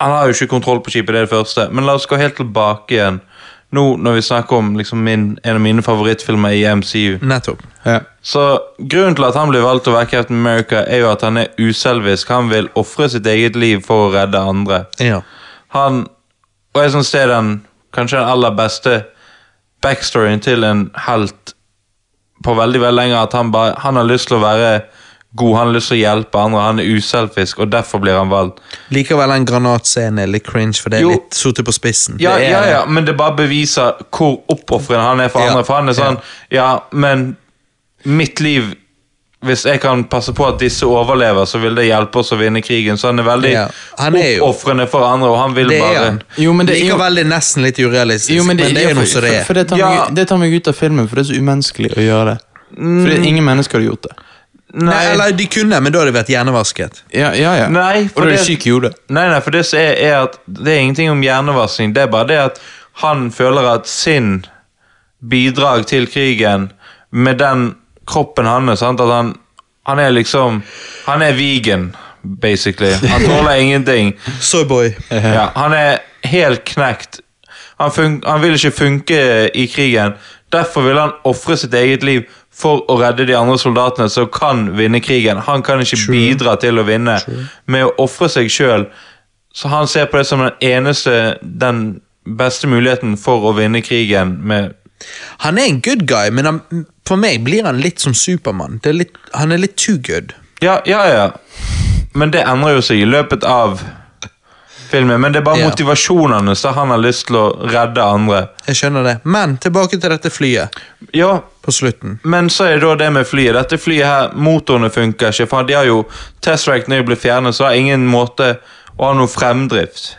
C: Han har jo ikke kontroll på skipet, det er det første. Men la oss gå helt tilbake igjen. Nå når vi snakker om liksom, min, en av mine favorittfilmer i MCU.
A: Nettopp.
B: Ja.
C: Så Grunnen til at han blir valgt til å være Captain America, er jo at han er uselvisk. Han vil ofre sitt eget liv for å redde andre.
A: Ja.
C: Han, og jeg synes det er den kanskje den aller beste backstoryen til en helt på veldig veldig lenge. At han, bare, han har lyst til å være god, han har lyst til å hjelpe andre, han er uselfisk, og derfor blir han valgt.
A: Likevel den granatscenen er litt cringe, for det er
C: Jo.
A: litt sotet på spissen.
C: Ja,
A: Det er-
C: ja, ja, men det bare beviser hvor oppofrende han er for
A: Ja.
C: andre. For han er sånn Ja, men mitt liv Hvis jeg kan passe på at disse overlever, så vil det hjelpe oss å vinne krigen. Så han er veldig
A: Ja, han er jo-
C: oppofrende for andre, og han vil
A: Det er
C: bare
A: han.
B: Jo, men det er jo-
A: Likevel det er nesten litt urealistisk,
B: Jo, men det,
A: er jo
B: for-
A: noe som det
B: For, for
A: er.
B: det, tar
C: Ja. Mm.
B: meg, det tar meg ut av filmen, for det er så umenneskelig å gjøre det. For det, ingen mennesker hadde gjort det.
C: Nei,
A: Nei, eller de kunne, men da hadde de vært hjernevasket.
B: Ja, ja, ja.
C: Nei,
B: og
C: for
B: da er det
C: det-
B: syk i hodet.
C: nei, nei, for det som er, er at det er ingenting om hjernevasking. Det er bare det at han føler at sin bidrag til krigen, med den kroppen hans sant? At han, han er liksom Han er vegan, basically. Han tåler ingenting.
A: Soyboy.
C: Ja, han er helt knekt. Han, fun han vil ikke funke i krigen. Derfor vil han ofre sitt eget liv for å redde de andre soldatene som kan vinne krigen. Han kan ikke bidra til å vinne med å ofre seg sjøl. Så han ser på det som den eneste, den beste muligheten for å vinne krigen med
A: Han er en good guy, men han, for meg blir han litt som Supermann. Det er litt- Han er litt too good.
C: Ja, ja, ja. Men det endrer jo seg i løpet av filmen. Men det er bare
A: Ja.
C: motivasjonen hans da han har lyst til å redde andre.
A: Jeg skjønner det. Men tilbake til dette flyet
C: Ja,
A: på slutten.
C: Men så er det da det med flyet. Dette flyet her, motorene funker ikke. For de har jo Tesseract når de ble fjernet, så har ingen måte å ha noe fremdrift.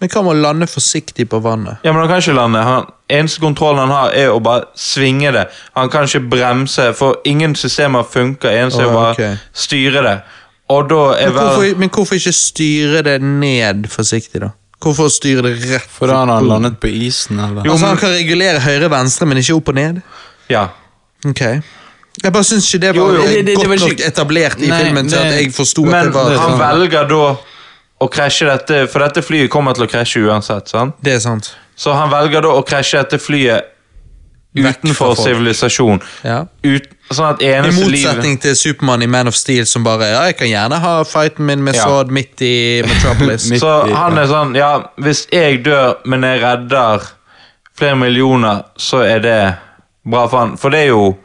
A: Men hva med å lande forsiktig på vannet?
C: Ja, men han kan ikke lande. Han, eneste kontrollen han har, er å bare svinge det. Han kan ikke bremse, for ingen systemer funker. Eneste er
A: Å,
C: å bare
A: ok.
C: styre det. Og da er
A: Men
C: vel
A: hvorfor, men hvorfor ikke styre det ned forsiktig, da? Hvorfor styre det rett?
B: For da hadde han landet på isen, eller?
A: altså, han kan regulere høyre-venstre, men ikke opp og ned?
C: Ja.
A: Ok. Jeg bare syns ikke det var
C: Jo, jo.
A: eh,
B: Det- det- det
A: godt
B: var ikke-
A: nok etablert i
B: Nei,
A: filmen til
B: det-
A: at jeg forsto at
C: Men
A: det sånn. var
C: han
B: sant.
C: velger da å krasje dette, for dette flyet kommer til å krasje uansett. sant?
A: Det er sant.
C: Så han velger da å krasje dette flyet
A: Vekk fra
C: utenfor
A: folk.
C: sivilisasjon.
A: Ja.
C: Ut, sånn at
A: I
C: eneste liv
A: motsetning til Supermann i Man of Steel, som bare Ja, jeg kan gjerne ha fighten min med
C: Ja.
A: Sod midt i Metropolis.
B: Midt-
C: Så
B: i, ja.
C: han er sånn Ja, hvis jeg dør, men jeg redder flere millioner, så er det bra for han. For det er jo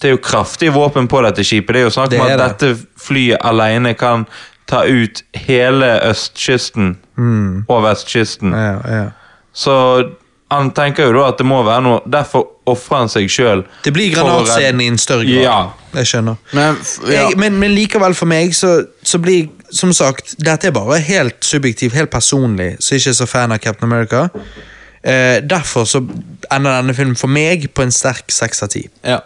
C: Det er jo kraftige våpen på dette skipet. Det er jo snakk om
A: Det
C: at
A: er
C: dette flyet alene kan ta ut hele østkysten og vestkysten.
A: Mm. ja, ja.
C: Så han tenker jo da at det må være noe Derfor ofrer han seg sjøl.
A: Det blir granatscenen i en større grad.
C: Ja.
A: Jeg skjønner.
B: Men, f- ja.
A: jeg, men, men likevel for meg så, så blir Som sagt, dette er bare helt subjektivt, helt personlig, så jeg ikke er så fan av Captain America. Eh, derfor så ender denne filmen for meg på en sterk seks av ti.
B: Ja.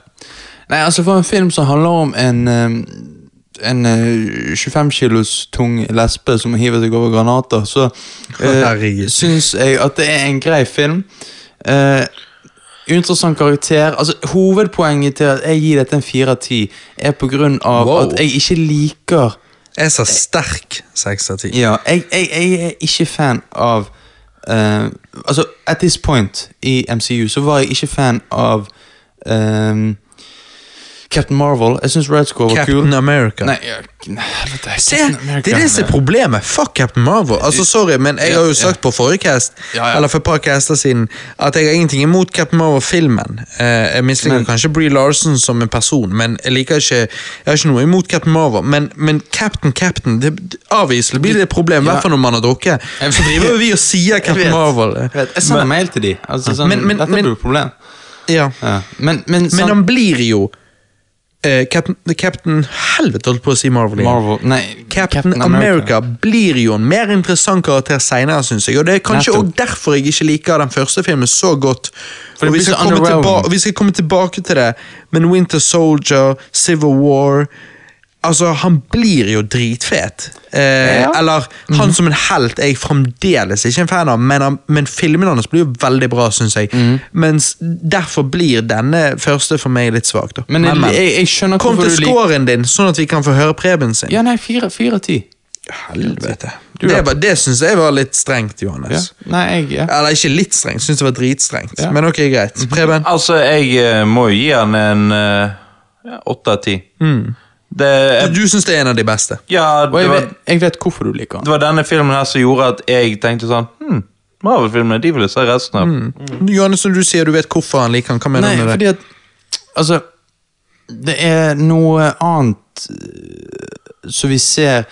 B: Nei, altså for en film som handler om en eh, en eh, 25 kilos tung lesbe som hiver seg over granater, så uh,
A: Herregud.
B: syns jeg at det er en grei film. Eh, interessant karakter. Altså Hovedpoenget til at jeg gir dette en fire av ti, er på grunn av
A: Wow.
B: at jeg ikke liker
A: Jeg sa sterk seks av ti.
B: ja, jeg, jeg, jeg er ikke fan av eh, Altså, at this point i MCU så var jeg ikke fan av ehm, Captain Marvel. Jeg syns Red Score var kul.
A: Captain America.
B: Nei, ja, k- nei, helvete,
A: Se,
B: Captain America.
A: det er det som er problemet. Fuck Captain Marvel. Altså, Sorry, men jeg har jo sagt på forrige cast,
B: Ja, ja.
A: eller for et par caster siden, at jeg har ingenting imot Captain Marvel-filmen. Eh, jeg misliker kanskje Bree Larson som en person, men jeg liker ikke Jeg har ikke noe imot Captain Marvel, men, men Captain Captain det, det- Avviselig blir det et problem, i hvert fall når man har drukket.
B: Jeg
A: Så
B: vet.
A: driver jo vi og sier Captain
B: vet.
A: Marvel. eh,
B: Jeg vet, Jeg sender mail til de. Altså, sånn,
A: Men- men-
B: dette
A: men-
B: blir jo et problem.
A: Ja.
B: Ja. Men, men,
A: Men
B: sånn-
A: han blir jo eh, Captain, Captain Helvete, holdt på å si Marvel igjen.
B: Marvel Nei,
A: Captain, America. blir jo en mer interessant karakter senere, synes jeg. Og det er kanskje
B: Nettopp.
A: også derfor jeg ikke liker den første filmen så godt.
B: det
A: Og vi
B: blir
A: skal,
B: så
A: komme tilba-
B: underwhelming.
A: vi skal komme tilbake til det, men Winter Soldier, Civil War Altså, han blir jo dritfet. Eh, Eller
B: Mhm.
A: han som en helt er jeg fremdeles ikke en fan av, men, han, men filmene hans blir jo veldig bra, syns jeg.
B: Mhm.
A: Mens derfor blir denne første for meg litt svak, da.
B: Men jeg, jeg, jeg skjønner
A: Kom til
B: hvorfor du liker
A: scoren din, sånn at vi kan få høre Preben sin.
B: Ja, nei, fire fire av ti.
A: Helvete.
B: Du
A: Det,
B: da?
A: var, det syns jeg var litt strengt,
B: Ja.
A: Johannes.
B: Nei, jeg ja.
A: Eller ikke litt strengt, syns det var dritstrengt.
B: Ja.
A: Men ok, greit. Preben?
C: Altså, jeg eh, må jo gi han en eh, ja, åtte av ti. Det, jeg,
A: Mm. Du syns det er en av de beste?
C: ja,
B: Og
C: det
B: jeg
C: var,
B: vet, jeg vet hvorfor du liker den.
C: det var denne filmen her som gjorde at jeg tenkte sånn hm, Marvel-filmene, de vil jeg se resten av.
B: Hmm.
A: Johannes, når du sier du vet hvorfor han liker han, hva mener
B: Nei,
A: du med det?
B: fordi at Altså, det er noe annet eh, Så vi ser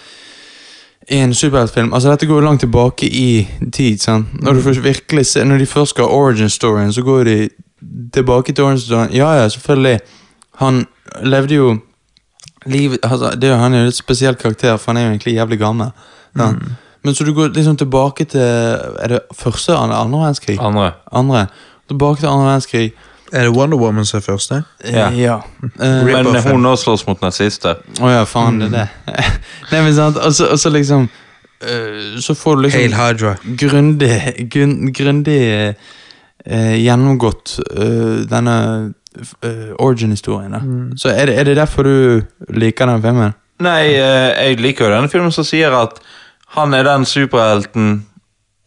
B: i en superheltfilm Altså Dette går jo langt tilbake i tid. sant? Når, du først virkelig ser, når de først skal ha origin-storyen, så går de tilbake til origin-storyen. Ja, ja, selvfølgelig. Han levde jo livet altså, det er jo, Han er jo en litt spesiell karakter, for han er jo egentlig jævlig gammel. sant? Men så du går liksom tilbake til Er det første eller andre verdenskrig?
C: Andre.
B: Andre. Tilbake til andre verdenskrig.
A: Er det Wonder Woman som er første?
C: Ja.
B: Eh,
C: Men hun også slåss mot nazister.
B: Å ja, faen, det er det. Nei, men sant, og så, og så liksom øh, Så får du
A: Hail
B: liksom
A: Hydra.
B: grundig, grunn- grundig eh, eh, gjennomgått eh, denne eh, origin-historien. da. Så er det, er det derfor du liker den filmen?
C: Nei, eh, jeg liker jo denne filmen som sier at han er den superhelten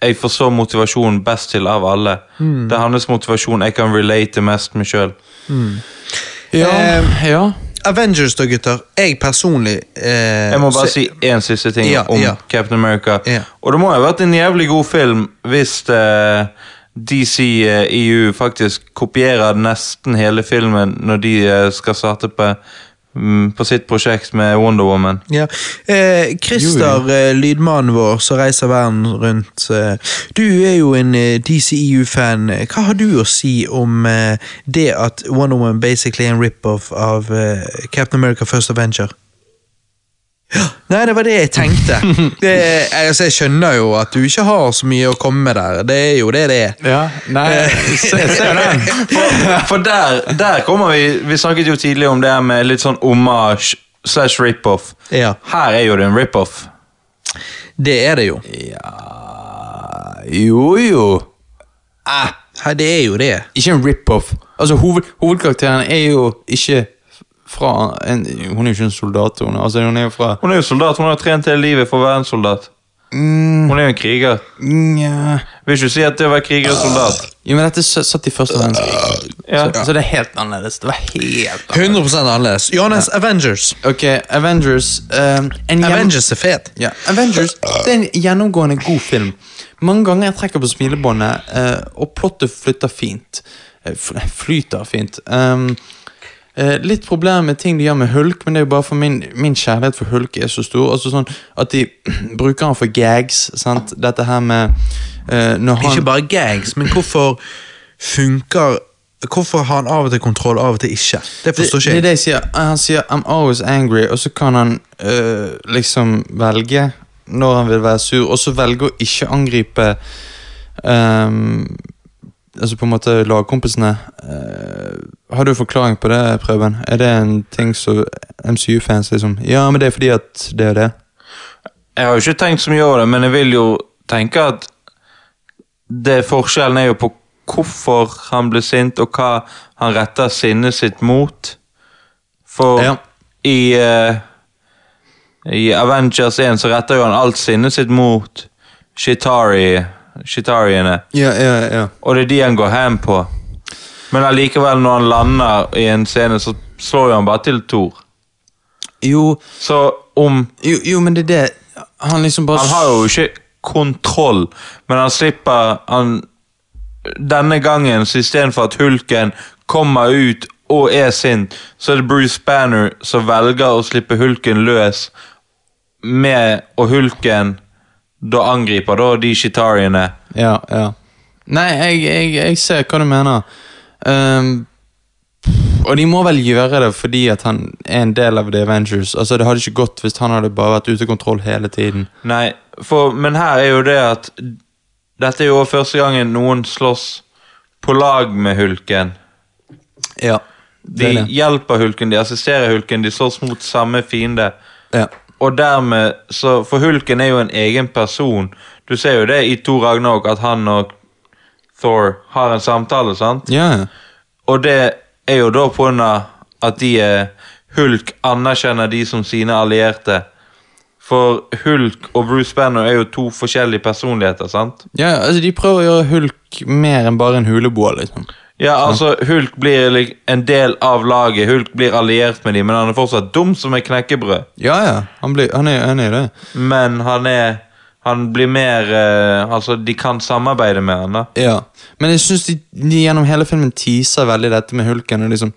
C: jeg får så motivasjon best til av alle.
B: Hmm.
C: Det er hans motivasjon jeg kan relate mest med sjøl.
B: Ja. ja.
A: Avengers da, gutter. Jeg personlig eh,
C: Jeg må bare
A: så-
C: si én siste ting
A: Ja,
C: om
A: ja.
C: Captain America.
A: Ja.
C: Og det må ha vært en jævlig god film hvis eh, DC eh, EU faktisk kopierer nesten hele filmen når de eh, skal starte på, mm, på sitt prosjekt med Wonder Woman.
A: Ja. Eh, Christer, eh, lydmannen vår som reiser verden rundt. Eh, du er jo en eh, DCEU-fan. Hva har du å si om eh, det at Wonder Woman basically er en rip-off av eh, Captain America First Avenger? Ja, Nei, det var det jeg tenkte. Det, jeg, altså, jeg skjønner jo at du ikke har så mye å komme med der. Det er jo det det er.
B: ja. Nei, se, se den.
C: For, for der, der kommer vi Vi snakket jo tidligere om det her med litt sånn omasj slash rip-off.
A: Ja.
C: Her er jo det en rip-off.
A: Det er det jo.
B: Jo, jo.
A: Ja, det er jo det.
B: Ikke en rip-off. Altså, hoved, hovedkarakteren er jo ikke fra en, Hun er jo ikke en soldat, hun. Altså, hun er jo fra
C: Hun er jo soldat. Hun har trent hele livet for å være en soldat.
B: mm,
C: Hun er jo en kriger.
B: Nja
C: Vil ikke du si at det å være kriger og soldat?
B: Jo, men dette s- satt i første verdenskrig.
C: Ja.
B: Så, så det er helt annerledes. Det var helt annerledes.
A: 100 annerledes. Johannes, Avengers.
B: Ok, Avengers um, en gjen-
A: Avengers er fet.
B: Ja, Avengers det er en gjennomgående god film. Mange ganger jeg trekker på smilebåndet, eh, og plottet flytter fint. Eh, fl- flyter fint. Um, eh, litt problem med ting de gjør med Hulk, men det er jo bare for min, min kjærlighet for Hulk er så stor. Altså sånn At de bruker han for gags. Sant? Dette her med eh, når han,
A: Ikke bare gags, men hvorfor funker Hvorfor har han av og til kontroll, av og til ikke? Det
B: det,
A: forstår
B: det
A: ikke
B: er
A: jeg.
B: det jeg sier. Han sier 'I'm always angry', og så kan han eh, liksom velge når han vil være sur, og så velge å ikke angripe ehm, Altså på en måte lagkompisene. Eh, har du en forklaring på det, Preben? Er det en ting som MCU-fans liksom Ja, men det er fordi at det er det.
C: Jeg har jo ikke tenkt så mye over det, men jeg vil jo tenke at det forskjellen er jo på hvorfor han ble sint, og hva han retter sinnet sitt mot. For
B: Ja.
C: i, eh, i Avengers 1 så retter jo han alt sinnet sitt mot Shitari, Shitariene.
B: Ja, ja, ja.
C: Og det er de han går ham på. Men allikevel, når han lander i en scene, så slår jo han bare til Thor.
B: Jo,
C: Så om
B: jo, jo men det er det Han liksom bare
C: Han har jo ikke kontroll, men han slipper han, Denne gangen, så istedenfor at hulken kommer ut og er sint, så er det Bruce Banner som velger å slippe hulken løs, med og hulken da angriper da de shitariene.
B: Ja, ja. Nei, jeg, jeg, jeg ser hva du mener. Ehm, og de må vel gjøre det fordi at han er en del av The Avengers. Altså, Det hadde ikke gått hvis han hadde bare vært ute av kontroll hele tiden.
C: Nei, for, men her er jo det at Dette er jo første gangen noen slåss på lag med hulken.
B: Ja,
C: De
B: det er det.
C: hjelper hulken, de assisterer hulken, de slåss mot samme fiende.
B: Ja.
C: Og dermed, så For Hulken er jo en egen person. Du ser jo det i Thor Ragnarok, at han og Thor har en samtale, sant?
B: Ja, ja.
C: Og det er jo da på grunn av at de eh, Hulk anerkjenner de som sine allierte. For Hulk og Bruce Banner er jo to forskjellige personligheter, sant?
B: ja, ja, altså, de prøver å gjøre Hulk mer enn bare en huleboer, liksom.
C: Ja, altså, Hulk blir lik- en del av laget, Hulk blir alliert med dem, men han er fortsatt dum som et knekkebrød.
B: Ja, ja, han, blir, han, er, han er det.
C: Men han er Han blir mer eh, Altså, de kan samarbeide med han, da.
B: Ja, men jeg syns de, de gjennom hele filmen teaser veldig dette med hulken. Og liksom,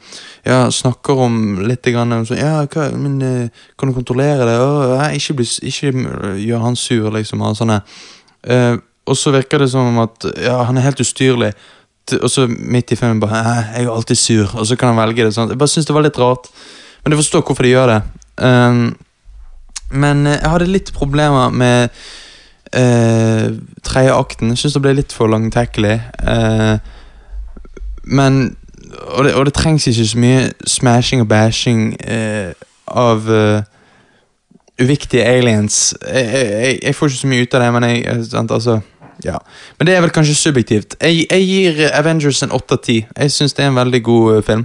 B: ja, snakker om litt grann, om sånn, ja, hva, men, eh, Kan du kontrollere det? Å, nei, ikke, bli, s- ikke eh, gjør han sur, liksom. Og, sånne. Eh, og så virker det som om at ja, han er helt ustyrlig. T- Og så midt i filmen bare «Nei, Jeg er alltid sur, og så kan han velge det. Sånn. Jeg bare syns det var litt rart. Men jeg forstår hvorfor de gjør det. Eh, men eh, jeg hadde litt problemer med eh, tredje akten. Jeg syns det ble litt for langtekkelig. Eh, men og det, og det trengs ikke så mye smashing og bashing eh, av eh, uviktige aliens. Jeg, jeg, jeg- jeg får ikke så mye ut av det, men jeg eh, sant, altså, ja. Men det er vel kanskje subjektivt. Jeg, jeg gir Avengers en 8 av 10. Jeg syns det er en veldig god eh, film.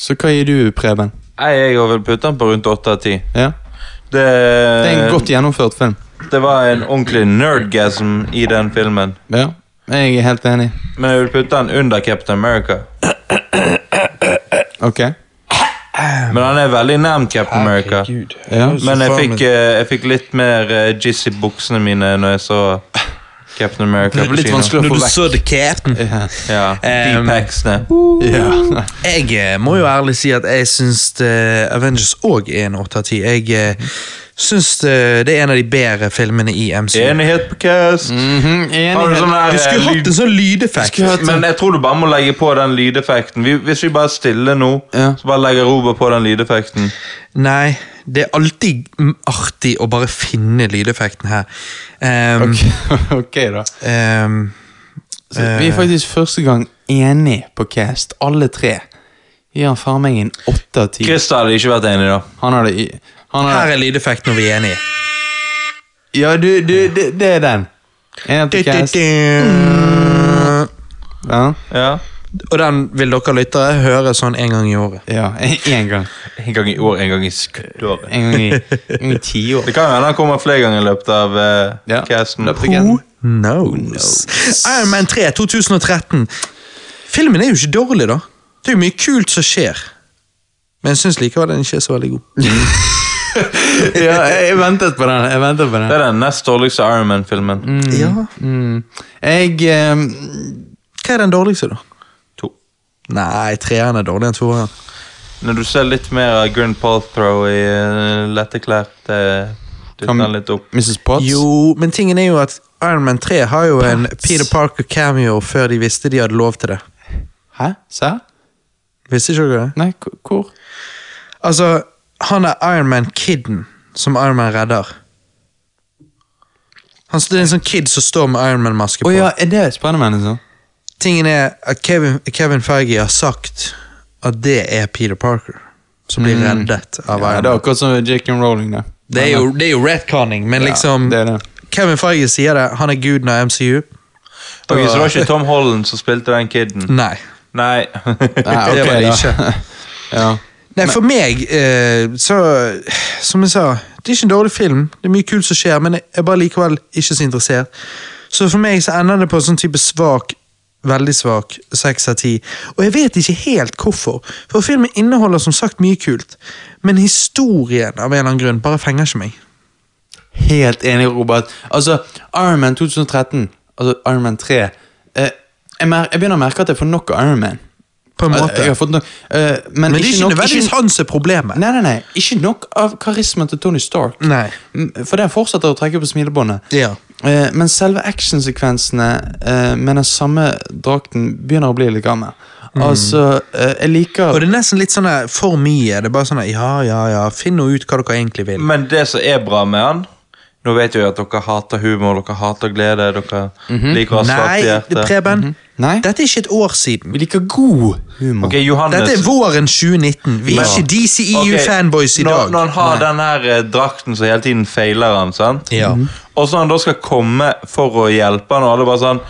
B: Så hva gir du, Preben?
C: Nei, Jeg har vel puttet han på rundt åtte av ti.
B: Ja?
C: Det,
B: Det er
C: Eh,
B: en godt gjennomført film.
C: det var en ordentlig nerdgasm i den filmen.
B: Ja, jeg er helt enig.
C: Men jeg vil putte han under Captain America.
B: Ok.
C: Men han er veldig nærmt Captain America.
D: Herregud.
B: Ja.
C: Men jeg fikk, eh, jeg fikk litt mer eh, jizz i buksene mine når jeg så Captain America
B: Det
C: på
B: var litt
C: kino.
B: vanskelig Um, å
A: Når du
B: få vekk.
A: så The Captain
B: Ja.
C: Ja,
A: Ehm,
C: Deep-hacksene.
B: Ja.
A: Jeg eh, må jo ærlig si at jeg syns eh, Avengers òg er en 8 av 10. Jeg eh, syns eh, det er en av de bedre filmene i MCU.
C: Enighet på
B: Mm.
C: cast.
B: Mhm,
C: Har du sånn der,
A: Vi
C: eh,
A: skulle hatt
C: lyd-
A: en sånn lydeffekt.
C: Men jeg tror du bare må legge på den lydeffekten. Vi, hvis vi bare er stille nå,
B: Ja.
C: så bare legger Robert på den lydeffekten.
A: Nei, det er alltid mm, artig å bare finne lydeffekten her. Ehm,
B: ok, da.
A: ehm,
B: Så vi
C: Eh.
B: er faktisk første gang enige på cast, alle tre. Gir han faen meg en åtte av ti.
C: Christer hadde ikke vært enig, da.
B: Han hadde i- han hadde,
A: her er lydeffekten når vi er enige.
B: Ja, du, du, det, det er den. En på cast. Ja,
C: Ja.
A: Mm. Og den vil dere lyttere høre sånn en gang i året.
B: ja en gang.
C: En gang i år, en gang i skuddåret.
B: En gang i, en gang i ti år.
C: Det kan jo hende han kommer flere ganger i løpet av eh,
B: Ja.
C: casten.
B: Løpet av casten.
A: knows? Iron Man 3 2013. Filmen er jo ikke dårlig, da. Det er jo mye kult som skjer. Men jeg syns likevel den ikke er så veldig god.
B: Ja, jeg jeg ventet på den. Jeg ventet på den. Mm.
C: Det er den nest dårligste Iron Man-filmen.
A: Mm. Ja.
B: Jeg eh,
A: Hva er den dårligste, da?
C: To.
A: Nei, treeren er dårligere enn toeren.
C: Når du ser litt mer av Grun Palthrow i eh, letteklær, det dytter
B: Kan-
C: han litt opp.
B: Mrs. Potts?
A: Jo, men tingen er jo at Iron Man 3 har jo en Peter Parker cameo før de visste de hadde lov til det.
B: Hæ? Serr?
A: Visste ikke dere det?
B: Nei, k- hvor?
A: Altså, han er Iron Man-kidden som Iron Man redder. Han, det er en sånn kid som står med Iron Man-maske
B: Å
A: på.
B: ja, er det Spiderman, liksom?
A: Tingen er at Kevin, Kevin Feige har sagt at det er Peter Parker som blir reddet av
B: Ja,
A: Iron
B: det er
A: Man.
B: akkurat som J.K. Rowling, det.
A: Mm. Det er jo, det er jo retconning, men liksom
B: det er det.
A: Kevin Feige sier det. Han er guden av MCU.
C: Ok, Så det var ikke Tom Holland som spilte den kiden?
A: Nei.
C: Nei.
B: Nei,
A: det
B: ok,
A: var det
B: da.
A: ikke.
B: Ja.
A: Nei, for meg, eh, så Som jeg sa, det er ikke en dårlig film. Det er mye kult som skjer, men jeg er bare likevel ikke så interessert. Så for meg så ender det på sånn type svak, veldig svak, seks av ti. Og jeg vet ikke helt hvorfor, for filmen inneholder som sagt mye kult. Men historien av en eller annen grunn bare fenger ikke meg.
B: Helt enig, Robert. Altså, Iron Man 2013, altså Iron Man 3 eh, jeg, mer, jeg begynner å merke at jeg får nok av Iron Man.
A: På en
B: Eh,
A: måte.
B: Jeg har fått nok, eh, men,
A: Men det er ikke
B: nok-
A: nødvendigvis han som er problemet.
B: Nei, nei, nei. Ikke nok av karismaen til Tony Stark.
A: Nei.
B: Mm, For den fortsetter å trekke på smilebåndet.
A: Ja.
B: Eh, men selve actionsekvensene eh, med den samme drakten begynner å bli litt gammel. Altså, eh, jeg liker
A: Mm. Og det er nesten litt sånn der, for mye. Det er bare sånn der, ja, ja, ja, finn nå ut hva dere egentlig vil.
C: Men det som er bra med han Nå vet jeg jo at dere hater humor, dere hater glede, dere liker å ha
A: Mhm.
C: svart
A: Nei,
C: i
A: det-
C: hjertet.
A: Preben.
B: Nei,
A: Dette er ikke et år siden.
B: vi liker god humor.
C: Ok, Johannes.
A: Dette er våren 2019. Vi er
C: Ja.
A: ikke
C: Ok,
A: DCEU-fanboys i
C: Når,
A: dag.
C: når han har den her eh, drakten som hele tiden feiler han, sant?
A: Ja. Mhm.
C: Og så han da skal komme for å hjelpe han, og alle bare sånn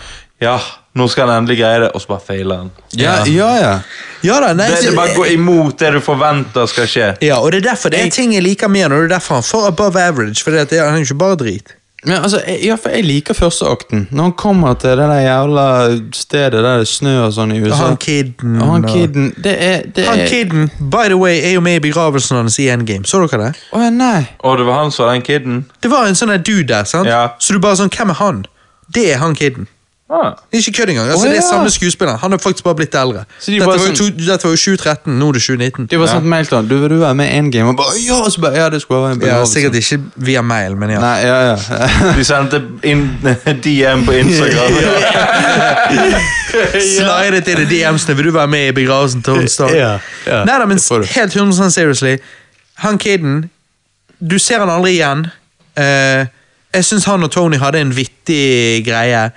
C: Ja, nå skal han endelig greie det, og så bare feiler han.
B: Ja, ja. ja.
A: Ja da, nei,
C: Det, det bare går imot det du forventer skal skje.
A: ja, og det er derfor det er ting jeg liker mer, og det er derfor han får above average. For det er han er jo ikke bare drit.
B: Men altså, jeg, ja, for jeg liker førsteakten. Når han kommer til det der jævla stedet der det snør og sånn i USA.
A: Og han kidden,
B: Og han
A: og-
B: kidden, det er, det
A: Han
B: er
A: kidden, by the way, er jo med i begravelsen hans i Endgame. Så dere det?
B: Å ja, nei.
C: Og det var han som var den kiden?
A: Det var en sånn der dude der, sant?
C: Ja.
A: Så du bare sånn, hvem er han? Det er han kidden.
C: Ah.
A: Det er ikke kødd engang. Altså,
B: Å,
A: Det er
B: ja.
A: samme skuespiller. Han er faktisk bare blitt eldre.
B: Så de
A: dette,
B: bare
A: var jo
B: sånn-
A: to, dette var jo 2013, nå er det 2019.
B: Det var sånn mail til han. Du, du er med i Endgame, og bare ja! Og så bare, ja, det skulle være en
A: Ja,
B: begravelse.
A: Sikkert ikke via mail, men ja.
B: Nei, ja, ja.
C: De sendte inn DM på Instagram.
A: Slidet inn i DMs-ene. Vil du være med i begravelsen til onsdag?
B: Ja, ja.
A: Neida, men
B: Det får du.
A: helt 100 seriously. Han kiden, du ser han aldri igjen. Eh, jeg syns han og Tony hadde en vittig greie.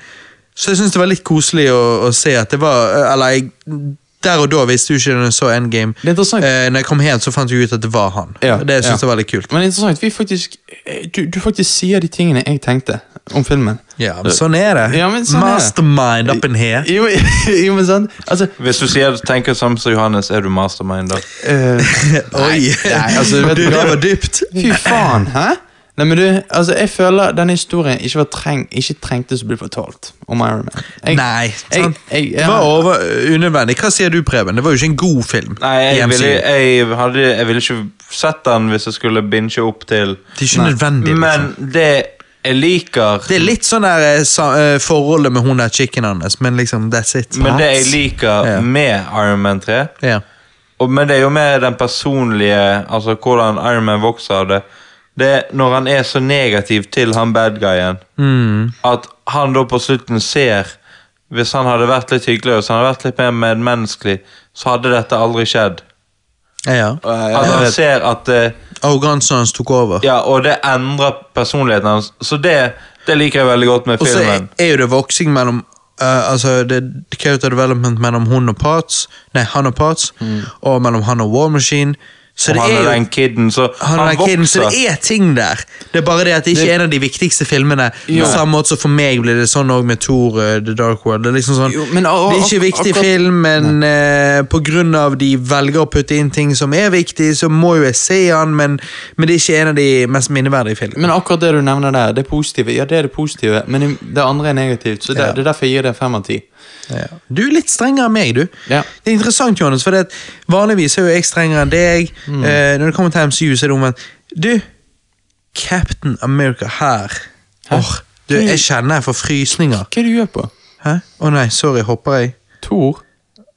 A: Så jeg syns det var litt koselig å, å se at det var eh, Eller jeg, der og da visste du ikke når jeg så Endgame.
B: Det er interessant.
A: Eh, når jeg kom hjem, så fant jeg ut at det var han.
B: Ja,
A: det syns
B: ja.
A: jeg var litt kult.
B: Men det er interessant, vi faktisk eh, du, du faktisk sier de tingene jeg tenkte om filmen.
A: Ja, men sånn er det.
B: Ja, men sånn er det.
A: Mastermind up in here.
B: Jo, jo men sant? Altså
C: Hvis du sier, tenker samme som Johannes, er du mastermind da?
B: eh,
A: Oi!
B: nei, altså, vet
A: du,
B: du hva?
A: det var dypt.
B: Fy faen, hæ? Nei, men du, altså, jeg føler denne historien ikke, var treng, ikke trengtes å bli fortalt om Iron Man. Jeg,
A: Nei.
B: jeg,
A: sant?
B: jeg,
A: Det var over, uh, unødvendig. Hva sier du, Preben? Det var jo ikke en god film. E
C: Nei, jeg
A: i
C: ville,
A: MCU.
C: jeg, hadde, jeg ville ikke sett den hvis jeg skulle binge opp til
A: Det er ikke nødvendig. Liksom.
C: Men det jeg liker
A: Det er litt sånn der eh, sa, eh, forholdet med hun der chicken hans, men liksom, that's it.
C: Men det jeg liker
A: Ja.
C: med Iron Man 3
A: Ja.
C: og, Men det er jo med den personlige Altså hvordan Iron Man vokser av det Det er når han er så negativ til han bad guyen
A: Mm.
C: At han da på slutten ser Hvis han hadde vært litt hyggeligere Hvis han hadde vært litt mer medmenneskelig Så hadde dette aldri skjedd
A: Ja, ja.
C: At han ser at eh,
A: Arrogansen hans tok over.
C: Ja, og det endrer personligheten hans Så det, det liker jeg veldig godt med
A: Og så er,
C: filmen
A: er jo det voksing mellom eh, altså det det character development mellom hun og Parts, nei, han og Parts, og mellom han og War Machine. Så
C: Mm.
A: det
C: Og han
A: er
C: er
A: jo
C: den kidden Så
A: han og
C: han
A: den kiden, så
C: vokser
A: det er ting der. Det er bare det at det ikke er en av de viktigste filmene. På samme måte som for meg blir det sånn også med Thor eh, The Dark World. Det er liksom sånn,
B: Jo, men og- og-
A: det er ikke
B: ak-
A: viktig
B: akkurat-
A: film, men eh, på grunn av de velger å putte inn ting som er viktig, så må jo jeg se han, men, men det er ikke en av de mest minneverdige filmene.
B: Men akkurat det du nevner der, det positive, ja, det er det positive, men det- det andre er negativt. Så det,
A: Ja.
B: det er derfor jeg gir det fem av ti.
A: Ja. Du er litt strengere enn meg, du.
B: Ja.
A: Det er interessant, Johannes, for det at vanligvis er jo jeg strengere enn deg.
B: Mm.
A: Eh, når det kommer til MCU, så er det omvendt. Du, Captain America her. Åh, du,
B: Mm.
A: jeg kjenner jeg får frysninger.
B: Hva er det du gjør på?
A: Hæ? Å nei, sorry, hopper jeg?
B: Tor?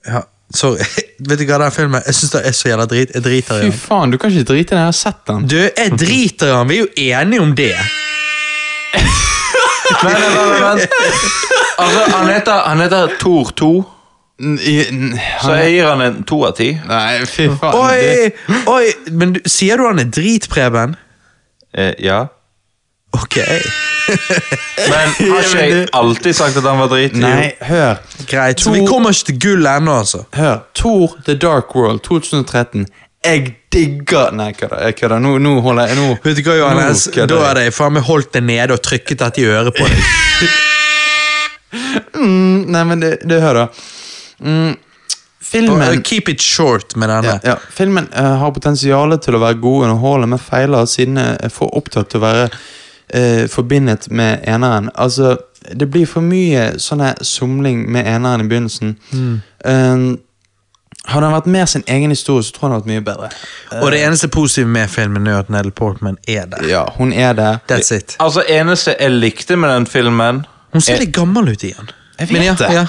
A: Ja, sorry. Vet du hva den filmen Jeg syns det er så jævla drit. Jeg driter i
B: Fy
A: den.
B: faen, du kan ikke drite i det, jeg har sett den.
A: Du, jeg driter i den! Vi er jo enige om det.
C: Nei, nei, nei, nei, vent. Altså, han heter, han heter Tor 2,
B: N- i- n-
C: så jeg gir han en to av ti.
B: Nei, fy faen.
A: Oi!
B: det-
A: oi, Men du, sier du han er drit, Preben?
C: Eh, ja.
A: Ok,
C: Men har ikke jeg alltid sagt at han var dritig?
B: Nei, hør.
A: greit. Så
B: To-
A: vi kommer ikke til gull ennå, altså.
B: Hør. Tor The Dark World 2013. Jeg digger Nei, kødda. Jeg kødder. Nå, nå holder jeg nå.
A: Vet du hva, Johannes?
B: Nå kødder
A: Da
B: jeg.
A: hadde jeg faen meg holdt det nede og trykket dette i øret på deg.
B: Mm, Nei, men det, det hør, da. Mm, filmen
A: Keep it short med denne.
B: Ja, filmen eh, har potensial til å være god underholdende, men feiler siden jeg er for opptatt til å være eh, forbindet med eneren. Altså, det blir for mye sånne somling med eneren i begynnelsen.
A: Mm.
B: Eh, hadde han vært mer sin egen historie, så tror jeg han hadde vært mye bedre.
A: Og det eneste positive med filmen er at Nell Portman er der.
B: Ja, hun er der.
A: That's it.
C: Altså, eneste jeg likte med den filmen,
A: Hun ser litt gammel ut igjen.
B: Jeg
A: Men
B: vet
A: ja,
B: det.
A: ja.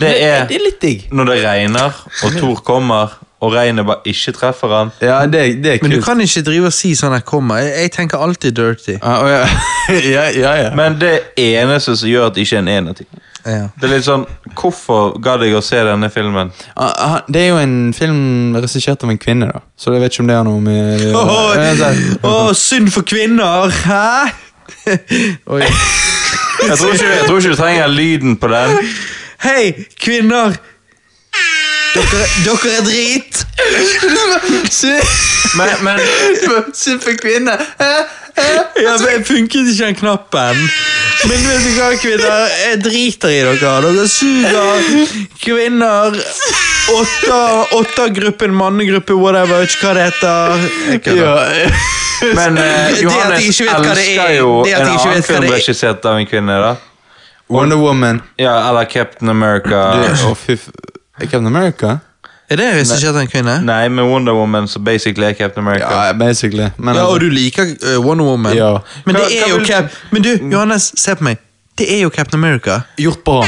C: det er
B: Det er litt digg.
C: når det regner, og Tor kommer, og regnet bare ikke treffer han.
B: Ja, det, det er
A: Men du
B: kult.
A: kan ikke drive og si sånn her kommer. Jeg, jeg tenker alltid dirty.
B: Ah, å, ja. ja, ja, ja.
C: Men det eneste som gjør at det ikke er en ener til.
A: Ja.
C: Det er litt sånn, hvorfor gadd jeg å se denne filmen?
B: Ah, ah, det er jo en film regissert av en kvinne, da. Så jeg vet ikke om det har noe med det å
A: Åh,
B: gjøre. Ja, så-
A: åh, synd for kvinner! Hæ? Oi.
C: Jeg tror ikke, jeg tror ikke du trenger lyden på den.
A: Hei, kvinner! Dere, dere er drit!
C: Men, men
B: Synd for kvinner.
A: Ja, men jeg funket ikke den knappen. Men vet du hva, kvinner? Jeg driter i dere. Dere suger. Kvinner Åtta- Åtta-gruppen, mannegruppe, whatever, ikke hva det heter. Jeg kødder.
C: Men eh,
A: Det at de
C: Johannes
A: ikke vet hva det er,
C: elsker jo
A: det at de ikke vet
C: en annen
A: hva
C: film
A: det er.
C: regissert av en kvinne, da.
B: Wonder Woman.
C: Ja, eller Captain America.
B: Du, å, fy f- Captain America?
A: Er det regissert av en kvinne?
C: Nei, med Wonder Woman, så basically er Captain America.
B: Ja, basically. Men
A: Ja, og
B: altså,
A: du liker eh, Wonder Woman.
B: Ja.
A: Men det
C: Hva-
A: er
C: hva
A: jo
C: vil-
A: Cap... Men du, Johannes, se på meg. Det er jo Captain America.
B: gjort bra.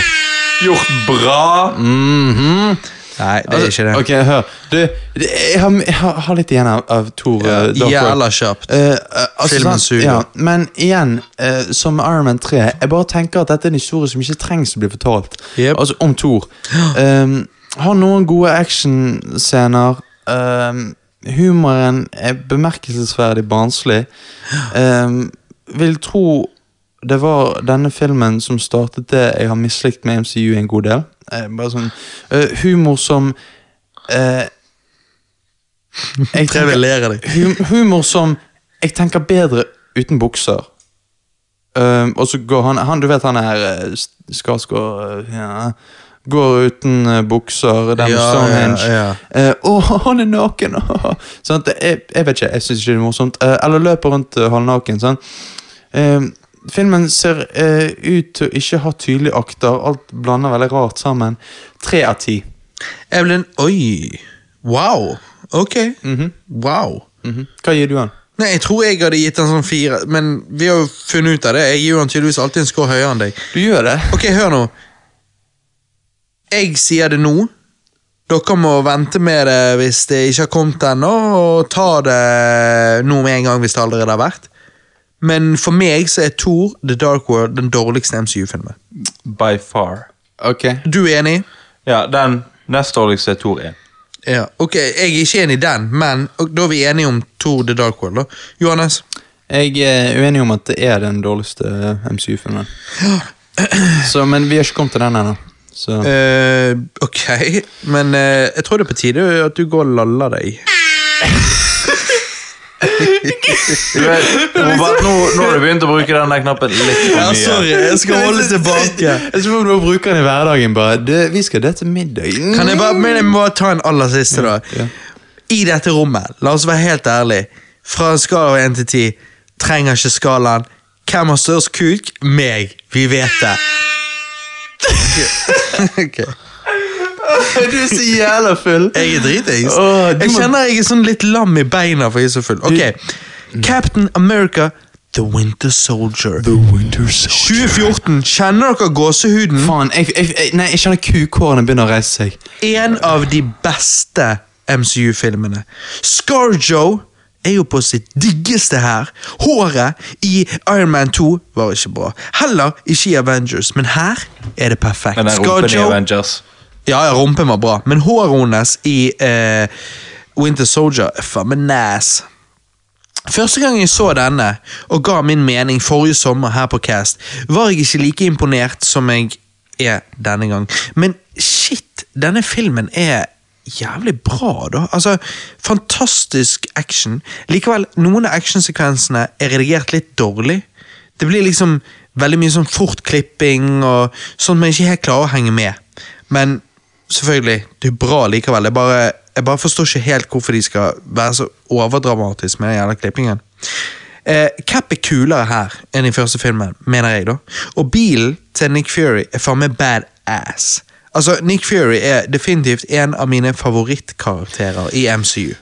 C: Gjort bra! mm,
A: Nei, det er ikke det.
B: Ok, hør. Du, det, jeg, har, jeg har har litt igjen av, av Thor. eh, Dark World.
A: Jævla kjapt.
B: Eh, eh, altså,
A: Filmen
B: sant,
A: suger.
B: Ja, men igjen, eh, som Iron Man 3 Jeg bare tenker at dette er en historie som ikke trengs å bli fortalt.
A: Jep.
B: Altså om Thor. Um, har noen gode actionscener. Um, humoren er bemerkelsesverdig barnslig. Um, vil tro det var denne filmen som startet det jeg har mislikt med MCU en god del. Eh, bare sånn eh, Humor som eh, jeg tenker-
A: Prevalere deg.
B: hum humor som Jeg tenker bedre uten bukser. Ehm, og så går han, han Du vet han her eh, S- Skarsgård eh, ja, Går uten eh, bukser. Den
A: Ja,
B: Stonehenge.
A: ja, ja.
B: Eh, Å, han er naken! åh. sånn, at jeg, jeg vet ikke, jeg syns ikke det er morsomt. Eh, eller løper rundt eh, halvnaken. Sånn. Ehm, filmen ser eh, ut til å ikke ha tydelige akter. Alt blander veldig rart sammen. Tre av ti.
A: Jeg ble en Oi! Wow! Ok. Wow.
B: Mhm. Hva gir du han?
A: Nei, Jeg tror jeg hadde gitt den sånn fire, men vi har jo funnet ut av det. Jeg gir jo han tydeligvis alltid en score høyere enn deg.
B: Du gjør det.
A: Ok, hør nå. Jeg sier det nå. Dere må vente med det hvis det ikke har kommet ennå, og ta det nå med en gang hvis det allerede har vært. Men for meg så er Thor The Dark World den dårligste MCU-filmen.
C: By far.
B: Ok.
A: Du er enig?
C: Ja, den neste årligste er Tor 1.
A: Ja, ok, Jeg er ikke enig i den, men og da er vi enige om Thor The Dark World. da. Johannes?
B: Jeg er uenig om at det er den dårligste eh, MCU-filmen. Så, men vi har ikke kommet til den ennå. Så
A: Eh, ok, men eh, jeg tror det er på tide at du går og laller deg.
C: Du vet, Robert, nå, nå har du begynt å bruke den der knappen litt for mye.
A: jeg skal holde
B: Jeg tror du bruker den i hverdagen. bare du, Vi skal det til middag.
A: Kan jeg bare, men jeg må ta en aller siste, da.
B: Ja.
A: I dette rommet, la oss være helt ærlige, fra en skala av 1 til 10, trenger ikke skalaen. Hvem har størst kuk? Meg. Vi vet det. Ok.
B: Du er så jævla full.
A: Jeg er dritings.
B: Åh, du
A: Jeg
B: må-
A: kjenner jeg er sånn litt lam i beina, for jeg er så full. Ok, Captain America, The Winter Soldier.
B: The Winter Soldier.
A: 2014. Kjenner dere gåsehuden?
B: Faen, jeg, jeg, jeg, nei, jeg kjenner kukhårene begynner å reise seg.
A: en av de beste MCU-filmene. Scarjo er jo på sitt diggeste her. Håret i Iron Man 2 var ikke bra. Heller ikke i Avengers, men her er det perfekt.
C: Men den rumpen i
A: ScarJo-
C: Avengers.
A: Ja, ja, rumpen var bra, men håret hennes i eh, Winter Soldier er faen meg nass. Første gang jeg så denne, og ga min mening forrige sommer her på Cast, var jeg ikke like imponert som jeg er denne gang. Men shit, denne filmen er jævlig bra, da. Altså, fantastisk action. Likevel, noen av actionsekvensene er redigert litt dårlig. Det blir liksom veldig mye sånn fortklipping og sånn at man ikke helt klarer å henge med. Men selvfølgelig, det er bra likevel. Jeg bare, jeg bare forstår ikke helt hvorfor de skal være så overdramatisk med den jævla klippingen. Eh, Cap er kulere her enn i første filmen, mener jeg, da. Og bilen til Nick Fury er faen meg badass. Altså, Nick Fury er definitivt en av mine favorittkarakterer i MCU.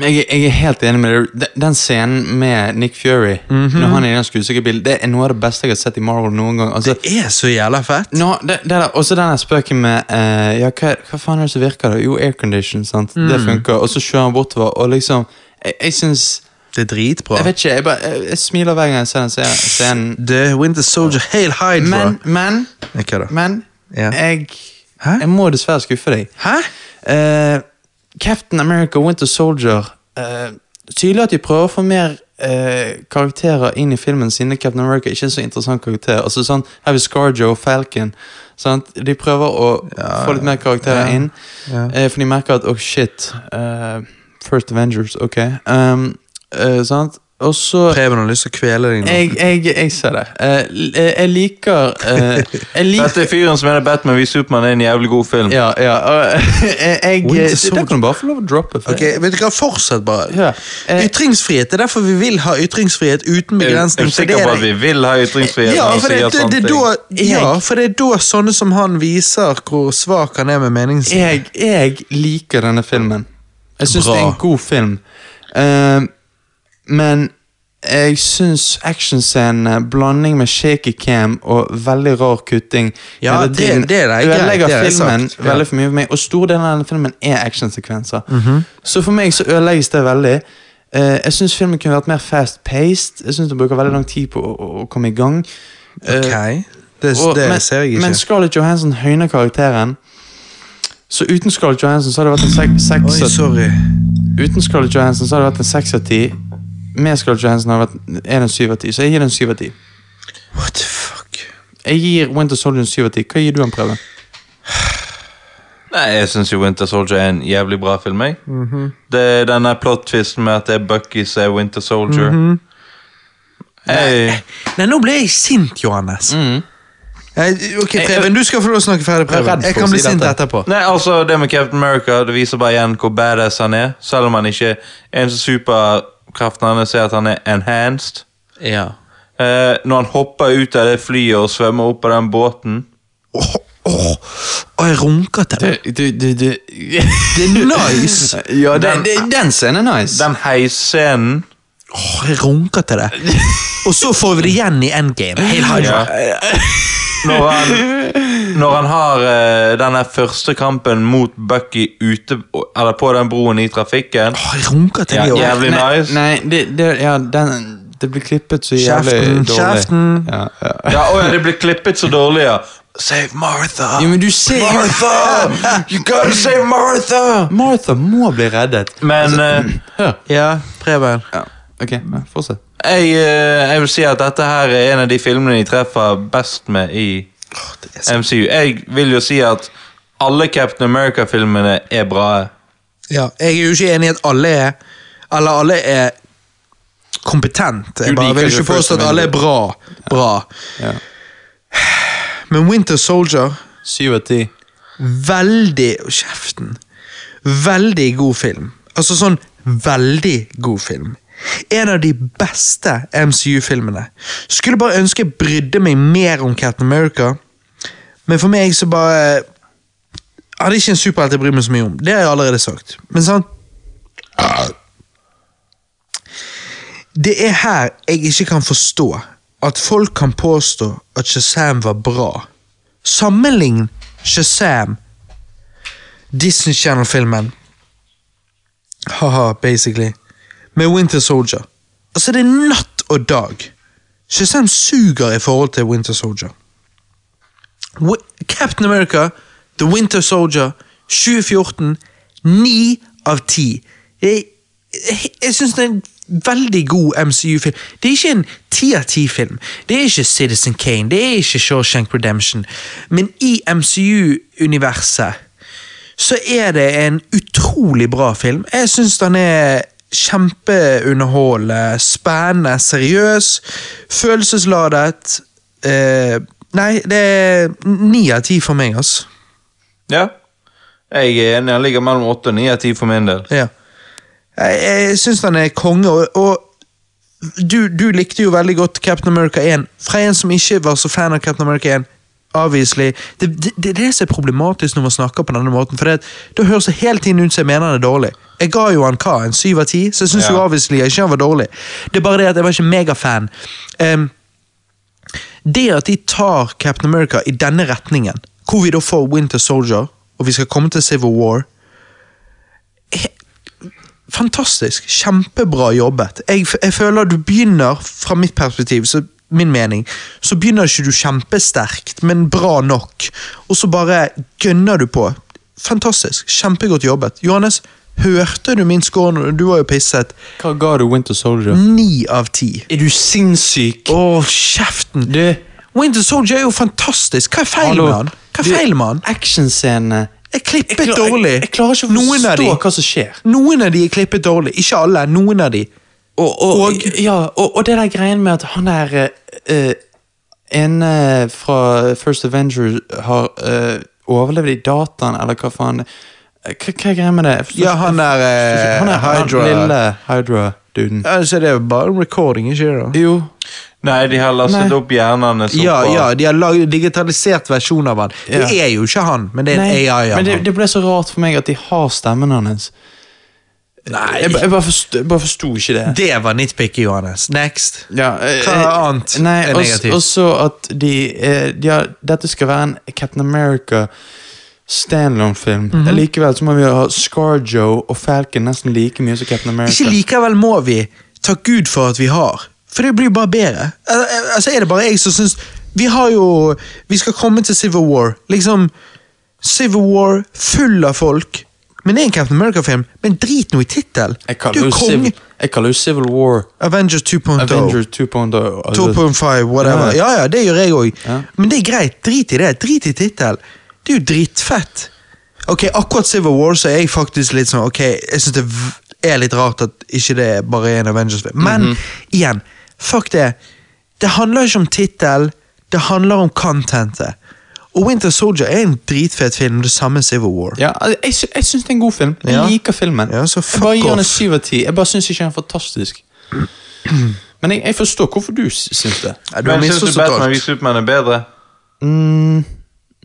B: Jeg, jeg er helt enig med deg. Den- Den scenen med Nick Fury
A: Mhm.
B: Når han er i den skuespillerbilen, det er noe av det beste jeg har sett i Marvel noen gang. Altså,
A: Det er så jævla fett!
B: Nå, det, det der, også den der spøken med eh, Ja, hva, hva faen er det som virker da? Jo, aircondition, sant?
A: Mm.
B: Det funker. Og så kjører han bortover, og liksom Jeg, jeg syns
A: Det er dritbra.
B: Jeg vet ikke, jeg bare jeg, jeg smiler hver gang jeg ser den se- scenen.
A: The Winter Soldier, Hail Hydra!
B: Men, men,
A: Jeg kødder.
B: men
A: Ja.
B: Jeg
A: Hæ?
B: Jeg må dessverre skuffe deg.
A: Hæ?
B: Eh, Captain America Winter Soldier eh, Tydelig at de prøver å få mer eh, karakterer inn i filmen siden Captain America ikke er så interessant karakter. Altså sånn, Her har vi Scarjo og Falcon. Sant? De prøver å få litt mer karakterer inn,
A: ja.
B: eh, for de merker at oh shit eh, First Avengers, ok. Um, eh, sant? Og så
A: Preben har lyst til å kvele deg nå.
B: Jeg, jeg, jeg ser det. Eh, l- eh, jeg liker eh, Jeg liker
C: Dette er fyren som er Batman vi Supermann er en jævlig god film.
B: Ja, ja. og, eh, jeg,
A: Winter
B: det,
A: Soldier.
B: det kan du bare få lov å droppe. for-
A: Ok, vet du hva, Fortsett bare.
B: Ja, eh,
A: ytringsfrihet. Det er derfor vi vil ha ytringsfrihet uten
C: Jeg jeg Eh, er
A: begrensning. for det
C: sikker
A: er
C: på at vi
A: det-
C: vil ha ytringsfrihet.
A: ja,
C: når han
A: for det,
C: sier
A: det,
C: sånne
A: det, er
C: ting.
A: da, ja, for det er da sånne som han viser hvor svak han er med meningsliv.
B: Jeg, jeg liker denne filmen. Jeg syns det
A: Bra.
B: er en god film. Eh, men jeg syns actionscenene, blanding med shaky cam og veldig rar kutting
A: Ja,
B: hele
A: det-
B: tiden
A: det er det, greit,
B: ødelegger
A: det har jeg
B: filmen
A: sagt, ja. Mhm.
B: veldig for mye for meg. Og stor del av denne filmen er actionsekvenser. Så for meg så ødelegges det veldig. Eh, jeg syns filmen kunne vært mer fast-paced. Jeg syns det bruker veldig lang tid på å, å- å komme i gang. Eh,
A: Ok, det,
B: og-
A: det
B: men,
A: ser jeg ikke.
B: Men Scarlett Johansson høyner karakteren. Så uten Scarlett Johansson så hadde det vært en sek- seks
A: Oi,
B: av-
A: sorry.
B: Uten Scarlett Johansson så hadde det vært en seks av ti. Med Scarlett Johansson har det vært er det en syv av ti. Så jeg gir den syv av ti.
A: What the fuck?
B: Jeg gir Winter Soldier en syv av ti. Hva gir du han, Preben?
C: Nei, Jeg syns jo Winter Soldier er en jævlig bra film. Jeg.
A: Mhm.
C: Det er denne plot-twisten med at det er Bucky som er Winter Soldier.
A: Mhm.
C: Hei.
A: Nei, nå ble jeg sint, Johannes.
C: Mm.
A: Nei, Ok, Preben, du skal få lov å snakke ferdig,
B: Jeg er redd
A: Preben. Jeg
B: for å
A: kan bli
B: si
A: sint
B: dette.
A: etterpå.
C: Nei, altså, det med Captain America Det viser bare igjen hvor badass han er. Selv om han ikke en superkraften hans er at han er enhanced.
A: Ja.
C: Eh, når han hopper ut av det flyet og svømmer opp på den båten
A: Åh, åh, åh, jeg runker til det.
B: du, du, du.
A: Det er nice.
B: ja,
C: Den-
B: den, den, den scenen er nice.
C: Den heisscenen
A: Åh, jeg runker til det. Og så får vi det igjen i endgame. Hail Hydra.
C: ja. Når han, når han har eh, den her første kampen mot Bucky ute Eller på den broen i trafikken
A: Åh, jeg runker til
C: Ja,
A: det også.
C: jævlig
B: nei,
C: nice.
B: Nei, det, det, ja, den, det blir klippet så jævlig
A: Kjeften,
B: dårlig.
A: kjeften.
B: Ja, ja.
C: Ja, å ja, det blir klippet så dårlig, ja. Save Martha!
B: Jo, men du ser
C: Martha! You gotta save Martha!
B: Martha må bli reddet.
C: Men eh,
B: Hør.
A: Ja, Preben.
B: Ja, ok, ja, fortsett.
C: jeg, eh, jeg vil si at dette her er en av de filmene de treffer best med i MCU. Jeg vil jo si at alle Captain America-filmene er bra.
A: Ja, jeg er jo ikke enig i at alle er Eller alle er kompetent.
B: Du
A: Jeg bare
B: liker
A: vil
B: jo
A: ikke
B: First
A: påstå at alle er bra. Bra.
B: Ja.
A: Men Winter Soldier
B: Syv av ti.
A: Veldig Å, Kjeften. Veldig god film. Altså sånn veldig god film. En av de beste MCU-filmene. Skulle bare ønske jeg brydde meg mer om Captain America, men for meg så bare Hadde ikke en superhelt jeg bryr meg så mye om. Det har jeg allerede sagt. Men sånn Det er her jeg ikke kan forstå at folk kan påstå at Shazam var bra. Sammenlign Shazam, Disney Channel-filmen, haha, basically, med Winter Soldier. Altså, det er natt og dag. Shazam suger i forhold til Winter Soldier. Wi- Captain America, The Winter Soldier, 2014, 9 av 10. Jeg, jeg, jeg syns det er en veldig god MCU-film. Det er ikke en 10 av 10-film. Det er ikke Citizen Kane, det er ikke Shawshank Redemption. Men i MCU-universet så er det en utrolig bra film. Jeg syns den er kjempeunderholdende, spennende, seriøs, følelsesladet. Eh, nei, det er ni av ti for meg, altså.
C: Ja. Jeg er enig. Han ligger mellom åtte og ni av ti for min del.
A: Ja. Jeg, jeg syns den er konge, og, og du, du likte jo veldig godt Captain America 1. Fra en som ikke var så fan av Captain America 1. Obviously. Det, det, det er det som er problematisk når man snakker på denne måten. For det, det høres det hele tiden ut som jeg mener han er dårlig. Jeg ga jo han hva? En syv av ti? Så jeg syns
C: Ja.
A: jo obviously ikke han var dårlig. Det er bare det at jeg var ikke megafan. Ehm, det at de tar Captain America i denne retningen, hvor vi da får Winter Soldier, og vi skal komme til Civil War he- Fantastisk. Kjempebra jobbet. Jeg, f- jeg føler du begynner, fra mitt perspektiv, så min mening, så begynner ikke du kjempesterkt, men bra nok. Og så bare gønner du på. Fantastisk. Kjempegodt jobbet. Johannes, hørte du min score? når- Du var jo pisset.
B: Hva ga du Winter Soldier?
A: Ni av ti.
B: Mm. Er du sinnssyk?
A: Å, kjeften!
B: Du,
A: Winter Soldier er jo fantastisk. Hva er feil med han? Hva er feil med han?
B: Actionscenene
A: Er klippet
B: Jeg klar-
A: dårlig.
B: Jeg, jeg klarer ikke å
A: Noen av
B: forstå
A: de.
B: hva som skjer.
A: Noen av de er klippet dårlig. Ikke alle, noen av de. Og, og,
B: Og, ja, og, og det der greien med at han der eh, ene fra First Avenger har eh, overlevd i dataen, eller hva faen Eh, Hva, hva er greia med det? Jeg forstår
A: ja,
B: ikke-
A: han der eh,
B: han er
A: Hydra
B: Han, lille Hydra-duden.
A: Ja, så det er jo bare en recording, ikke det? da?
B: Jo.
C: Nei, de har lastet
B: Nei.
C: opp hjernene som
A: Ja,
C: på-
A: ja, de har laget digitalisert versjon av han. Det
B: Ja.
A: er jo ikke han, men det er en AI av
B: men det,
A: han.
B: det ble så rart for meg at de har stemmen hans.
A: Nei.
B: Jeg, ba- jeg bare forsto- bare forsto ikke det.
A: Det var nitpicky, Johannes. Next.
B: Ja, eh,
A: Hva
B: eh,
A: annet er
B: nei, og-
A: negativt?
B: Og så at de, eh, de har, Dette skal være en Captain America standalone-film. Likevel så må vi ha Scarjo og Falcon nesten like mye som Captain America.
A: Ikke likevel må vi takke Gud for at vi har. For det blir bare bedre. Al- al- Altså er det bare jeg som syns Vi har jo Vi skal komme til Civil War. Liksom Civil War full av folk. Men det er en Captain America-film. Men drit nå i tittelen!
B: Jeg
A: Du
B: kaller
A: er
B: jo
A: konge.
B: Civil, jeg kaller jo Civil War
A: Avengers oh. 2.0.
B: Avenger 2.0. altså.
A: 2.5, whatever.
B: Ja.
A: Ja, ja, det gjør jeg òg.
B: Ja.
A: Men det er greit. Drit i det. Drit i tittel. Det er jo dritfett. Ok, Akkurat Civil War så er jeg faktisk litt sånn Ok, jeg syns det v- er litt rart at ikke det er bare er en Avengers-film. Men
B: Mhm.
A: igjen, fuck det. Det handler ikke om tittel, det handler om contentet. Og Winter Soldier er en dritfet film, det samme er Civil War.
B: Ja, al- jeg, sy- jeg syns det er en god film. Jeg
A: Ja.
B: liker filmen.
A: Ja, så
B: jeg bare
A: fuck
B: gir den en
A: off.
B: syv av ti. Jeg bare syns ikke den er fantastisk. Men jeg, jeg forstår hvorfor du s- syns det.
A: Ja, du har
C: Men syns du
A: misforstått
C: Batman v
A: alt.
C: Superman er bedre?
B: Mm,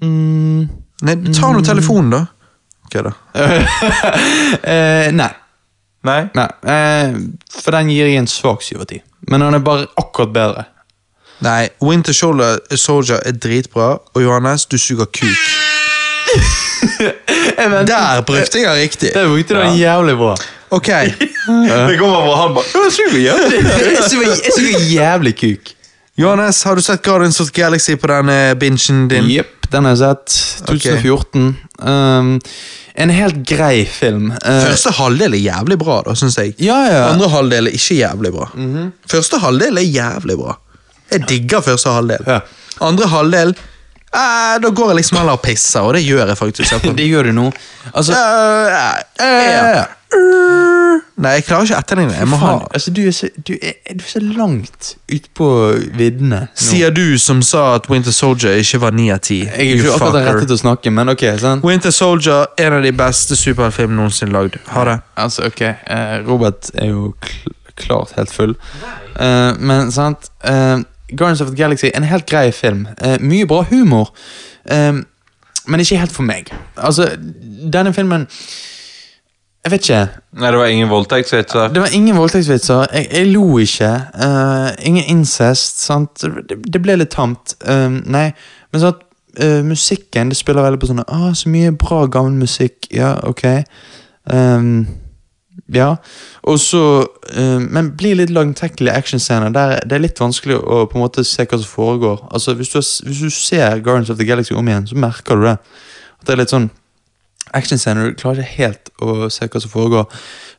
B: mm,
A: Nei, ta nå telefonen, da. Ok, da.
B: eh, nei.
C: Nei?
B: Nei, eh, for den gir jeg en svak 7 av 10. Men han er bare akkurat bedre.
A: Nei, Winter Soldier, Soldier er dritbra, og Johannes, du suger kuk. Der brukte jeg riktig.
B: Det brukte du den jævlig bra.
A: Ok.
C: Det kommer fra han bare «Ja, suger, ja».
B: Jeg suger jævlig kuk.
A: Johannes, har du sett Guardians of the Galaxy på den eh, bingen din?
B: Jepp, den har jeg sett. 2014. Um, en helt grei film. Eh,
A: Første halvdel er jævlig bra, da, syns jeg.
B: ja, ja. Mhm.
A: Andre halvdel er ikke jævlig bra. Første halvdel er jævlig bra. Jeg digger første halvdel.
B: Ja.
A: Andre halvdel eh, Da går jeg liksom heller og pisser, og det gjør jeg faktisk.
B: Det gjør du nå. Altså,
A: Eh, eh, eh. Nei, jeg klarer ikke etterligne. Jeg må ha
B: faen, altså du, er så, du, er, du er så langt ut på viddene. nå.
A: Sier du som sa at Winter Soldier ikke var 9 av 10.
B: Jeg er jo ikke akkurat den rette til å snakke, men ok. sant?
A: Winter Soldier, en av de beste superheltfilmene noensinne lagd. Ha det.
B: Altså, ok, eh, Robert er jo kl klart helt full. Eh, men sant eh, Guardians of the Galaxy, en helt grei film. Eh, mye bra humor. Eh, men ikke helt for meg. Altså, denne filmen Jeg vet ikke.
C: Nei, det var ingen voldtektsvitser.
B: Det var ingen voldtektsvitser. Jeg, jeg lo ikke. eh, ingen incest. sant? Det, det ble litt tamt. Eh, nei, men sånn at eh, musikken det spiller veldig på sånn ah, Så mye bra, gammel musikk. Ja, ok. Ehm, ja. Og så eh, Men blir litt langtekkelige actionscener. Der det er litt vanskelig å på en måte se hva som foregår. Altså, hvis du, har, s- hvis du ser Guardians of the Galaxy om igjen, så merker du det. At det er litt sånn actionscener. Du klarer ikke helt å se hva som foregår.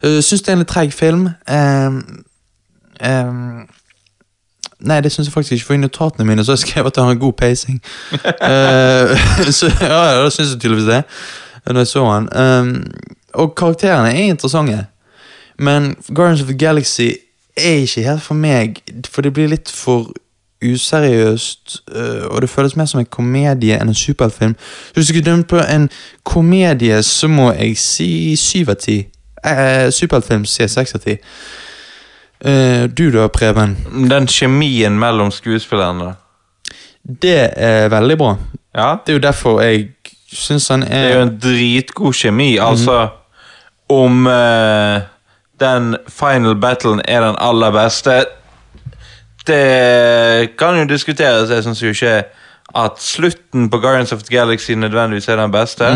B: Uh, syns det er en litt treig film. Ehm, ehm, nei, det syns jeg faktisk ikke, for i notatene mine så har jeg skrevet at han har god pacing. Eh, så ja, ja, da syns jeg tydeligvis det, når jeg så han. Ehm, og karakterene er interessante, men Guardians of the Galaxy er ikke helt for meg, for det blir litt for useriøst, eh, og det føles mer som en komedie enn en superheltfilm. Så hvis du skulle dømt på en komedie, så må jeg si syv av ti. Eh, superheltfilm sier seks av ti. Eh, du da, Preben?
C: Den kjemien mellom skuespillerne.
B: Det er veldig bra.
C: Ja?
B: Det er jo derfor jeg syns han
C: Det er jo
B: er
C: en dritgod kjemi. Altså, om eh, den final battlen er den aller beste Det kan jo diskuteres. Jeg syns jo ikke at slutten på Guardians of the Galaxy nødvendigvis er den beste.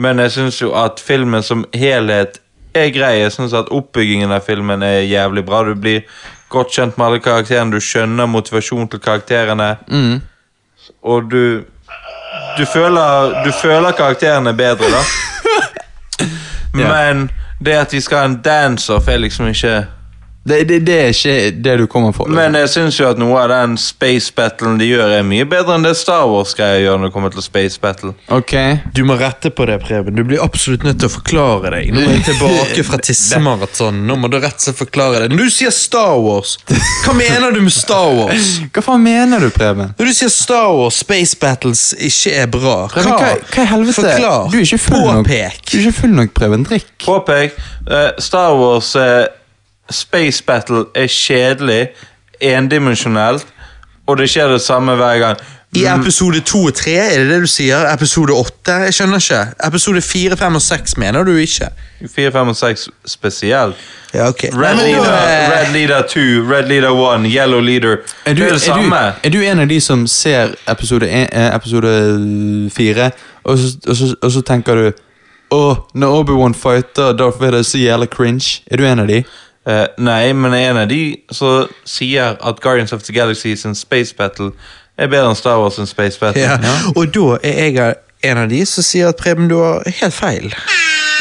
C: Men jeg syns jo at filmen som helhet er grei. Jeg syns at oppbyggingen av filmen er jævlig bra. Du blir godt kjent med alle karakterene, du skjønner motivasjonen til karakterene. Og du du føler, du føler karakterene bedre, da. Men det at de skal ha en dance-off, er liksom ikke
B: Det, det, det er ikke det du kommer for.
C: Men jeg syns jo at noe av den space battlen de gjør, er mye bedre enn det Star Wars-greia gjør når det kommer til space battle.
B: ok,
A: Du må rette på det, Preben. Du blir absolutt nødt til å forklare deg. Nå er jeg tilbake fra tissemaraton. Nå må du rett og slett forklare deg. Når du sier Star Wars, hva mener du med Star Wars?
B: Hva faen mener du, Preben?
A: Når du sier Star Wars Space Battles ikke er bra,
B: Preben, hva, hva i helvete?
A: Forklar.
B: Du er ikke full nok.
A: Påpek.
B: Du er ikke full nok, Preben. Drikk.
C: Påpek, eh, Star Wars eh, space battle er kjedelig, endimensjonelt, og det skjer det samme hver gang.
A: I episode 2 og 3, er det det du sier? Episode 8? Jeg skjønner ikke. Episode 4, 5 og 6 mener du ikke.
C: 4, 5 Mm, og 6 spesielt.
A: Ja, ok. Nei,
C: Red,
A: men
C: leader,
A: da, eh,
C: Red Leader 2, Red Leader 1, Yellow Leader.
B: Er du,
C: det er
B: er,
C: det samme.
B: du, er du en av de som ser episode, en, eh, episode fire, og så, og, så, og så tenker du Å, når Obi-Wan fighter Darth Vader, så jævla cringe. Er du en av de?
C: Eh, nei, men jeg er en av de som sier at Guardians of the Galaxy sin space battle er bedre enn Star Wars sin space battle.
A: ja. Og da er jeg en av de som sier at Preben, du har helt feil.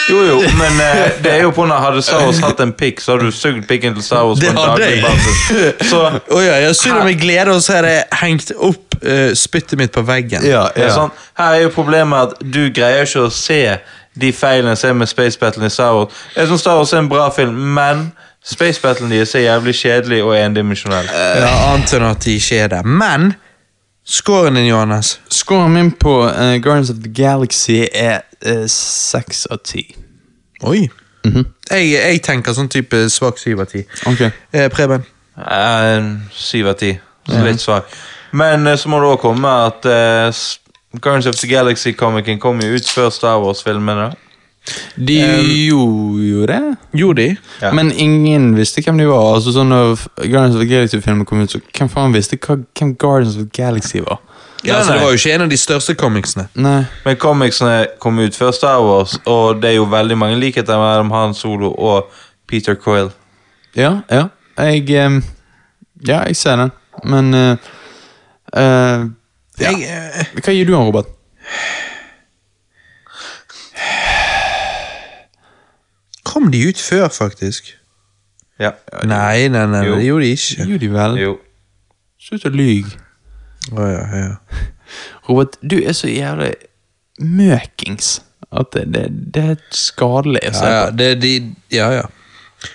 C: Jo, jo, men eh, det er jo på når hadde Star Wars hatt en pikk, så hadde du sugd pikken til Star Wars.
A: Det
C: på en
A: hadde jeg.
C: daglig basis. Så
A: Å ja, jeg syr det med glede, og så er det hengt opp eh, spyttet mitt på veggen.
C: det er sånn, her er jo problemet at du greier ikke å se de feilene som er med space battlen i Star Wars. Jeg synes Star Wars er en bra film, men space battlen deres er jævlig kjedelig og endimensjonell.
A: Ja, Eh, Annet enn at de ikke er det. Men scoren din, Johannes
B: Scoren min på eh, Guardians of the Galaxy er eh, seks av ti.
A: Oi.
C: Mhm.
A: jeg, jeg tenker sånn type svak syv av ti.
B: Ok.
A: Eh, Preben?
C: Eh, Syv av ti. Så litt svak. Men eh, så må det òg komme at eh, s- Guardians of the Galaxy-komikeren kom jo ut før Star Wars-filmene.
B: De gjorde jo det.
A: Jo, de.
C: Ja.
B: Men ingen visste hvem de var. Altså sånn Når Guardians of the Galaxy-filmen kom ut, så hvem faen visste hva, hvem Guardians of the Galaxy var?
A: Ja,
C: Nei,
A: altså, det
C: nei.
A: var jo ikke en av de største comicsene.
B: Nei.
C: Men comicsene kom ut før Star Wars, og det er jo veldig mange likheter mellom Han Solo og Peter Coyle.
B: Ja, ja. Jeg ehm, Ja, jeg ser den. Men eh, eh, ja.
A: Jeg, eh,
B: Hva gir du han, Robert?
A: kom de ut før, faktisk?
C: Ja.
A: Nei, nei, nei,
C: Jo.
A: det gjorde de ikke.
B: Gjorde de vel?
C: Jo.
B: Slutt å lyge.
A: Å, ja, ja.
B: Robert, du er så jævlig møkings at det, det, det er skadelig å
A: Ja,
B: se
A: ja, det, de, ja, ja.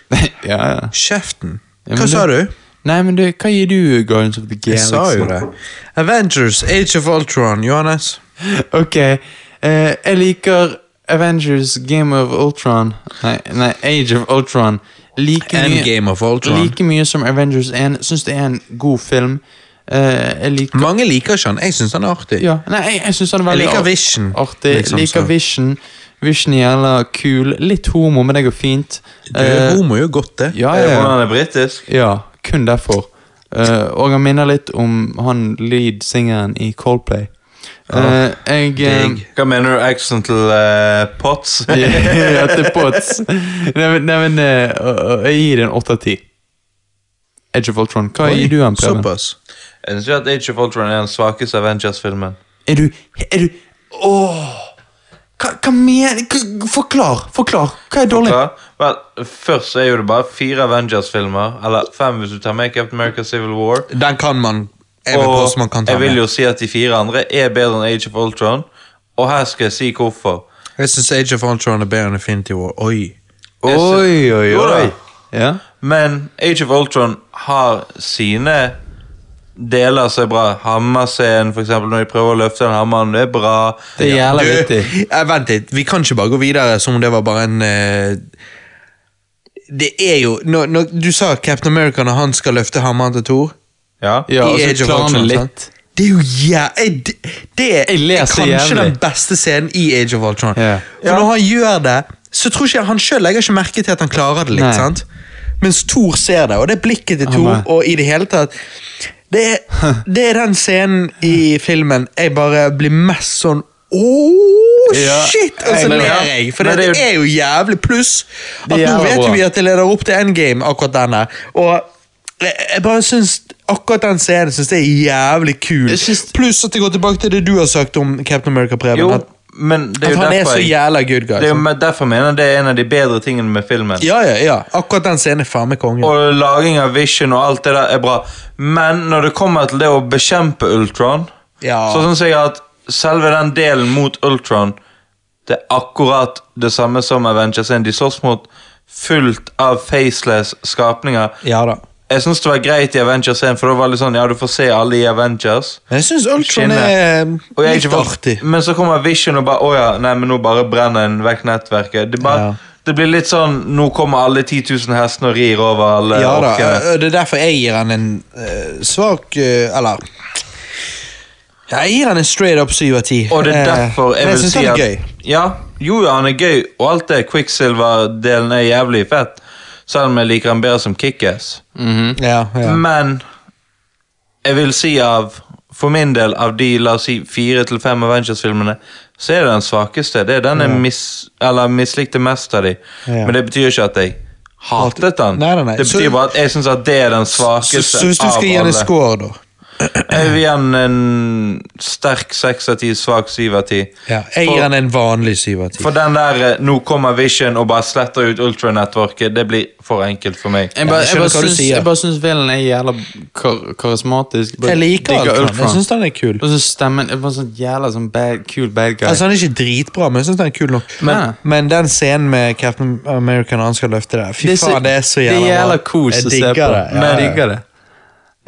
B: på. ja, ja.
A: Kjeften.
B: Ja,
A: Hva
B: men
A: sa du?
B: det- Nei, men du, hva gir du Guardians of the
A: Jeg
B: Galaxy?
A: sa jo det.
B: liksom-
A: Avengers, Age of Ultron, Johannes.
B: Ok, eh, jeg liker Avengers Game of Ultron Nei, nei Age of Ultron like mye,
A: Endgame of Ultron.
B: Like mye som Avengers 1 Synes det er en god film Eh, Jeg liker
A: Mange liker ikke han. Jeg syns han er artig.
B: ja. Nei, jeg, jeg synes han er
A: Jeg
B: veldig
A: liker
B: ar-
A: Vision,
B: Artig,
A: liksom,
B: liker
A: så.
B: Vision Vision er jævla kul Litt homo, men det går fint
A: Du,
B: Eh,
A: homo er jo godt, det.
B: ja,
C: Er det
B: ja, ja.
C: hvordan han er britisk?
B: ja, kun derfor Eh, Og han minner litt om Han lead-singeren i Coldplay Eh, Jeg eh,
A: Digg.
C: Hva mener du accent til eh, Potts?
B: ja, til pots. Nei, men, nei, men eh, å- å- jeg gir den 8 av 10. Edge of Ultron. Hva gir du den, Preben?
A: Såpass.
C: Jeg synes ikke at Age of Ultron er den svakeste Avengers-filmen.
B: Er du Er du Åh! Hva, hva mener hva- Forklar! Forklar! Hva er dårlig?
C: Hva? Vel, først er jo det bare fire Avengers-filmer, eller fem hvis du tar med Captain America Civil War.
A: Den kan man. Jeg vil påstå man kan
C: Og
A: ta
C: jeg vil
A: med.
C: jo si at de fire andre er bedre enn Age of Ultron, og her skal jeg si hvorfor.
A: Jeg syns Age of Ultron er bedre enn Infinity War. Oi.
B: Oi, oi,
C: Jo da.
B: oi. Ja.
C: Men Age of Ultron har sine deler som er bra. Hammerscenen, for eksempel, når de prøver å løfte den hammeren, det er bra.
B: Det er jævla
A: Du,
B: vittig.
A: eh, vent litt, vi kan ikke bare gå videre som om det var bare en eh, Det er jo når, når Du sa Captain America når han skal løfte hammeren til Thor.
C: Ja.
B: Ja, og
A: I
B: så
A: Age of
B: klarer han
A: Ultron,
B: det
A: sant?
B: litt.
A: Det er jo jævlig Det, det er
B: Jeg ler så
A: kanskje
B: jævlig.
A: den beste scenen i Age of Ultron.
B: Ja.
A: For når han gjør det, så tror ikke jeg- han sjøl legger ikke merke til at han klarer det litt.
B: Nei.
A: sant? Mens Thor ser det, og det blikket til
B: Han
A: Thor
B: bare-
A: og i det hele tatt det er, det er den scenen i filmen jeg bare blir mest sånn Åh,
B: Ja,
A: shit! Og så
B: jeg-
A: ler
B: ja.
A: jeg. For
B: Men
A: det,
B: det er
A: er jo jævlig pluss at
B: Det er
A: nå
B: jævla
A: vet
B: bra.
A: jo vi at det leder opp til endgame, akkurat denne. Og jeg jeg bare syns akkurat den scenen synes det er jævlig kul.
B: Jeg syns-
A: Pluss at det går tilbake til det du har sagt om Captain America, Preben.
C: Jo,
A: at
C: men det er
A: At
C: jo
A: han er
C: derfor
A: så
C: jeg,
A: jævla good guy.
C: det er jo
A: sant?
C: me- derfor jeg mener det er en av de bedre tingene med filmen.
A: Ja, ja, ja. Akkurat den scenen er faen meg kongen.
C: Og laging av Vision og alt det der er bra. Men når det kommer til det å bekjempe Ultron,
A: Ja.
C: så syns jeg at selve den delen mot Ultron det er akkurat det samme som Avengers 1. De slåss mot fullt av faceless skapninger.
A: Ja da.
C: Jeg syns det var greit i Avengers 1, for da var det sånn, ja, du får se alle i Avengers.
A: Men jeg syns Ultron
C: Skinner.
A: er
C: Og jeg er
A: litt
C: ikke for-
A: artig.
C: Men så kommer Vision og bare Å ja, nei, men nå bare brenner en vekk nettverket. Det, bare,
A: Ja.
C: det blir litt sånn Nå kommer alle 10 000 hestene og rir over alle
A: Ja da,
C: orkene.
A: ø, det er derfor jeg gir han en ø, svak ø, Eller ja, Jeg gir han en straight up 7 av 10.
C: Og det er
A: Eh,
C: derfor jeg
A: men
C: vil
A: synes
C: si
A: han er
C: at
A: gøy.
C: Ja, jo, ja, han er gøy, og alt det Quicksilver-delen er jævlig fett. Selv om jeg liker han bedre som Kickass.
A: Ja, ja.
C: Men jeg vil si av For min del, av de la oss si, fire til fem Avengers-filmene, så er det den svakeste. Det er den jeg mis, eller mislikte mest av de.
A: Ja.
C: Men det betyr ikke at jeg hatet den.
A: Nei, nei, nei.
C: Det
A: Så-
C: betyr bare at jeg syns at det er den
A: Så,
C: svakeste
A: så hvis du
C: av
A: skal gi han
C: alle.
A: en score, da
C: Jeg vil gi han en sterk seks av ti, svak syv av ti.
A: ja, Jeg
C: For-
A: gir han en vanlig 7 av 10.
C: For den der eh, 'nå kommer Vision' og bare sletter ut Ultra-nettverket, det blir for enkelt for meg.
B: Jeg bare,
A: jeg
B: jeg bare,
A: skjønner hva du
B: syns,
A: sier.
B: jeg bare syns Velen er jævla kar karismatisk. Bare
A: Jeg liker
B: digger
A: Ultron.
B: Ultron.
A: Jeg syns han er kul.
B: Og så stemmen er bare sånn jævla sånn bad, cool bad guy.
A: Altså Han er ikke dritbra, men jeg syns han er kul nok.
B: Men-
A: men den scenen med Captain America når han skal løfte det Fy
B: så-
A: faen, det er så
B: Det
A: jævla
B: er
A: bra.
B: jævla kos
A: Jeg
B: å se
A: digger
B: på.
A: det, ja,
B: Men-
A: ja.
B: digger det.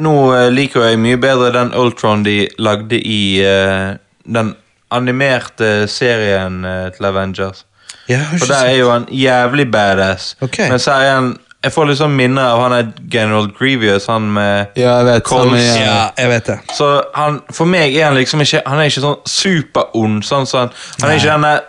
C: Nå eh, liker jeg mye bedre den Ultron de lagde i eh, den animerte serien eh, til Avengers.
A: Ja, jeg har
C: For
A: ikke
C: der
A: sett-
C: er jo han jævlig badass.
A: Ok.
C: Men så er han Jeg får liksom minner av han er General Grievous, han med
B: Ja, jeg vet.
C: Coles.
B: Sånn, ja.
A: Ja, jeg vet det.
C: Så han, for meg er han liksom ikke Han er ikke sånn superond. Sånn, sånn. Han er ikke denne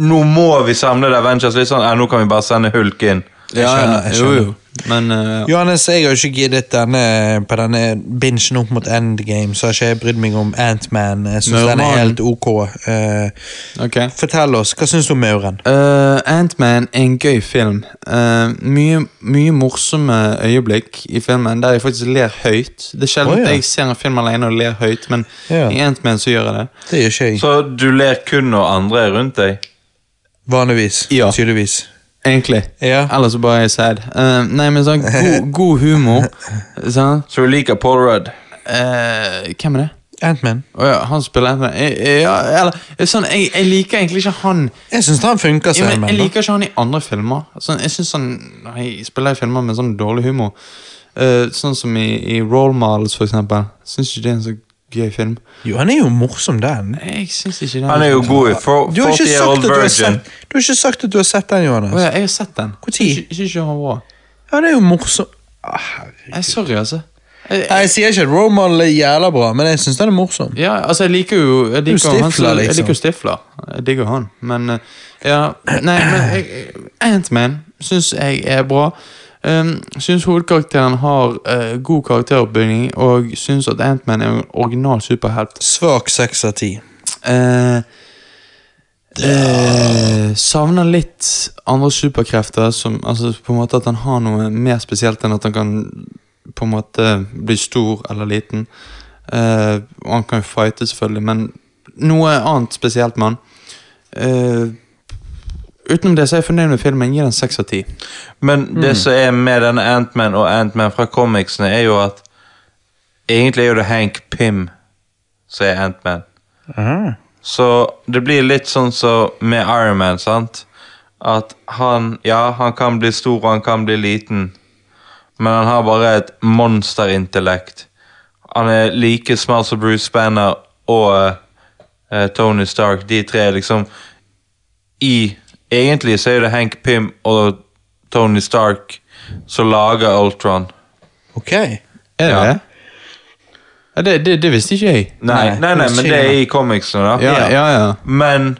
C: Nå må vi samle det Avengers. Litt sånn, ja, nå kan vi bare sende Hulk inn.
B: Ja,
A: skjønner, jeg
B: ja, jo, jo. Men eh,
A: Johannes, jeg har jo ikke giddet denne, på denne bingen opp mot Endgame, så har ikke jeg brydd meg om Antman. Jeg syns den er
B: Maurmannen.
A: helt ok. Eh,
B: ok.
A: fortell oss, hva syns du om Mauren?
B: Eh, Ant-Man er en gøy film. Eh, mye, mye morsomme øyeblikk i filmen der jeg faktisk ler høyt. Det er sjelden
A: Å, ja.
B: jeg ser en film alene og ler høyt, men
A: Ja.
B: i Ant-Man så gjør jeg det.
A: Det gjør ikke jeg.
C: Så du ler kun når andre er rundt deg.
A: Vanligvis.
B: Ja.
A: Tydeligvis.
B: Egentlig.
A: Ja.
B: Ellers så bare er jeg sad. Eh, nei, men sånn god, god humor. Sånn.
C: Så du liker Paul Rudd.
B: Eh, hvem er det?
A: Antman.
B: Å ja, han spiller Ant-Man. Eh, eh, Ja, eller sånn, jeg, jeg liker egentlig ikke han
A: Jeg syns han funker
B: Ja,
A: som
B: men
A: Ant-Man.
B: jeg
A: da.
B: liker ikke han i andre filmer. Sånn, jeg synes han nei, jeg spiller i filmer med sånn dårlig humor. Eh, sånn som i, i Role Models, for eksempel. Syns ikke det er en så gøy film.
A: Jo, han er jo morsom, den.
B: Jeg syns ikke det.
C: Han er jo god i for-
A: Du har, ikke
C: 40 Year
A: sagt
C: Old
A: at du, har
C: Virgin.
A: sett, du har ikke sagt at du har sett den, Johannes.
B: Å ja, jeg har sett den.
A: Hvor tid?
B: Jeg syns- Jeg syns ikke han var bra.
A: Han er jo morsom. Ah, herregud.
B: Jeg, sorry, altså. Jeg,
A: Nei, Jeg sier ikke at Romal er jævla bra, men jeg syns den er morsom.
B: ja, altså, jeg liker jo Jeg
A: sånn. Du
B: liker jo han,
A: stifler,
B: som- Jeg
A: liksom.
B: liker jo Stifler. Jeg digger han. Men eh, ja Nei, men jeg- eh, Ant-Man syns jeg er bra. Um, syns hovedkarakteren har eh, god karakteroppbygging, og syns at Ant-Man er en original superhelt.
A: Svak seks av ti.
B: Eh, eh, savner litt andre superkrefter. Som, altså, på en måte at han har noe mer spesielt enn at han kan på en måte bli stor eller liten. Eh, og han kan jo fighte, selvfølgelig, men noe annet spesielt med han. Eh, utenom det så er jeg fornøyd med filmen. Gi den seks av ti.
C: Men
A: Mm.
C: det som er med denne Ant-Man og Ant-Man fra comicsene, er jo at Egentlig er jo det Hank Pym som er Ant-Man. Så det blir litt sånn som med Iron Man, sant? At han Ja, han kan bli stor, og han kan bli liten, men han har bare et monsterintellekt. Han er like smart som Bruce Banner og eh, Tony Stark. De tre er liksom i Egentlig så er det Hank Pym og Tony Stark som lager Ultron.
A: Ok.
B: Er det
C: Ja.
B: det? Ja, det, det? Det visste ikke jeg.
C: Nei, nei, nei, men det er i comicsene, da.
B: Ja, ja, ja.
C: Men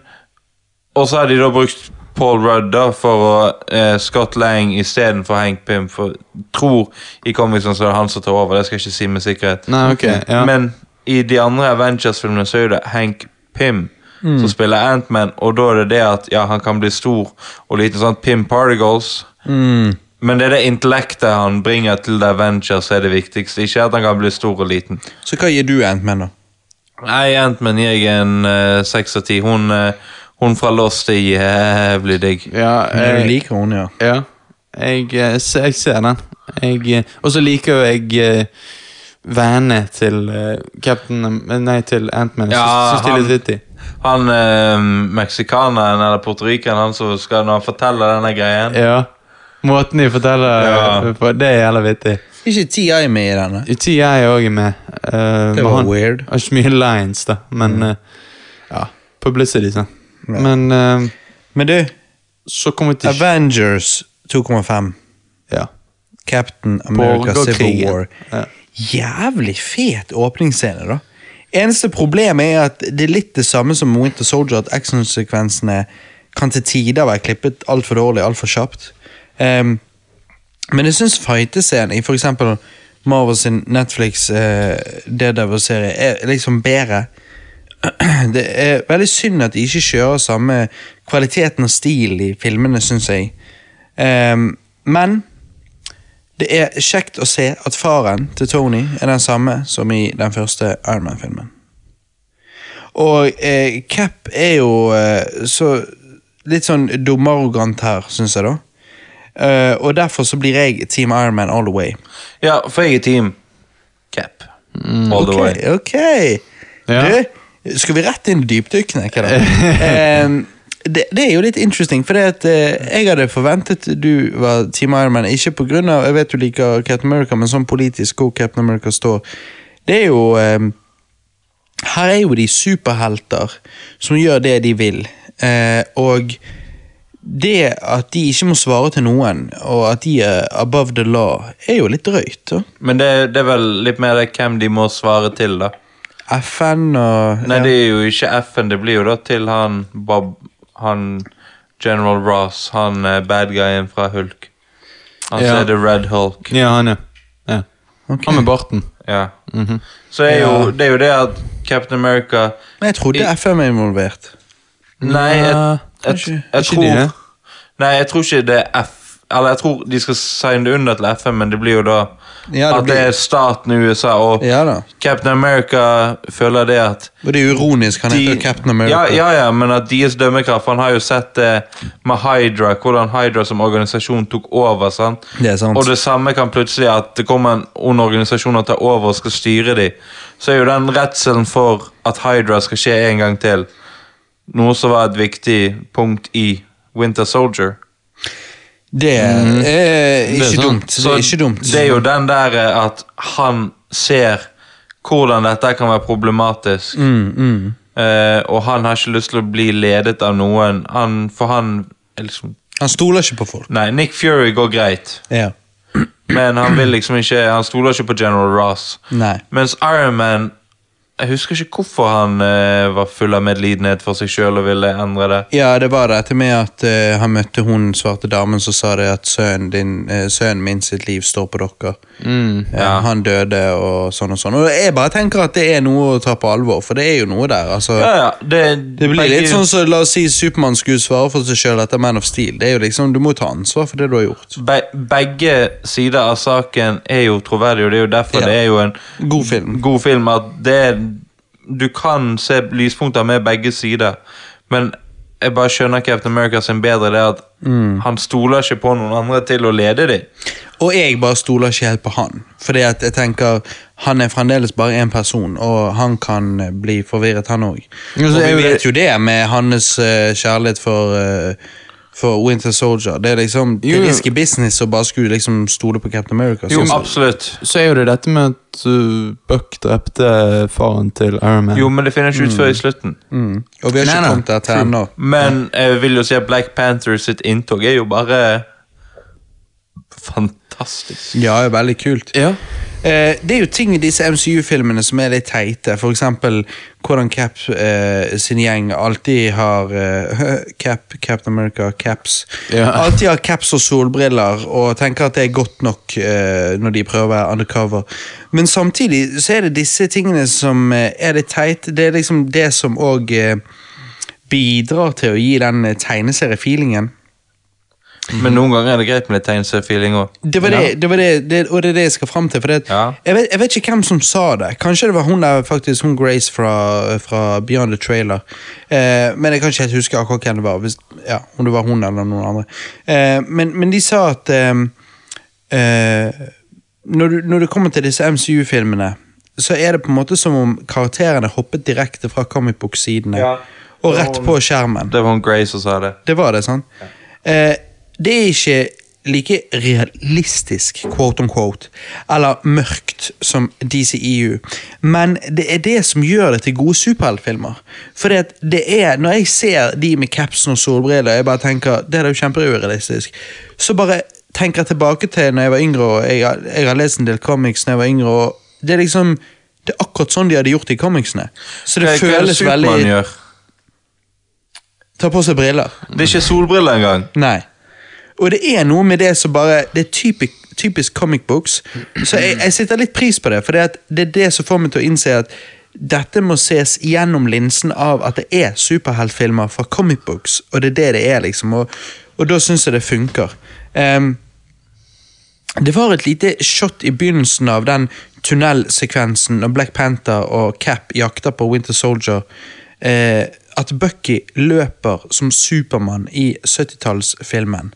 C: Og så har de da brukt Paul Rudd da for å eh, Scott Lang istedenfor Hank Pym. For tror i comicsen så er det han som tar over, det skal jeg ikke si med sikkerhet.
B: Nei, ok, ja.
C: Men i de andre Avengers-filmene så er jo det Hank Pym
B: Mm.
C: som spiller Ant-Man, og da er det det at ja, han kan bli stor og liten, sånn Pym Particles.
B: Mm.
C: Men det er det intellektet han bringer til The Avengers, som er det viktigste. Ikke at han kan bli stor og liten.
A: Så hva gir du Ant-Man, da?
C: Nei, Ant-Man gir jeg en eh, seks av ti. Hun, eh, hun fra Lost er jævlig digg.
B: Ja,
A: Men
B: jeg-
A: du
C: Eh,
A: liker hun, ja.
B: Ja, jeg, eh, se- jeg ser den. Jeg, eh, og så liker jo jeg eh, vennene til eh, Captain Am- Nei, til Ant-Man. Ja,
C: Ja, han- Han eh, meksikaneren eller portorikaneren han som skal når han forteller denne greien.
B: Ja. Måten de forteller
C: Ja.
B: eh, på, det er jævla vittig.
A: Ikke TI med i denne.
B: Uti jeg òg er med. eh,
A: Det
B: men
A: var
B: han
A: weird. Mm.
B: har ikke mye lines, da, men eh, ja, publicity, sant.
A: Ja.
B: Men eh,
A: Men du,
B: så kommer vi til
A: Avengers 2,5.
B: ja.
A: Captain America Civil
B: Borgerkrigen.
A: War.
B: Ja.
A: Jævlig fet åpningsscene, da. Eneste problemet er at det er litt det samme som Winter Soldier, at actionsekvensene kan til tider være klippet altfor dårlig, altfor kjapt. Ehm, men jeg syns fightescenen i f.eks. Marvel sin Netflix eh, Daredevil-serie er liksom bedre. Det er veldig synd at de ikke kjører samme kvaliteten og stil i filmene, syns jeg. Ehm, men det er kjekt å se at faren til Tony er den samme som i den første Iron Man-filmen. Og eh, Cap er jo eh, så litt sånn dumarrogant her, syns jeg, da. Eh, og derfor så blir jeg Team Iron Man all the way.
C: Ja, for jeg er team Cap. All the way.
A: Mm, Ok, ok.
B: Ja.
A: Du, skal vi rett inn i dypdykkene? hva da? Em, det, det er jo litt interesting, for det at eh, jeg hadde forventet du var Team Ironman, ikke på grunn av, jeg vet du liker Captain America, men sånn politisk hvor Captain America står, det er jo... em, her er jo de superhelter som gjør det de vil. Eh, og det at de ikke må svare til noen, og at de er above the law, er jo litt drøyt. Da.
C: Men det, det er vel litt mer det hvem de må svare til, da.
A: FN og
C: Nei,
A: ja.
C: det er jo ikke FN, det blir jo da til han Bob Han General Ross, han eh, bad guyen fra Hulk. Han
B: Ja.
C: som er The Red Hulk.
B: ja, han, ja. ja.
A: Ok.
B: Han med barten.
C: Ja.
A: Mhm.
C: Så er jo, det er jo det at Captain America
A: Men jeg trodde FN var involvert.
C: Nei, jeg,
B: Nei,
C: jeg,
A: kanskje-
C: jeg,
B: kanskje de
C: tror
B: det?
C: Nei, jeg tror ikke det er F... Eller jeg tror de skal signe det under til FN, men det blir jo da
A: Ja, det
C: at det
A: blir-
C: er staten i USA, og
A: Ja da.
C: Captain America føler det at
A: Og det er jo ironisk, han heter jo Captain America.
C: Ja, ja, ja, men at deres dømmekraft Han har jo sett det med Hydra, hvordan Hydra som organisasjon tok over. sant?
A: Det er sant.
C: Og det samme kan plutselig at det kommer en ond organisasjon og tar over og skal styre dem. Så er jo den redselen for at Hydra skal skje en gang til, noe som var et viktig punkt i Winter Soldier.
A: Det er
C: Mm.
A: eh,
B: Det er
A: ikke
B: sant.
A: dumt. Det
C: Så
A: er ikke dumt.
C: Det er jo den der eh, at han ser hvordan dette kan være problematisk.
A: Mm,
C: Eh, og han har ikke lyst til å bli ledet av noen. Han, for han er liksom
A: Han stoler ikke på folk.
C: Nei, Nick Fury går greit,
A: Ja.
C: men han vil liksom ikke Han stoler ikke på General Ross.
A: Nei.
C: Mens Iron Man Jeg husker ikke hvorfor han eh, var full av medlidenhet for seg sjøl og ville endre det.
A: Ja, det var dette med at eh, han møtte hun svarte damen som sa det at sønnen din, eh, sønnen min sitt liv står på dere.
C: Mm,
A: Eh, han døde og sånn og sånn. Og jeg bare tenker at det er noe å ta på alvor, for det er jo noe der. altså...
C: Ja, ja, det,
A: Det blir
C: begge-
A: litt sånn som la oss si Supermann skulle svare for seg sjøl etter Man of Steel. Det er jo liksom, Du må ta ansvar for det du har gjort.
C: Be begge sider av saken er jo troverdige, og det er jo derfor
A: Ja.
C: det er jo en
A: God film.
C: god film at det er, Du kan se lyspunkter med begge sider, men jeg bare skjønner Captain America sin bedre det er at
A: Mm.
C: han stoler ikke på noen andre til å lede dem.
A: Og jeg bare stoler ikke helt på han. Fordi at jeg tenker han er fremdeles bare én person, og han kan eh, bli forvirret, han òg.
B: Ja, så
A: Og
B: er jo
A: vi
B: det-
A: vet jo det med hans eh, kjærlighet for eh, for Winter Soldier. Det er liksom det
B: Jo,
A: er
B: jo.
A: risky business å bare skulle liksom stole på Captain America.
C: Jo,
A: synes jeg.
C: absolutt.
B: Så er jo det dette med at uh, Buck drepte eh, faren til Iron Man.
C: Jo, men det finner ikke ut før i slutten.
A: Mm. Og vi har
B: Nei,
A: ikke
B: nei.
A: kommet der til ennå.
C: Men jeg vil jo si at Black Panther sitt inntog er jo bare fantastisk.
A: Ja, det er veldig kult.
B: Ja.
A: Eh, det er jo ting i disse MCU-filmene som er litt teite. For eksempel hvordan Cap eh, sin gjeng alltid har eh, Cap, Captain America, Caps.
B: Ja.
A: Alltid har caps og solbriller og tenker at det er godt nok eh, når de prøver å være undercover. Men samtidig så er det disse tingene som eh, er litt teite. Det er liksom det som òg eh, bidrar til å gi den eh, tegneseriefeelingen.
C: Men noen ganger er det greit med litt tegneseriefeeling òg.
A: Det var det, det, var det, det, og det er det jeg skal fram til. For det, at-
C: Ja.
A: jeg, vet, jeg vet ikke hvem som sa det. Kanskje det var hun der, faktisk, hun Grace fra, fra Beyond the Trailer. Eh, men jeg kan ikke helt huske akkurat hvem det var. Hvis, ja, om det var hun eller noen andre. Eh, men, men de sa at eh, eh, når, du, når det kommer til disse MCU-filmene, så er det på en måte som om karakterene hoppet direkte fra comicbook-sidene
C: Ja.
A: og rett på skjermen.
C: Det var hun Grace som sa det.
A: Det var det, sant? Eh, det er ikke like realistisk, quote on quote, eller mørkt som DCEU. Men det er det som gjør det til gode superheltfilmer. For det, det er, når jeg ser de med capsen og solbriller, jeg bare tenker, det er jo kjemperealistisk. Så bare tenker jeg tilbake til når jeg var yngre, og jeg, har- jeg har lest en del comics når jeg var yngre, og det er liksom, det er akkurat sånn de hadde gjort det i comicsene. Så det
C: Hva- hva er det
A: føles
C: Superman
A: veldig...
C: gjør?
A: Ta på seg briller.
C: Det er ikke solbriller engang.
A: Nei. Og det er noe med det som bare Det er typisk, typisk comic books. Så jeg, jeg setter litt pris på det, for det, at det er det som får meg til å innse at dette må ses gjennom linsen av at det er superheltfilmer fra comic books, og det er det det er, liksom. Og, og da syns jeg det funker. Ehm, det var et lite shot i begynnelsen av den tunnelsekvensen når Black Panther og Cap jakter på Winter Soldier. Eh, at Bucky løper som Supermann i 70-tallsfilmen.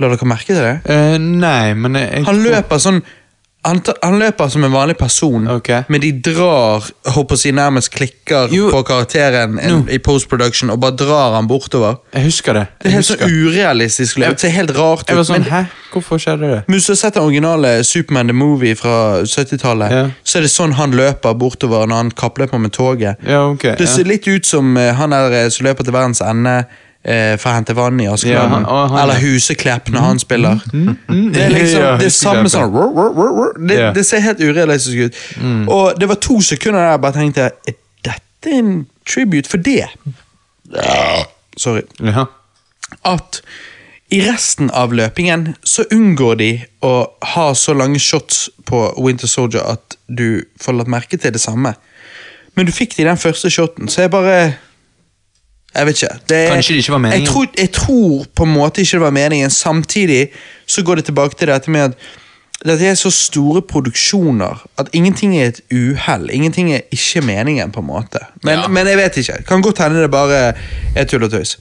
A: La dere merke til det?
B: Eh, nei, men jeg, jeg
A: Han løper sånn han, ta- han løper som en vanlig person,
B: Ok.
A: men de drar håper å si, nærmest klikker
B: Jo.
A: på karakteren en, i post-production og bare drar han bortover.
B: Jeg husker det.
A: Det
B: Jeg
A: er helt sånn
B: husker.
A: urealistisk løp. Det ser helt rart ut.
B: Jeg var sånn,
A: men-
B: hæ? Hvorfor skjedde det?
A: men Hvis du har sett den originale Superman the Movie fra 70-tallet,
B: Ja.
A: så er det sånn han løper bortover når han kappløper med toget.
B: Ja, ok.
A: Det ser
B: Ja.
A: litt ut som eh, han der eh, som løper til verdens ende eh, for å hente vann i
B: Ja,
A: Askeladden.
B: han- og han-
A: Eller Huseklepp når han spiller.
B: mm,
A: det er liksom
B: ja,
A: det er samme
B: Huseklepp, ja.
A: sånn rur, rur, rur, rur. det,
B: Ja. Mm.
A: det ser helt urealistisk ut. Og det var to sekunder der jeg bare tenkte Er dette en tribute for det? Sorry
B: Ja.
A: at i resten av løpingen så unngår de å ha så lange shots på Winter Soldier at du får lagt merke til det samme. Men du fikk det i den første shoten, så jeg bare Jeg vet ikke. det-
B: Kanskje det ikke var meningen.
A: Jeg tror, jeg tror på en måte ikke det var meningen. Samtidig så går det tilbake til dette med at dette er så store produksjoner at ingenting er et uhell. Ingenting er ikke meningen, på en måte. Men, men jeg vet ikke. Kan godt hende det bare er tull og tøys.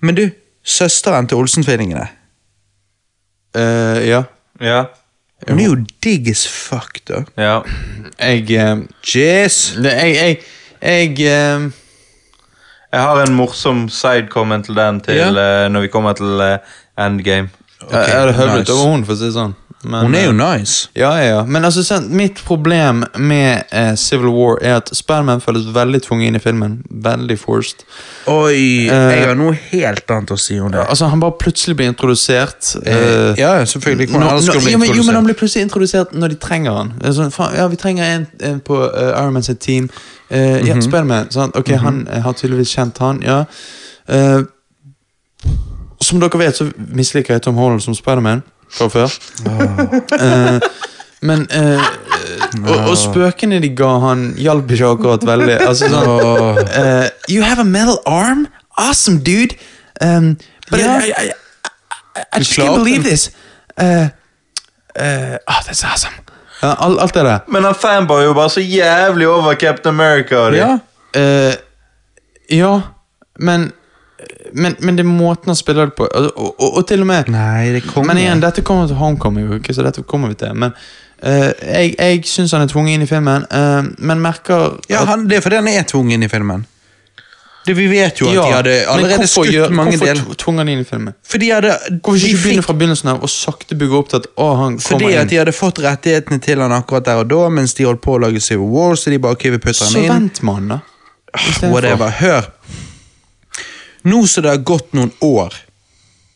A: Men du, søsteren til Olsen-tvillingene
B: Eh, ja.
C: Ja.
A: Hun er jo digg as fuck, da.
C: ja.
B: Jeg, eh,
A: Jizz.
B: det- jeg, jeg, jeg eh,
C: Jeg har en morsom side-comment til den til eh, når vi kommer til eh, endgame. Eh,
B: Jeg jeg hadde høvlet
A: nice.
B: over hun, for å si det sånn. Men,
A: Hun er
B: eh,
A: jo nice.
B: Ja, ja, ja. Men altså, sant, mitt problem med eh, Civil War er at Spiderman føles veldig tvunget inn i filmen. Veldig forced.
A: Oi, jeg har noe helt annet å si om det.
B: Altså, han bare plutselig blir introdusert. eh,
A: Eh, ja, selvfølgelig. Hvordan
B: nå-
A: ellers skulle hun
B: nå-
A: bli
B: jo, men, jo, men
A: introdusert?
B: han blir plutselig introdusert når de trenger han. Det er Sånn, faen, ja, vi trenger en, en på eh, Iron Man sitt team. Eh,
A: Mhm.
B: Ja, Spiderman. sant? Ok, han eh, har tydeligvis kjent han, ja. Eh, som dere vet, så misliker jeg Tom Holland som Spiderman fra før. Eh, men eh, og, og spøkene de ga han, hjalp ikke akkurat veldig. Altså sånn
A: Ah.
B: eh, You have a metal arm? Awesome, dude! Um, but
A: Ja.
B: I, I, I, I just
A: klarte
B: can't
A: den.
B: believe this. Uh, uh, oh, that's awesome. Ja, all, alt det der.
C: Men han fanboy er jo bare så jævlig over Captain America. og de.
A: Ja.
B: Eh, ja, men, men Men det er måten han spiller det på. Og, og, og, og til og med
A: Nei, det kommer
B: Men igjen, dette kommer til Homecoming, jo, ikke, så dette kommer vi til. Men eh, jeg, jeg syns han er tvunget inn i filmen, eh, men merker
A: Ja, han, det er fordi han er tvungen i filmen. Det, vi vet jo at de hadde
B: men
A: allerede
B: hvorfor
A: skutt
B: gjør-
A: mange
B: hvorfor
A: deler.
B: tv- tvung han inn i filmen?
A: For de hadde,
B: Hvorfor
A: de
B: ikke begynne
A: fikk,
B: fra begynnelsen av og sakte bygge opp til at å, han kommer
A: fordi at
B: inn?
A: de hadde fått rettighetene til han akkurat der og da, mens de holdt på å lage Civil War, så de bare ok, vi putter
B: Så
A: han inn.
B: vent med han, da.
A: Ah, Whatever. Hør. Nå som det har gått noen år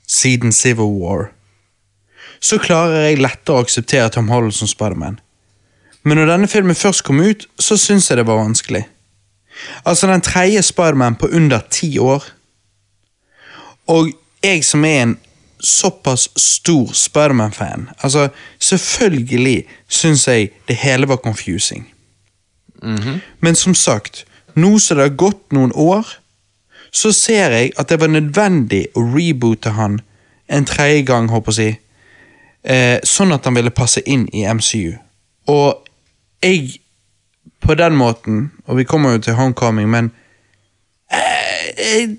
A: siden Civil War, så klarer jeg lettere å akseptere Tom Holland som Spiderman. Men når denne filmen først kom ut, så syns jeg det var vanskelig. Altså den tredje Spiderman på under ti år. Og jeg som er en såpass stor Spiderman-fan, altså selvfølgelig syns jeg det hele var confusing. Men som sagt, nå som det har gått noen år, så ser jeg at det var nødvendig å reboote han en tredje gang, håper jeg å si, eh, sånn at han ville passe inn i MCU. Og jeg, på den måten, og vi kommer jo til Homecoming, men eh, jeg,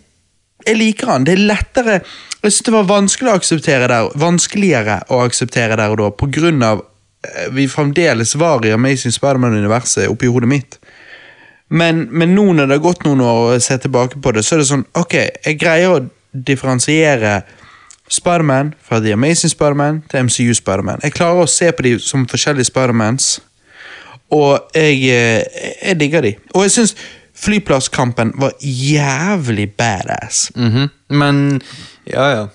A: jeg liker han. Det er lettere Jeg synes det var vanskelig å akseptere der, vanskeligere å akseptere der og da, på grunn av eh, vi fremdeles var i Amazing Spiderman-universet oppi hodet mitt. Men, men nå når det har gått noen år og jeg ser tilbake på det, så er det sånn Ok, jeg greier å differensiere Spiderman fra The Amazing Spiderman til MCU Spiderman. Jeg klarer å se på de som forskjellige Spidermans, og jeg, eh, jeg digger de. Og jeg syns flyplasskampen var jævlig badass.
B: Mhm. Men Ja, ja.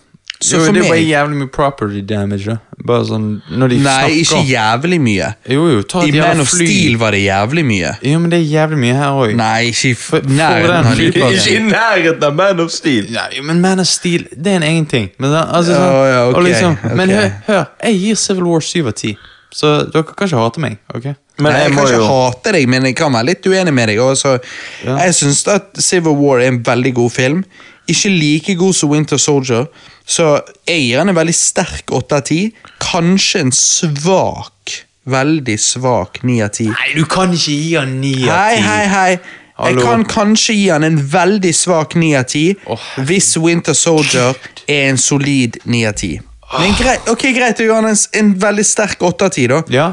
A: Så
B: jo,
A: for
B: det var
A: meg-
B: jævlig mye property damage, da. Bare sånn Når de
A: Nei,
B: snakker
A: ikke jævlig mye.
B: Jo, jo, ta
A: I
B: et jævla
A: Man of
B: fly.
A: Steel var det jævlig mye.
B: Jo, men det er jævlig mye her òg.
A: Nei, ikke i f-
B: for den
A: nærheten av
B: flyplassen.
A: flyplassen.
C: Ikke i nærheten av Man of Steel.
B: Nei, men Man of Steel det er en egen ting. Men, da- altså,
A: Ja,
B: sånn,
A: ja, ok,
B: og liksom, men
A: ok.
B: hør, hør, jeg gir Civil War 7 av 10, så dere kan ikke hate meg. ok?
C: Men
A: Nei, jeg,
C: jeg må
A: kan
C: jo
A: ikke hate deg, men jeg kan være litt uenig med deg. Og så, Jeg syns at Civil War er en veldig god film. Ikke like god som Winter Soldier, så jeg gir den en veldig sterk 8 av 10. Kanskje en svak, veldig svak 9 av 10.
B: Nei, du kan ikke gi han 9
A: Hei, hei, hei. Jeg
B: Hallo.
A: kan kanskje gi han en veldig svak 9 av 10
B: Å, herregud.
A: hvis Winter Soldier er en solid 9 av 10. Men greit, ok, greit, du gir han en, s- en veldig sterk 8 av 10, da.
B: Ja.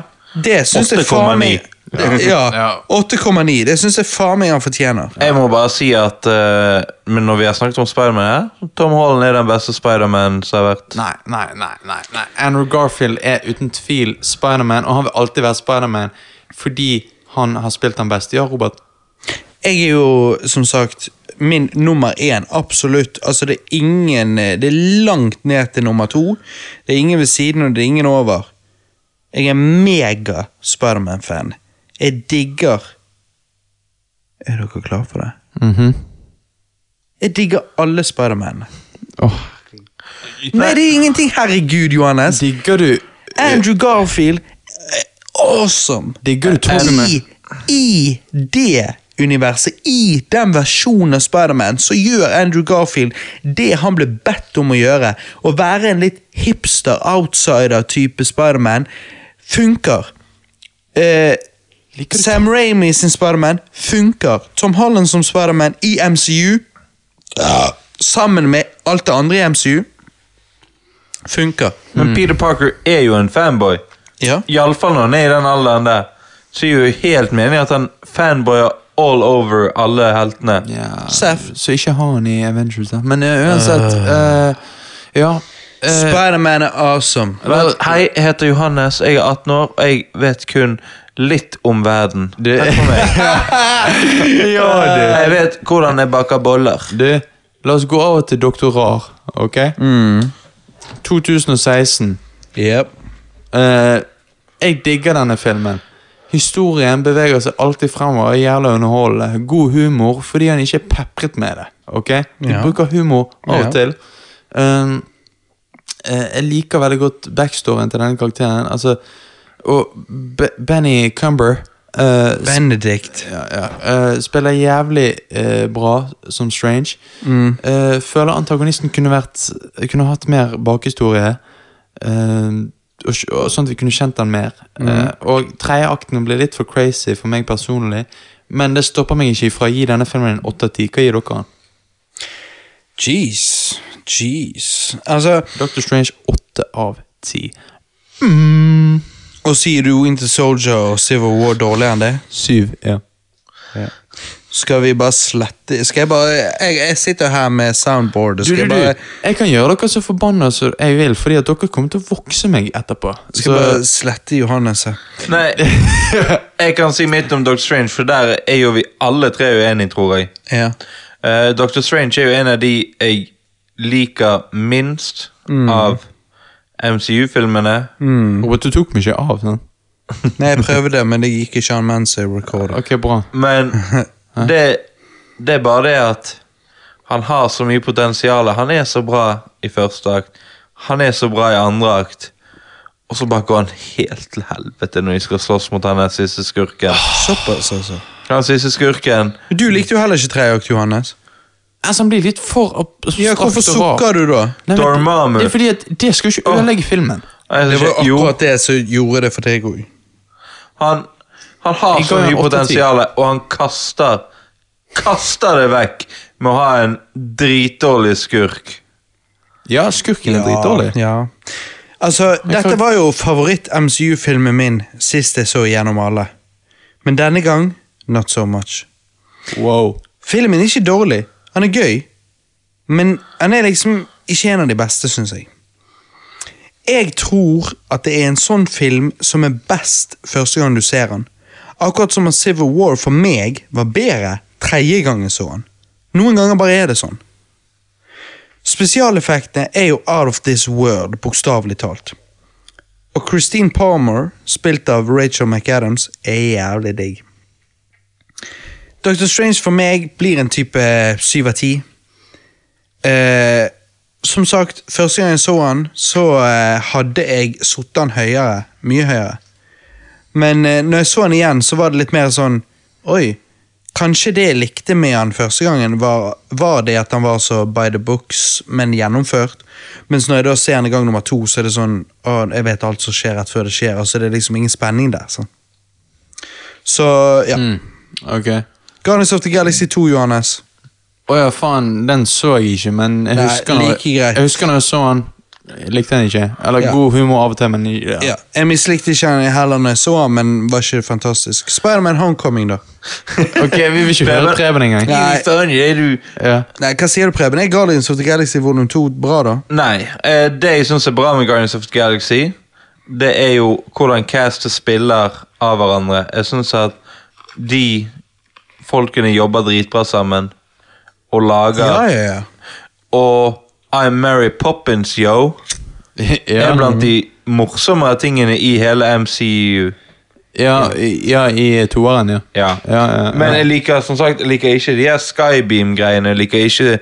A: Det syns jeg faen meg
C: 8,9.
A: Det-
B: Ja.
A: Ja, 8,9. Det syns jeg faen meg han fortjener.
C: Jeg må bare si at eh, Men når vi har snakket om Spiderman her Tom Holland er den beste Spiderman som har vært.
B: Nei, nei, nei, nei, nei. Andrew Garfield er uten tvil Spiderman, og han vil alltid være Spiderman fordi han har spilt han best. Ja, Robert?
A: Jeg er jo, som sagt, min nummer én, absolutt. Altså, det er ingen eh, Det er langt ned til nummer to. Det er ingen ved siden, og det er ingen over. Jeg er mega Spiderman-fan. Jeg digger Er dere klar for det?
B: Mhm.
A: Jeg digger alle Spiderman.
B: Åh.
A: Nei, det er ingenting! Herregud, Johannes.
B: Digger du
A: Andrew Garfield eh, Awesome
B: Digger du Toleman?
A: I, I det universet I den versjonen av Spiderman Så gjør Andrew Garfield Det han ble bedt om å gjøre Å være en litt hipster Outsider type Spiderman Funker eh,
B: Liker du
A: Sam Raimi sin Spiderman funker. Tom Holland som Spiderman i MCU, sammen med alt det andre i MCU, funker.
C: Men Peter Parker er jo en fanboy.
A: Ja.
C: Iallfall når han er i den alderen der. Så er jo helt mening at han fanboyer all over alle heltene.
B: Ja,
A: Seth.
B: Så ikke ha han i Avengers, da. Men eh, uansett eh, Ja. eh,
A: Spiderman er awesome.
C: Vel, hei, jeg heter Johannes, jeg er 18 år, og jeg vet kun litt om verden.
B: Det-
C: Takk for meg. Eh,
B: ja, du.
C: Jeg vet hvordan jeg baker boller.
B: Du, la oss gå over til Doktor Rar, ok? Mm. 2016.
A: Yep.
B: Eh, jeg digger denne filmen. Historien beveger seg alltid fremover, er jævla underholdende. God humor, fordi han ikke er pepret med det, ok? De
A: Ja.
B: bruker humor av
A: Ja.
B: og til. Um, eh, jeg liker veldig godt backstoryen til denne karakteren. Altså, og Be Benny Cumber eh,
A: Benedict.
B: ja, ja. Eh, spiller jævlig eh, bra som Strange. Eh, føler antagonisten kunne, vært, kunne hatt mer bakhistorie. eh, og, sk- og Sånn at vi kunne kjent den mer. Eh, og tredje akten ble litt for crazy for meg personlig. Men det stopper meg ikke ifra å gi denne filmen en 8 av 10. Hva gir dere den?
A: Jeez. Jeez. Altså,
B: Dr. Strange 8 av 10.
A: og sier du Winter Soldier og Civil War dårligere enn det?
B: 7. Ja.
A: Skal vi bare slette Skal jeg bare Jeg, jeg sitter her med soundboard.
B: Du,
A: Skal
B: du,
A: jeg
B: du.
A: bare,
B: Jeg kan gjøre dere så forbanna som jeg vil, fordi at dere kommer til å vokse meg etterpå.
A: skal
B: Så-
A: jeg bare slette Johannes her?
C: Nei, jeg kan si mitt om Dr. Strange, for der er jo vi alle tre uenige, tror jeg.
A: Ja.
C: Eh, Dr. Strange er jo en av de jeg liker minst
B: Mm.
C: av MCU-filmene.
B: Robert, du tok meg ikke av. sant?
A: Nei, jeg prøvde, men det gikk ikke an mens jeg recorda.
B: Ok, bra.
C: Men det, det er bare det at han har så mye potensial. Han er så bra i første akt. Han er så bra i andre akt. Og så bare går han helt til helvete når de skal slåss mot han der siste skurken.
A: Såpass, altså.
C: Han siste skurken
A: Du likte jo heller ikke tredje akt, Johannes.
B: Altså, han blir litt for ab-
D: Ja, hvorfor
B: abstrakt og rar.
D: sukker du da?
B: Nei, men-
C: Dormammu.
B: Det er fordi at det skal ikke ødelegge filmen.
C: Jeg
D: Det
C: synes
D: var jo
C: ikke- jo,
D: akkurat det som gjorde det for deg òg.
C: han, han har
B: Jeg
C: så
B: ga
C: mye
B: han åtte av ti.
C: potensial, og han kaster Kaster det vekk med å ha en dritdårlig skurk.
B: Ja, skurken er dritdårlig.
A: Ja. Altså, dette var jo favoritt-MCU-filmen min sist jeg så gjennom alle. Men denne gang, not so much.
B: Wow.
A: Filmen er ikke dårlig. Han er gøy. Men han er liksom ikke en av de beste, syns jeg. Jeg tror at det er en sånn film som er best første gang du ser den. Akkurat som at Civil War for meg var bedre tredje gang jeg så den. Noen ganger bare er det sånn. Spesialeffektene er jo out of this world, bokstavelig talt. Og Christine Palmer, spilt av Rachel McAdams, er jævlig digg. Dr. Strange for meg blir en type 7 av 10. Eh, som sagt, første gang jeg så han, så eh, hadde jeg satt han høyere. Mye høyere. Men eh, når jeg så han igjen, så var det litt mer sånn Oi, kanskje det jeg likte med han første gangen, var, var det at han var så by the books, men gjennomført. Mens når jeg da ser han i gang nummer to, så er det sånn Å, jeg vet alt som skjer rett før det skjer. Altså, det er liksom ingen spenning der. Sånn. Så ja.
B: Ok.
A: Guardians of the Galaxy 2, Johannes.
B: Å ja, faen, den så jeg ikke, men jeg
A: Nei,
B: husker, når,
A: like greit.
B: jeg husker når jeg så han. Jeg likte den ikke. Eller
A: Ja.
B: god humor av og til, men ja.
A: Ja. Jeg mislikte ikke han heller når jeg så han, men var ikke det fantastisk? Spiderman Homecoming, da?
B: Ok, vi vil ikke høre Preben engang.
A: Nei.
C: Fy faen, er du
B: Ja.
A: Nei, Hva sier du, Preben? Er Guardians of the Galaxy volum 2 bra, da?
C: Nei. eh, Det jeg syns er bra med Guardians of the Galaxy, det er jo hvordan cast spiller av hverandre. Jeg syns at de folkene jobber dritbra sammen og lager
A: ja, ja.
C: Og I'm Mary Poppins, yo er
B: Ja.
C: blant de morsommere tingene i hele MCU.
B: Ja, i- ja, i toeren, ja.
C: Ja.
B: ja, ja, ja.
C: Men jeg liker som sagt jeg liker ikke de her Skybeam-greiene, jeg liker ikke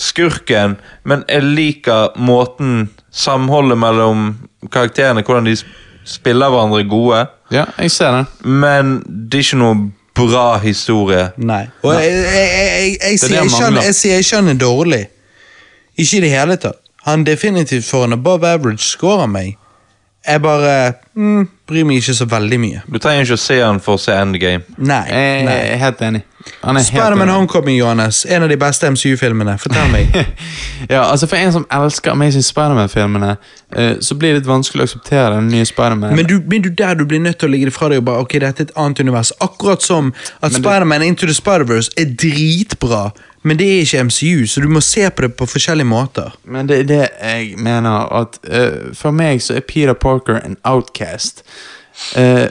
C: skurken, men jeg liker måten samholdet mellom karakterene, hvordan de s- spiller hverandre gode.
B: ja, jeg ser den.
C: Men det er ikke noe bra historie.
A: Nei. Og jeg, jeg, jeg, jeg, jeg,
B: det
A: sier
B: han
A: ikke han,
B: mangler.
A: jeg sier ikke han er dårlig. Ikke i det hele tatt. Han definitivt får en above average score av meg. Jeg bare mm, bryr meg ikke så veldig mye.
C: Du trenger ikke å se den for å se Endgame.
A: Nei.
B: Jeg
A: nei.
B: jeg er helt enig. Han er helt
A: Spiderman
B: enig.
A: Homecoming, Johannes. En av de beste MCU-filmene. Fortell meg.
B: Ja, altså For en som elsker Amazing Spiderman-filmene, eh, så blir det litt vanskelig å akseptere den nye Spiderman.
A: Men du, men du der du blir nødt til å ligge det fra deg og bare Ok, dette er et annet univers. Akkurat som at Spiderman Into the Spider-Verse er dritbra, men det er ikke MCU, så du må se på det på forskjellige måter.
B: Men det er det jeg mener at eh, For meg så er Peter Parker en outcast. Eh,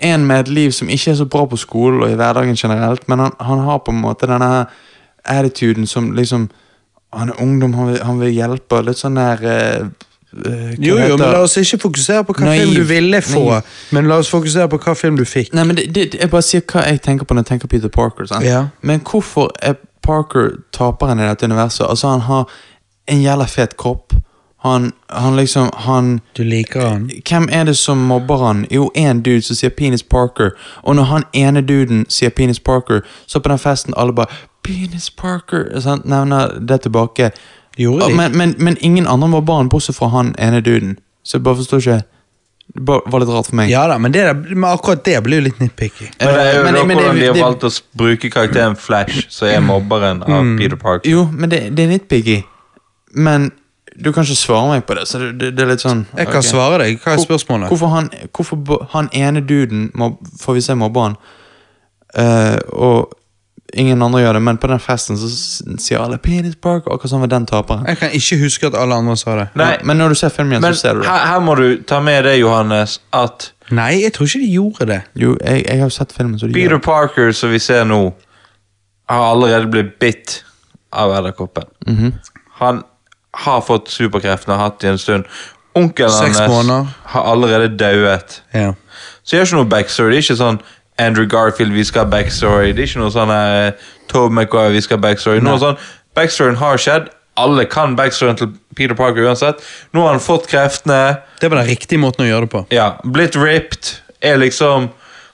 B: en med et liv som ikke er så bra på skolen og i hverdagen generelt, men han, han har på en måte denne her attituden som liksom Han er ungdom, han vil, han vil hjelpe, og litt sånn der eh, eh, hva
A: Jo, jo, men
B: heter-
A: la oss ikke fokusere på hva
B: Naiv.
A: film du ville få,
B: Naiv.
A: men la oss fokusere på hva film du fikk.
B: Nei, men det, det, Jeg bare sier hva jeg tenker på når jeg tenker Peter Parker. Sant?
A: Ja.
B: Men hvorfor er Parker taperen i dette universet? Altså Han har en jævla fet kropp. Han, han liksom han,
A: Du liker han.
B: Hvem er det som mobber han? Jo, én dude som sier 'Penis Parker'. Og når han ene duden sier 'Penis Parker', så på den festen alle bare 'Penis Parker' sant? nevner det tilbake.
A: Gjorde de?
B: Og- Men, men, men ingen andre mobber han, bortsett fra han ene duden. Så jeg bare forstår ikke Det bare var litt rart for meg.
A: Ja da, men, det der, men akkurat det blir jo litt nitpicky.
B: Eh,
C: Men det er jo
B: men-
C: da
B: men det-
C: hvordan de har
B: det-
C: valgt å s- bruke karakteren Flash, som er mobberen av
B: Mm.
C: Peter Parker.
B: Jo, men det, det er nitpicky. Men du kan ikke svare meg på det, så det, det, det er litt sånn
A: Jeg kan
B: ok.
A: svare deg. Hva er
B: Hvor-
A: spørsmålet?
B: Hvorfor han, hvorfor bo- han ene duden mob, får vi se mobber han, eh, og ingen andre gjør det, men på den festen så s- sier alle 'Penis Park', akkurat som var den taperen.
A: Jeg kan ikke huske at alle andre sa det.
C: Nei,
B: Men når du ser filmen igjen,
C: men
B: så ser du det.
C: her, her må du ta med det, Johannes, at
A: Nei, jeg tror ikke de gjorde det.
B: Jo, jeg, jeg har jo sett filmen, så du
C: Peter
B: gjør det.
C: Parker, som vi ser nå, har allerede blitt bitt av edderkoppen.
A: Mhm.
C: Han har fått superkreftene og hatt det en stund. Onkelen
A: Seks måneder.
C: hans har allerede dauet.
A: Ja.
C: Så jeg har ikke noe backstory. Det er ikke sånn Andrew Garfield, vi skal ha backstory. Det er ikke noe sånn uh, Tove McGuire, vi skal ha backstory. Noe sånn, Backstoryen har skjedd. Alle kan backstoryen til Peter Parker uansett. Nå har han fått kreftene.
A: Det var den riktige måten å gjøre det på.
C: Ja, blitt ripped er liksom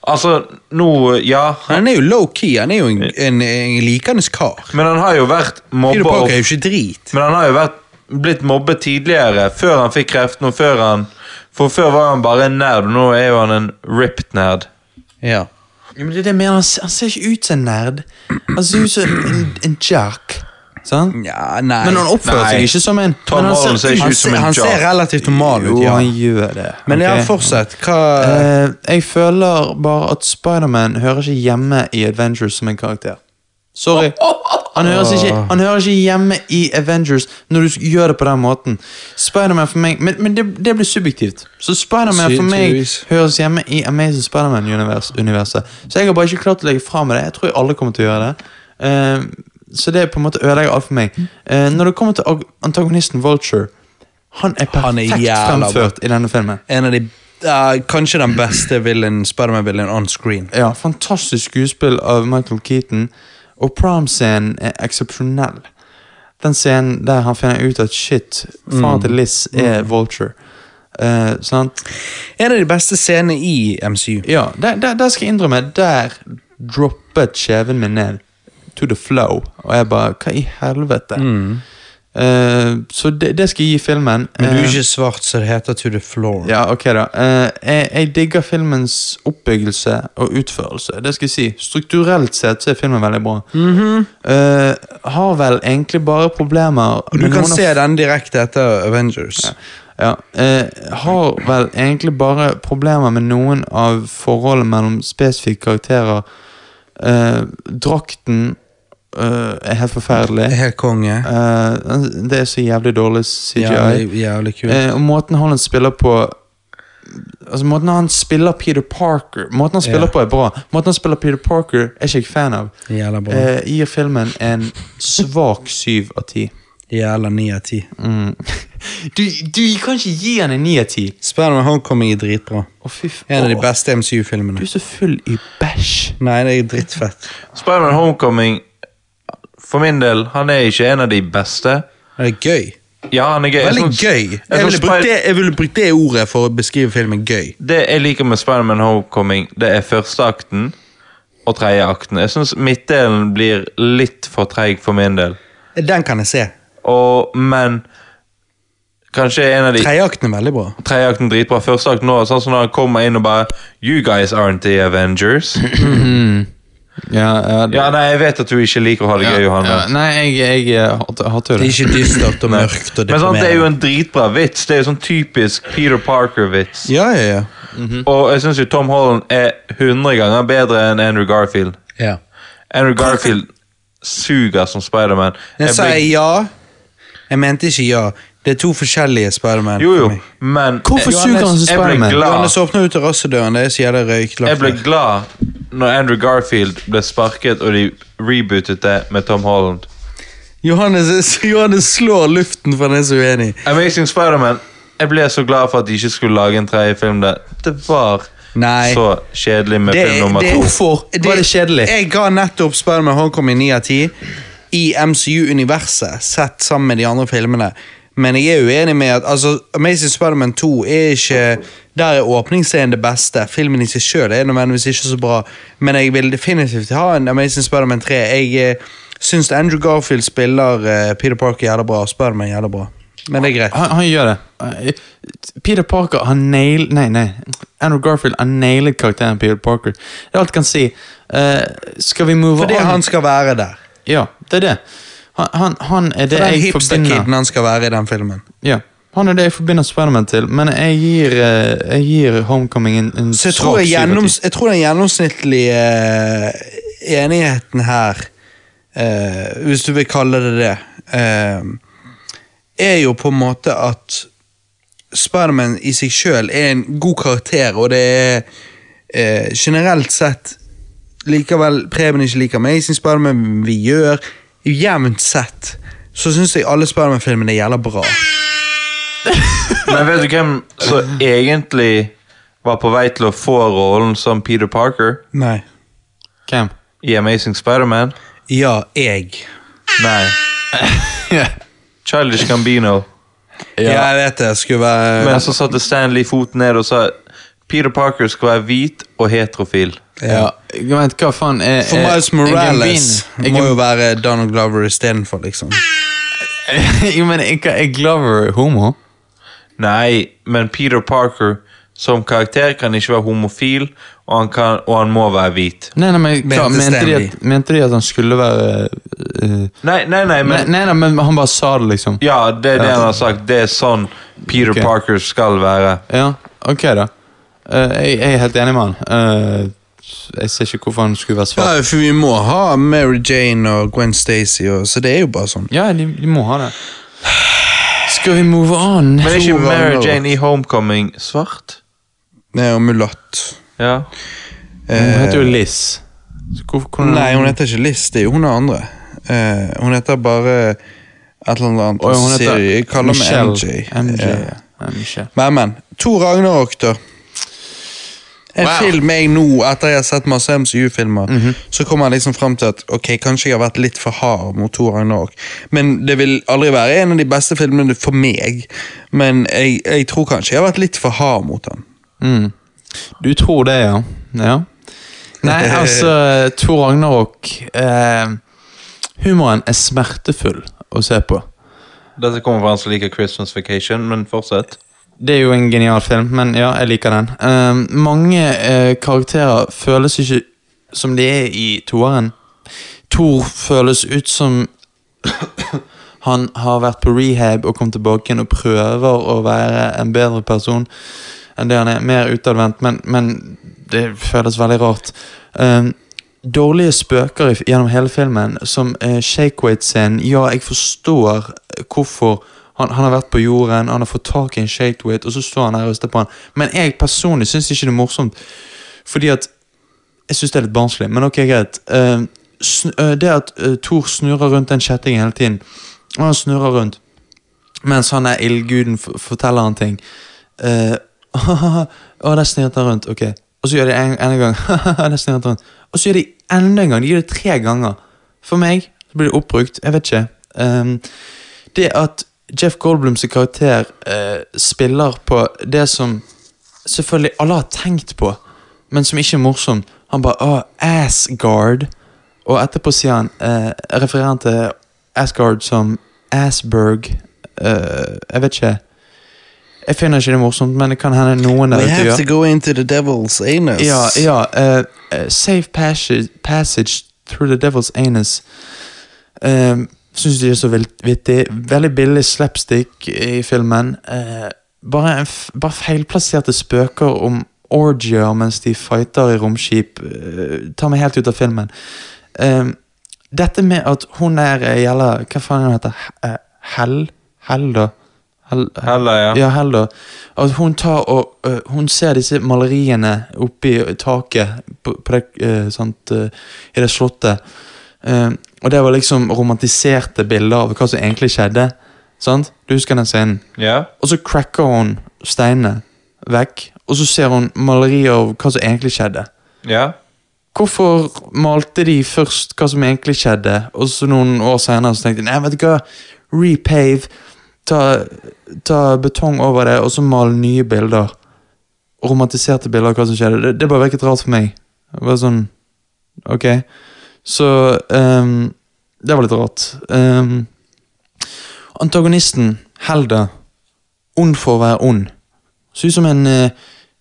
C: Altså, nå Ja.
A: Han er jo low-key. Han er jo en, en, en likende kar.
C: Men han har jo vært
A: Peter
C: mobba
A: Parker
C: og
A: er jo ikke drit.
C: Men han har jo vært, blitt mobbet tidligere, før han fikk kreften, og før han For før var han bare en nerd, og nå er jo han en ripped nerd.
A: Ja.
B: Ja, men det er det jeg mener, han, ser- han ser ikke ut som en nerd. Han ser ut som en, en jerk. Sant?
A: Nja, nei.
B: Men han oppfører
C: Nei.
B: seg ikke som en.
C: Tom
B: men
C: Holland ser ikke
A: han,
C: ut som
A: ser,
C: en
A: han ser
C: jock.
A: relativt normal ut,
B: Jo,
A: ja.
B: han gjør det.
A: Men ja,
B: ok?
A: fortsett. Hva
B: Eh, jeg føler bare at Spiderman hører ikke hjemme i Avengers som en karakter. Sorry. Han høres ikke, han hører ikke hjemme i Avengers når du gjør det på den måten. Spiderman for meg Men, men det, det blir subjektivt. Så Spiderman
A: Sy-
B: for meg
A: tydeligvis.
B: høres hjemme i Amazing Spiderman-universet. Så jeg har bare ikke klart å legge fra meg det. Jeg tror alle kommer til å gjøre det. Eh, så det på en måte ødelegger alt for meg. Eh, når det kommer til ag- antagonisten Vulture Han er perfekt
A: Han er jævla bra.
B: fremført i denne filmen.
A: En av de ja, Kanskje den beste villain, Spiderman-villain on screen.
B: Ja, fantastisk skuespill av Michael Keaton, og prom-scenen er eksepsjonell. Den scenen der han finner ut at shit,
A: Mm.
B: faren til Liz er Vulture. Eh, sant?
A: En av de beste scenene i MCU.
B: Ja, der, der, der skal jeg innrømme, der droppet kjeven min ned to the flow, og jeg bare, hva i helvete? Eh, så det, det skal jeg gi filmen.
A: Mm. Men du
B: Eh,
A: er ikke svart, så det heter To the Floor.
B: Ja, ok da. Eh, jeg, jeg digger filmens oppbyggelse og utførelse. Det skal jeg si. Strukturelt sett så er filmen veldig bra.
A: Mhm.
B: Eh, har vel egentlig bare problemer
A: Og du
B: med
A: kan
B: noen av-
A: se den direkte etter Avengers.
B: ja, eh, Har vel egentlig bare problemer med noen av forholdet mellom spesifikke karakterer. Eh, drakten eh, er helt forferdelig.
A: Helt konge.
B: Eh, det er så jævlig dårlig CGI.
A: Jævlig, jævlig kul.
B: Eh, og måten Holland spiller på Altså Måten han spiller Peter Parker Måten han spiller
A: Ja.
B: på er bra. Måten han spiller Peter Parker er ikke jeg fan av.
A: Jævla bra.
B: Eh, gir filmen en svak syv av ti. Mm.
A: Jævla ni av ti.
B: Du, du kan ikke gi han en ni av ti!
A: Spiderman Homecoming er dritbra.
B: Å, fy f-
A: En av de
B: Å,
A: beste
B: Du
A: MCU-filmene.
B: er så full i bæsj.
A: Nei, det er drittfett.
C: Spiderman Homecoming, for min del, han er ikke en av de beste.
A: Det er gøy.
C: Ja, han er gøy. Jeg
A: Veldig
C: synes-
A: gøy.
C: jeg
A: Jeg
C: synes
A: ville
C: Spider-
A: brukt det, jeg ville brukt det ordet for å beskrive filmen gøy.
C: Det jeg liker med Spiderman Homecoming, det er første akten og tredje akten. Jeg syns midtdelen blir litt for treig for min del.
A: Den kan jeg se.
C: Og, men kanskje en av de
A: Tredjeakten er veldig bra.
C: tredje akten dritbra. Første akten nå, sånn som når han kommer inn og bare You guys aren't the Avengers.
B: Ja,
C: Ja, nei, jeg vet at du ikke liker å ha det gøy, Johanne.
B: Nei, jeg, hater
A: Det
B: det.
A: er ikke dystert og mørkt og
C: Men sånn, det er jo
A: deprimerende.
C: en dritbra vits. Det er jo sånn typisk Peter Parker-vits.
A: Ja, ja,
C: Og jeg syns jo Tom Holland er 100 ganger bedre enn Andrew Garfield.
A: ja. ja.
C: Andrew Garfield suger som Spiderman.
A: Jeg
C: Jeg
A: sa
C: blir-
A: ja. Jeg mente ikke ja. Det er to forskjellige Spiderman.
C: Jo, jo,
A: for meg.
C: men
B: Hvorfor
C: jeg-
B: suger han som
C: jeg ble
B: Spiderman?
C: glad-
A: Johannes åpner ut av rassedøren. Det er så jævla røyklapp
C: Jeg ble
A: der.
C: glad når Andrew Garfield ble sparket, og de rebootet det med Tom Holland.
A: Johannes, Johannes slår luften, for han er så uenig.
C: Amazing Spiderman Jeg ble så glad for at de ikke skulle lage en tredje film der. Det var
A: Nei.
C: så kjedelig med film nummer to.
B: Hvorfor var det kjedelig?
A: Jeg ga nettopp Spiderman Homecoming 9 av 10 i MCU-universet, sett sammen med de andre filmene. Men jeg er uenig med at altså, Amazing Spiderman 2 er ikke Der er åpningsscenen det beste. Filmen i seg sjøl er nødvendigvis ikke så bra, men jeg vil definitivt ha en Amazing Spiderman 3. Jeg eh, syns Andrew Garfield spiller eh, Peter Parker jævla bra, og Spiderman jævla bra. Men det er greit.
B: Han, han gjør det. Eh, Peter Parker har nail... Nei, nei. Andrew Garfield har nailet karakteren Peter Parker. Det er alt jeg kan si. Eh, skal vi move
A: For det
B: on?
A: han skal være der.
B: Ja, det er det. Han, han, han er det
A: For den
B: jeg forbinder
A: hipster-kiden han skal være i den filmen.
B: ja. Han er det jeg forbinder Spiderman til, men jeg gir, eh, jeg gir Homecoming en, en
A: Så jeg
B: svak
A: tror, jeg
B: syv av ti.
A: gjennoms, jeg tror den gjennomsnittlige eh, enigheten her, eh, hvis du vil kalle det det, eh, er jo på en måte at Spiderman i seg sjøl er en god karakter, og det er eh, generelt sett likevel Preben ikke liker Amazing Spiderman, vi gjør Jevnt sett så syns jeg alle Spiderman-filmene gjelder bra.
C: Men vet du hvem som egentlig var på vei til å få rollen som Peter Parker
A: Nei.
B: Hvem?
C: i Amazing Spiderman?
A: Ja, jeg.
C: Nei. Childish Gambino.
A: Ja, jeg vet det. Jeg skulle være
C: Men så satte Stanley foten ned og sa Peter Parker skal være hvit og heterofil.
B: Ja. jeg Vent, hva faen er
D: For
B: er-
D: Miles
B: er
D: Morales
B: Gambin- er
D: må
B: Gam-
D: jo være Donald Glover istedenfor, liksom.
B: Jo, men er hva- er Glover homo?
C: Nei, men Peter Parker som karakter kan ikke være homofil, og han, kan, og han må være hvit.
B: Nei, nei, men hva,
D: Mente
B: mente, de
D: Stanley.
B: at, mente de at han skulle være eh,
C: Nei, nei, nei,
B: nei,
C: men
B: nei, nei, men han bare sa det, liksom.
C: Ja, det er det han har sagt. Det er sånn Peter
B: Ok.
C: Parker skal være.
B: Ja, ok, da. Eh, jeg, jeg er helt enig med han. Eh, jeg ser ikke hvorfor han skulle være svart.
D: Ja, for vi må ha Mary Jane og Gwen Stacy, og, så det er jo bare sånn.
B: Ja, de, de må ha det. Skal vi move on?
C: Men er ikke
D: Tror han
C: Mary
D: var-
C: Jane i Homecoming svart?
D: Nei, og mulatt.
C: Ja.
B: Hun heter jo Liz. Så hvor- hvordan-
D: Nei, hun Eh, heter ikke Liz, det er jo hun er andre. Eh, hun heter bare et eller annet annet.
B: Å, ja, hun heter
D: Siri kaller meg MJ.
B: MJ,
D: Ja.
B: ja. Ja, Michelle.
D: Men, men. Tor Ragnarok, da. En
B: Wow. Mhm.
D: film jeg nå, etter jeg har sett masse MCU-filmer, så kommer jeg liksom frem til at ok, kanskje jeg har vært litt for hard mot Tor Ragnarok. Men det vil aldri være en av de beste filmene for meg. Men jeg, jeg tror kanskje jeg har vært litt for hard mot han.
B: Mm. Du tror det, ja. ja. Nei, altså, Tor Ragnarok eh, Humoren er smertefull å se på.
C: Dette kommer fra han som liker Christmas Vacation, men fortsett.
B: Det er jo en genial film, men ja, jeg liker den. Eh, mange eh, karakterer føles ikke som de er i toeren. Thor føles ut som han har vært på rehab og kom tilbake igjen og prøver å være en bedre person enn det han er. Mer utadvendt, men, men det føles veldig rart. Eh, dårlige spøker i- gjennom hele filmen, som uh, Shakeweight-scenen. Ja, jeg forstår hvorfor han, han har vært på jorden, han har fått tak i en shakeweight, og så står han her og rister på han. Men jeg personlig syns ikke det er morsomt, fordi at jeg syns det er litt barnslig, men ok, greit. Eh, sn eh, det at uh, Thor snurrer rundt den kjettingen hele tiden, og han snurrer rundt mens han er ildguden, f- forteller han ting. Eh, Å, der snirte han rundt, ok. Og så gjør de en, en gang, der snirte han rundt. Og så gjør de enda en gang, de gjør det tre ganger. For meg så blir det oppbrukt, jeg vet ikke. Ehm, det at Jeff Goldblums karakter eh, spiller på det som selvfølgelig alle har tenkt på, men som ikke er morsomt. Han bare Åh, Asgard. Og etterpå sier han eh, refererer han til Asgard som Asberg. Eh, jeg vet ikke. Jeg finner ikke det morsomt, men det kan hende noen der
D: We
B: ute
D: have
B: gjør
D: to go into the devil's anus.
B: ja, ja. eh, eh, safe passage, passage through the devil's anus. Uh, Syns de er så vilt vittig. Veldig billig slapstick i filmen. Eh, bare, en f bare feilplasserte spøker om orgier mens de fighter i romskip. eh, tar meg helt ut av filmen. Eh, dette med at hun er eh, gjelder Hva faen er hun heter hun? Hell? Hell, da? Hell, eh,
C: Heller, ja.
B: ja, heller. At hun tar og øh, Hun ser disse maleriene oppi taket på, på det, øh, sant, øh, i det slottet. Eh, og det var liksom romantiserte bilder av hva som egentlig skjedde. Sant? Du husker den scenen?
C: Ja.
B: Og så cracker hun steinene vekk. Og så ser hun malerier av hva som egentlig skjedde.
C: ja.
B: Hvorfor malte de først hva som egentlig skjedde, og så noen år senere så tenkte de nei, vet du hva, repave, ta, ta betong over det, og så male nye bilder. Romantiserte bilder av hva som skjedde. Det, det bare virket rart for meg. Det var sånn, ok. Så ehm, det var litt rart. Ehm, antagonisten, Helda, ond for å være ond. Så ut som en eh,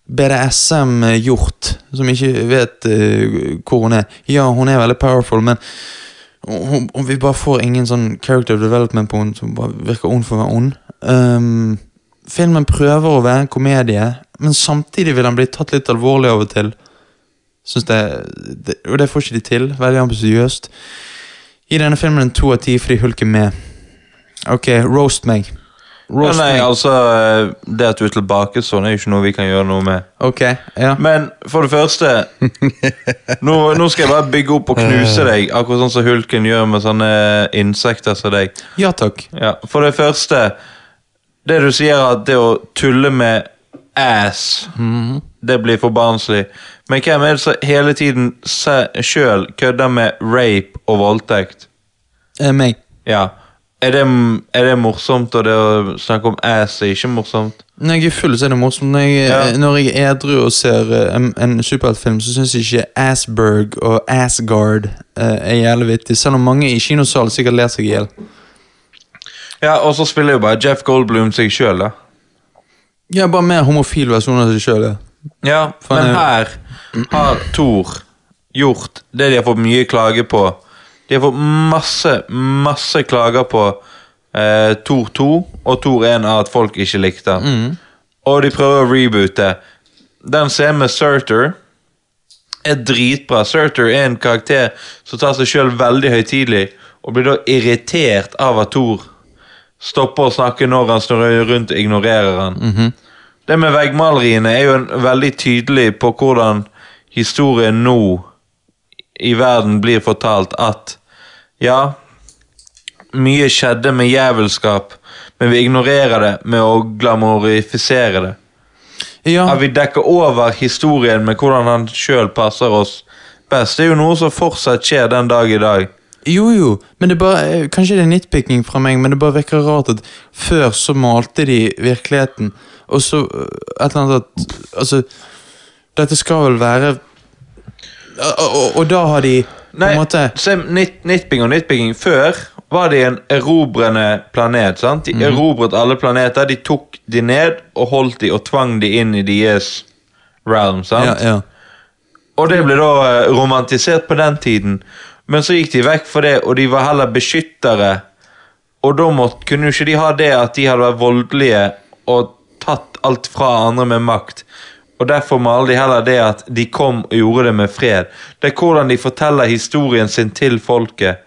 B: BDSM-hjort eh, som ikke vet eh, hvor hun er. Ja, hun er veldig powerful, men hun, hun, vi bare får ingen sånn character development på henne som bare virker ond for å være ond. Ehm, filmen prøver å være en komedie, men samtidig vil han bli tatt litt alvorlig av og til. Synes det, det, og det får ikke de til. Veldig ambisiøst. Gi denne filmen en to av ti fordi Hulk er med. Ok, roast meg.
C: ja
B: Roast
C: nei,
B: meg.
C: altså, eh, det at du er tilbake sånn, er jo ikke noe vi kan gjøre noe med.
B: Ok, ja.
C: Men for det første nå, nå skal jeg bare bygge opp og knuse deg, akkurat sånn som hulken gjør med sånne insekter som deg.
B: Ja takk.
C: Ja, for det første Det du sier at det å tulle med ass Det blir for barnslig Men hvem er det som hele tiden se- Selv kødder med rape og voldtekt
B: Eh, meg.
C: Ja Er det, er det morsomt, og det å snakke om ass er ikke morsomt?
B: Når jeg er full, så er det morsomt. Når jeg, eh,
C: Ja.
B: når jeg er edru og ser eh, en, en superheltfilm, så syns jeg ikke Asberg og Asgard eh, er jævlig vittig. Selv om mange i kinosalen sikkert ler seg i hjel.
C: Ja, Og så spiller jo bare Jeff Goldblum seg sjøl, da.
B: Ja, bare mer homofil versjon av seg sjøl.
C: Ja,
B: For
C: men
B: han
C: her har Thor gjort det de har fått mye klager på. De har fått masse, masse klager på eh, Thor 2 og Thor 1 av at folk ikke likte den. Og de prøver å reboote. Den scenen med Surter er dritbra. Surter er en karakter som tar seg sjøl veldig høytidelig, og blir da irritert av at Thor stopper å snakke når han snurrer rundt og ignorerer han. Det med veggmaleriene er jo en, veldig tydelig på hvordan historien nå i verden blir fortalt at ja, mye skjedde med jævelskap, men vi ignorerer det med å glamorifisere det.
B: Ja.
C: At vi dekker over historien med hvordan han sjøl passer oss best. Det er jo noe som fortsatt skjer den dag i dag.
B: Jo, jo, men det er bare, eh, kanskje det er nitpicking fra meg, men det bare virker rart at før så malte de virkeligheten, og så eh, et eller annet at Altså, dette skal vel være og, og, og da har de på en måte
C: se, nit, nitping og nitpicking. Før var de en erobrende planet. sant? De
B: Mhm.
C: erobret alle planeter. De tok de ned og holdt de og tvang de inn i deres realm. sant?
B: ja, ja.
C: Og det ble da eh, romantisert på den tiden. Men så gikk de vekk for det, og de var heller beskyttere. Og da måtte, kunne jo ikke de ha det at de hadde vært voldelige og tatt alt fra andre med makt. Og derfor maler de heller det at de kom og gjorde det med fred. Det er hvordan de forteller historien sin til folket.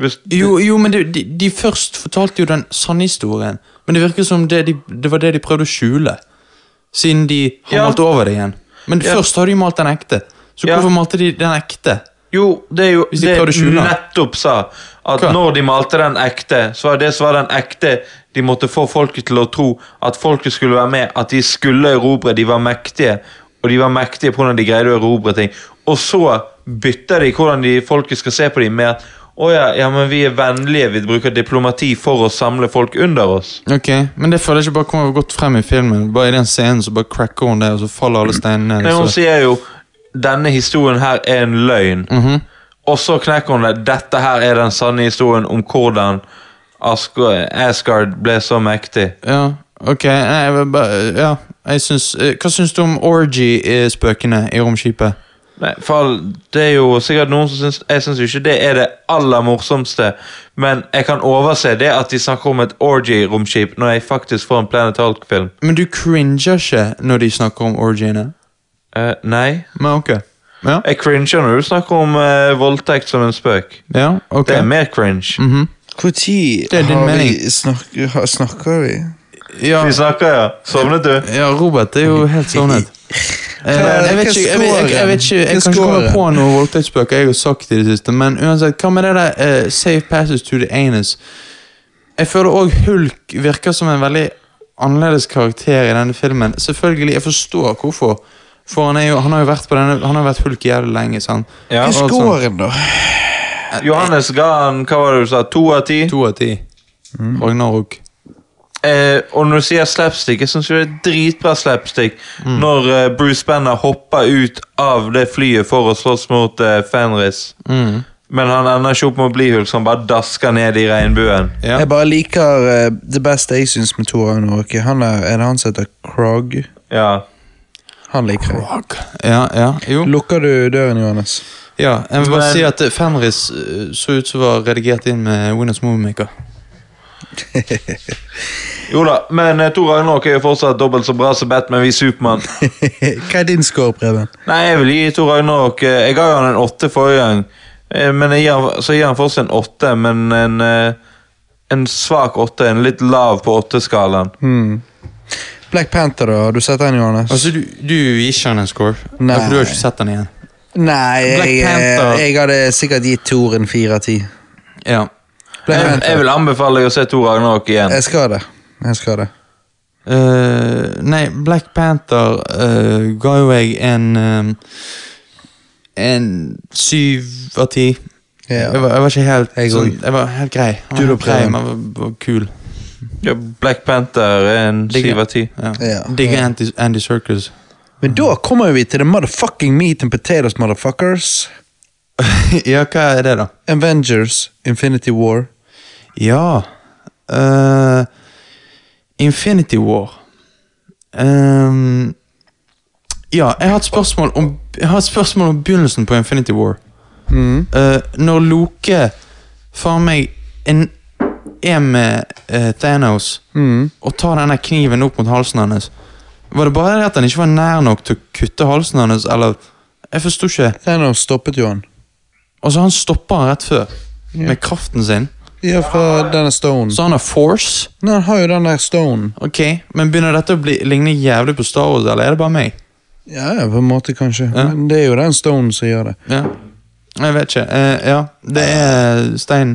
C: Hvis,
B: Jo, jo, men det, de, de først fortalte jo den sanne historien. Men det virker som det, de, det var det de prøvde å skjule. Siden de har
C: Ja.
B: malt over det igjen. Men
C: Ja.
B: først har de malt den ekte. Så
C: Ja.
B: hvorfor malte de den ekte?
C: Jo, det er jo
B: de
C: det
B: prøvde å skjule den.
C: nettopp sa. At
B: Hva?
C: når de malte den ekte, så var det som var den ekte de måtte få folket til å tro. At folket skulle være med, at de skulle erobre. De var mektige. Og de var mektige på hvordan de greide å erobre ting. Og så bytter de hvordan de, folket skal se på dem, med at å ja, ja, men vi er vennlige, vi bruker diplomati for å samle folk under oss.
B: Ok, Men det føler jeg ikke bare kommer godt frem i filmen. Bare i den scenen så bare cracker hun der, og så faller alle steinene.
C: Nei, hun
B: så.
C: sier jo denne historien her er en løgn.
B: Mhm.
C: Og så knekker hun det. Dette her er den sanne historien om hvordan Ask- Asgard ble så mektig.
B: Ja, ok. Nei, jeg, vil bare- ja, jeg syns eh, Hva syns du om orgy-spøkene i romskipet?
C: Nei, for all- det er jo sikkert noen som syns Jeg syns jo ikke det er det aller morsomste, men jeg kan overse det at de snakker om et orgy-romskip når jeg faktisk får en Planet Hulk-film.
B: Men du cringer ikke når de snakker om orgiene?
C: Eh, nei.
B: Men ok. Ja,
C: Jeg cringer når du snakker om eh, voldtekt som en spøk.
B: ja Mhm. ok.
C: Det er mer cringe.
D: Når
B: Det er din
D: har vi
B: mening.
D: snakker, har- snakker vi?
B: Ja.
C: Vi snakker, ja. Sovnet du?
B: Ja, Robert er jo helt sovnet. Eh, Jeg vet ikke, jeg, vet- jeg, jeg, vet ikke, jeg kan ikke komme på noen voldtektsspøker jeg har sagt i det siste, men uansett, hva med det der eh, safe passes to the anus? Jeg føler òg Hulk virker som en veldig annerledes karakter i denne filmen. Selvfølgelig, jeg forstår hvorfor, for han, er jo, han har jo vært på denne Han har jo vært Hulk jævlig lenge, sant?
C: Ja.
B: Og
D: Hva
B: sånn,
D: er scoren, da?
C: Johannes ga han hva var det du sa, to av ti.
B: To av ti. Ragnarok.
C: Eh, og når du sier slapstick, jeg syns det er dritbra slapstick når eh, Bruce Banner hopper ut av det flyet for å slåss mot eh, Fenris.
B: Mm.
C: Men han ender ikke opp med å bli Hulk, så han bare dasker ned i regnbuen.
B: Ja.
D: Jeg bare liker eh, det beste jeg syns med Thor Ragnarok. Han er, er det han som heter Krog?
C: Ja.
D: Han liker jeg.
B: Ja, ja, jo.
D: Lukker du døren, Johannes?
B: Ja, jeg vil bare
C: Men-
B: si at eh, Fenris eh, så ut som var redigert inn med Windows Moviemaker.
C: Jo da, men eh, Thor Ragnarok er jo fortsatt dobbelt så bra som Batman vi Supermann.
D: Hva er din score, Preben?
C: Nei, jeg vil gi Thor Ragnarok eh, Jeg ga jo han en åtte forrige gang, eh, men jeg gir, han- så gir han fortsatt en åtte, men en, eh, en svak åtte. En litt lav på åtteskalaen.
D: Black Panther, da? Har du sett den, Johannes?
B: Altså, du, du gir ikke han en score?
D: Nei.
B: Ja, For du har ikke sett den igjen?
D: Nei,
B: Black
D: jeg,
B: Panther.
D: eh, jeg hadde sikkert gitt Thor en fire av ti.
B: Ja.
D: Black
C: Jeg, jeg
D: Panther.
C: vil anbefale deg å se Thor Ragnarok igjen.
D: Jeg skal det. Jeg skal det.
B: Eh, nei, Black Panther eh, ga jo jeg en eh, En syv av ti.
A: Ja.
B: Jeg, var, jeg var ikke helt
A: Jeg
B: sånn,
A: òg.
B: jeg var helt grei. Jeg
A: Du
B: var
A: da,
B: helt grei,
A: Preben?
B: men jeg var, var kul.
C: Ja, Black Panther er en
B: Digger.
C: syv av ti.
B: Ja.
A: Ja.
B: Digger Andy, Andy Circus.
A: Men da kommer vi til the motherfucking meat and potatoes, motherfuckers.
B: ja, hva er det, da?
A: Avengers, Infinity War.
B: Ja eh, Infinity War. Ehm, ja, jeg har, et spørsmål om, jeg har et spørsmål om begynnelsen på Infinity War. Eh, når Loke faen meg en, er med eh, Thanos og tar denne kniven opp mot halsen hennes Var det bare det at han ikke var nær nok til å kutte halsen hennes, eller Jeg forsto ikke.
A: Thanos stoppet jo han.
B: Altså, han stopper han rett før, med kraften sin.
A: Ja, fra denne stone.
B: Så han har force.
A: Nei, han har jo den der stone.
B: Ok, men begynner dette å bli, ligne jævlig på Star Wars, eller er det bare meg?
A: Ja, ja, på en måte, kanskje.
B: Ja.
A: Men det er jo den stone som gjør det.
B: Ja. Jeg vet ikke. Eh, ja, det er steinen.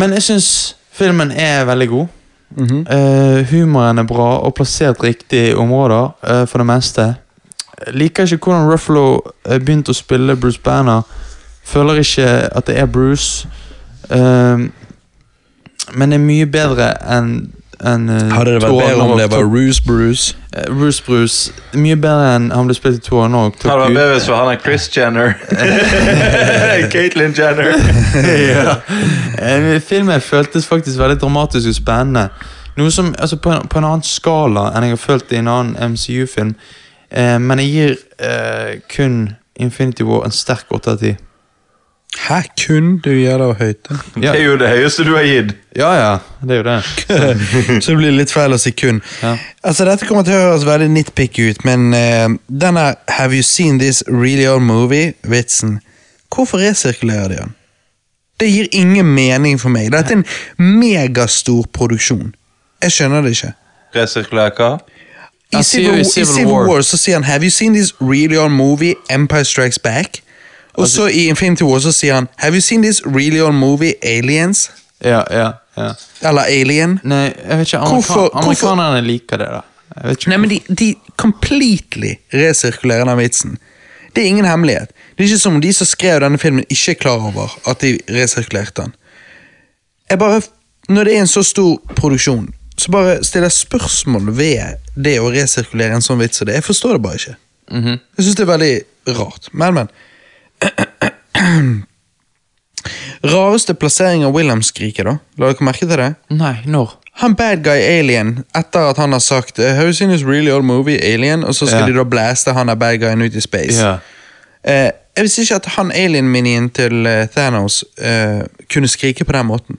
B: Men jeg syns filmen er veldig god.
A: Mhm.
B: Eh, humoren er bra og plassert riktig i områder, eh, for det meste. Jeg Liker ikke hvordan Ruffalo eh, begynte å spille Bruce Banner. Føler ikke at det er Bruce. Eh, men det er mye bedre enn enn, eh,
A: Hadde det vært
B: Thor
A: bedre om
B: Ragnarok
A: det var
B: Thor-
A: Roose Bruce?
B: Eh, Bruce Bruce Mye bedre enn han ble spilt i to år nå.
C: Hadde vært
B: eh.
C: bedre hvis han er Chris Jenner. Caitlyn Jenner.
B: ja. Eh, Filmen føltes faktisk veldig dramatisk og spennende. Noe som, altså på en, på en annen skala enn jeg har følt i en annen MCU-film. Eh, men jeg gir eh, kun Infinity War en sterk 8 av 10.
A: Hæ, kun du gjør det av høyt? da?
B: Ja.
C: Det er jo det høyeste du har gitt.
B: ja, ja, det er jo det.
A: Så det blir litt feil å si kun.
B: Ja.
A: Altså, Dette kommer til å høres veldig nitpicky ut, men eh, denne 'Have you seen this really old movie?'-vitsen Hvorfor resirkulerer de den? Det gir ingen mening for meg. Dette er en megastor produksjon. Jeg skjønner det ikke.
C: Resirkulær hva?
A: I
B: Han sier jo
A: Civil, I Civil War. så sier han 'Have you seen this really old movie? Empire Strikes Back'? Og så i Infinity War så sier han 'Have you seen this really old movie? Aliens?'
B: Ja, ja, ja.
A: Eller Alien.
B: Nei, jeg vet ikke. Amerika
A: Hvorfor- hvorfor-
B: Amerikanerne liker det, da. Jeg vet ikke.
A: Nei, men de, de completely resirkulerer den vitsen. Det er ingen hemmelighet. Det er ikke som om de som skrev denne filmen, ikke er klar over at de resirkulerte den. Jeg bare, Når det er en så stor produksjon, så bare stiller jeg spørsmål ved det å resirkulere en sånn vits som det. Jeg forstår det bare ikke. Jeg syns det er veldig rart. Men, men. Rareste plassering av Wilhelm-skriket, da. La dere merke til det?
B: Nei, når?
A: Han bad guy alien, etter at han har sagt eh, Have you seen this really old movie, alien? Og så skal
B: Ja.
A: de da blaste han der bad guyen ut i space.
B: Ja.
A: Eh, jeg visste ikke at han alien-minien til eh, Thanos eh, kunne skrike på den måten.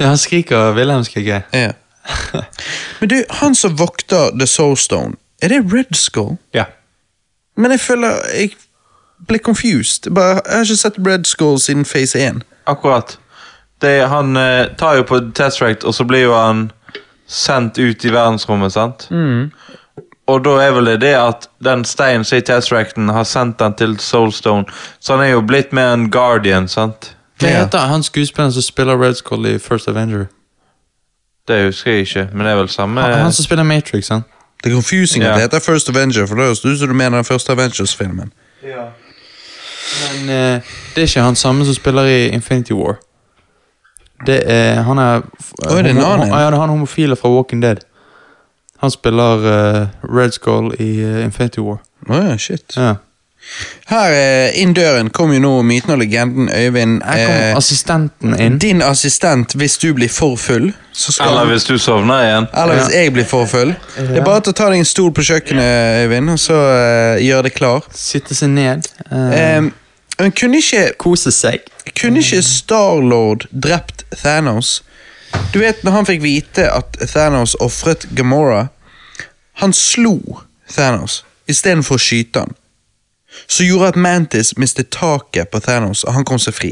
B: Ja, han skriker Wilhelm, skriker jeg.
A: Ja. Men du, han som vokter The Soul Stone, er det Red Skull?
B: Ja.
A: Men jeg føler jeg ble confused. Bare, jeg har ikke sett Red Skull siden Phase 1.
C: Akkurat. Det, han eh, tar jo på Tesseract, og så blir jo han sendt ut i verdensrommet, sant?
B: Mm.
C: Og da er vel det det at den steinen som er i Tesseracten, har sendt den til Soulstone. Så han er jo blitt mer en guardian, sant?
B: Hva
A: Ja.
B: heter han skuespilleren som spiller Red Skull i First Avenger?
C: Det husker jeg ikke, men det er vel samme
B: Han, han som spiller Matrix, han.
A: Det er confusing at
C: Ja.
A: det heter First Avenger, for det høres ut som du mener den første Avengers-filmen.
B: Men eh, det er ikke han samme som spiller i Infinity War. Det er Han er eh,
A: Å, er det en
B: homo-
A: annen en?
B: Ja, det er han homofile fra Walking Dead. Han spiller eh, Red Skull i eh, Infinity War.
A: Å ja, shit.
B: Ja.
A: Her eh, inn døren kom jo nå myten og legenden Øyvind.
B: Her kom
A: Eh,
B: assistenten inn.
A: din assistent, hvis du blir for full, så skal
C: Eller hvis du sovner igjen.
A: Eller hvis jeg blir for full. Det er bare til å ta deg en stol på kjøkkenet, Øyvind, og så eh, gjøre det klar.
B: Sitte seg ned. eh,
A: Eh, men kunne ikke,
B: kose seg.
A: kunne ikke Starlord drept Thanos? Du vet når han fikk vite at Thanos ofret Gamora Han slo Thanos istedenfor å skyte han. Som gjorde at Mantis mistet taket på Thanos, og han kom seg fri.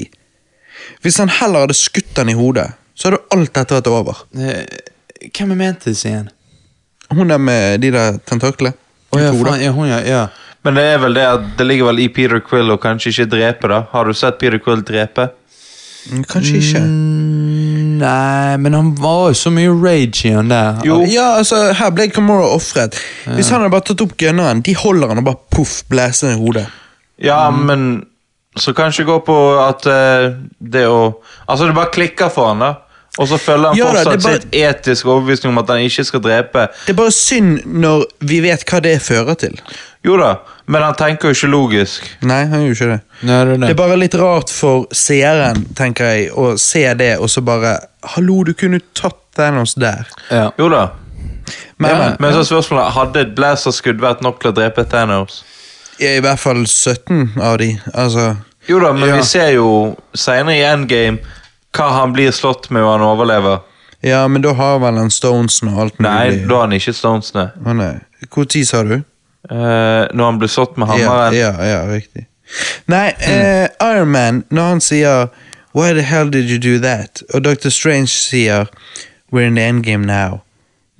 A: Hvis han heller hadde skutt han i hodet, så hadde alt dette vært over.
B: Eh, hvem er Mantis igjen?
A: Hun der med de der tentaklene.
B: Å ja,
A: Med hodet.
B: faen, ja, hun, ja. ja.
C: Men det er vel det at det ligger vel i Peter Quill å kanskje ikke drepe, da. Har du sett Peter Quill drepe?
A: Mm, Kanskje ikke.
B: Mm, nei, men han var jo så mye rage i han der.
A: Ja, altså, her ble Kamora ofret. Hvis han hadde bare tatt opp gunneren, de holder han og bare poff, blæser i hodet.
C: Ja, men Så kanskje gå på at eh, det å Altså, det bare klikker for han da. Og så følger han
A: Ja da,
C: fortsatt
A: det bare-
C: sitt etiske overbevisning om at han ikke skal drepe.
A: Det er bare synd når vi vet hva det fører til.
C: Jo da, men han tenker jo ikke logisk.
A: Nei, han gjør ikke det.
B: Nei, det er
A: Det
B: det.
A: er bare litt rart for seeren, tenker jeg, å se det og så bare Hallo, du kunne tatt Thanos der.
B: Ja.
C: Jo da.
A: Men,
C: Ja,
A: men
C: men så er spørsmålet hadde et laserskudd vært nok til å drepe Thanos.
A: i hvert fall 17 av de. Altså
C: Jo da, men
A: Ja.
C: vi ser jo seinere i Endgame hva han blir slått med og han overlever.
A: Ja, men da har vel han Stonesen og alt
C: Nei,
A: mulig.
C: da har han ikke stonesene.
A: Å, nei. Hvor tid sa du?
C: Eh, når han blir slått med
A: Ja,
C: hammeren.
A: ja, ja, riktig. Nei, eh, Iron Man, når han sier Why the hell did you do that? Og Dr. Strange sier We're in the endgame now.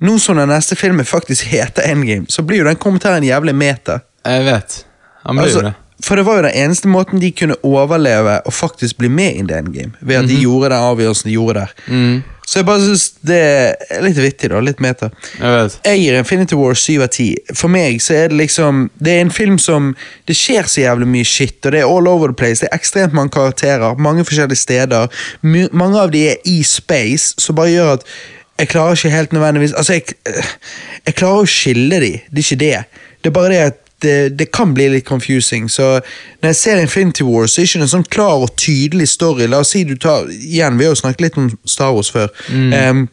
A: Nå som den neste filmen faktisk heter Endgame, så blir jo den kommentaren jævlig meta.
B: Jeg vet. Han blir jo
A: Altså,
B: det.
A: for det var jo den eneste måten de kunne overleve og faktisk bli med i The Endgame, ved at
B: Mhm.
A: de gjorde den avgjørelsen de gjorde der.
B: Mm.
A: Så jeg bare synes det er litt vittig, da. Litt meta.
B: Jeg vet.
A: Jeg gir Infinity War 7 av 10. For meg så er det liksom Det er en film som Det skjer så jævlig mye shit, og det er all over the place. Det er ekstremt mange karakterer, mange forskjellige steder. My, mange av de er i space, som bare gjør at jeg klarer ikke helt nødvendigvis Altså, jeg, jeg klarer å skille de, det er ikke det. Det er bare det at det, det kan bli litt confusing. Så når jeg ser Infinity War, så er det ikke en sånn klar og tydelig story. La oss si du tar Igjen, vi har jo snakket litt om Star Wars før. Em,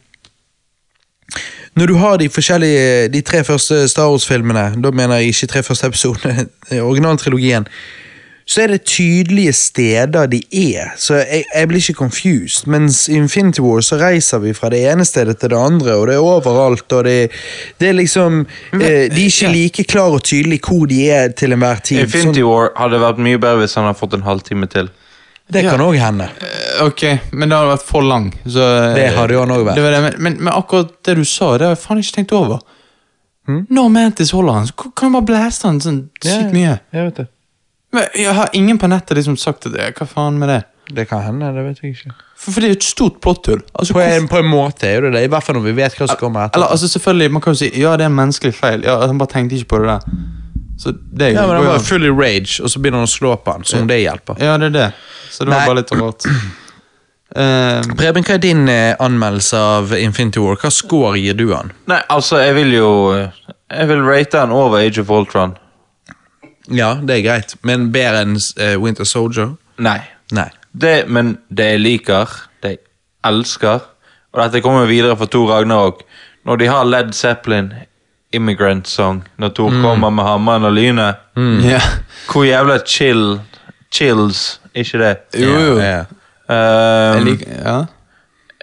A: når du har de forskjellige De tre første Star Wars-filmene, da mener jeg ikke tre første episodene, originaltrilogien, så er det tydelige steder de er, så jeg, jeg blir ikke confused. Mens i Infinity War så reiser vi fra det ene stedet til det andre, og det er overalt, og det, det er liksom eh, De er ikke like klar og tydelig hvor de er til enhver tid.
C: Infinity War hadde vært mye bedre hvis han hadde fått en halvtime til.
A: Sånn, det kan òg hende.
B: Eh, Ok, men det hadde vært for lang. Så, eh,
A: Det hadde jo han også vært.
B: Det var det, men, men, men akkurat det du sa, det har jeg faen ikke tenkt over.
A: Hm?
B: Når Mantis holder han, så kan- kan du bare blæste han sånn sykt mye.
A: Jeg vet det.
B: Men jeg har ingen på nettet liksom sagt at eh, hva faen med det?
A: Det kan hende, det vet jeg ikke.
B: For, for det er jo et stort plotthull. Altså,
A: På
B: hvorfor-
A: en, på en måte er jo det det, i hvert fall når vi vet hva som kommer etter.
B: Eller altså selvfølgelig, man kan jo si ja, det er en menneskelig feil. Ja, Han bare tenkte ikke på det der. Så det er jo
A: Ja, men Han
B: går
A: var
B: jo
A: jo full i rage, og så begynner han å slå på han, som om det hjelper.
B: an. Ja, det er det. Så det var
A: Nei.
B: bare litt rart. Eh,
A: Preben, hva er din eh, anmeldelse av Infinity War? Hva score gir du han?
C: Nei, altså, jeg vil jo Jeg vil rate han over Age of Ultron.
A: Ja, det er greit, men bedre enn eh, Winter Soldier?
C: Nei.
A: Nei.
C: Det, men det jeg liker, det jeg elsker Og dette kommer videre for Tor Ragnarok. Når de har Led Zeppelin, 'Immigrant Song', når Tor kommer med hammeren og lynet
A: Mm.
B: ja.
C: Hvor jævla chill Chills, ikke det?
B: Jo, jo.
A: Ja.
C: Um,
B: Jeg liker ja.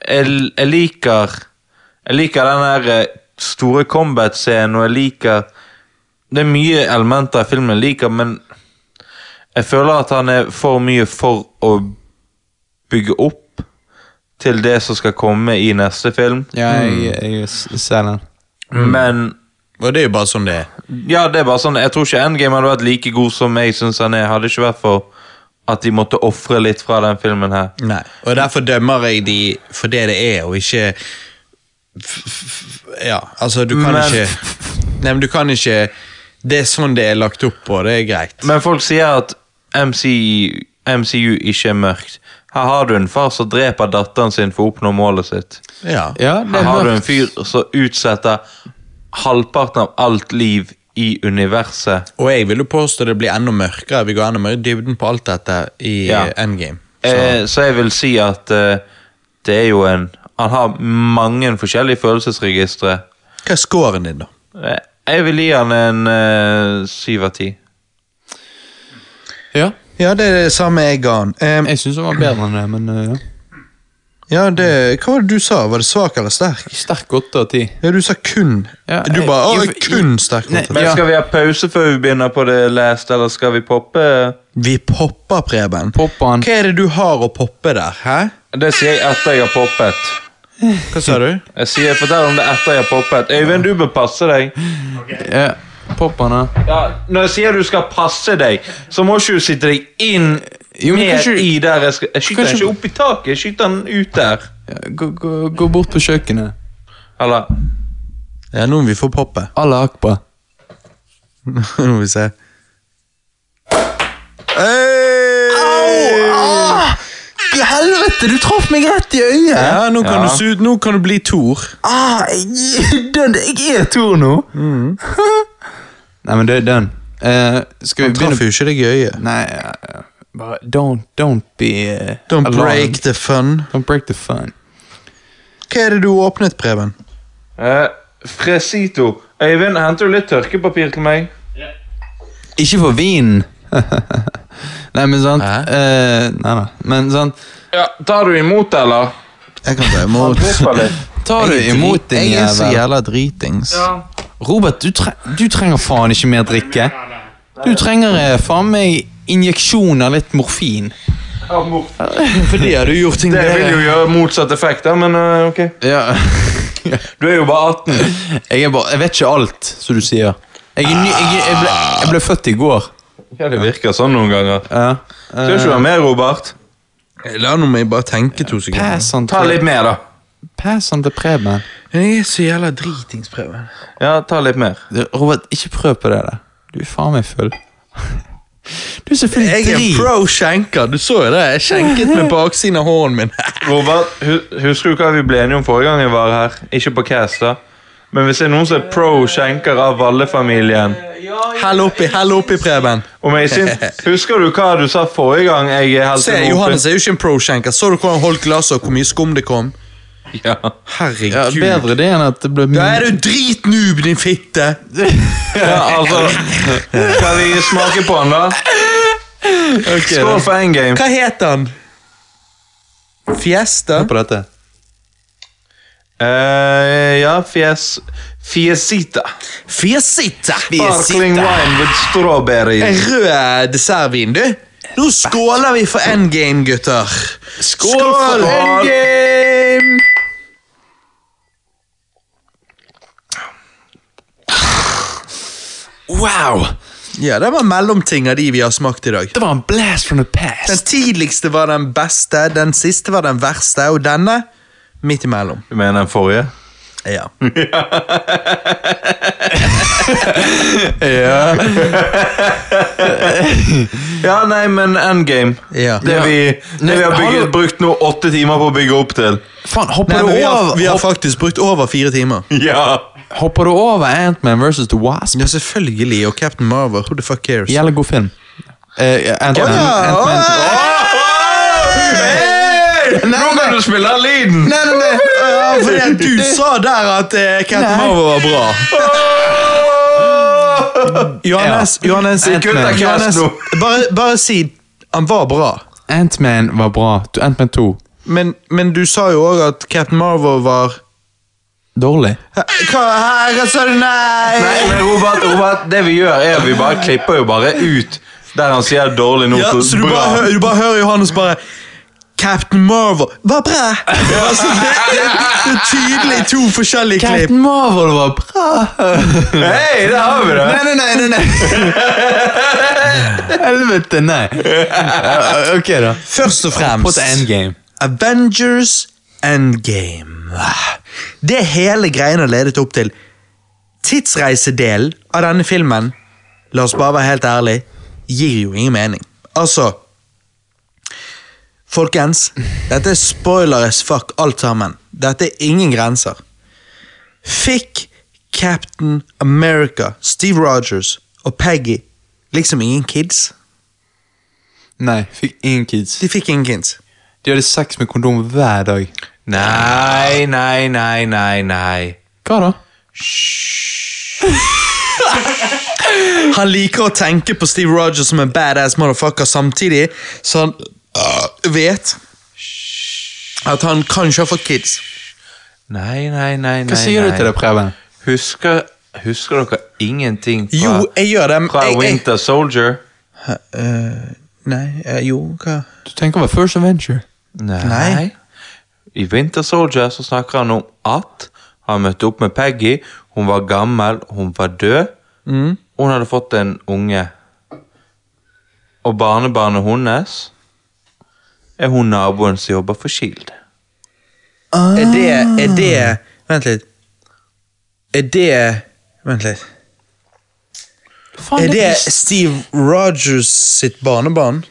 C: jeg, jeg liker Jeg liker den der eh, store combat-scenen, og jeg liker Det er mye elementer i filmen jeg liker, men jeg føler at han er for mye for å bygge opp til det som skal komme i neste film.
B: ja, jeg, jeg s- ser den.
C: Men
A: Og det er jo bare sånn det er.
C: ja, det er bare sånn Jeg tror ikke Endgame hadde vært like god som jeg syns han er. Hadde ikke vært for at de måtte ofre litt fra den filmen her.
A: Nei. Og derfor dømmer jeg de for det det er, og ikke f- f- Ja, altså, du kan
C: Men-
A: ikke Nei, men du kan ikke Det er sånn det er lagt opp på, det er greit.
C: Men folk sier at MCU, MCU ikke er mørkt. Her har du en far som dreper datteren sin for å oppnå målet sitt.
A: Ja.
B: Ja, det
C: Her
B: er
C: har du en
B: mørkt.
C: fyr som utsetter halvparten av alt liv i universet.
A: Og jeg vil jo påstå det blir enda mørkere. Vi går enda mer i dybden på alt dette i
C: Ja.
A: eh, Endgame.
C: Så, eh, så jeg vil si at eh, det er jo en Han har mange forskjellige følelsesregistre.
A: Hva er scoren din, da?
C: Eh, Jeg vil gi han en eh, syv av ti.
B: Ja,
A: Ja, det er det samme jeg ga han. Ehm,
B: jeg syns den var bedre enn det, men eh, ja.
A: ja, det, hva var det du sa? Var det svak eller sterk?
B: Sterk åtte av ti.
A: Ja, du sa kun.
B: Ja,
A: du
B: jeg-
A: bare
B: jeg-
A: «Å, kun sterk.
B: Nei,
A: kontakt».
C: Men
B: Ja.
C: Skal vi ha pause før vi begynner på det last, eller skal vi poppe?
A: Vi popper, Preben.
B: Popper han.
A: Hva er det du har å poppe der? Hæ?
C: Det sier jeg etter jeg har poppet.
A: Hva sa du?
C: Jeg sier fortell om det etter jeg har poppet. Øyvind, du bør passe deg.
B: Ja, popper han, ja.
C: Ja, når jeg sier du skal passe deg, så må ikke du sitte deg inn
B: Jo, men
C: mer
B: kanskje-
C: i der. Jeg, skal, jeg skyter
B: kanskje-
C: den ikke opp i taket, jeg skyter den ut der.
B: Ja, Gå, gå, gå bort på kjøkkenet.
C: Eller
A: Ja, nå må vi få poppe.
B: Allah akbar.
A: nå må vi se. Hey! Ah!
B: Helvete, du traff meg rett i øyet!
A: Ja, nå kan,
C: Ja.
A: Du, su- nå kan du bli Thor.
B: Ah, jeg, den, jeg er Tor nå! Mm. Nei, men det er den. Eh, skal vi
A: Han traff
B: begynne
A: jo ikke deg i øyet.
B: Nei, eh, bare don't, don't be eh,
A: Don't
B: alarmed.
A: break the fun.
B: Don't break the fun.
A: Hva er det du åpnet, Preben?
C: Eh, Fresito. Øyvind, henter du litt tørkepapir til meg?
B: Ikke for vin! nei, men sant
A: Hæ?
B: eh, Nei, nei. Men sant
C: Ja, Tar du imot, eller?
A: Jeg kan ta
C: Han
A: imot.
C: dripper litt.
B: Tar du
A: Jeg er
B: imot
A: drit-
B: din
A: Jeg er så
B: jævel?
A: jævla dritings.
B: Robert, du, tre du trenger faen ikke mer drikke. Du trenger eh, faen meg injeksjon av litt morfin.
C: Ja, mor-
A: Fordi har du gjort ting
C: Det vil jo gjøre motsatt effekt, da, men eh, ok.
B: Ja.
C: Du er jo bare 18.
B: Jeg, er bare, jeg vet ikke alt, som du sier. Jeg, er ny, jeg, jeg, ble, jeg ble født i går.
C: Ja, Det virker sånn noen ganger.
B: Ja.
C: Skal ikke du ha mer, Robert?
A: La nå meg bare tenke to sekunder.
B: Eh, Pass han
C: Ta litt
B: til,
C: mer, da.
B: pass han til Preben.
A: Jeg er så jævla dritings, Preben.
C: Ja, ta litt mer.
B: Robert, ikke prøv på det der. Du er faen meg full. Du er
A: Jeg
B: selvfølgelig
A: er
B: drit.
A: pro skjenker. Du så jo det. Jeg skjenket med baksiden av hånden min.
C: Robert, hu- husker du hva vi ble enige om forrige gang jeg var her? Ikke på cast, da. Men hvis det er noen som er pro skjenker av Valle-familien
A: Hell oppi, hell oppi, Preben.
C: Om jeg syns, Husker du hva du sa forrige gang jeg helte
A: Se,
C: noe oppi?
A: Johannes er jo ikke en pro skjenker. Så du hvor han holdt glasset, og hvor mye skum det kom?
C: Ja.
B: Ja,
A: Herregud.
B: bedre det enn at det ble
A: Da er du dritnoob, din fitte!
C: ja, altså Skal vi smake på den, da? Skål for en game.
A: Hva het han? Fiesta?
B: på dette.
C: Eh, ja, fjes Fiesita.
A: Fiesita!
C: Sparkling wine with
A: En
C: strawberries.
A: rød dessertvin, du. Nå skåler vi for endgame, gutter.
C: Skål! Endgame!
B: Wow!
A: Ja, Det var mellomtinga de vi har smakt i dag.
B: Det var en blast from the
A: Den
B: past.
A: tidligste var den beste, den siste var den verste, og denne midt imellom.
C: Du mener den forrige?
A: Ja.
C: Ja, nei, men endgame.
A: Ja.
C: Det, vi, det vi har bygget, brukt nå åtte timer på å bygge opp til.
B: Faen, hopper,
A: Nei, men
B: du
A: vi har,
B: over,
A: vi har
B: hopp,
A: faktisk brukt over fire timer.
C: Ja.
B: hopper du over Ant-Man versus The Wasp?
A: Ja, selvfølgelig. Og Captain Marvel, who the fuck cares?
B: Jævla god film. Eh, Ant-Man.
A: Åja,
B: Ant-Man.
A: åja.
C: Nå kan du spille den lyden!
A: Nei, nei, nei. Ja, fordi at du sa der at eh, Captain
B: Nei.
A: Marvel var bra. Johannes, Johannes,
B: Jeg kutter
A: Johannes,
C: cast nå.
A: bare, bare si han var bra.
B: Ant-Man var bra. Du- Ant-Man 2.
A: Men, men du sa jo òg at Captain Marvel var
B: Dårlig.
A: Hæ, Hva, hæ, hva sa du?
C: Nei,
A: Nei!
C: men Robert, Robert, det vi gjør, er at vi bare klipper jo bare ut der han sier dårlig nå.
A: Ja, så du bare, hø- du bare hører Johannes bare Captain Marvel var bra! Altså, det, det, det er tydelig to forskjellige klipp.
B: Captain Marvel var bra.
C: Hei, der har vi det!
B: nei, nei, nei, nei. Helvete, nei. Ja, Ok, da.
A: Først og
B: På til
A: fremst
B: endgame.
A: Avengers Endgame. Ah, Det hele greien har ledet opp til tidsreisedelen av denne filmen, la oss bare være helt ærlig, gir jo ingen mening. Altså Folkens, dette er spoiler as fuck alt sammen. Dette er ingen grenser. Fikk Captain America, Steve Rogers og Peggy liksom ingen kids?
B: Nei, fikk ingen kids.
A: De fikk ingen kids.
B: De hadde sex med kondom hver dag.
C: Nei, nei, nei, nei, nei.
B: Hva da?
A: Han liker å tenke på Steve Rogers som en badass motherfucker samtidig, så han øh, vet at han kanskje har fått kids.
C: Nei, nei, nei, nei.
B: Hva sier du til det, Preben?
C: Husker, husker dere ingenting fra,
A: Jo, jeg gjør det. men
C: fra
A: jeg, jeg,
C: Winter Soldier?
A: Øh, nei, øh, jo, hva
B: Du tenker over First Adventure.
C: Nei.
A: Nei.
C: I Winter Soldier så snakker han om at han møtte opp med Peggy. Hun var gammel, hun var død.
A: Mm.
C: Hun hadde fått en unge. Og barnebarnet hennes er hun naboen som jobber for Shield.
A: Er det, er det Vent litt. Er det Vent litt.
B: Faen,
A: Er det
B: blir-
A: Steve Rogers sitt barnebarn?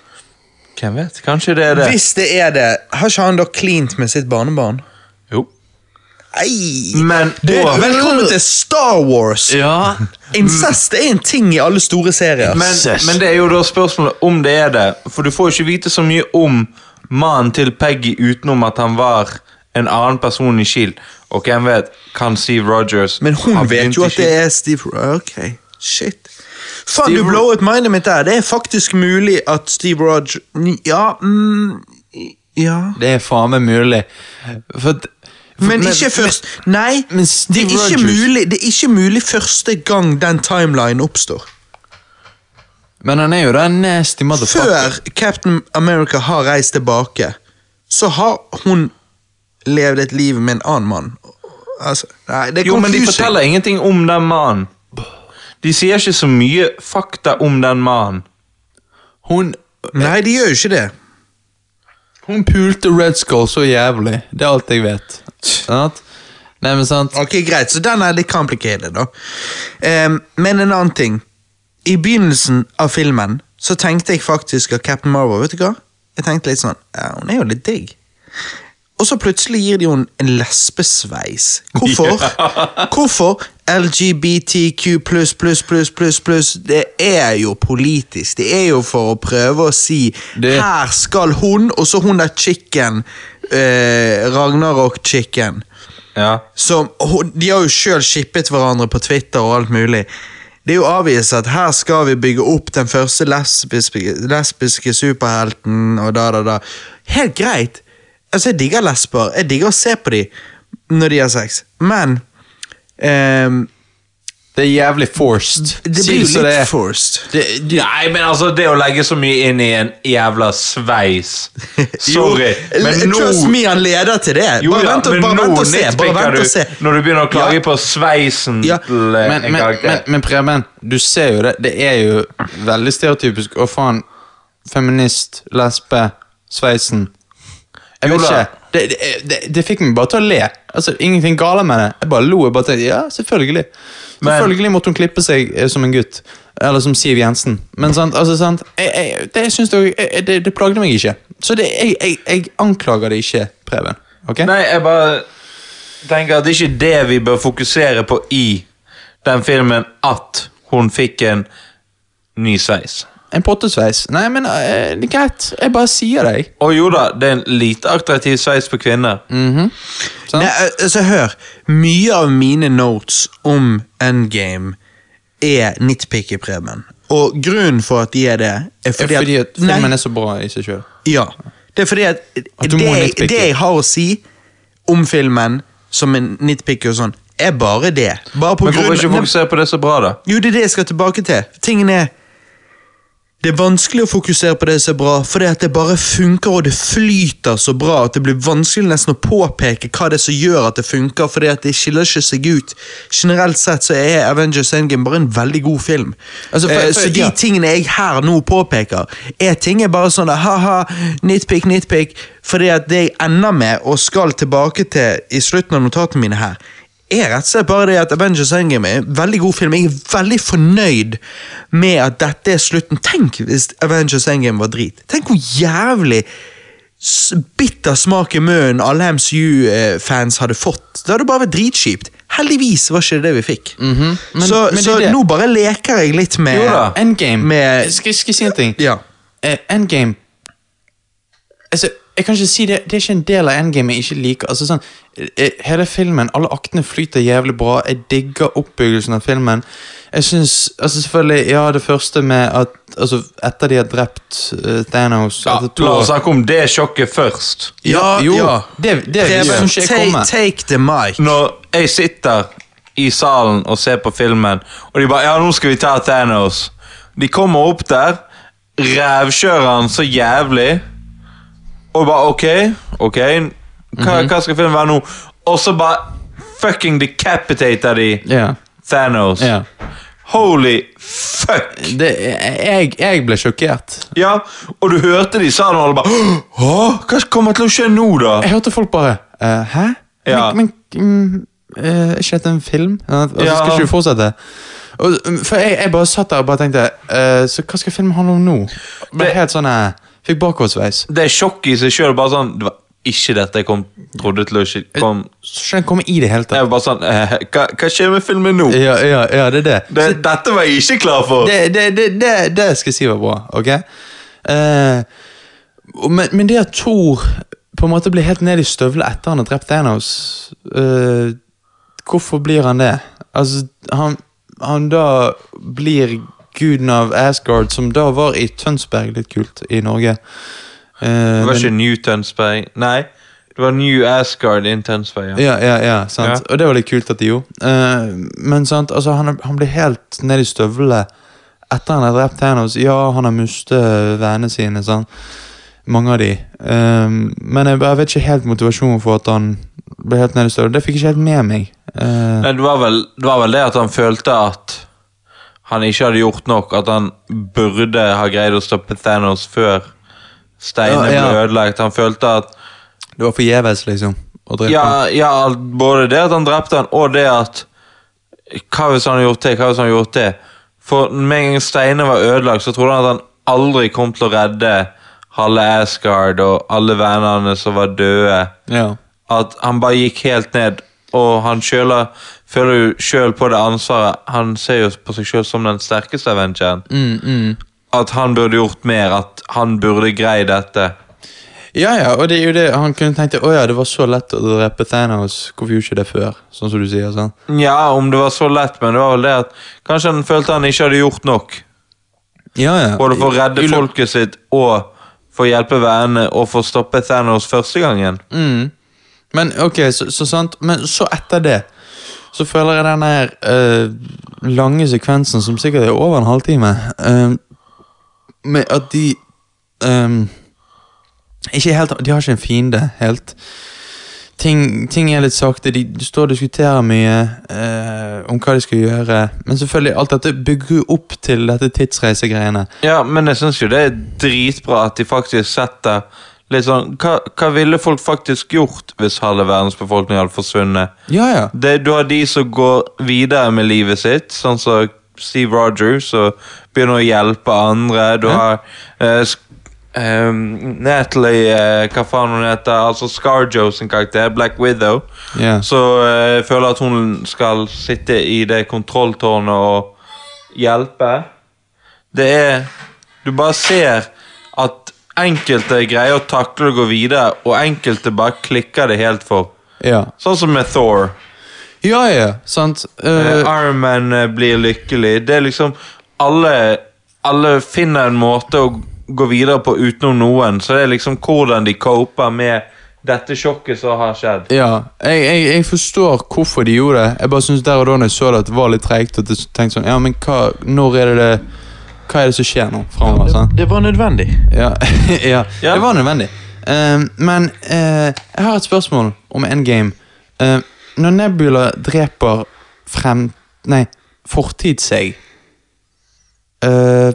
C: Hvem vet? Kanskje det er det.
A: Hvis det er det, har ikke han da cleant med sitt barnebarn?
C: Jo.
A: Ei!
C: Men
A: Du,
C: og-
A: velkommen til Star Wars!
C: Ja,
A: Incest er en ting i alle store serier.
C: men, men det er jo da spørsmålet om det er det. For du får jo ikke vite så mye om mannen til Peggy utenom at han var en annen person i Kiel. Og hvem vet, kan Steve Rogers
A: Men
C: ha
A: hun
C: begynt
A: vet jo
C: i
A: at det
C: Kiel?
A: er Steve Ok, shit. Faen,
C: Steve
A: du
C: Ro-
A: blowet mindet mitt der. Det er faktisk mulig at Steve Roger Ja mm, Ja.
B: Det er faen meg mulig. For, at- for-
A: Men ikke først Nei,
B: men Steve
A: det er ikke,
B: Rogers-
A: mulig, det er ikke mulig første gang den timelinen oppstår.
B: Men han er jo den nasty motherfucker.
A: Før Captain America har reist tilbake, så har hun levd et liv med en annen mann. Altså, nei, det er
C: Jo, men de
A: confusing.
C: forteller ingenting om den mannen. De sier ikke så mye fakta om den mannen.
B: Hun,
A: Nei, de gjør jo ikke det.
B: hun pulte Red Skull så jævlig. Det er alt jeg vet. Sant? Nei, men sant?
A: Ok, greit, så den er litt complicated da. Ehm, men en annen ting. I begynnelsen av filmen så tenkte jeg faktisk at Captain Marvel, vet du hva? Jeg tenkte litt sånn, ja, hun er jo litt digg. Og så plutselig gir de henne en lesbesveis. Hvorfor? Hvorfor? LGBTQ pluss, pluss, pluss, pluss, pluss. Det er jo politisk. Det er jo for å prøve å si
B: Det-
A: Her skal hun, og så hun der chicken. eh, Ragnarok-chicken.
C: Ja.
A: Som, hun- de har jo sjøl shippet hverandre på Twitter og alt mulig. Det er jo avvist at her skal vi bygge opp den første lesbiske, lesbiske superhelten og da, da, da. Helt greit. Altså, jeg digger lesber. Jeg digger å se på dem når de har sex. Men ehm,
B: Det er jævlig forced.
A: det
B: Si
A: blir
B: så
A: jo
B: det er.
A: litt forced.
B: Det- det-
C: Nei, men altså, det å legge så mye inn i en jævla sveis Sorry,
A: Jo,
C: men
A: l-
C: nå
A: Trust me, han leder til det.
C: Jo,
A: bare
C: ja,
A: vent, og-
C: men
A: bare
C: nå
A: vent og se. Bare
C: nitpicker
A: vent
C: du
A: og se.
C: Når du begynner å klage på sveisen
A: Ja,
C: til eh,
B: men,
C: en
B: men,
C: karakter.
B: men, men Preben, du ser jo det. Det er jo veldig stereotypisk. Å faen, feminist, lesbe, sveisen. Jeg
C: Jo
B: vet
C: da.
B: ikke. Det, det, det, det fikk meg bare til å le. Altså, Ingenting gale med det. Jeg bare lo. Jeg bare tenkte, ja, selvfølgelig. selvfølgelig måtte hun klippe seg eh, som en gutt. Eller som Siv Jensen. Men sant, altså sant, jeg, jeg, det, jeg synes det, jeg, det, det plagde meg ikke. Så det, jeg, jeg, jeg anklager det ikke, Preben. Ok?
C: Nei, jeg bare tenker at det er ikke det vi bør fokusere på i den filmen at hun fikk en ny sveis.
B: En pottesveis. Nei, men eh, det er greit. Jeg bare sier det, jeg.
C: Og jo da, det er en lite attraktiv sveis på
A: Mm.
C: kvinner.
B: Sant?
A: Nei, al- altså hør Mye av mine notes om Endgame Er nitpicky Preben Og grunnen for at de er det Er fordi,
B: Fordi, fordi at
A: Nei,
B: filmen er så bra i seg sjøl.
A: ja. Det er fordi at,
B: At du
A: det,
B: må
A: jeg-
B: nitpicke.
A: det jeg har å si Om filmen Som en nitpicky og sånn Er bare det Bare på
C: Men hvorfor ikke
A: grunn
C: fokusere på det så bra, da?
A: Jo, det er det jeg skal tilbake til Tingen er det er vanskelig å fokusere på det som er bra, fordi at det bare funker og det flyter så bra at det blir vanskelig nesten å påpeke hva det er som gjør at det funker, fordi at det skiller ikke seg ut. Generelt sett så er Avengers Endgame bare en veldig god film.
B: Altså, for-
A: eh,
B: for-
A: så de
B: ja.
A: tingene jeg her nå påpeker, er ting jeg bare sånn ha-ha, nitpick, nitpick, fordi at det jeg ender med og skal tilbake til i slutten av notatene mine her, er rett og slett bare det at Avengers Endgame er en veldig god film. Jeg er veldig fornøyd med at dette er slutten. Tenk hvis Avengers Endgame var drit. Tenk hvor jævlig s- bitter smak i munnen alle MCU-fans hadde fått. Det hadde bare vært dritkjipt. Heldigvis var ikke det det vi fikk.
B: Mhm. Men-
A: så
B: men det er
A: så
B: det.
A: nå bare leker jeg litt med
B: Jo da, Endgame.
A: Med,
B: skal, skal jeg si en ting?
A: ja.
B: Eh, endgame Altså, jeg kan ikke si det Det er ikke en del av Endgame jeg ikke liker. Altså sånn, eh, Hele filmen, alle aktene flyter jævlig bra. Jeg digger oppbyggelsen av filmen. Jeg synes, altså selvfølgelig, ja, Det første med at altså, Etter de har drept eh, Thanos
C: Ja,
B: etter to
C: la
B: år-
C: oss snakke om det sjokket først.
B: Ja, jo, det, det
A: Preben,
B: synes ikke jeg
A: take,
B: kommer.
A: take the mic.
C: Når jeg sitter i salen og ser på filmen, og de bare Ja, nå skal vi ta Thanos. De kommer opp der, rævkjører han så jævlig, og bare OK, OK, hva,
B: Mhm.
C: hva skal filmen være nå? Og så bare fucking decapitater de
B: Ja.
C: Thanos.
B: Ja.
C: Holy fuck!
B: Det, jeg, jeg ble sjokkert.
C: Ja, og du hørte de i salen, og alle bare Hå? Hva kommer til å skje nå, da?
B: Jeg hørte folk bare «Eh, Hæ?
C: Ja.
B: Men, men mm, eh, er ikke dette en film? Ja, Altså,
C: Ja.
B: Skal ikke du fortsette? mm, Og, um, for jeg, jeg bare satt der og bare tenkte eh, Så hva skal filmen handle om nå? Bare
C: Det-
B: helt sånn eh, Fikk bakoversveis.
C: Det er sjokket i seg sjøl. Bare sånn Det var ikke dette jeg kom, trodde til å skje. Kom.
B: Så skjønner jeg komme i det hele
C: Jeg
B: tatt.
C: var bare sånn eh, hva, hva skjer med filmen nå?
B: Ja, ja, ja, det er det.
C: Det, dette var jeg ikke klar for!
B: det, det, det, det, det skal jeg si var bra, ok? Eh, og- men, men det at Thor på en måte blir helt ned i støvlet etter han har drept Thanos eh, Hvorfor blir han det? Altså, han, han da blir guden av Asgard, som da var i Tønsberg, litt kult, i Norge. Eh,
C: Det
B: men-
C: var ikke New Tønsberg. Nei, det var New Asgard in Tønsberg.
B: Ja,
C: Ja.
B: ja, ja, sant.
C: Ja.
B: Og det var litt kult at de gjorde. Eh, men sant, altså, han, han blir helt ned i støvlene etter han har drept Thanos. Ja, han har mistet vennene sine, sant. Mange av de. Eh, men jeg, bare vet ikke helt motivasjonen for at han ble helt ned i støvlene. Det fikk jeg ikke helt med meg. Eh,
C: Nei, det, var vel, det var vel det at han følte at han ikke hadde gjort nok. At han burde ha greid å stoppe Thanos før steinene
B: Ja, ja.
C: ble ødelagt. Han følte at
B: det var forgjeves, liksom. Å drepe han.
C: ja, ja, alt- både det at han drepte han, og det at Hva hvis han hadde gjort det? Hva hvis han hadde gjort det? For med en gang steinene var ødelagt, så trodde han at han aldri kom til å redde halve Asgard og alle vennene som var døde.
B: Ja.
C: At han bare gikk helt ned, og han kjøler, føler jo sjøl på det ansvaret. Han ser jo på seg sjøl som den sterkeste Avengeren.
B: Mm, mm.
C: At han burde gjort mer, at han burde greie dette.
B: Ja, ja, og det er jo det han kunne tenkt Å ja, det var så lett å drepe Thanos. Hvorfor gjorde ikke det før? Sånn som du sier. sant?
C: Ja, om det var så lett, men det var vel det at kanskje han følte han ikke hadde gjort nok.
B: Ja, ja.
C: Både for å redde
B: I- i løpet-
C: folket sitt og for å hjelpe vennene og for å stoppe Thanos første gangen.
B: Mm. Men ok, så, så sant Men så etter det Så føler jeg den her eh, lange sekvensen Som sikkert er over en halvtime eh, Med at de eh, Ikke helt De har ikke en fiende helt Ting, ting er litt sakte De de står og diskuterer mye eh, Om hva de skal gjøre Men selvfølgelig alt dette bygger jo opp til Dette tidsreisegreiene
C: Ja, men jeg syns jo det er dritbra at de faktisk setter litt sånn Hva, hva ville folk faktisk gjort hvis halve verdens befolkning hadde forsvunnet?
B: Ja, ja
C: Det, du har de som går videre med livet sitt, sånn som Steve Rogers, og begynner å hjelpe andre. Du har eh, sk- eh, Natalie eh, Hva faen hun heter? Altså Scarjo sin karakter, Black Widow.
B: Ja.
C: Så eh, jeg føler at hun skal sitte i det kontrolltårnet og hjelpe. Det er Du bare ser at enkelte greier å takle og gå videre, og enkelte bare klikker det helt for.
B: Ja,
C: Sånn som med Thor.
B: ja, ja sant
C: Eh,
B: Eh,
C: Iron Man eh, blir lykkelig. Det er liksom alle, alle finner en måte å gå videre på utenom noen. Så det er liksom hvordan de coper med dette sjokket som har skjedd.
B: Ja, jeg, jeg, jeg forstår hvorfor de gjorde det. Jeg bare synes der og da når jeg så det, at det var litt treigt. Og tenkte sånn, ja, men hva, når er det det Hva er det som skjer nå framover? sant?
A: Det var nødvendig.
B: Ja, ja,
C: Ja.
B: det var nødvendig. Ehm, men eh, jeg har et spørsmål om endgame. Ehm, når Nebula dreper frem... Nei, fortid seg eh,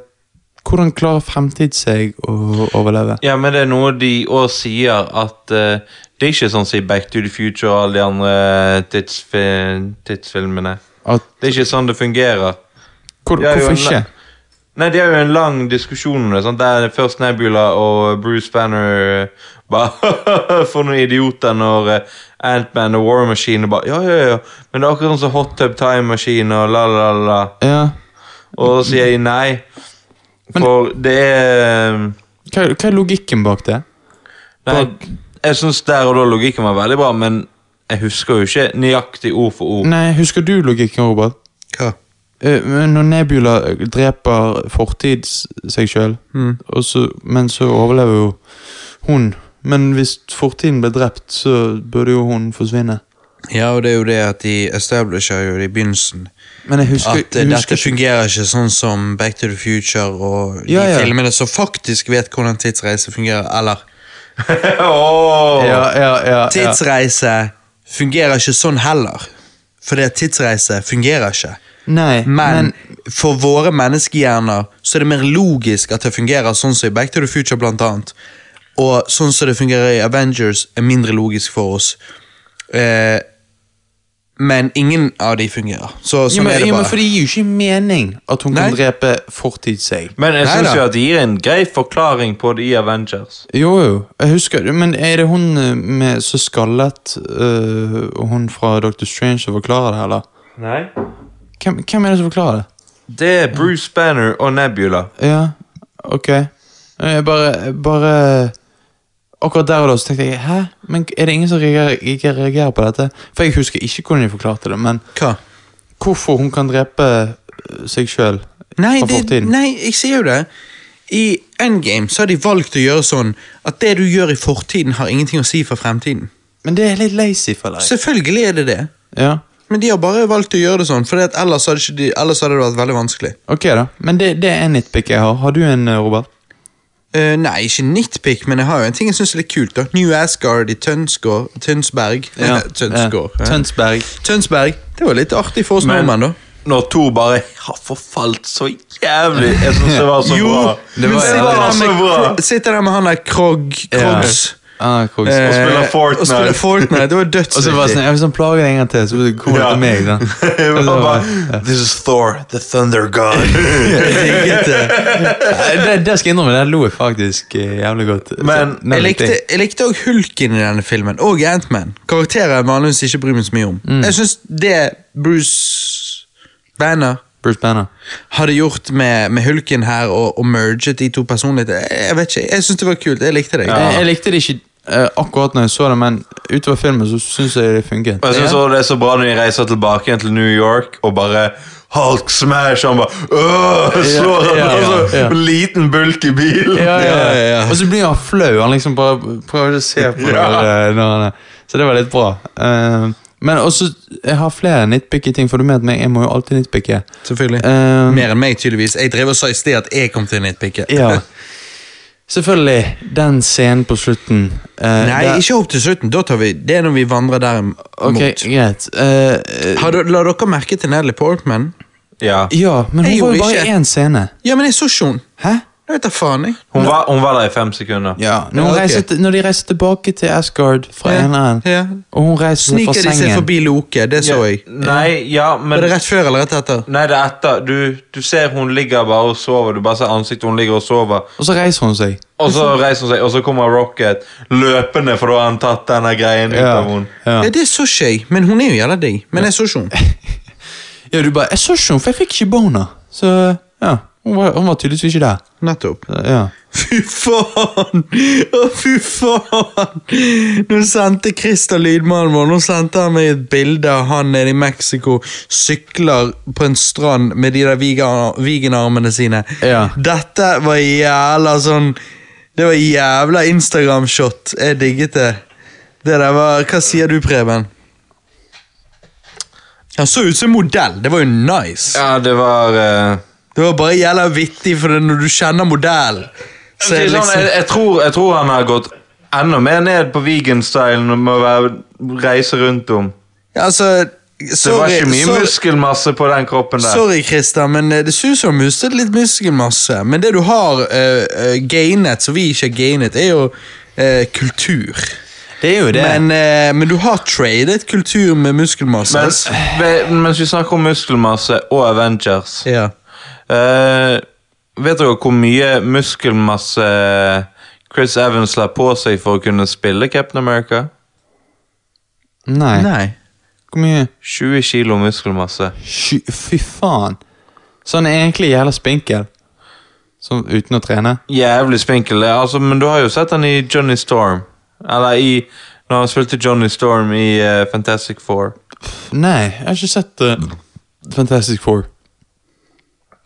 B: Hvordan klarer fremtid seg å overleve?
C: Ja, men det er noe de òg sier, at eh, det er ikke sånn som i Back to the Future og alle de andre tidsfi tidsfilmene.
B: At,
C: Det er ikke sånn det fungerer.
B: hvor,
C: Ja, jo,
B: hvorfor ikke?
C: Nei, det er jo en lang diskusjon om det, sant? der først Nebula og Bruce Banner eh, bare For noen idioter når eh, Ant-Man og War Machine bare Ja, ja, ja, men det er akkurat sånn som Hot Tub Time Machine og la, la, la, la.
B: Ja.
C: Og så sier de nei.
B: Men-
C: For det er eh,
B: Hva, hva er logikken bak det?
C: Nei, jeg syns der og da logikken var veldig bra, men jeg husker jo ikke nøyaktig ord for ord.
B: Nei, husker du logikken, Robert?
D: Hva?
B: Eh, men når Nebula dreper fortid s- seg sjøl, men så overlever jo hun. Men hvis fortiden ble drept, så burde jo hun forsvinne.
D: Ja, og det er jo det at de establisher jo det i begynnelsen.
B: Men jeg husker,
D: At eh, dette
B: husker ikke-
D: fungerer ikke sånn som Back to the Future og de
B: Ja, ja.
D: filmene som faktisk vet hvordan tidsreise fungerer, eller
C: Åh!
B: ja, ja, ja, ja.
D: Tidsreise fungerer ikke sånn heller. Fordi at tidsreise fungerer ikke.
B: Nei,
D: Men, for våre menneskehjerner så er det mer logisk at det fungerer sånn som i Back to the Future, blant annet. Og sånn som det fungerer i Avengers, er mindre logisk for oss. Eh,
A: men ingen av de fungerer. Så
B: Jo,
A: sånn
B: men,
A: er det
B: jo, men
A: bare.
B: for det gir jo ikke mening at hun
A: Nei.
B: kan drepe fortid seg.
C: Men jeg
A: Neida.
C: syns jo at det gir en grei forklaring på det i Avengers.
B: Jo, jo, jeg husker det, men er det hun eh, med så skallet øh, og hun fra Dr. Strange som forklarer det, eller?
C: Nei.
B: Hvem, hvem er det som forklarer det?
C: Det er Bruce Banner og Nebula.
B: Ja, ok. Jeg bare, jeg bare Akkurat der og da så tenkte jeg Hæ? Men er det ingen som reagerer, ikke reagerer på dette? For jeg husker ikke hvordan de forklarte det, men
A: Hva?
B: hvorfor hun kan drepe øh, seg sjøl
A: Nei,
B: fra
A: det,
B: fortiden?
A: nei, jeg sier jo det. I Endgame så har de valgt å gjøre sånn at det du gjør i fortiden, har ingenting å si for fremtiden.
B: Men det er litt lazy, føler jeg.
A: Selvfølgelig er det det,
B: Ja,
A: men de har bare valgt å gjøre det sånn, for ellers, hadde ikke de- ellers hadde det vært veldig vanskelig.
B: ok da. Men det, det er en nitpick jeg har. Har du en, øh, Robert?
A: Eh, nei, ikke nitpick, men jeg har jo en ting jeg syns er litt kult. da New Asgard i Tønsgård Tønsberg. Tønsgård.
B: Ja. Tønsberg.
A: Tønsberg. Det var litt artig for oss
C: Men-
A: nordmenn, da.
C: Når Thor bare har forfalt så jævlig. Jeg syns det var så bra.
A: men
B: var-
A: sitter,
B: det var
A: der
C: så
A: med,
C: bra.
A: Kro- sitter der med han der Krog, Krogs
B: Ah, Krogs.
A: eh,
C: spiller Fortnite.
A: Og spiller Fortnite. Det var
B: Og så bare
A: dødsvittig.
B: sånn, ja, Hvis han plager deg en gang til, så kommer det
C: Ja.
B: til meg. da.
C: Jeg var
B: Og så
C: bare,
B: bare-
C: This is Thor, the thunder god.
B: Nei, Det, det skal jeg innrømme, det lo jeg faktisk eh, jævlig godt.
C: Men
B: Så, nei,
A: Jeg likte,
B: riktig.
A: jeg likte også Hulken i denne filmen, og Ant-Man. Karakterer jeg vanligvis ikke bryr meg så mye om. Jeg syns det Bruce Banner
B: Bruce Banner.
A: hadde gjort med, med Hulken her, og, og merget de to personligheter, jeg, jeg vet ikke, jeg syns det var kult. Jeg likte det.
B: Jeg, jeg likte det ikke eh, akkurat når jeg så det, men utover filmen så syns jeg det funket.
C: Og jeg synes også det er så bra når de reiser tilbake igjen til New York og bare Hulk smash! Han bare «Åh!» slår han,
B: Ja, ja,
C: og så
B: ja.
C: liten bulk i bilen.
B: Ja, ja,
A: Ja, ja,
B: ja.
A: ja.
B: Og så blir han flau. Han liksom bare prøver å se på det. eh, Når han er. Så det var litt bra. Eh, men også, jeg har flere nitpicky-ting, for du vet meg, jeg må jo alltid nitpicke.
A: Selvfølgelig.
B: Eh,
A: Mer enn meg, tydeligvis. Jeg drev og sa i sted at jeg kom til å nitpicke.
B: ja. Selvfølgelig, den scenen på slutten eh,
A: Nei,
B: der-
A: ikke opp til slutten. Da tar vi, det er når vi vandrer derimot.
B: Ok, greit. Eh, eh,
A: Har du, la dere merke til Natalie Portman?
C: Ja.
B: ja, men
A: Jeg
B: hun var jo
A: gjorde
B: bare i
A: ikke.
B: én scene.
A: Ja, men jeg så ikke hun.
B: Hæ?
A: Jeg vet da faen, jeg.
C: Hun, var, hun var der i fem sekunder.
B: Ja, når,
A: Ja,
B: hun
A: ok.
B: reiser til, når de reiser tilbake til Asgard fra
A: Ja,
B: eneren,
A: ja.
B: og hun reiser seg fra
A: Sniker de seg
B: sengen
A: forbi Loke, det så jeg.
C: Nei, ja, men
A: Var det rett før eller rett etter?
C: Nei, det er etter. Du, du ser hun ligger bare og sover. Du bare ser ansiktet, hun ligger og sover.
B: Og så reiser hun seg.
C: Og så reiser hun seg, og så kommer Rocket løpende, for da har han tatt denne greien ut av henne.
B: Ja.
A: Ja, det så ikke jeg, men hun er jo jævla digg. Men jeg så ikke hun.
B: ja, du bare 'Jeg så ikke henne, for jeg fikk ikke boner'. Så ja, hun var, hun var tydeligvis ikke der.
A: Nettopp.
B: Så, Ja.
A: Fy faen! Å, fy faen! Nå sendte Christer lydmannen vår Nå sendte han meg et bilde av han nede i Mexico sykler på en strand med de der viga- veganarmene sine.
B: Ja.
A: Dette var jævla sånn Det var jævla Instagram-shot. Jeg digget det. Det der var Hva sier du, Preben? Han så ut som en modell. Det var jo nice.
C: Ja, det var eh,
A: Det var bare jævla vittig, for det, når du kjenner modell så er
C: jeg,
A: det liksom...
C: jeg, tror, jeg tror han har gått enda mer ned på vegan-stylen og må være, reise rundt om.
A: Ja, Altså,
C: Det var
A: sorry,
C: ikke mye
A: sorry,
C: muskelmasse på den kroppen der.
A: sorry Christer, men eh, det ser ut som du har mistet litt muskelmasse. Men det du har eh, eh, gainet, som vi ikke har gainet, er jo eh, kultur.
B: Det er jo det.
A: Men, eh, men du har tradet kultur med muskelmasse.
C: Men,
A: altså.
C: ve- mens vi snakker om muskelmasse og Avengers
A: ja.
C: eh, Vet dere hvor mye muskelmasse Chris Evans la på seg for å kunne spille Captain America?
B: Nei.
A: Nei.
B: Hvor mye
C: 20 kilo muskelmasse.
B: Sky, Fy faen. Så han er egentlig jævla spinkel. Som, uten å trene.
C: Jævlig spinkel. det. Altså, men du har jo sett han i Johnny Storm. Eller i Når han spilte Johnny Storm i eh, Fantastic Four.
B: Nei, jeg har ikke sett eh, Fantastic Four.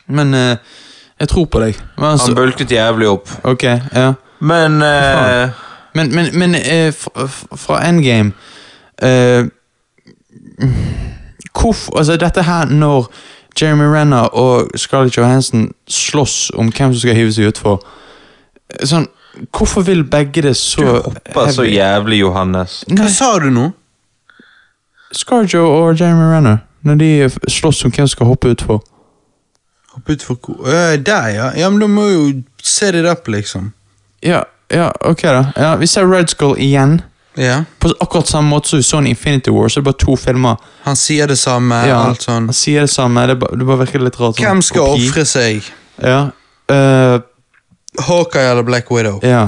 B: Men eh, jeg tror på deg. Men,
C: Han
B: altså,
C: bulket jævlig opp.
B: ok, ja.
C: Men eh,
B: men, men, men eh, fra, fra Endgame eh, Hvorfor Altså, dette her når Jeremy Renner og Scarlett Johansen slåss om hvem som skal hive seg utfor Sånn, Hvorfor vil begge det så
C: Bare så jævlig Johannes.
A: Hva sa du nå?
B: Scarjo og Jeremy Renner, når de eh, slåss om hvem som skal hoppe utfor
A: Hopp ut for ko... Øh, der, ja. Ja, men du må jo set it up, liksom.
B: Ja, ja, ok da. Ja, vi ser Red Skull igjen.
A: Ja.
B: På akkurat samme måte som vi så en Infinity War, så er det bare to filmer.
A: Han sier det samme.
B: Ja,
A: alt sånn.
B: Han sier det samme, det bare, det bare virker litt rart. sånn
A: Hvem skal
B: kopi.
A: ofre seg?
B: Ja. eh,
A: Hawkeye eller Black Widow?
B: ja.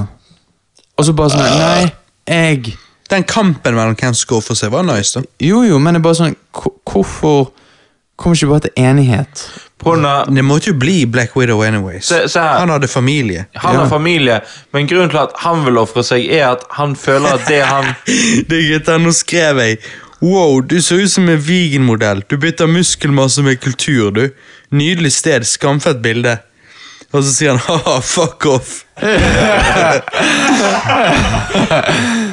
B: Og så bare sånn Nei, jeg
A: Den kampen mellom hvem som skal ofre seg, var nice. da.
B: Jo, jo, men det er bare sånn hvor- Hvorfor kommer ikke bare til enighet?
C: Ponna,
A: Det måtte jo bli Black Widow anyways.
C: Se- se her.
A: Han hadde familie.
C: han har
B: Ja.
C: familie, men grunnen til at han vil ofre seg, er at han føler at det han
A: Det er gutta, nå skrev jeg Wow, du ser ut som en vegan-modell. Du bytter muskelmasse med kultur, du. Nydelig sted. Skamfett bilde. Og så sier han ha-ha, fuck off.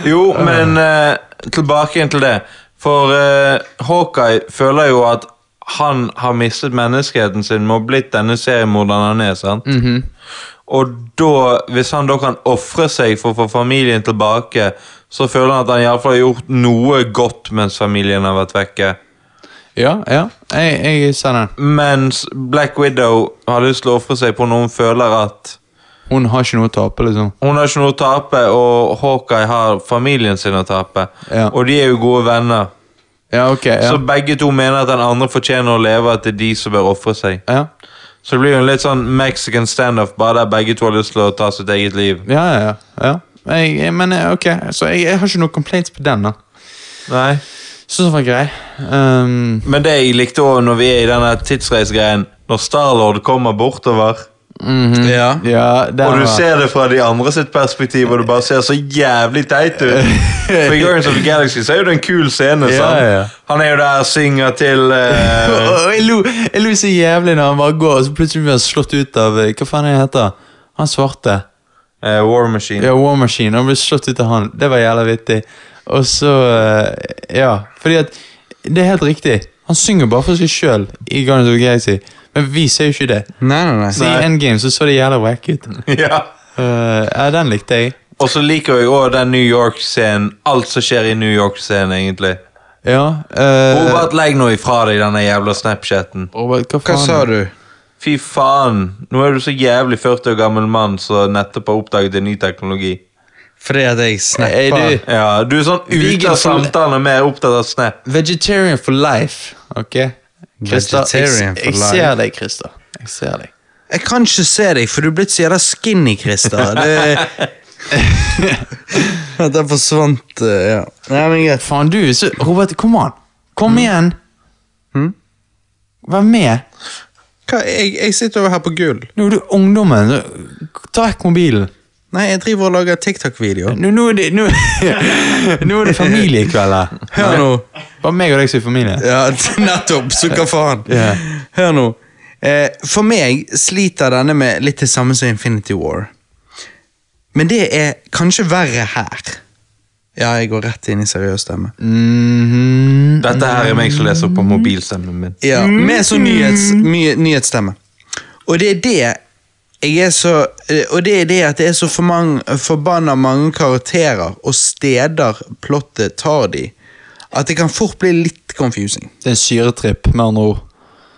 C: Jo, men eh, tilbake igjen til det. For eh, Hawkeye føler jo at han har mistet menneskeheten sin med å blitt denne seriemorderen han er. sant? Og da, hvis han da kan ofre seg for å få familien tilbake, så føler han at han iallfall har gjort noe godt mens familien har vært vekke.
B: Ja, ja. Jeg, jeg ser den.
C: Mens Black Widow har lyst til å ofre seg på noe hun føler at
B: Hun har ikke noe å tape, liksom.
C: Hun har ikke noe å tape, og Hawkeye har familien sin å tape.
B: Ja.
C: Og de er jo gode venner.
B: Ja, ok.
C: Så
B: Ja.
C: begge to mener at den andre fortjener å leve, at det er de som bør ofre seg.
B: Ja.
C: Så det blir jo en litt sånn Mexican standoff, bare der begge to har lyst til å ta sitt eget liv.
B: Ja, ja, ja. ja. Jeg, jeg, men eh, ok, så jeg, jeg har ikke noe complaints på den, da.
C: Nei.
B: Så den var grei. Ehm,
C: Men det jeg likte òg når vi er i denne tidsreisegreien, når Starlord kommer bortover,
A: Ja.
B: ja, den
C: og du
B: var-
C: ser det fra de andre sitt perspektiv, og du bare ser så jævlig teit ut. For i Guardians of the Galaxy så er jo det en kul scene.
B: Ja,
C: sant?
B: ja.
C: Han er jo der og synger til
B: Åh,
C: eh,
B: åh, jeg, lo, jeg lo så jævlig når han bare går, og så plutselig blir han slått ut av eh, Hva faen er det heter? Han svarte.
C: eh, War Machine.
B: Ja, War Machine. Han ble slått ut av han. Det var jævla vittig. Og så eh, Ja, fordi at Det er helt riktig. Han synger bare for seg sjøl i Guardians of the Galaxy, men vi ser jo ikke det.
A: Nei, nei, nei.
B: Så i Endgame så så det jævla wack ut.
C: Ja.
B: Eh, ja, den likte jeg.
C: Og så liker jeg òg den New York-scenen. Alt som skjer i New York-scenen, egentlig.
B: Ja. eh,
C: Robert, legg nå ifra deg denne jævla Snapchaten.
B: Robert, hva
A: Hva
B: faen?
A: sa du?
C: Fy faen, nå er du så jævlig 40 år gammel mann som nettopp har oppdaget en ny teknologi.
A: Fordi at jeg
B: Er
A: snappa.
B: du
C: Ja, du er sånn ute
B: Vegan
C: av
B: for-
C: samtalen og mer opptatt av Snap.
B: vegetarian for life? Ok? Christer,
A: Vegetarian
B: jeg,
A: for
B: jeg
A: life.
B: ser deg, Christer. Jeg ser deg.
A: Jeg kan ikke se deg, for du er blitt så jævla skinny, Christer. Det... At jeg forsvant eh, ja. Nei, men greit.
B: Faen, du er så Robert, kom an. Kom igjen. Mm. Vær med.
A: Hva, jeg, jeg sitter over her på gull.
B: Nå er du ungdommen. Ta vekk mobilen.
A: Nei, jeg driver og lager TikTok-video.
B: Nå, nå, er det, nå, nå er det familiekveld her.
A: Hør nå.
B: Bare meg og deg som er familie.
A: Ja, nettopp. Så hva faen?
B: Ja.
A: Hør nå. Eh, for meg sliter denne med litt det samme som Infinity War. Men det er kanskje verre her. Ja, jeg går rett inn i seriøs stemme.
B: Mhm.
C: Dette her er meg som leser på mobilstemmen min.
A: Ja, Med sånn nyhets, my, nyhetsstemme. Og det er det jeg er så eh, Og det er det at det er så for mange, forbanna mange karakterer og steder plottet tar de, at det kan fort bli litt confusing.
B: Det er en syretripp, med andre ord.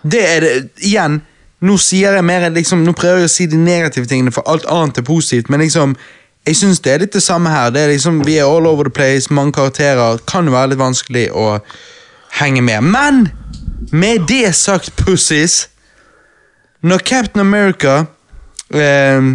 A: Det er det, igjen Nå sier jeg mer liksom, Nå prøver jeg å si de negative tingene For alt annet er positivt Men liksom Jeg synes det er litt det samme her Det er liksom Vi er all over the place Mange karakterer Kan være litt vanskelig å Henge med Men Med det sagt pussies Når Captain America eh,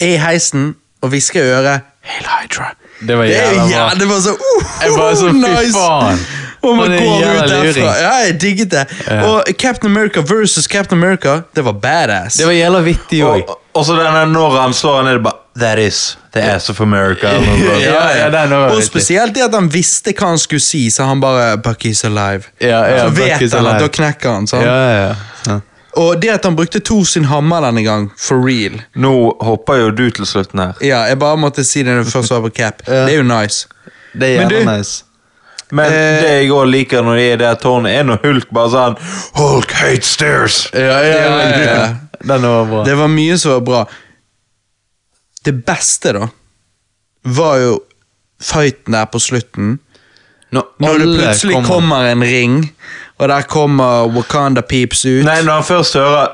A: Er i heisen Og visker i øret Hail Hydra
B: Det var
A: det er jo
B: jævla Oh bra.
A: jævlig det var så uh,
B: Jeg bare så, fy
A: nice.
B: faen.
A: Og man
B: Han er en
A: går ut
B: jævla
A: derfra.
B: luring.
A: Ja, jeg digget det. Og Captain America versus Captain America, det var badass.
B: Det var jævla vittig òg.
C: Og, og så denne når han slår han er det bare That is the ass of America. eller noe sånt.
B: Ja, ja, den var
A: og
B: riktig.
A: spesielt det at han visste hva han skulle si, så han bare Bucky's alive.
B: Ja, ja,
A: så vet
B: Buck is
A: han at
B: alive.
A: da knekker han.
B: Ja,
A: Sånn.
B: ja, ja.
A: Og det at han brukte Thor sin hammer denne gang, for real
C: Nå hopper jo du til slutten her.
A: Ja, Jeg bare måtte si det når du først var på cap. Det er jo nice.
B: Det er
A: Men
B: jævla
A: du-
B: nice.
C: Men det jeg òg liker når de er i det tårnet, er når Hulk bare sånn Hulk hates stairs.
B: Ja,
A: ja, ja, ja.
B: Den var bra.
A: Det var mye som var bra. Det beste, da, var jo fighten der på slutten. Når det
B: alle
A: plutselig kommer. en ring, og der kommer Wakanda Peeps ut.
C: Nei, når han først hører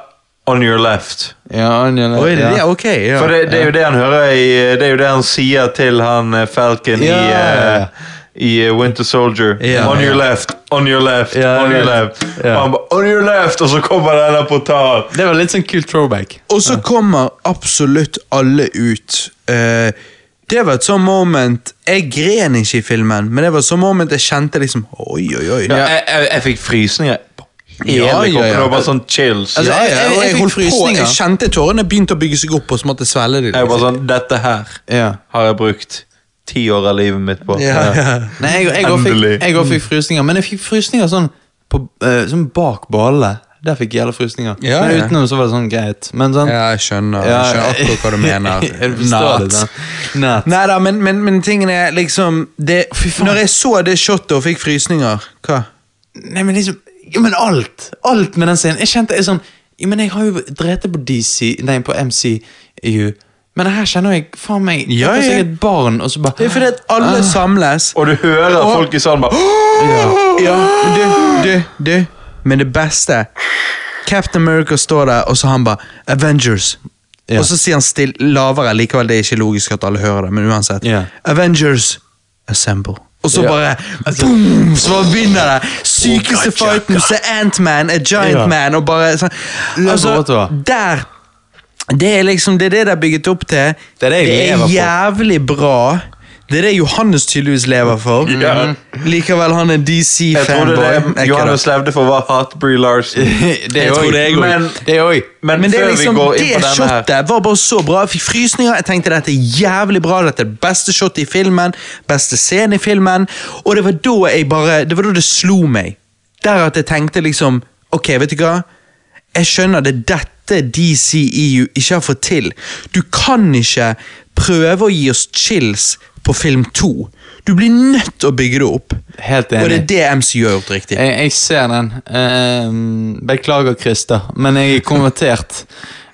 C: On your left.
B: Ja, Anja,
A: Oi, det,
B: ja.
A: ja, ok, ja.
C: For det, det er jo det han hører i Det er jo det han sier til han eh, Falcon
B: Ja.
C: i eh, i eh, Winter Soldier.
A: Ja.
C: On your left, on your left,
B: Ja,
C: on your
B: ja.
C: left.
B: Ja.
C: Og han bare On your left! Og så kommer den der portalen.
B: Det var litt sånn kult throwback.
A: Og så kommer absolutt alle ut. Eh, det var et sånn moment Jeg gren ikke i filmen, men det var et sånn moment jeg kjente liksom Oi, oi, oi.
C: Ja. Jeg, jeg, jeg fikk frysninger på hele
A: Ja, ja,
C: kroppen.
A: ja.
C: Det var bare sånn chills.
A: Altså, jeg, jeg, jeg,
B: jeg fikk
A: holdt på,
B: frysninger.
A: jeg kjente tårene begynte å bygge seg opp, og så måtte jeg liksom. svelge dem.
C: Jeg var bare sånn Dette her
B: Ja.
C: har jeg brukt ti år av livet mitt på.
A: Ja, ja.
B: Nei, jeg, jeg, også fikk,
C: Endelig.
B: jeg også fikk frysninger, men jeg fikk frysninger sånn, på, eh, sånn bak ballene. Der fikk jeg jævla frysninger.
A: Ja,
B: men
A: ja.
B: utenom så var det sånn greit. Men sånn,
A: Ja, jeg skjønner.
B: Ja,
A: Jeg skjønner akkurat hva du mener.
B: jeg forstår det. da. Nat.
A: Nei da, men, men, men tingen er liksom det, Når jeg så det shotet og fikk frysninger Hva?
B: Nei, men liksom ja, men alt! Alt med den scenen. Jeg kjente jeg sånn ja, Men jeg har jo drept på DC Nei, på MCU. Men her kjenner jeg faen meg
A: Ja,
B: akkurat som
A: ja.
B: Jeg er et barn, og så bare
A: Det er fordi at alle
B: Ah.
A: samles.
C: Og du hører folk i salen bare
A: Ja, men du, du, du. Men det beste Captain America står der, og så han bare Avengers.
B: Ja.
A: Og så sier han still, lavere, likevel det er ikke logisk at alle hører det, men uansett.
B: Ja.
A: Avengers assemble. Og så
B: Ja.
A: bare boom, så bare begynner det. Sykeste fighten som Ant-Man, A Giant
B: Ja.
A: Man, og bare sånn. Altså,
B: Laborator.
A: der Det er liksom, det er det det er bygget opp til.
B: Det er det jeg lever for.
A: jævlig bra. Det er det Johannes tydeligvis lever for.
C: Ja.
A: Likevel, han er DC
C: Jeg trodde
A: fanboy.
C: det Johannes levde for var Hot Bree Larsen.
B: Det
A: Jeg
B: er
A: tror det er
B: òg.
A: god.
B: Men det er òg.
C: Men,
A: Men det
C: før
A: er liksom,
C: vi går inn
A: det
C: på denne her
A: shotet var bare så bra. Jeg fikk frysninger. Jeg tenkte dette er jævlig bra. Dette er det beste shotet i filmen. Beste scenen i filmen. Og det var da jeg bare Det var da det slo meg. Der at jeg tenkte liksom Ok, vet du hva? Jeg skjønner det er dette DCEU ikke har fått til. Du kan ikke prøve å gi oss chills på film to. Du blir nødt til å bygge det opp.
B: Helt
A: Og det
B: enig.
A: er det MCU har gjort riktig.
B: Jeg, jeg ser den. Ehm, beklager, Christer, men jeg er konvertert.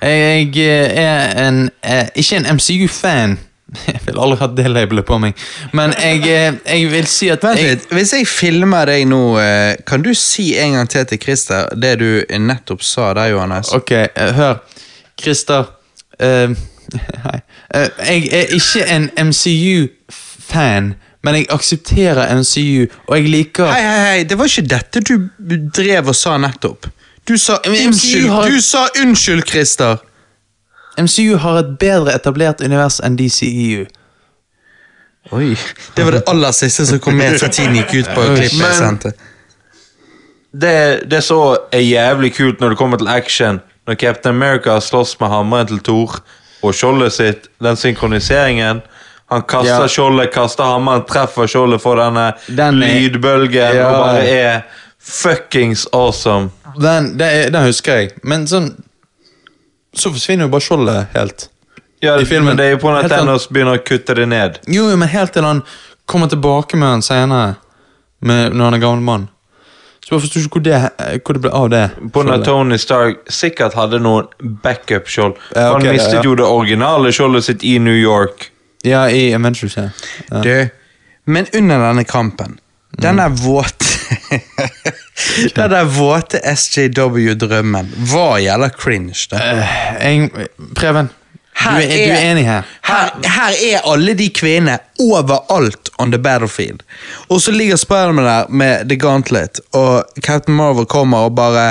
B: Jeg, jeg er en eh, Ikke en MCU-fan. Jeg vil aldri ha det labelet på meg. Men jeg, eh, jeg vil si at
A: Vent
B: jeg,
A: litt, Hvis jeg filmer deg nå, eh, kan du si en gang til til Christer det du nettopp sa der, Johannes?
B: Ok, eh, hør. Christer eh, Hei. Eh, jeg er ikke en MCU-fan, men jeg aksepterer MCU, og jeg liker
A: Hei, hei, hei, det var ikke dette du drev og sa nettopp. Du sa
B: Men MCU
A: unnskyld,
B: har-
A: du sa unnskyld, Christer!
B: MCU har et bedre etablert univers enn E DCEU.
A: Oi. Det var det aller siste som kom med før tiden gikk ut på klippet jeg
C: Men-
A: sendte.
C: det, det så er jævlig kult når det kommer til action. Når Captain America slåss med hammeren til Thor og skjoldet sitt, den synkroniseringen Han kaster
B: Ja.
C: skjoldet, kaster hammeren, treffer skjoldet for denne
B: Den er-
C: lydbølgen
B: Ja.
C: og bare er fuckings awesome.
B: Den, det, er- den husker jeg, men sånn Så forsvinner jo bare skjoldet helt.
C: Ja,
B: I filmen.
C: men det er jo på grunn av at
B: Helt sant.
C: Thanos begynner å kutte det ned.
B: Jo, jo, men helt til han kommer tilbake med han senere, med, når han er gammel mann. Så bare forstår ikke hvor det, hvor det ble av det.
C: På grunn av
B: skjoldet.
C: Tony Stark sikkert hadde noen backup-skjold.
B: Ja, ok,
C: han
B: ja,
C: mistet
B: ja.
C: jo det originale skjoldet sitt i New York.
B: Ja, i Avengers, ja. ja.
A: Du, men under denne kampen Den der våte
B: Mm.
A: Den der våte SJW-drømmen var jævla cringe. Det.
B: Jeg, Preben, du
A: Her
B: er, du er
A: er-
B: enig her?
A: Her, her er alle de kvinnene overalt on the battlefield. Og så ligger Spiderman der med The Gauntlet, og Captain Marvel kommer og bare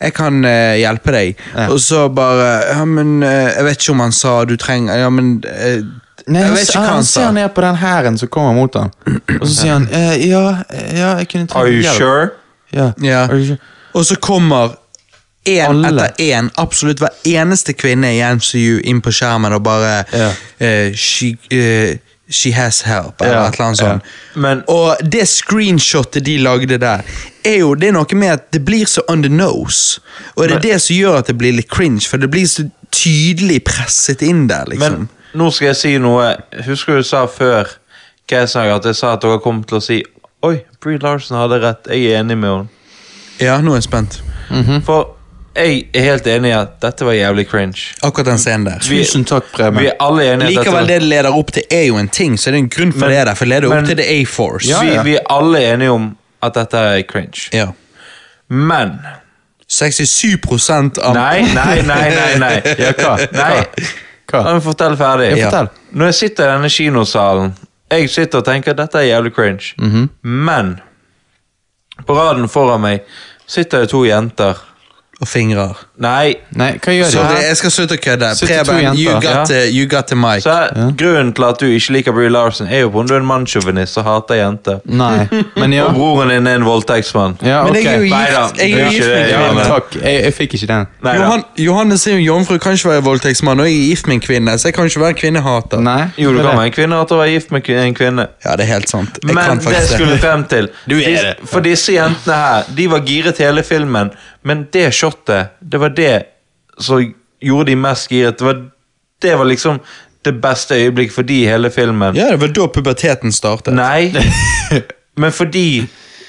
A: 'Jeg kan eh, hjelpe deg.' Og så bare 'Ja, men eh, Jeg vet ikke om han sa du trenger Ja, men eh,
B: Nei,
A: Jeg
B: han,
A: vet ikke hva
B: han
A: han
B: ser
A: sa.
B: ned på den hæren som kommer mot ham, og så sier han eh, ja, ja, jeg kunne
C: Are you
B: hjelp.
C: sure?
B: Ja.
A: Ja.
B: Are you sure?
A: Og så kommer én
B: Alle.
A: etter én, absolutt hver eneste kvinne i MCU inn på skjermen og bare
B: Ja.
A: eh, she, eh, she has help, eller
B: Ja,
A: et eller annet
B: ja.
A: sånt.
C: Men-
A: og det screenshotet de lagde der, er jo det er noe med at det blir så on the nose. Og det er det som gjør at det blir litt cringe, for det blir så tydelig presset inn der, liksom.
B: Mm.
C: Men nå skal jeg si noe. Husker du sa før hva jeg sa, at jeg sa at dere kom til å si Oi, Bree Larsen hadde rett. Jeg er enig med henne.
A: ja, nå er jeg spent.
B: Mm.
C: For jeg er helt enig i at dette var jævlig cringe.
A: Akkurat den scenen der.
C: Vi-
B: Tusen takk, Preben.
C: Vi er alle enige i at dette var-
A: Likevel, det det leder opp til, er jo en ting, så det er en grunn for
C: Men-
A: det der, for det leder opp
C: men-
A: til The A-Force.
B: Ja,
C: vi,
B: ja.
C: vi er alle enige om at dette er cringe.
A: ja.
C: Men
A: 67 av
C: Nei, nei, nei, nei. nei.
B: Ja, hva?
C: Nei, La
A: Um,
B: Hva?
C: meg fortelle ferdig.
B: Ja, fortell.
C: Når jeg sitter i denne kinosalen, jeg sitter og tenker at dette er jævlig cringe,
B: Mhm.
C: men på raden foran meg sitter det to jenter.
A: og fingrer.
C: Nei,
B: Nei, hva gjør de?
A: Sorry, jeg skal slutte å kødde.
B: 72
A: Preben, you
B: jenter,
A: got, the, you got the mic.
C: så grunnen til at du ikke liker Brie Larson, er jo på om du er en mannssjåvinist og hater jenter.
B: Nei, men ja.
C: Og broren din er en voldtektsmann.
B: ja
A: Men
B: ok.
A: jeg er jo
C: Nei da,
A: gift. Jeg er
C: det er
A: jo
C: ikke
A: gift
C: det,
A: med
C: ja,
B: Ja,
A: en
B: men
A: kvinne.
B: takk. Jeg, jeg fikk ikke den.
C: Nei, da.
A: Johan, Johannes er jo jomfru, kan ikke være voldtektsmann, og jeg er gift med en kvinne, så jeg kan ikke være kvinnehater.
B: Nei.
C: Jo, du
B: det er
C: kan
B: det.
C: være en kvinne og være gift med kvi- en kvinne.
A: Ja, det er helt sant. Jeg
C: Men
A: kan
C: det
A: faktisk
C: skulle frem til.
B: Du er
C: Dis-
B: det.
C: For disse jentene her, de var giret hele filmen, men det shotet, det var det som gjorde de mest giret. Det var, det var liksom det beste øyeblikket for de i hele filmen.
A: Ja, det var da puberteten startet.
C: Nei, men fordi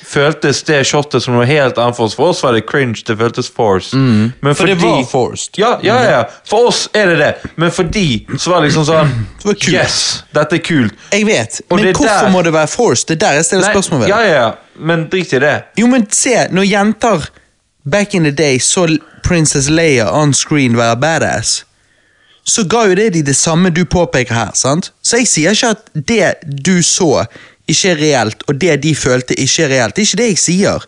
C: føltes det shotet som noe helt annet for oss. For oss var det cringe, det føltes forced. Men
A: Mm. For det var forced. Mm.
C: Ja, ja, ja, ja. For oss er det det, men for de så var det liksom sånn
A: var kult.
C: Yes, dette er kult.
A: Jeg vet,
C: Og
A: men
C: det er
A: hvorfor
C: der-
A: må det være forced? Det er der jeg stiller
C: Nei,
A: spørsmål ved.
C: ja, ja, ja, men drit i det.
A: Jo, men se, når jenter back in the day så L- Princess Leia on screen være badass, så ga jo det de det samme du påpeker her, sant? Så jeg sier ikke at det du så ikke er reelt, og det de følte ikke er reelt. Det er ikke det jeg sier.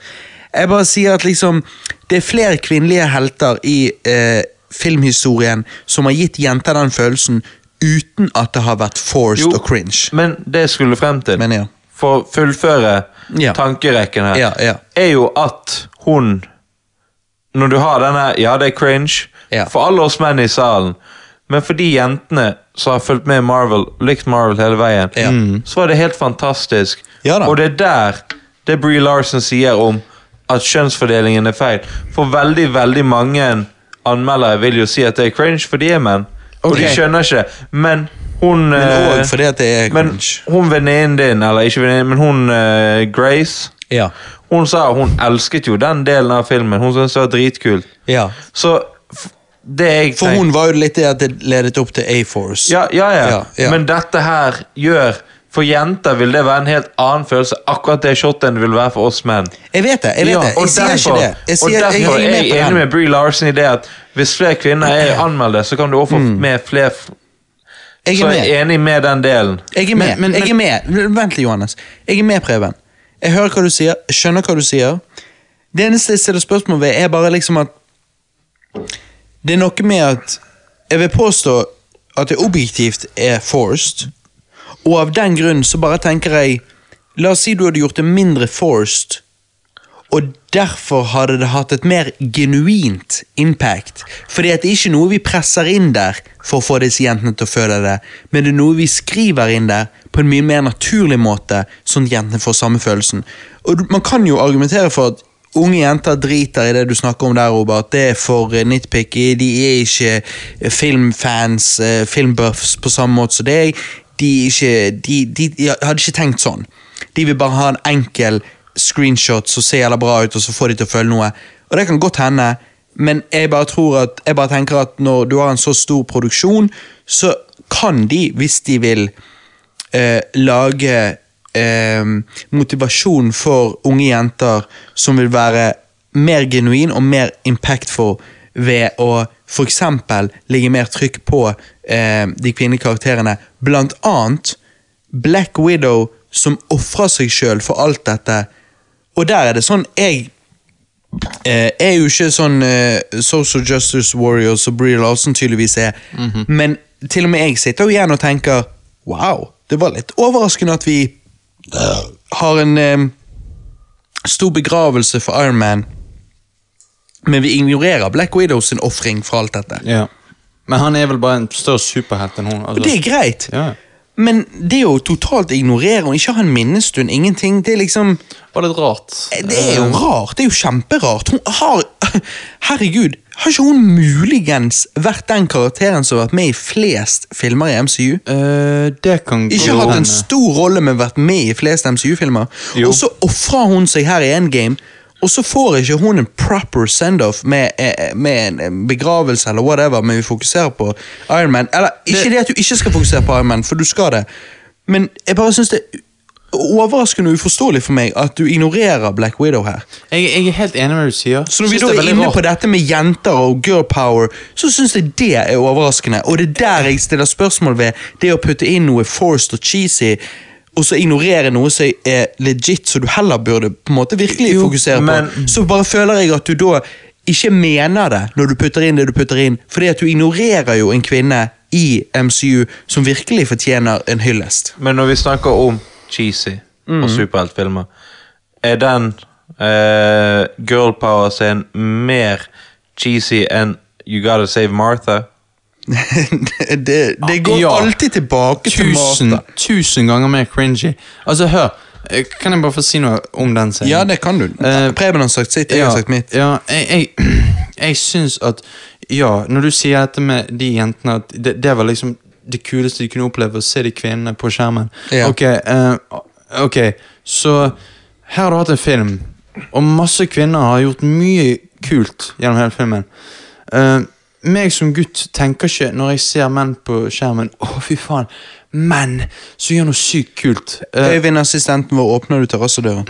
A: Jeg bare sier at liksom, det er flere kvinnelige helter i eh, filmhistorien som har gitt jenter den følelsen uten at det har vært forced og cringe.
C: Men det jeg skulle frem til,
A: Men ja.
C: for å fullføre
A: Ja.
C: tankerekken her,
A: Ja, ja.
C: er jo at hun Når du har denne Ja, det er cringe
A: Ja.
C: for alle oss menn i salen, men for de jentene som har fulgt med i Marvel, likt Marvel hele veien,
A: Ja. Mm.
C: så var det helt fantastisk.
A: Ja da.
C: Og det er der det Bree Larsen sier om at kjønnsfordelingen er feil. For veldig, veldig mange anmeldere vil jo si at det er cringe, for de er menn. Og de
A: Ok.
C: skjønner ikke. Men hun
A: Men
C: eh,
A: også fordi at det er
C: men
A: cringe.
C: hun venninnen din, eller ikke venninnen, men hun eh, Grace
A: Ja.
C: Hun sa hun elsket jo den delen av filmen. Hun syntes det var dritkult.
A: Ja.
C: Så f det jeg
A: For hun var jo litt det at det ledet opp til A-Force.
C: ja ja, ja,
A: Ja, ja.
C: Men dette her gjør For jenter vil det være en helt annen følelse. Akkurat det shotet enn det vil være for oss menn.
A: Jeg vet det, jeg vet
C: Ja,
A: det.
C: og
A: Jeg sier ikke
C: derfor-
A: det. Jeg sier,
C: og
A: jeg,
C: derfor
A: jeg er
C: er jeg
A: med
C: enig med Brie Larsen i det at hvis flere kvinner er anmeldte, så kan du også få med flere f-
A: på den. Mm. Jeg
C: Så
A: er
C: jeg
A: med.
C: er enig med den delen.
A: Jeg er med.
B: Men- men-
A: jeg er med. Vent litt, Johannes. Jeg er med, Preben. Jeg hører hva du sier, jeg skjønner hva du sier. Det eneste jeg stiller spørsmål ved, er bare liksom at Det er noe med at Jeg vil påstå at det objektivt er forced, og av den grunn så bare tenker jeg La oss si du hadde gjort det mindre forced, og derfor hadde det hatt et mer genuint impact. Fordi at det er ikke noe vi presser inn der for å få disse jentene til å føle det, men det er noe vi skriver inn der på en mye mer naturlig måte, sånn at jentene får samme følelsen. Og du- man kan jo argumentere for at Unge jenter driter i det du snakker om der, Robert. Det er for eh, nitpicky. De er ikke eh, filmfans, eh, filmbuffs, på samme måte som deg. De, er ikke, de, de, de hadde ikke tenkt sånn. De vil bare ha en enkel screenshot som ser jævla bra ut, og så får de til å føle noe. Og det kan godt hende, men jeg bare tror at Jeg bare tenker at når du har en så stor produksjon, så kan de, hvis de vil, eh, lage eh, motivasjon for unge jenter som vil være mer genuin og mer impactful ved å f.eks. legge mer trykk på eh, de kvinnelige karakterene. Blant annet Black Widow som ofrer seg sjøl for alt dette. Og der er det sånn jeg eh, er jo ikke sånn eh, social justice warrior som Brie Larsen tydeligvis er,
B: Mhm.
A: men til og med jeg sitter jo igjen og tenker wow, det var litt overraskende at vi har en eh, stor begravelse for Iron Man, men vi ignorerer Black Widow sin offring for alt dette.
B: Ja. Men han er vel bare en større superhelt enn hun. altså.
A: Og det er greit,
B: Ja.
A: men det å totalt ignorere og ikke ha en minnestund, ingenting, det er liksom
B: var litt rart.
A: Det er jo rart. Det er jo kjemperart. Hun har Herregud, har ikke hun muligens vært den karakteren som har vært med i flest filmer i MCU?
B: Eh, det kan
A: Ikke
B: godt
A: hatt en
B: hende.
A: stor rolle, men vært med i flest MCU-filmer. Og så ofrer hun seg her i Endgame, og så får ikke hun en proper send-off med, eh, med en begravelse eller whatever, men vi fokuserer på Iron Man. Eller ikke det, at du ikke skal fokusere på Iron Man, for du skal det, men jeg bare syns det overraskende uforståelig for meg at du ignorerer Black Widow her.
B: Jeg, jeg er helt enig med det du sier.
A: Så når vi
B: Synes
A: da
B: det
A: er
B: veldig
A: inne
B: rart.
A: på dette med jenter og girl power, så syns jeg det er overraskende. Og det er der jeg stiller spørsmål ved det å putte inn noe forced og cheesy, og så ignorere noe som er legit, som du heller burde på en måte virkelig
C: Jo,
A: fokusere på.
C: men-
A: Så bare føler jeg at du da ikke mener det når du putter inn det du putter inn, fordi at du ignorerer jo en kvinne i MCU som virkelig fortjener en hyllest.
C: Men når vi snakker om cheesy
A: Mm-hmm.
C: og superheltfilmer, er den eh, girl power-scenen mer cheesy enn You Gotta Save Martha?
A: det, det går
B: Ja.
A: alltid tilbake til
B: tusen,
A: Martha.
B: tusen ganger mer cringy. Altså, hør. eh, Kan jeg bare få si noe om den scenen?
A: Ja, det kan du.
B: Eh,
A: Preben har sagt sitt, jeg har sagt mitt.
B: Ja, jeg, jeg, jeg syns at Ja, når du sier dette med de jentene at det, det var liksom det kuleste de kunne oppleve, å se de kvinnene på skjermen.
A: Ja.
B: Ok, eh, ok, så her har du hatt en film, og masse kvinner har gjort mye kult gjennom hele filmen. Eh, meg som gutt tenker ikke, når jeg ser menn på skjermen, å fy faen, menn som gjør noe sykt kult. Eh,
A: Øyvind, assistenten vår, åpner du terrassedøren?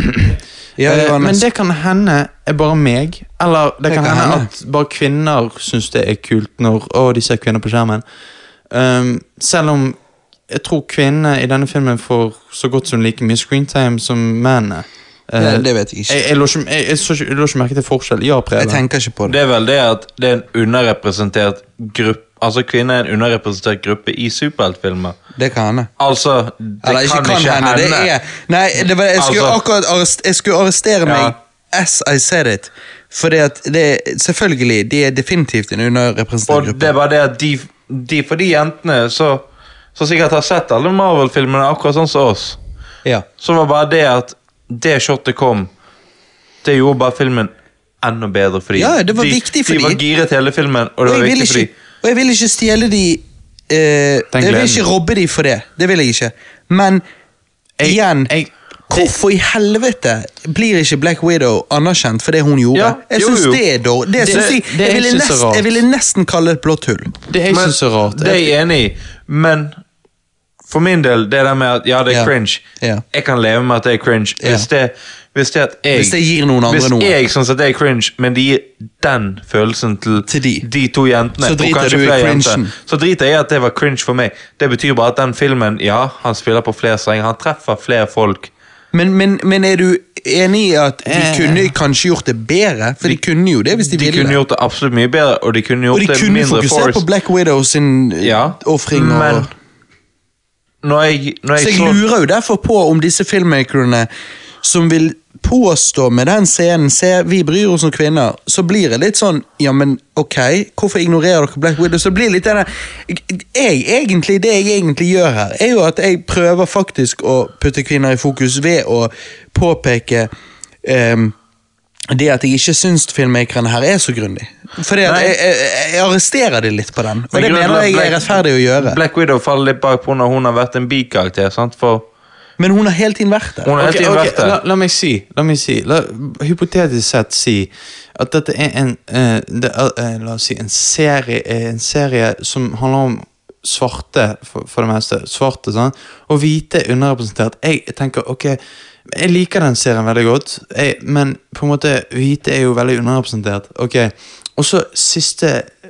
A: Ja, det var
B: Eh, men
A: nesten-
B: det kan hende er bare meg, eller det, kan,
A: kan
B: hende,
A: hende.
B: at bare kvinner syns det er kult når å, de ser kvinner på skjermen. Ehm, selv om jeg tror kvinnene i denne filmen får så godt som like mye screentime som mennene. Eh,
A: Ja, det vet jeg ikke.
B: Jeg, jeg, lå ikke, jeg, jeg, så ikke, jeg lå ikke merke til forskjell. Ja,
A: Jeg
B: Preben.
A: tenker ikke på det.
C: Det er vel det at det er en underrepresentert gruppe Altså kvinner er en underrepresentert gruppe i superheltfilmer.
A: Det kan hende.
C: Altså, det
A: Eller ikke
C: kan,
A: kan
C: ikke
A: hende. Det er Nei, det var, jeg skulle
C: Altså-
A: akkurat arrest, jeg skulle arrestere meg as I said it. Fordi at det Selvfølgelig, de er definitivt en underrepresentert
C: Og
A: gruppe.
C: det er bare det at de, de for de jentene så, som sikkert har sett alle Marvel-filmene akkurat sånn som oss,
A: Ja.
C: så var bare det at det shotet kom, det gjorde bare filmen enda bedre for de.
A: Ja, det var
C: de,
A: viktig for
C: de.
A: de.
C: var giret hele filmen, og
A: Og
C: det
A: jeg
C: var
A: vil
C: viktig for de.
A: ikke, og jeg vil ikke stjele de eh, Jeg vil
B: gleden.
A: ikke robbe de for det. Det vil jeg ikke. Men igjen
B: jeg-
A: Hvorfor i helvete blir ikke Black Widow anerkjent for det hun gjorde?
C: Ja,
A: jeg
C: jo,
A: syns
C: jo.
A: det er dårlig. Det,
B: Det-
A: synes jeg,
B: det er
A: jeg, ville
B: ikke så
A: nest,
B: rart.
A: jeg ville nesten kalle det et blått hull.
B: Det jeg
C: Men-
B: syns er rart.
C: Det er jeg enig i, men for min del, det der med at ja, det er
A: Ja.
C: cringe.
A: Ja.
C: Jeg kan leve med at det er cringe.
A: Ja.
C: Hvis, det, hvis det at jeg
A: Hvis det gir noen andre
C: Hvis
A: noe.
C: jeg syns at det er cringe, men det gir den følelsen til,
A: Til de.
C: to jentene,
A: Så
C: og
A: driter
C: kanskje
A: du i
C: flere
A: cringen.
C: jenter, så driter jeg i at det var cringe for meg. Det betyr bare at den filmen Ja, han spiller på flere strenger, han treffer flere folk.
A: Men, men, men er du enig i at de
B: Eh.
A: kunne kanskje gjort det bedre? For de, kunne jo det hvis de,
C: De
A: ville.
C: kunne gjort det absolutt mye bedre, og de kunne
A: og
C: gjort
A: de
C: det
A: kunne
C: mindre
A: fokusert
C: force.
A: på Black Widow sin eh,
C: Ja,
A: ofring. og-
C: men når jeg, når jeg
A: Så jeg
C: så
A: lurer jo derfor på om disse filmmakerne som vil påstå med den scenen se, vi bryr oss om kvinner, så blir det litt sånn Ja, men ok, hvorfor ignorerer dere Black Widow? Så blir det litt denne jeg, egentlig, Det jeg egentlig gjør her, er jo at jeg prøver faktisk å putte kvinner i fokus ved å påpeke ehm, det at jeg ikke syns filmmakerne her er så grundig. Fordi at
C: Nei.
A: jeg, jeg, jeg arresterer de litt på den, og
C: Men
A: det
C: grunnen til
A: mener
C: at
A: jeg er
C: Black-
A: rettferdig å gjøre.
C: Black Widow faller litt bakpå når hun har vært en bikarakter. sant? For
A: Men hun har hele tiden vært der.
C: hun har
B: Ok,
C: hele tiden
B: ok,
C: vært der.
B: La, la meg si, la meg si la, Hypotetisk sett si at dette er en eh, det er, eh, La oss si en serie, eh, en serie som handler om svarte, for, for det meste. Svarte, sant? Og hvite er underrepresentert. Jeg tenker, ok Jeg liker den serien veldig godt, jeg, men på en måte, hvite er jo veldig underrepresentert. Ok, Og så siste eh,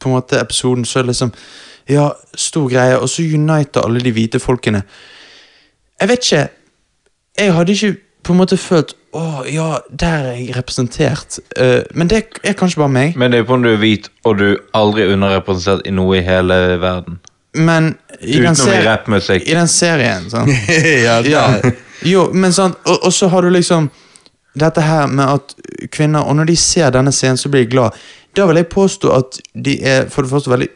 B: på en måte episoden, så er det liksom Ja, stor greie, og så uniter alle de hvite folkene. Jeg vet ikke jeg hadde ikke på en måte følt Å ja, der er jeg representert. Eh, men det er kanskje bare meg.
C: Men det er på om du er hvit, og du er aldri underrepresentert i noe i hele verden.
B: Men i den,
C: Utenom i
B: seri-
C: rappmusikk.
B: i den serien sånn.
A: ja, det-
B: ja. Jo, men sant og, og så har du liksom dette her med at kvinner Og når de ser denne scenen, så blir de glad. Da vil jeg påstå at de er for det første veldig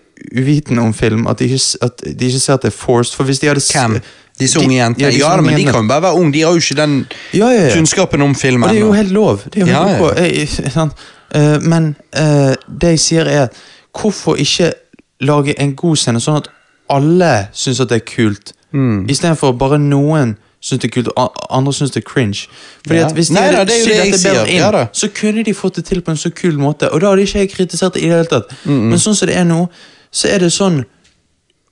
B: uvitende om film. At de ikke, s- at de ikke ser at det er forced. For hvis de hadde s-
A: Hvem? Disse unge jentene.
B: Ja,
A: Ja,
B: disse
A: da,
B: unge
A: men de
B: jentene.
A: kan jo bare være unge. De har jo ikke den
B: Ja, ja, ja.
A: kunnskapen om filmen.
B: Og det er jo
A: og-
B: helt lov. Det er jo
A: Ja,
B: helt
A: ja.
B: ok. Jeg- sant? Eh, men eh, det jeg sier er Hvorfor ikke lage en god scene sånn at alle syns at det er kult,
A: Mm.
B: istedenfor bare noen syns det er kult, og a- andre syns det er cringe. Fordi
A: Ja.
B: at Hvis de
A: Nei
B: hadde
A: da, det er jo
B: sydd
A: det jeg
B: dette bedre
A: sier.
B: inn,
A: Ja da.
B: så kunne de fått det til på en så kul måte, og da hadde ikke jeg kritisert det i det hele tatt. Men sånn som det er nå, så er det sånn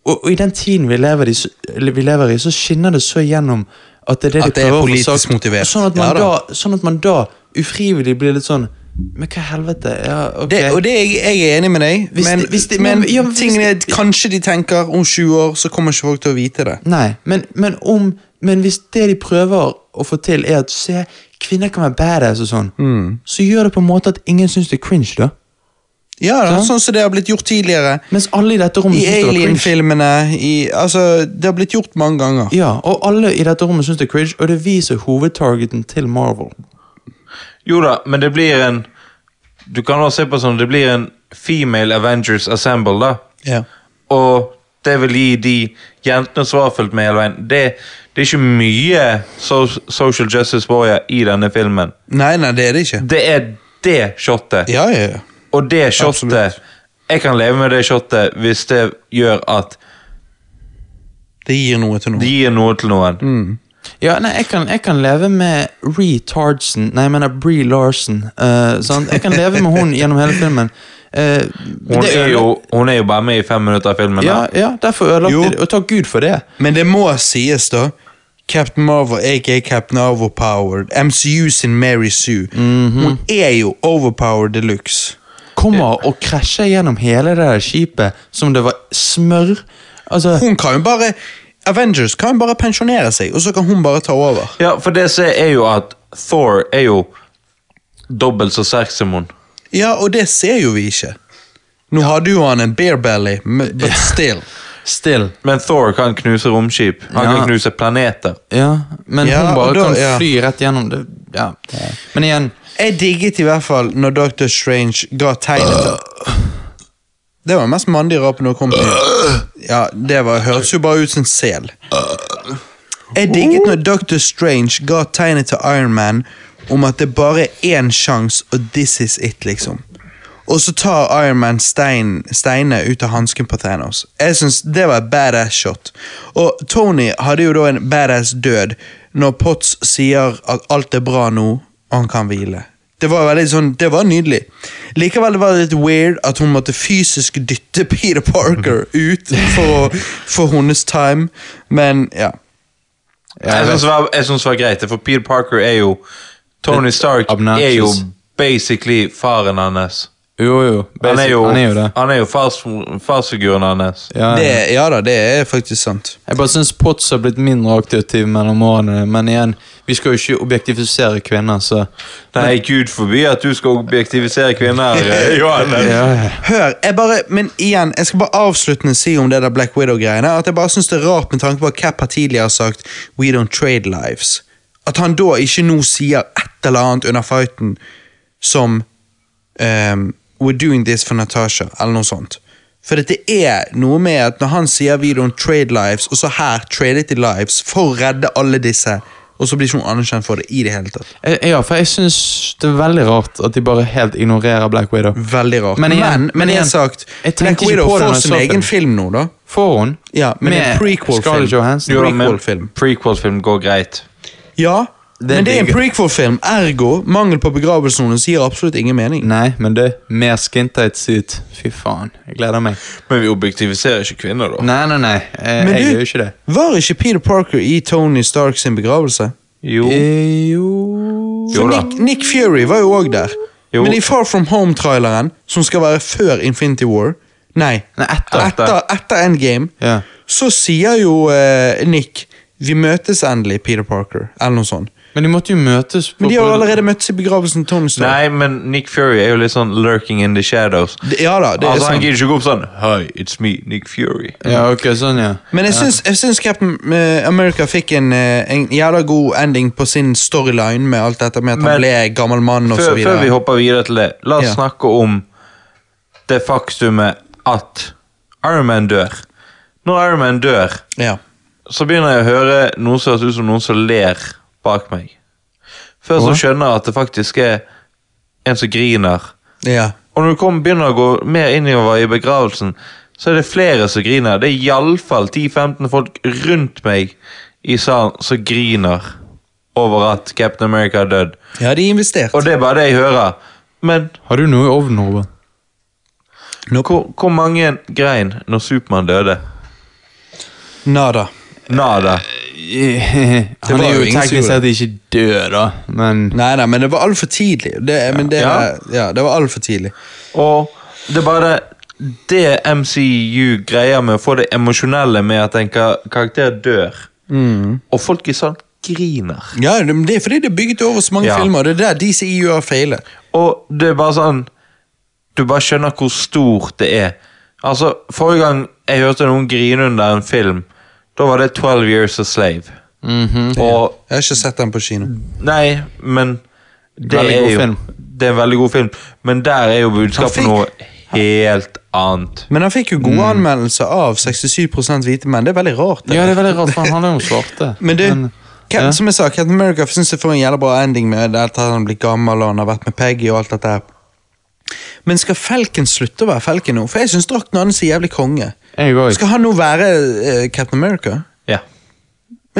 B: og, og i den tiden vi lever, i, så- eller vi lever i, så skinner det så igjennom At det er det,
A: At
B: de
A: det er
B: prøver å få
A: politisk
B: sagt,
A: motivert.
B: Sånn at, man
A: Ja da.
B: da. sånn at man da ufrivillig blir litt sånn Men hva i helvete? Ja, ok.
A: Det, og det er jeg, jeg er enig med deg,
B: Hvis
A: men,
B: det- hvis det-
A: men,
B: men- ja, men hvis
A: tingene er
B: det-
A: kanskje de tenker om 20 år, så kommer ikke folk til å vite det.
B: Nei, men, men om Men hvis det de prøver å få til, er at se, kvinner kan være badass og sånn, så gjør det på en måte at ingen syns det er cringe, da.
A: Ja, da,
B: Sant?
A: Sånn som det har blitt gjort tidligere.
B: Mens alle i dette rommet
A: I
B: syns det var cringe.
A: Alien-filmene. i- Altså, det har blitt gjort mange ganger.
B: Ja, og alle i dette rommet syns det er cringe, og det er vi som er hovedtargeten til Marvel.
C: Jo da, men det blir en Du kan også se på sånn Det blir en Female Avengers Assemble, da.
A: Ja.
C: Og det vil gi de jentene som har fulgt med hele veien Det, det er ikke mye so social justice warrior i denne filmen.
A: Nei, nei, det er det ikke.
C: Det er det shotet.
A: Ja, ja, ja.
C: Og det shotet Jeg kan leve med det shotet hvis det gjør at
A: Det gir noe til
C: det
A: noen.
C: gir noe til noen.
B: Mm. Ja, nei, jeg kan, jeg kan leve med Ree Tardson Nei, jeg mener Bree Larson. eh, sant? Jeg kan leve med hun gjennom hele filmen. Eh,
C: Hun,
B: det
C: er
B: ødela-
C: jo, hun er jo bare med i fem minutter av filmen.
B: ja,
C: da.
B: ja, derfor ødelagte
A: Jo.
B: de det. Og takk Gud for det.
A: Men det må sies, da. Captain Marvel, aka Captain Overpowered. MCU sin Mary Sue. Hun er jo overpowered de luxe.
B: kommer og krasjer gjennom hele det der skipet som det var smør. Altså,
A: Hun kan jo bare Avengers kan jo bare pensjonere seg, og så kan hun bare ta over.
C: Ja, for det som er jo at Thor er jo dobbelt så sterk som hun.
A: Ja, og det ser jo vi ikke. Nå hadde jo han en beer belly, men- but still.
B: still.
C: Men Thor kan knuse romskip. Han
B: Ja.
C: kan knuse planeter.
B: Ja, men
A: Ja,
B: hun
A: og
B: bare
A: da-
B: kan
A: ja.
B: fly rett gjennom det. Ja. Men igjen,
A: Jeg digget i hvert fall når Dr. Strange ga tegnet til Det var den mest mandige rapen du har kommet til. Ja, det var, hørtes jo bare ut som en sel. Jeg digget når Dr. Strange ga tegnet til Iron Man om at det bare er én sjanse, og this is it, liksom. Og så tar Iron Man stein, steinene ut av hansken på Thanos. Jeg synes Det var et badass shot. Og Tony hadde jo da en badass død når Potts sier at alt er bra nå, og han kan hvile. Det var veldig sånn, det var nydelig. Likevel var det litt weird at hun måtte fysisk dytte Peter Parker ut for, å- for hennes time, men ja.
C: Jeg syns det var- jeg syns det var greit, for Peter Parker er jo Tony Stark
B: obnoxious.
C: er jo basically faren hans.
B: jo jo,
C: Han er jo,
B: han er jo det.
C: han er jo fars, farsfiguren hans.
B: Ja, ja.
A: Det, ja da, det er faktisk sant.
B: Jeg bare syns Potts har blitt mindre aktiv mellom årene. Men igjen, vi skal jo ikke objektifisere kvinner, så
C: Nei, gud forby at du skal objektivisere kvinner, eh, Johannes.
A: Hør, jeg bare, men igjen, jeg skal bare avsluttende si om det der Black Widow-greiene, at jeg bare synes det er rart med tanke på at Cap har tidligere sagt We don't trade lives. At han da ikke nå sier et eller annet under fighten som ehm, We're doing this for Natasha, eller noe sånt. For dette er noe med at når han sier We don't trade lives, og så her tradet de lives for å redde alle disse, og så blir ikke hun anerkjent for det i det hele tatt.
B: Eh, Ja, for jeg syns det er veldig rart at de bare helt ignorerer Black Widow.
A: Veldig rart.
B: Men
A: Men,
B: igjen-
A: men,
B: men
A: det er
B: igjen,
A: sagt,
B: jeg tenkte
A: Black
B: ikke
A: Widow
B: på det når
A: får
B: jeg
A: sin
B: så
A: egen film
B: filmen.
A: nå, da.
B: Får hun?
A: Ja, men
B: Med
A: en prequel-film.
B: Scarlett Johansson.
C: Jo, men
A: Prequel-film.
C: Prequel-film går greit.
A: Ja, men det er en
B: digger.
A: prequel-film, ergo mangel på begravelsen hennes gir absolutt ingen mening.
B: Nei, men det mer skintight suit. Fy faen, jeg gleder meg.
C: Men vi objektiviserer ikke kvinner, da.
B: Nei, nei, nei, eh,
A: Men
B: jeg
A: du-
B: gjør jo ikke det.
A: Var ikke Peter Parker i Tony Stark sin begravelse?
C: Jo.
B: Eh, jo
C: Jo
A: For
C: da.
A: Nick, Nick Fury var jo òg der.
C: Jo.
A: Men i Far From Home-traileren, som skal være før Infinity War Nei,
B: Nei, etter.
A: etter, etter Endgame,
B: Ja.
A: så sier jo eh, Nick vi møtes endelig, Peter Parker. Eller noe sånt.
B: Men de måtte jo møtes på
A: Men de har jo allerede møttes i begravelsen til Tony Stark.
C: Nei, men Nick Fury er jo litt sånn lurking in the shadows.
A: Ja da, det er
C: altså, Han
A: sant.
C: gidder ikke gå opp sånn Hi, it's me, Nick Fury.
B: Ja, ok, sånn, ja.
A: Men jeg syns, jeg syns Captain eh, America fikk en, eh, en jævla god ending på sin storyline med alt dette med at
C: Men-
A: han ble gammel mann og så
C: Før, før vi
A: videre.
C: hopper videre til det, la oss
A: Ja.
C: snakke om det faktumet at Iron Man dør. Når Iron Man dør,
A: Ja.
C: så begynner jeg å høre noe som høres ut som noen som ler bak meg. Før så skjønner jeg at det faktisk er en som griner.
A: Ja.
C: Og når du kommer, begynner å gå mer innover i begravelsen, så er det flere som griner. Det er iallfall 10-15 folk rundt meg i salen som griner over at Captain America er dødd.
A: ja, de investerte.
C: Og det er bare det jeg hører. Men
B: Har du noe i ovnen, Robert?
C: hvor, hvor mange grein når Supermann døde?
A: Nada.
C: Nada.
B: Eh,
A: E
C: sånn, Altså, Mm.
A: eh, eh, eh, eh,
C: eh, eh, Ehm,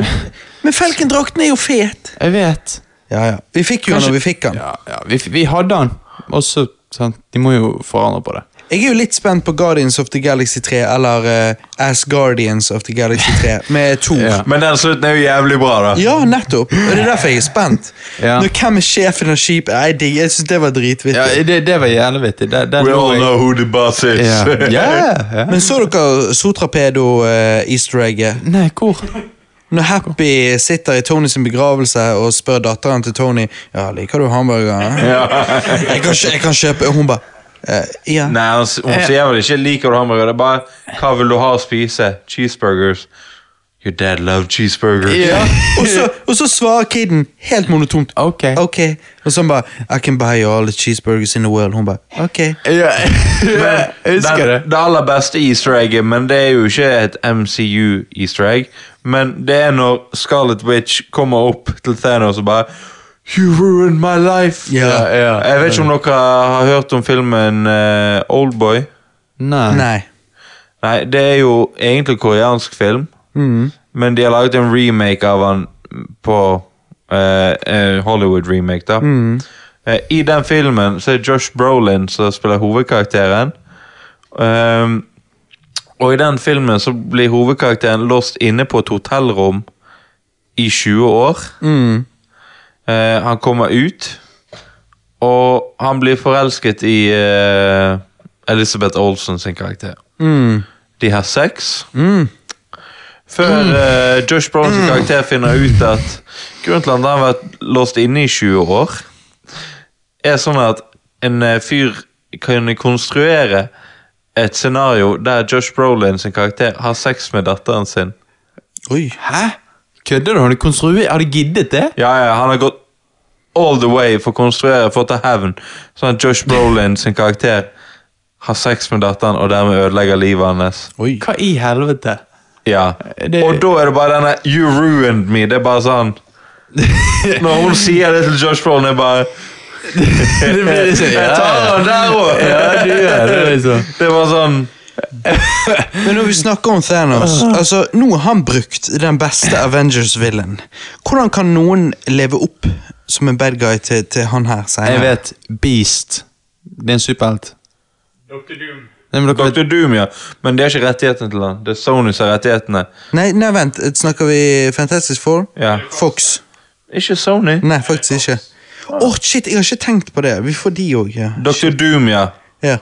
C: Eh, eh, eh, sånn eh,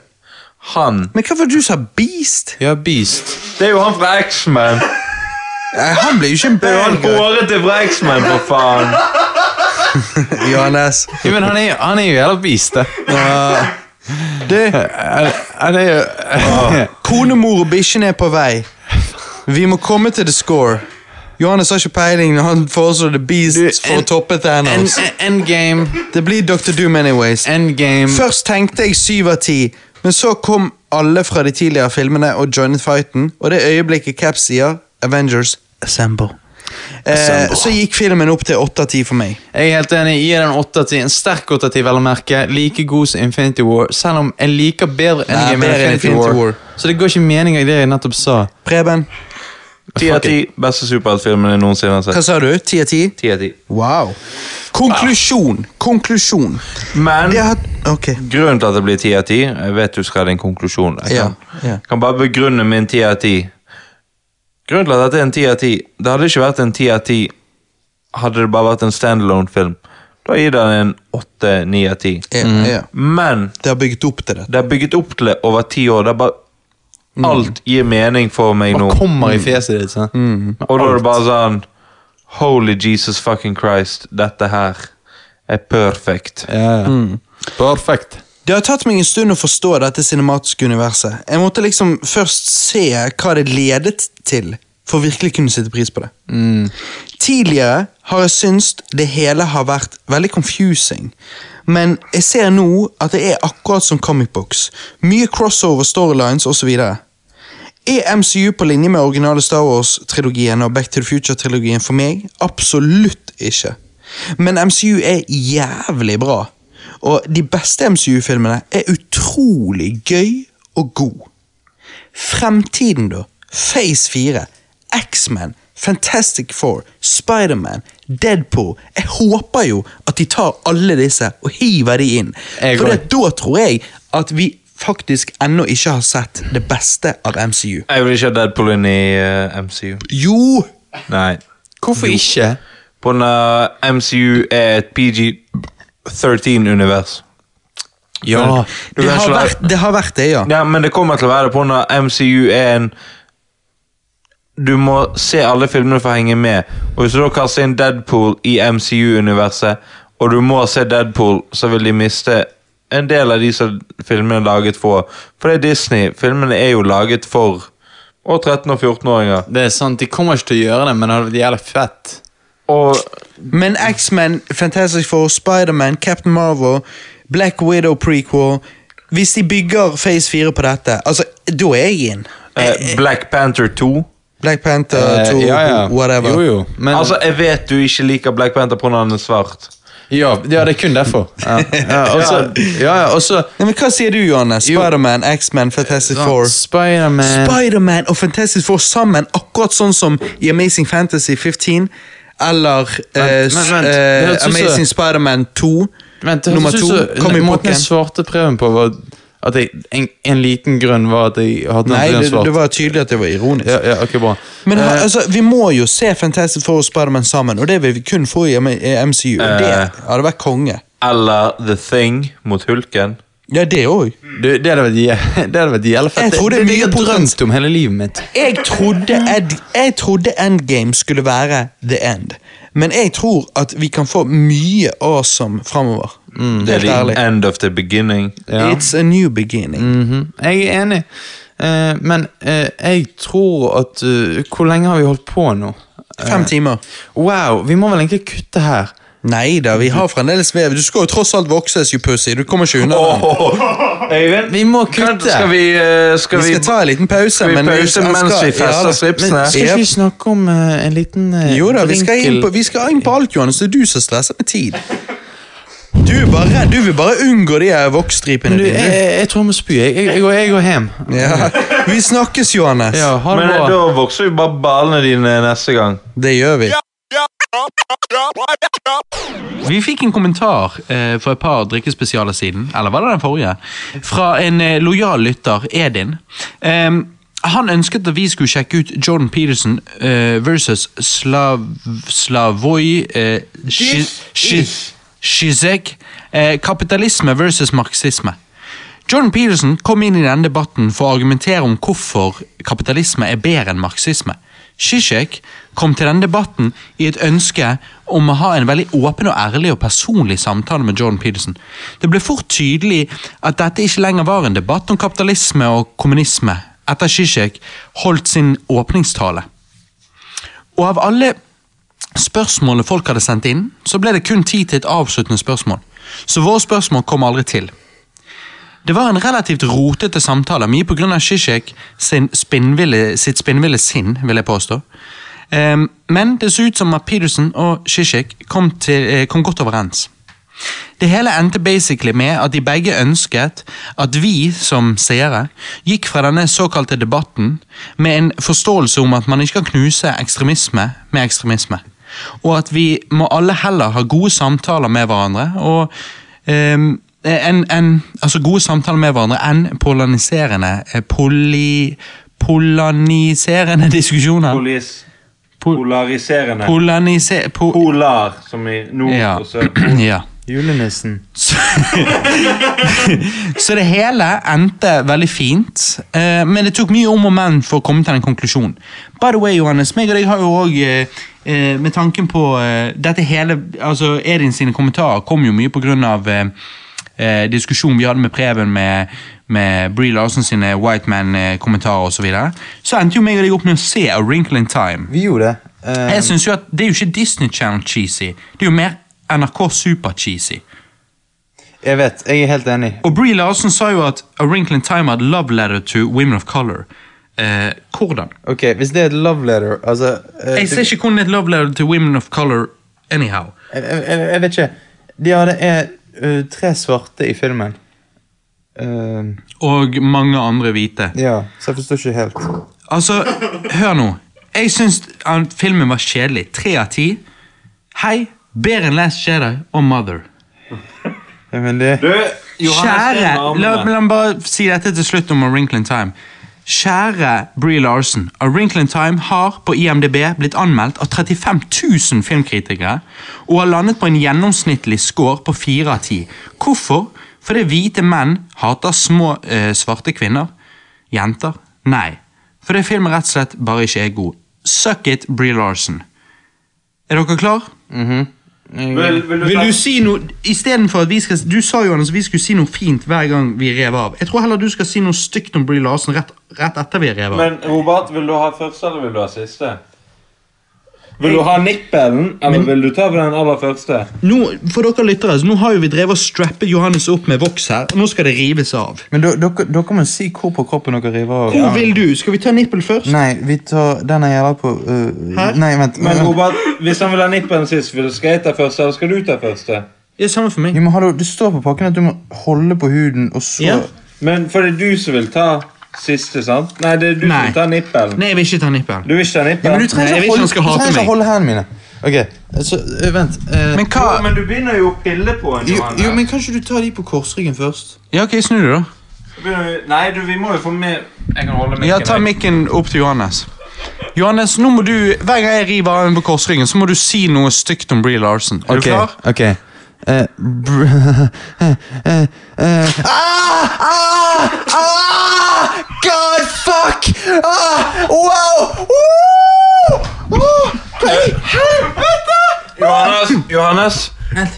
C: sånn.
B: liksom.
C: sånn,
A: altså, Mm.
D: Eh,
C: Ah. Grunnen til at dette er en 10 av 10 Det hadde ikke vært en 10 av 10 hadde det bare vært en standalone-film. Da gir den en 8-9 av 10.
D: Ja, ja.
C: Men
D: Det har bygget opp til det.
C: det er bygget opp til det over ti år. Det er bare Alt gir mening for meg nå.
B: Bare kommer i fjeset ditt. sant?
C: Og da er det bare sånn Holy Jesus fucking Christ, dette her er perfect.
B: Ja, ja. Perfekt.
D: Det har tatt meg en stund å forstå dette cinematiske universet. Jeg måtte liksom først se hva det ledet til, for å virkelig kunne sette pris på det. Tidligere har jeg syntes det hele har vært veldig confusing, men jeg ser nå at det er akkurat som comic books. Mye crossover storylines osv. Er MCU på linje med originale Star Wars-trilogien og Back to the Future-trilogien for meg? Absolutt ikke. Men MCU er jævlig bra. Og de beste MCU-filmene er utrolig gøy og god. Fremtiden, da. Phase 4. X-Man. Fantastic Four. Spiderman. Deadpool. Jeg håper jo at de tar alle disse og hiver de inn.
B: Jeg
D: For
B: går.
D: det, da tror jeg at vi faktisk ennå ikke har sett det beste av MCU.
C: Jeg vil ikke ha Deadpool inn i eh, MCU.
D: Jo!
C: Nei.
B: Hvorfor ikke?
C: På eh, grunn av MCU er et PG-13-univers.
B: Ja,
D: Det
C: Du kan
D: har
C: ikke være-
D: vært det, har vært det ja.
C: Ja, men det kommer til å være det på eh, når MCU er en Du må se alle filmene for å henge med. Og hvis du da kaster inn Deadpool i MCU-universet, og du må se Deadpool, så vil de miste en del av de som filmene er laget for. For det er Disney. Filmene er jo laget for og 13- og 14-åringer.
B: Det er sant, de kommer ikke til å gjøre det, men det hadde vært jævlig fett.
C: Og
D: Men X-Men, Fantastic Four, Spiderman, Captain Marvel, Black Widow prequel Hvis de bygger Phase 4 på dette, altså, da er jeg inn.
C: eh, Black Panther 2
D: Black
A: Uh,
D: Panther
B: Eh,
D: 2,
B: ja, ja.
D: whatever.
B: Jo, jo. Men,
C: Altså, jeg vet du ikke liker Black Panther pga. han er svart.
B: ja, ja, det er kun derfor. Ja, ja, også, ja, ja, også
D: Nei, men Hva sier du, Johanne? Spiderman, X-Men, Fantastic Four.
B: Spiderman
D: Spiderman og Fantastic Four sammen, akkurat sånn som i Amazing Fantasy 15. Eller eh,
B: Vent, vent, vent.
D: eh,
B: Det høres ut som-
D: Amazing Spiderman 2.
B: Vent, det
D: nummer
B: høres ut
D: to.
B: som-
D: Kom i
B: Måten
D: pokken.
B: jeg svarte prøven på, var at jeg, en, en liten grunn var at jeg hadde
D: Nei,
B: en
D: det,
B: svart.
D: det var tydelig at det var ironisk.
B: Ja, ja, ok, bra.
D: Men ha- altså, vi må jo se Fantastic Four og Spiderman sammen, og det vil vi kun få i M- i MCU. det
C: Eh.
D: hadde vært konge.
C: Eller The Thing mot Hulken.
D: Ja, det òg.
B: Du, det hadde vært jæ- det hadde vært jævlig fett.
D: Jeg tror det er
B: jeg
D: mye
B: har
D: potens-
B: drømt om hele livet mitt.
D: Jeg, trodde Ed- jeg trodde Endgame skulle være The End, men jeg tror at vi kan få mye awesome framover.
C: Mm, Det er
D: Helt ærlig.
C: the end of the beginning.
B: Ja.
D: It's a new beginning.
C: Mm,
B: Mhm. Jeg er enig, Eh, men eh, jeg tror at eh, Hvor lenge har vi holdt på nå?
C: eh.
D: Fem timer.
B: Wow, vi må vel egentlig kutte her.
D: Nei da, vi har fremdeles vev. Du skal jo tross alt vokses, you pussy. Du kommer ikke unna. det.
C: Øyvind,
B: Vi må
C: kan-
B: kutte.
C: Skal vi, eh, skal
D: Vi skal ta en liten pause.
C: skal vi
D: men
C: pause
D: han
C: mens
D: skal-
C: vi fester
D: ja da.
C: slipsene?
D: Men-
B: Skal ikke vi snakke om eh, en liten eh,
D: Jo da, vi skal inn
B: vinkel-
D: på, vi skal inn på alt, Johannes. Det er du som stresser med tid. Du, er bare, du vil bare unngå de her voksstripene
B: du, jeg,
D: dine.
B: jeg, jeg tror jeg må spy. Jeg, jeg, jeg, går, jeg går hjem.
D: Ja. Vi snakkes, Johannes.
B: Ja, ha det
C: Men eh,
B: bra.
C: da vokser jo bare ballene dine neste gang.
D: Det gjør vi.
A: Vi fikk en kommentar eh, for et par drikkespesialer siden, eller var det den forrige? Fra en eh, lojal lytter, Edin. Em, han ønsket at vi skulle sjekke ut Jordan Peterson eh, versus Slav, Slavoj eh, Shi- Shi- Zizek. Eh, kapitalisme versus marxisme. Jordan Peterson kom inn i denne debatten for å argumentere om hvorfor kapitalisme er bedre enn marxisme. Zizek kom til denne debatten i et ønske om å ha en veldig åpen og ærlig og personlig samtale med Jordan Peterson. Det ble fort tydelig at dette ikke lenger var en debatt om kapitalisme og kommunisme, etter Zizek holdt sin åpningstale. Og av alle spørsmålene folk hadde sendt inn, så ble det kun tid til et avsluttende spørsmål. Så våre spørsmål kom aldri til. Det var en relativt rotete samtale, mye pga. Zizek sin spinnville, sitt spinnville sinn, vil jeg påstå. Ehm, men det så ut som at Peterson og Zizek kom, til, eh, kom godt overens. Det hele endte basically med at de begge ønsket at vi som seere gikk fra denne såkalte debatten med en forståelse om at man ikke kan knuse ekstremisme med ekstremisme. Og at vi må alle heller ha gode samtaler med hverandre og ehm, en, en, altså gode samtaler med hverandre enn polariserende eh, poli, polaniserende diskusjoner.
C: Polis.
A: Pol-
C: Polariserende.
A: Polanise... Po
C: Polar, som i nord
A: ja.
C: og sør.
A: ja.
B: Julenissen.
A: Så, så det hele endte veldig fint, eh, men det tok mye om og men for å komme til en konklusjon. By the way, Johannes, meg og deg har jo òg med tanken på eh, dette hele altså Edin sine kommentarer kom jo mye pga. Eh, diskusjonen vi hadde med Preben med, med Bree Larsen sine White Man-kommentarer osv. Så, videre. så endte jo meg og deg opp med å se A Wrinkle in Time.
B: Vi gjorde det. Eh,
A: Jeg synes jo at Det er jo ikke Disney Channel cheesy, det er jo mer NRK Super cheesy.
B: jeg vet, jeg er helt enig.
A: Og Brie Larsen sa jo at A Wrinkle in Time had love letter to women of color. Eh, hvordan?
B: Ok, Hvis det er et love letter altså, eh,
A: Jeg ser ikke hvordan det er et love letter to women of color anyhow.
B: jeg, jeg, jeg, jeg vet ikke. De hadde er, eh, tre svarte i filmen. Eh,
A: Og mange andre hvite.
B: ja, så jeg forstår ikke helt.
A: Altså, hør nå. Jeg syns eh, filmen var kjedelig. Tre av ti. Hei, bedre enn Last Jedi og Mother.
B: Ja, men det,
C: Du, Johannes
A: Kjære
C: er
A: la,
C: navnet.
A: la meg bare si dette til slutt om A Wrinkle in Time. Kjære Bree Larsen. A Wrinkle in Time har på IMDb blitt anmeldt av 35 000 filmkritikere og har landet på en gjennomsnittlig score på 4 av 10. Hvorfor? Fordi hvite menn hater små eh, svarte kvinner. Jenter? Nei. Fordi filmen rett og slett bare ikke er god. Suck it, Bree Larsen. Er dere klar?
C: Vil, vil du
A: Vil
C: ta-
A: du si noe Istedenfor at vi skal Du sa jo Anders, vi skulle si noe fint hver gang vi rev av. Jeg tror heller du skal si noe stygt om Bree Larsen rett, rett etter vi rev av.
C: Men Robert, vil du ha første eller vil du ha siste? Vil du ha nippelen, eller vil du ta på den aller første?
A: nå, for dere lyttere, så nå har jo vi drevet og strappet Johannes opp med voks her, og nå skal det rives av.
B: men dere- dere dere må si hvor på kroppen dere river av.
A: Hvor vil du? Skal vi ta nippel først?
B: Nei, vi tar den jeg gjelder på eh,
A: Her?
B: Nei, vent.
C: Men
B: vent.
C: Robert, hvis han vil ha nippelen sist, vil skal jeg ta første, eller skal du ta første?
A: Det er samme for meg.
B: Ja, men hallo, det står på pakken at du må holde på huden, og så
A: Ja.
C: Men for det er du som vil ta siste, sant? Nei, det er du
A: Nei.
C: som vil ta nippelen.
A: Nei, jeg vil ikke ta nippel.
C: Du vil ikke ta nippelen?
B: Ja, men du
A: Nei,
B: trenger
A: jeg vil
B: ikke
A: ikke
B: å
A: han skal
B: holde, du
A: hate
B: trenger ikke
A: meg.
B: å holde hendene mine. Ok, så eh, vent. eh,
A: Men hva
C: Jo, men du begynner jo å pille på en, sånn.
B: jo,
C: Johanne.
B: jo, men kan ikke du ta de på korsryggen først?
A: Ja, ok, snu deg, da.
C: Du begynner- Nei, du, vi må jo få med Jeg kan holde
A: Ja,
C: mikken.
A: ta
C: jeg.
A: mikken opp til Johannes. Johannes, nå må du, Hver gang jeg river av en på korsryggen, så må du si noe stygt om Bree Larsen. Er
B: Ok,
A: du klar?
B: Ok. Eh, br eh, eh, eh. ah, ah, ah, God fuck! Ah, wow! Woo! Woo! Nei, helvete!
C: Johannes, Johannes,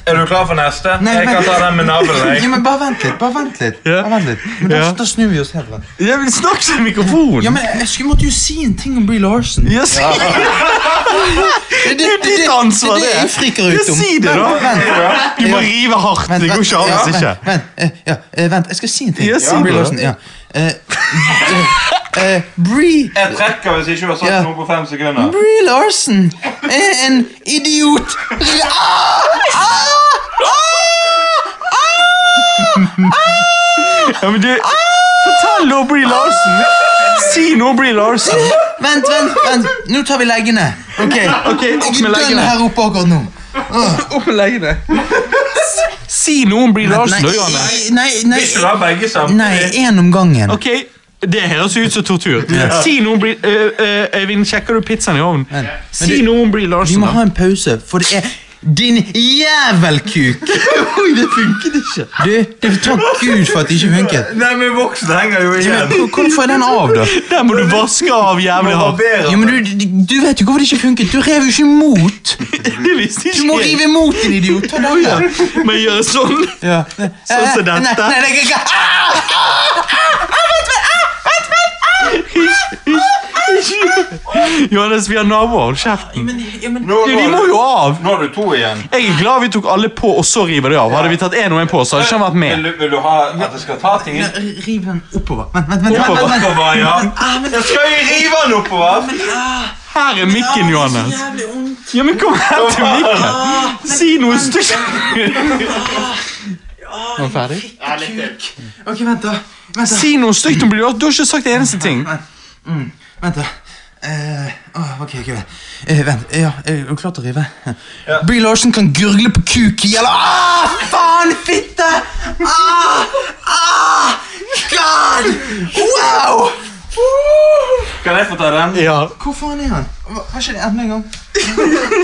C: er du klar for neste?
B: Nei,
C: jeg kan
B: vent.
C: ta den med navlen,
B: Ja,
C: jeg.
B: men bare vent litt. bare vent litt.
A: Ja.
B: Bare vent litt. Men da,
A: Ja.
B: da snur vi oss helt. vent.
A: Eh, Jeg vil snakke til mikrofonen!
B: Ja, men jeg skulle måtte jo si en ting om Bree Larsen.
A: Ja, si det! Det er ditt ansvar,
B: det er det jeg friker ut om.
A: Ja, si det, da! Du må rive hardt.
B: Vent,
A: Det går
B: vent,
A: ikke an
B: ja,
A: hvis ikke.
B: Vent, vent, eh, ja, eh, vent, jeg skal si en ting.
A: Ja, si
B: om Brie
A: det.
B: Larson, ja. Eh, eh, eh, Brie
C: Jeg trekker hvis ikke du har sagt
B: Ja.
C: noe på fem sekunder.
B: Brie Larsen er en idiot! Ah!
A: Ja, men du, fortell nå Bree Larsen! Si nå Bree Larsen!
B: Vent, vent, vent. Nå tar vi leggene. Ok,
A: Ok, opp
B: Jeg
A: med
B: er dønn
A: leggene.
B: her oppe akkurat nå.
A: Opp med leggene. Si noe om Bree Larsen, da, Johanne.
B: nei, nei,
C: Hvis du har begge sammen
B: nei, en om gangen.
A: Ok, det høres jo ut som tortur. Si noe om Bree øh, øh, Øyvind, sjekker du pizzaen i ovnen? Si
B: du-
A: noe om Bree
B: Vi
A: Larsen,
B: må ha
A: da.
B: en pause, for det er din jævelkuk. Oi, det funket ikke. Du, det takk Gud for at det ikke funket.
C: Nei, men voksen henger jo
B: Men hvor- Hvor får jeg den av, da?
A: Der må du vaske av jævlig hardt.
B: Jo, men du, du vet jo hvorfor det ikke funket. Du rev jo ikke imot.
A: Det visste
B: Du må
A: ikke jeg.
B: rive imot, din idiot. Ta den, da.
A: Men gjøre sånn.
B: Ja. Eh,
A: Sånn som
B: Nei,
A: dette.
B: Nei, nei, nei, ah!
A: Johannes, vi har naboer. Hold kjeften.
C: Nå,
A: Du, de må jo av!
C: nå har du to igjen.
A: Jeg er glad vi tok alle på, og så river de av. Hadde vi tatt én og én på, så hadde ikke han vært
C: Vil
A: med.
C: du, vil du ha at jeg skal ta ting?
B: Ja, Riv den oppover. Vent, vent, vent.
A: Oppover.
B: vent, vent, vent.
C: Oppover, ja. Jeg skal jo rive den oppover!
A: Her er mikken, Johannes.
B: Jævlig ondt.
A: Ja, men kom her til mikken. Si noe stygt.
B: Var du ferdig? Ok, vent, da. Vent, da.
A: Si noe stygt om Blue Lock. Du har ikke sagt en eneste ting.
B: Mm, vent, da. Eh, åh, ok, ok. Eh, vent, ja, eh, er du klar til å rive?
C: Ja.
B: Bree Larsen kan gurgle på kuk i eller Ah, faen, fitte! Ah, ah, God! Wow! Woo!
C: Kan jeg få ta den?
A: Ja.
B: Hvor faen er han? Hva- Har ikke det enda en gang?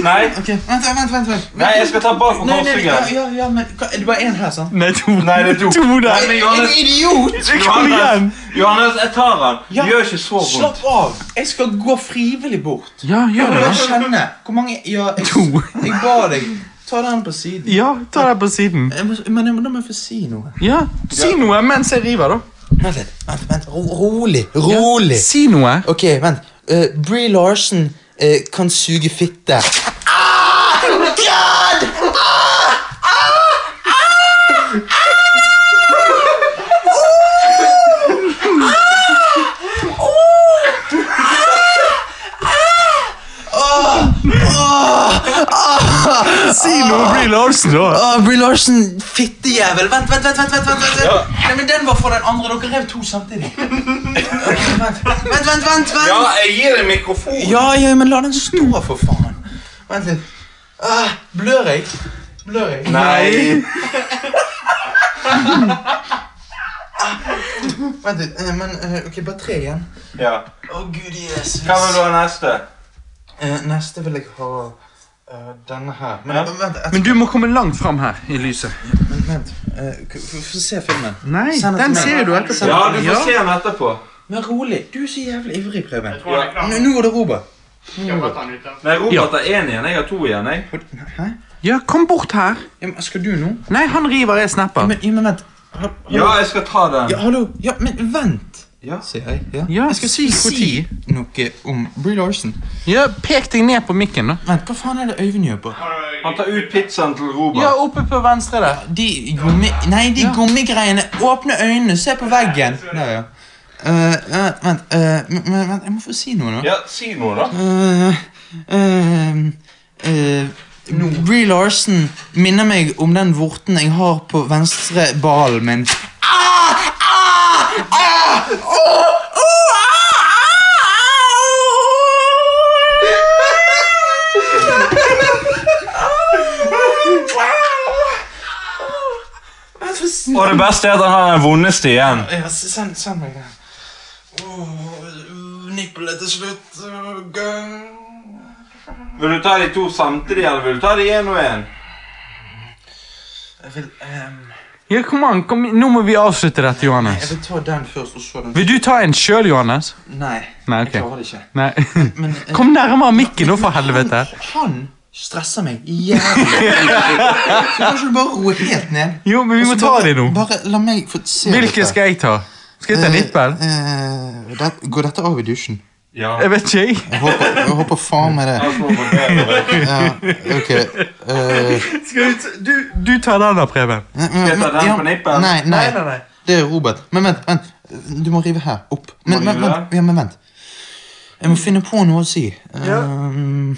C: Nei,
B: Ok, Vent, vent, vent. vent.
C: Nei, jeg skal ta bak på
B: Nei, nei, ja,
C: korsryggen.
B: ja, ja, men hva, er det bare én her, sant?
A: Nei, to.
C: Nei, det er to.
A: To
C: Nei,
A: der.
C: men
B: En
C: Johannes,
B: idiot!
A: Kom igjen.
C: Johannes, Johannes jeg tar den.
B: Ja.
C: Gjør ikke så vondt.
B: Slapp av! Jeg skal gå frivillig bort.
A: Ja,
B: Jeg
A: gjør
B: vil
A: det.
B: bare kjenne. Hvor mange Ja, jeg,
A: To.
B: jeg ba deg. Ta den på siden.
A: Ja, ta deg på siden.
B: Jeg må, men jeg må, da må jeg få si noe.
A: Ja, Si noe mens jeg river, da.
B: Vent litt. Vent, vent. Ro, rolig. Rolig.
A: Si noe.
B: Ok, vent. Uh, Bree Larsen eh, kan suge fitte.
A: Si noe, Bree Larsen, da.
B: Åh, Bree Larsen, fittejævel. Vent, vent, vent. vent, vent, vent, vent. Nei, men Den var for den andre. Dere rev to samtidig. Ok, vent, vent, vent. vent, vent.
C: Ja, jeg gir deg mikrofon.
B: Ja, ja, men la den stå, for faen. Vent litt. Ah, blør jeg? Blør jeg?
C: Nei.
B: Vent litt. eh, Men, eh, ok, bare tre igjen.
C: Ja.
B: Å, gud Jesus.
C: Hva vil du ha neste?
B: Eh, neste vil jeg ha eh, denne her. Men
C: Ja.
B: vent, vent, et-
A: Men du må komme langt fram her i lyset.
B: men vent. Eh, k- f- Få se filmen.
A: Nei,
B: Send den
A: den
B: til meg.
A: ser jo du etterpå.
C: Ja, du får se den etterpå.
B: Men rolig. Du er så jævlig ivrig, Preben.
E: tror han er klar.
B: Nå nå går det Robert.
E: Skal bare ta den ut da.
C: Nei, Robert har én igjen. Jeg har to igjen. jeg.
B: Hæ?
A: Ja, kom bort her.
B: Ja, men, skal du nå?
A: Nei, han river, jeg snapper.
B: Men, ja, men vent. Ha-
C: Ja, jeg skal ta den.
B: Ja, hallo. Ja, men vent.
C: Ja.
B: Sier jeg. Ja.
A: Ja,
B: jeg skal si,
A: si.
B: si noe om Bree Larsen.
A: Ja, Pek deg ned på mikken, da.
B: Vent, hva faen er det Øyvind gjør på?
C: Han tar ut pizzaen til Robert.
A: Ja, oppe på venstre der.
B: De gummi... Nei, de gummigreiene. Åpne øynene, se på veggen. Der, ja. Eh, eh, vent, eh, men- men vent, jeg må få si noe nå.
C: Ja, si noe, da.
B: Eh, eh, eh, Bree Larsen minner meg om den vorten jeg har på venstre balen min. Ah! Ah! Ah! Åh! Åh! Ah! Ah! Ah! Ah! Ah! Ah! Ah! Vent, for sn-
C: Og det beste er at han har den vondeste igjen.
B: Ja, s- Send send meg den. Åh, Nippelet til slutt. Åh, gøy.
C: Vil du ta de to samtidig, eller vil du ta de én og én?
B: Jeg vil ehm,
A: Ja, kom an, kom i- Nå må vi avslutte dette,
B: Jeg
A: Johannes.
B: vil ta den først, og så den
A: Vil du ta en sjøl, Johannes?
B: Nei,
A: Nei,
B: jeg
A: ok.
B: klarer det ikke.
A: Nei.
B: Men eh,
A: Kom nærmere mikken nå, for helvete.
B: han stresser meg jævlig. Så kanskje du bare roer helt ned.
A: Jo, men vi må
B: Og så
A: ta
B: bare-
A: det nå.
B: Bare la meg få se Eh,
A: Hvilken skal jeg ta? Skal jeg ta nippel?
B: Går dette av i dusjen?
C: Ja.
A: Jeg vet ikke, jeg.
B: Jeg håper, jeg håper faen meg det. Ja, ok. eh,
A: Skal du, ta- du, du tar den da, Preben.
B: men-
C: jeg ta den
B: ja,
C: på nippen?
B: Nei, nei. Det er Robert. Men vent, vent. Du må rive her. Opp. Men,
C: Må
B: men,
C: rive
B: vent. Ja, men vent. Jeg må finne på noe å si.
A: Ja.
B: Ehm,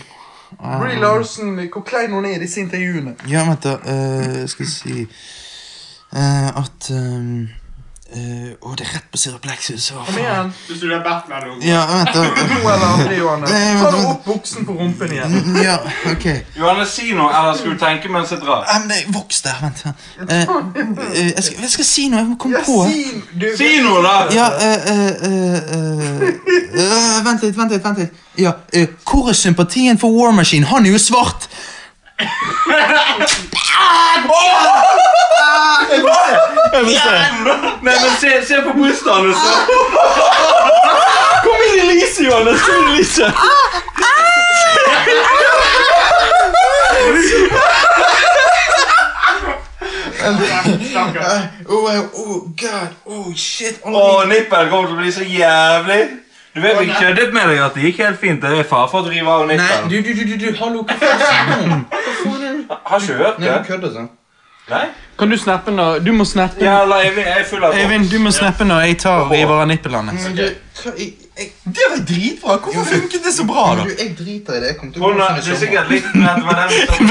A: Brie Larsen, hvor klein hun er i disse intervjuene.
B: Ja, vent da. eh, skal jeg si eh, at um, eh, Å, det er rett på Sirap Lexus. Å, faen.
E: Synes du det er Batman nå?
B: Ja, eh, vent da.
A: Nå eller aldri, Johannes.
B: Nei, vent, vent.
A: buksen på rumpen igjen.
B: eh, Ja, ok.
C: Johannes, si noe, eller skal du tenke mens jeg drar?
B: Nei, men det- voks der. Vent. Eh, eh, jeg, skal, jeg skal si noe. Jeg må komme på.
A: du-
C: Si noe, da!
B: Ja, eh, eh, eh, eh, eh, Vent litt, vent litt. vent litt. Ja, eh, Hvor er sympatien for War Machine? Han er jo svart!
A: Jeg vil se.
C: Nei, men Se, se på brystet hans! da.
A: Kom inn i lyset, Johannes! Kom inn i lyset!
E: Stakkars.
B: Oh, oh, god. Oh, shit.
C: Å, nippel kommer til å bli så jævlig. Du vet, Vi køddet med deg at det gikk helt fint. Det er far for å drive av
B: Nei,
C: nippelen.
B: du, du, du, du, du hallo, hva faen?
C: Har ikke hørt
B: Nei,
C: det?
B: du kødder sånn.
C: Nei?
A: Kan du snappe nå? Du må snappe.
C: Ja, eller Eivind, jeg er full av håp.
A: Eivind, du må snappe når jeg tar og river av nippelen hans.
B: Men du, hva, jeg, jeg,
A: Det var dritbra! Hvorfor funket det så bra,
B: du, jeg driter i det. Jeg kommer til å gå
C: Hun
B: sånn
C: har-
B: i
C: Det er
B: sommer.
C: sikkert litt redd med den.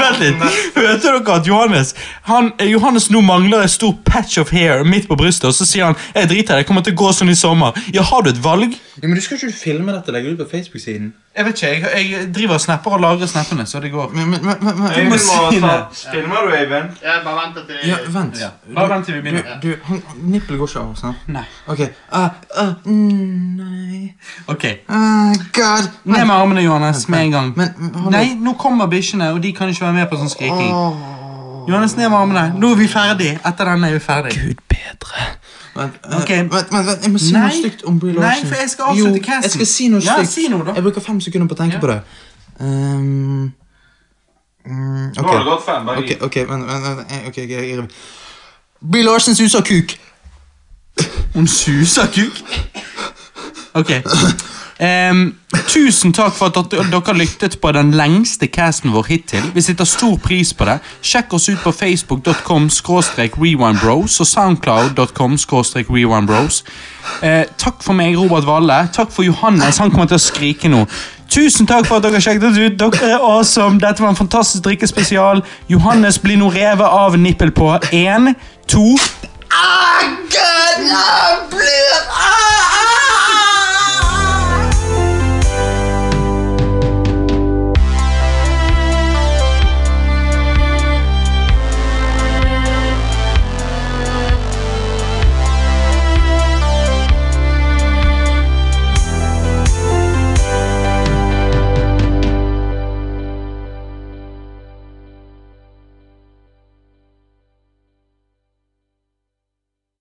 A: Vent litt. Hørte dere at Johannes han, Johannes nå mangler en stor patch of hair midt på brystet, og så sier han 'jeg driter i det, jeg kommer til å gå sånn i sommer'. Ja, har du et valg?
B: Ja, men du skal ikke filme dette og legge det ut på Facebook-siden?
A: Jeg vet ikke, jeg, jeg driver og snapper og lagrer snappene, så det går. Men, men, men, men, men-
C: Øyvind
A: jeg må
C: må
A: si
C: ta
A: det.
C: Filmer du, Øyvind?
E: Jeg bare venter til
B: Ja, vent.
A: Ja. Bare vent til vi begynner.
B: Du, du han, nippel går ikke av, sant?
A: Nei.
B: Ok. Ah, ah, mm, nei.
A: Ok.
B: Ah, God.
A: Ned med armene, Johannes, med en gang.
B: Men, men hold
A: Nei, nå kommer bikkjene, og de kan ikke være med på sånn skriking.
B: Åh.
A: Johannes, ned med armene. Nå er vi ferdig. Etter den er vi ferdig.
B: Gud bedre. Vent, eh,
A: Ok.
B: vent, vent, vent, jeg må si
A: Nei.
B: noe stygt om Brie
A: Nei,
B: Larson.
A: for jeg skal avslutte
B: jo,
A: casten.
B: Jeg skal si noe
A: Ja,
B: stygt.
A: si noe da.
B: Jeg bruker fem sekunder på å tenke på det. Ehm, mm,
C: Nå har det
B: ok,
C: gått fem. Bare
B: ok, ok, vent, vent, vent, eh, ok, ok, jeg- jeg- Brie Larson suser kuk.
A: Hun suser kuk. Ok. Em, tusen takk for at dere dere lyttet på den lengste casten vår hittil. Vi setter stor pris på det. Sjekk oss ut på facebook.com rewindbros og soundcloud.com rewindbros. Eh, takk for meg, Robert Valle. Takk for Johannes. Han kommer til å skrike nå. Tusen takk for at dere sjekket oss ut. Dere er awesome. Dette var en fantastisk drikkespesial. Johannes blir nå revet av nippel på. Én, to
B: Ah, God, ah, blød, ah, ah.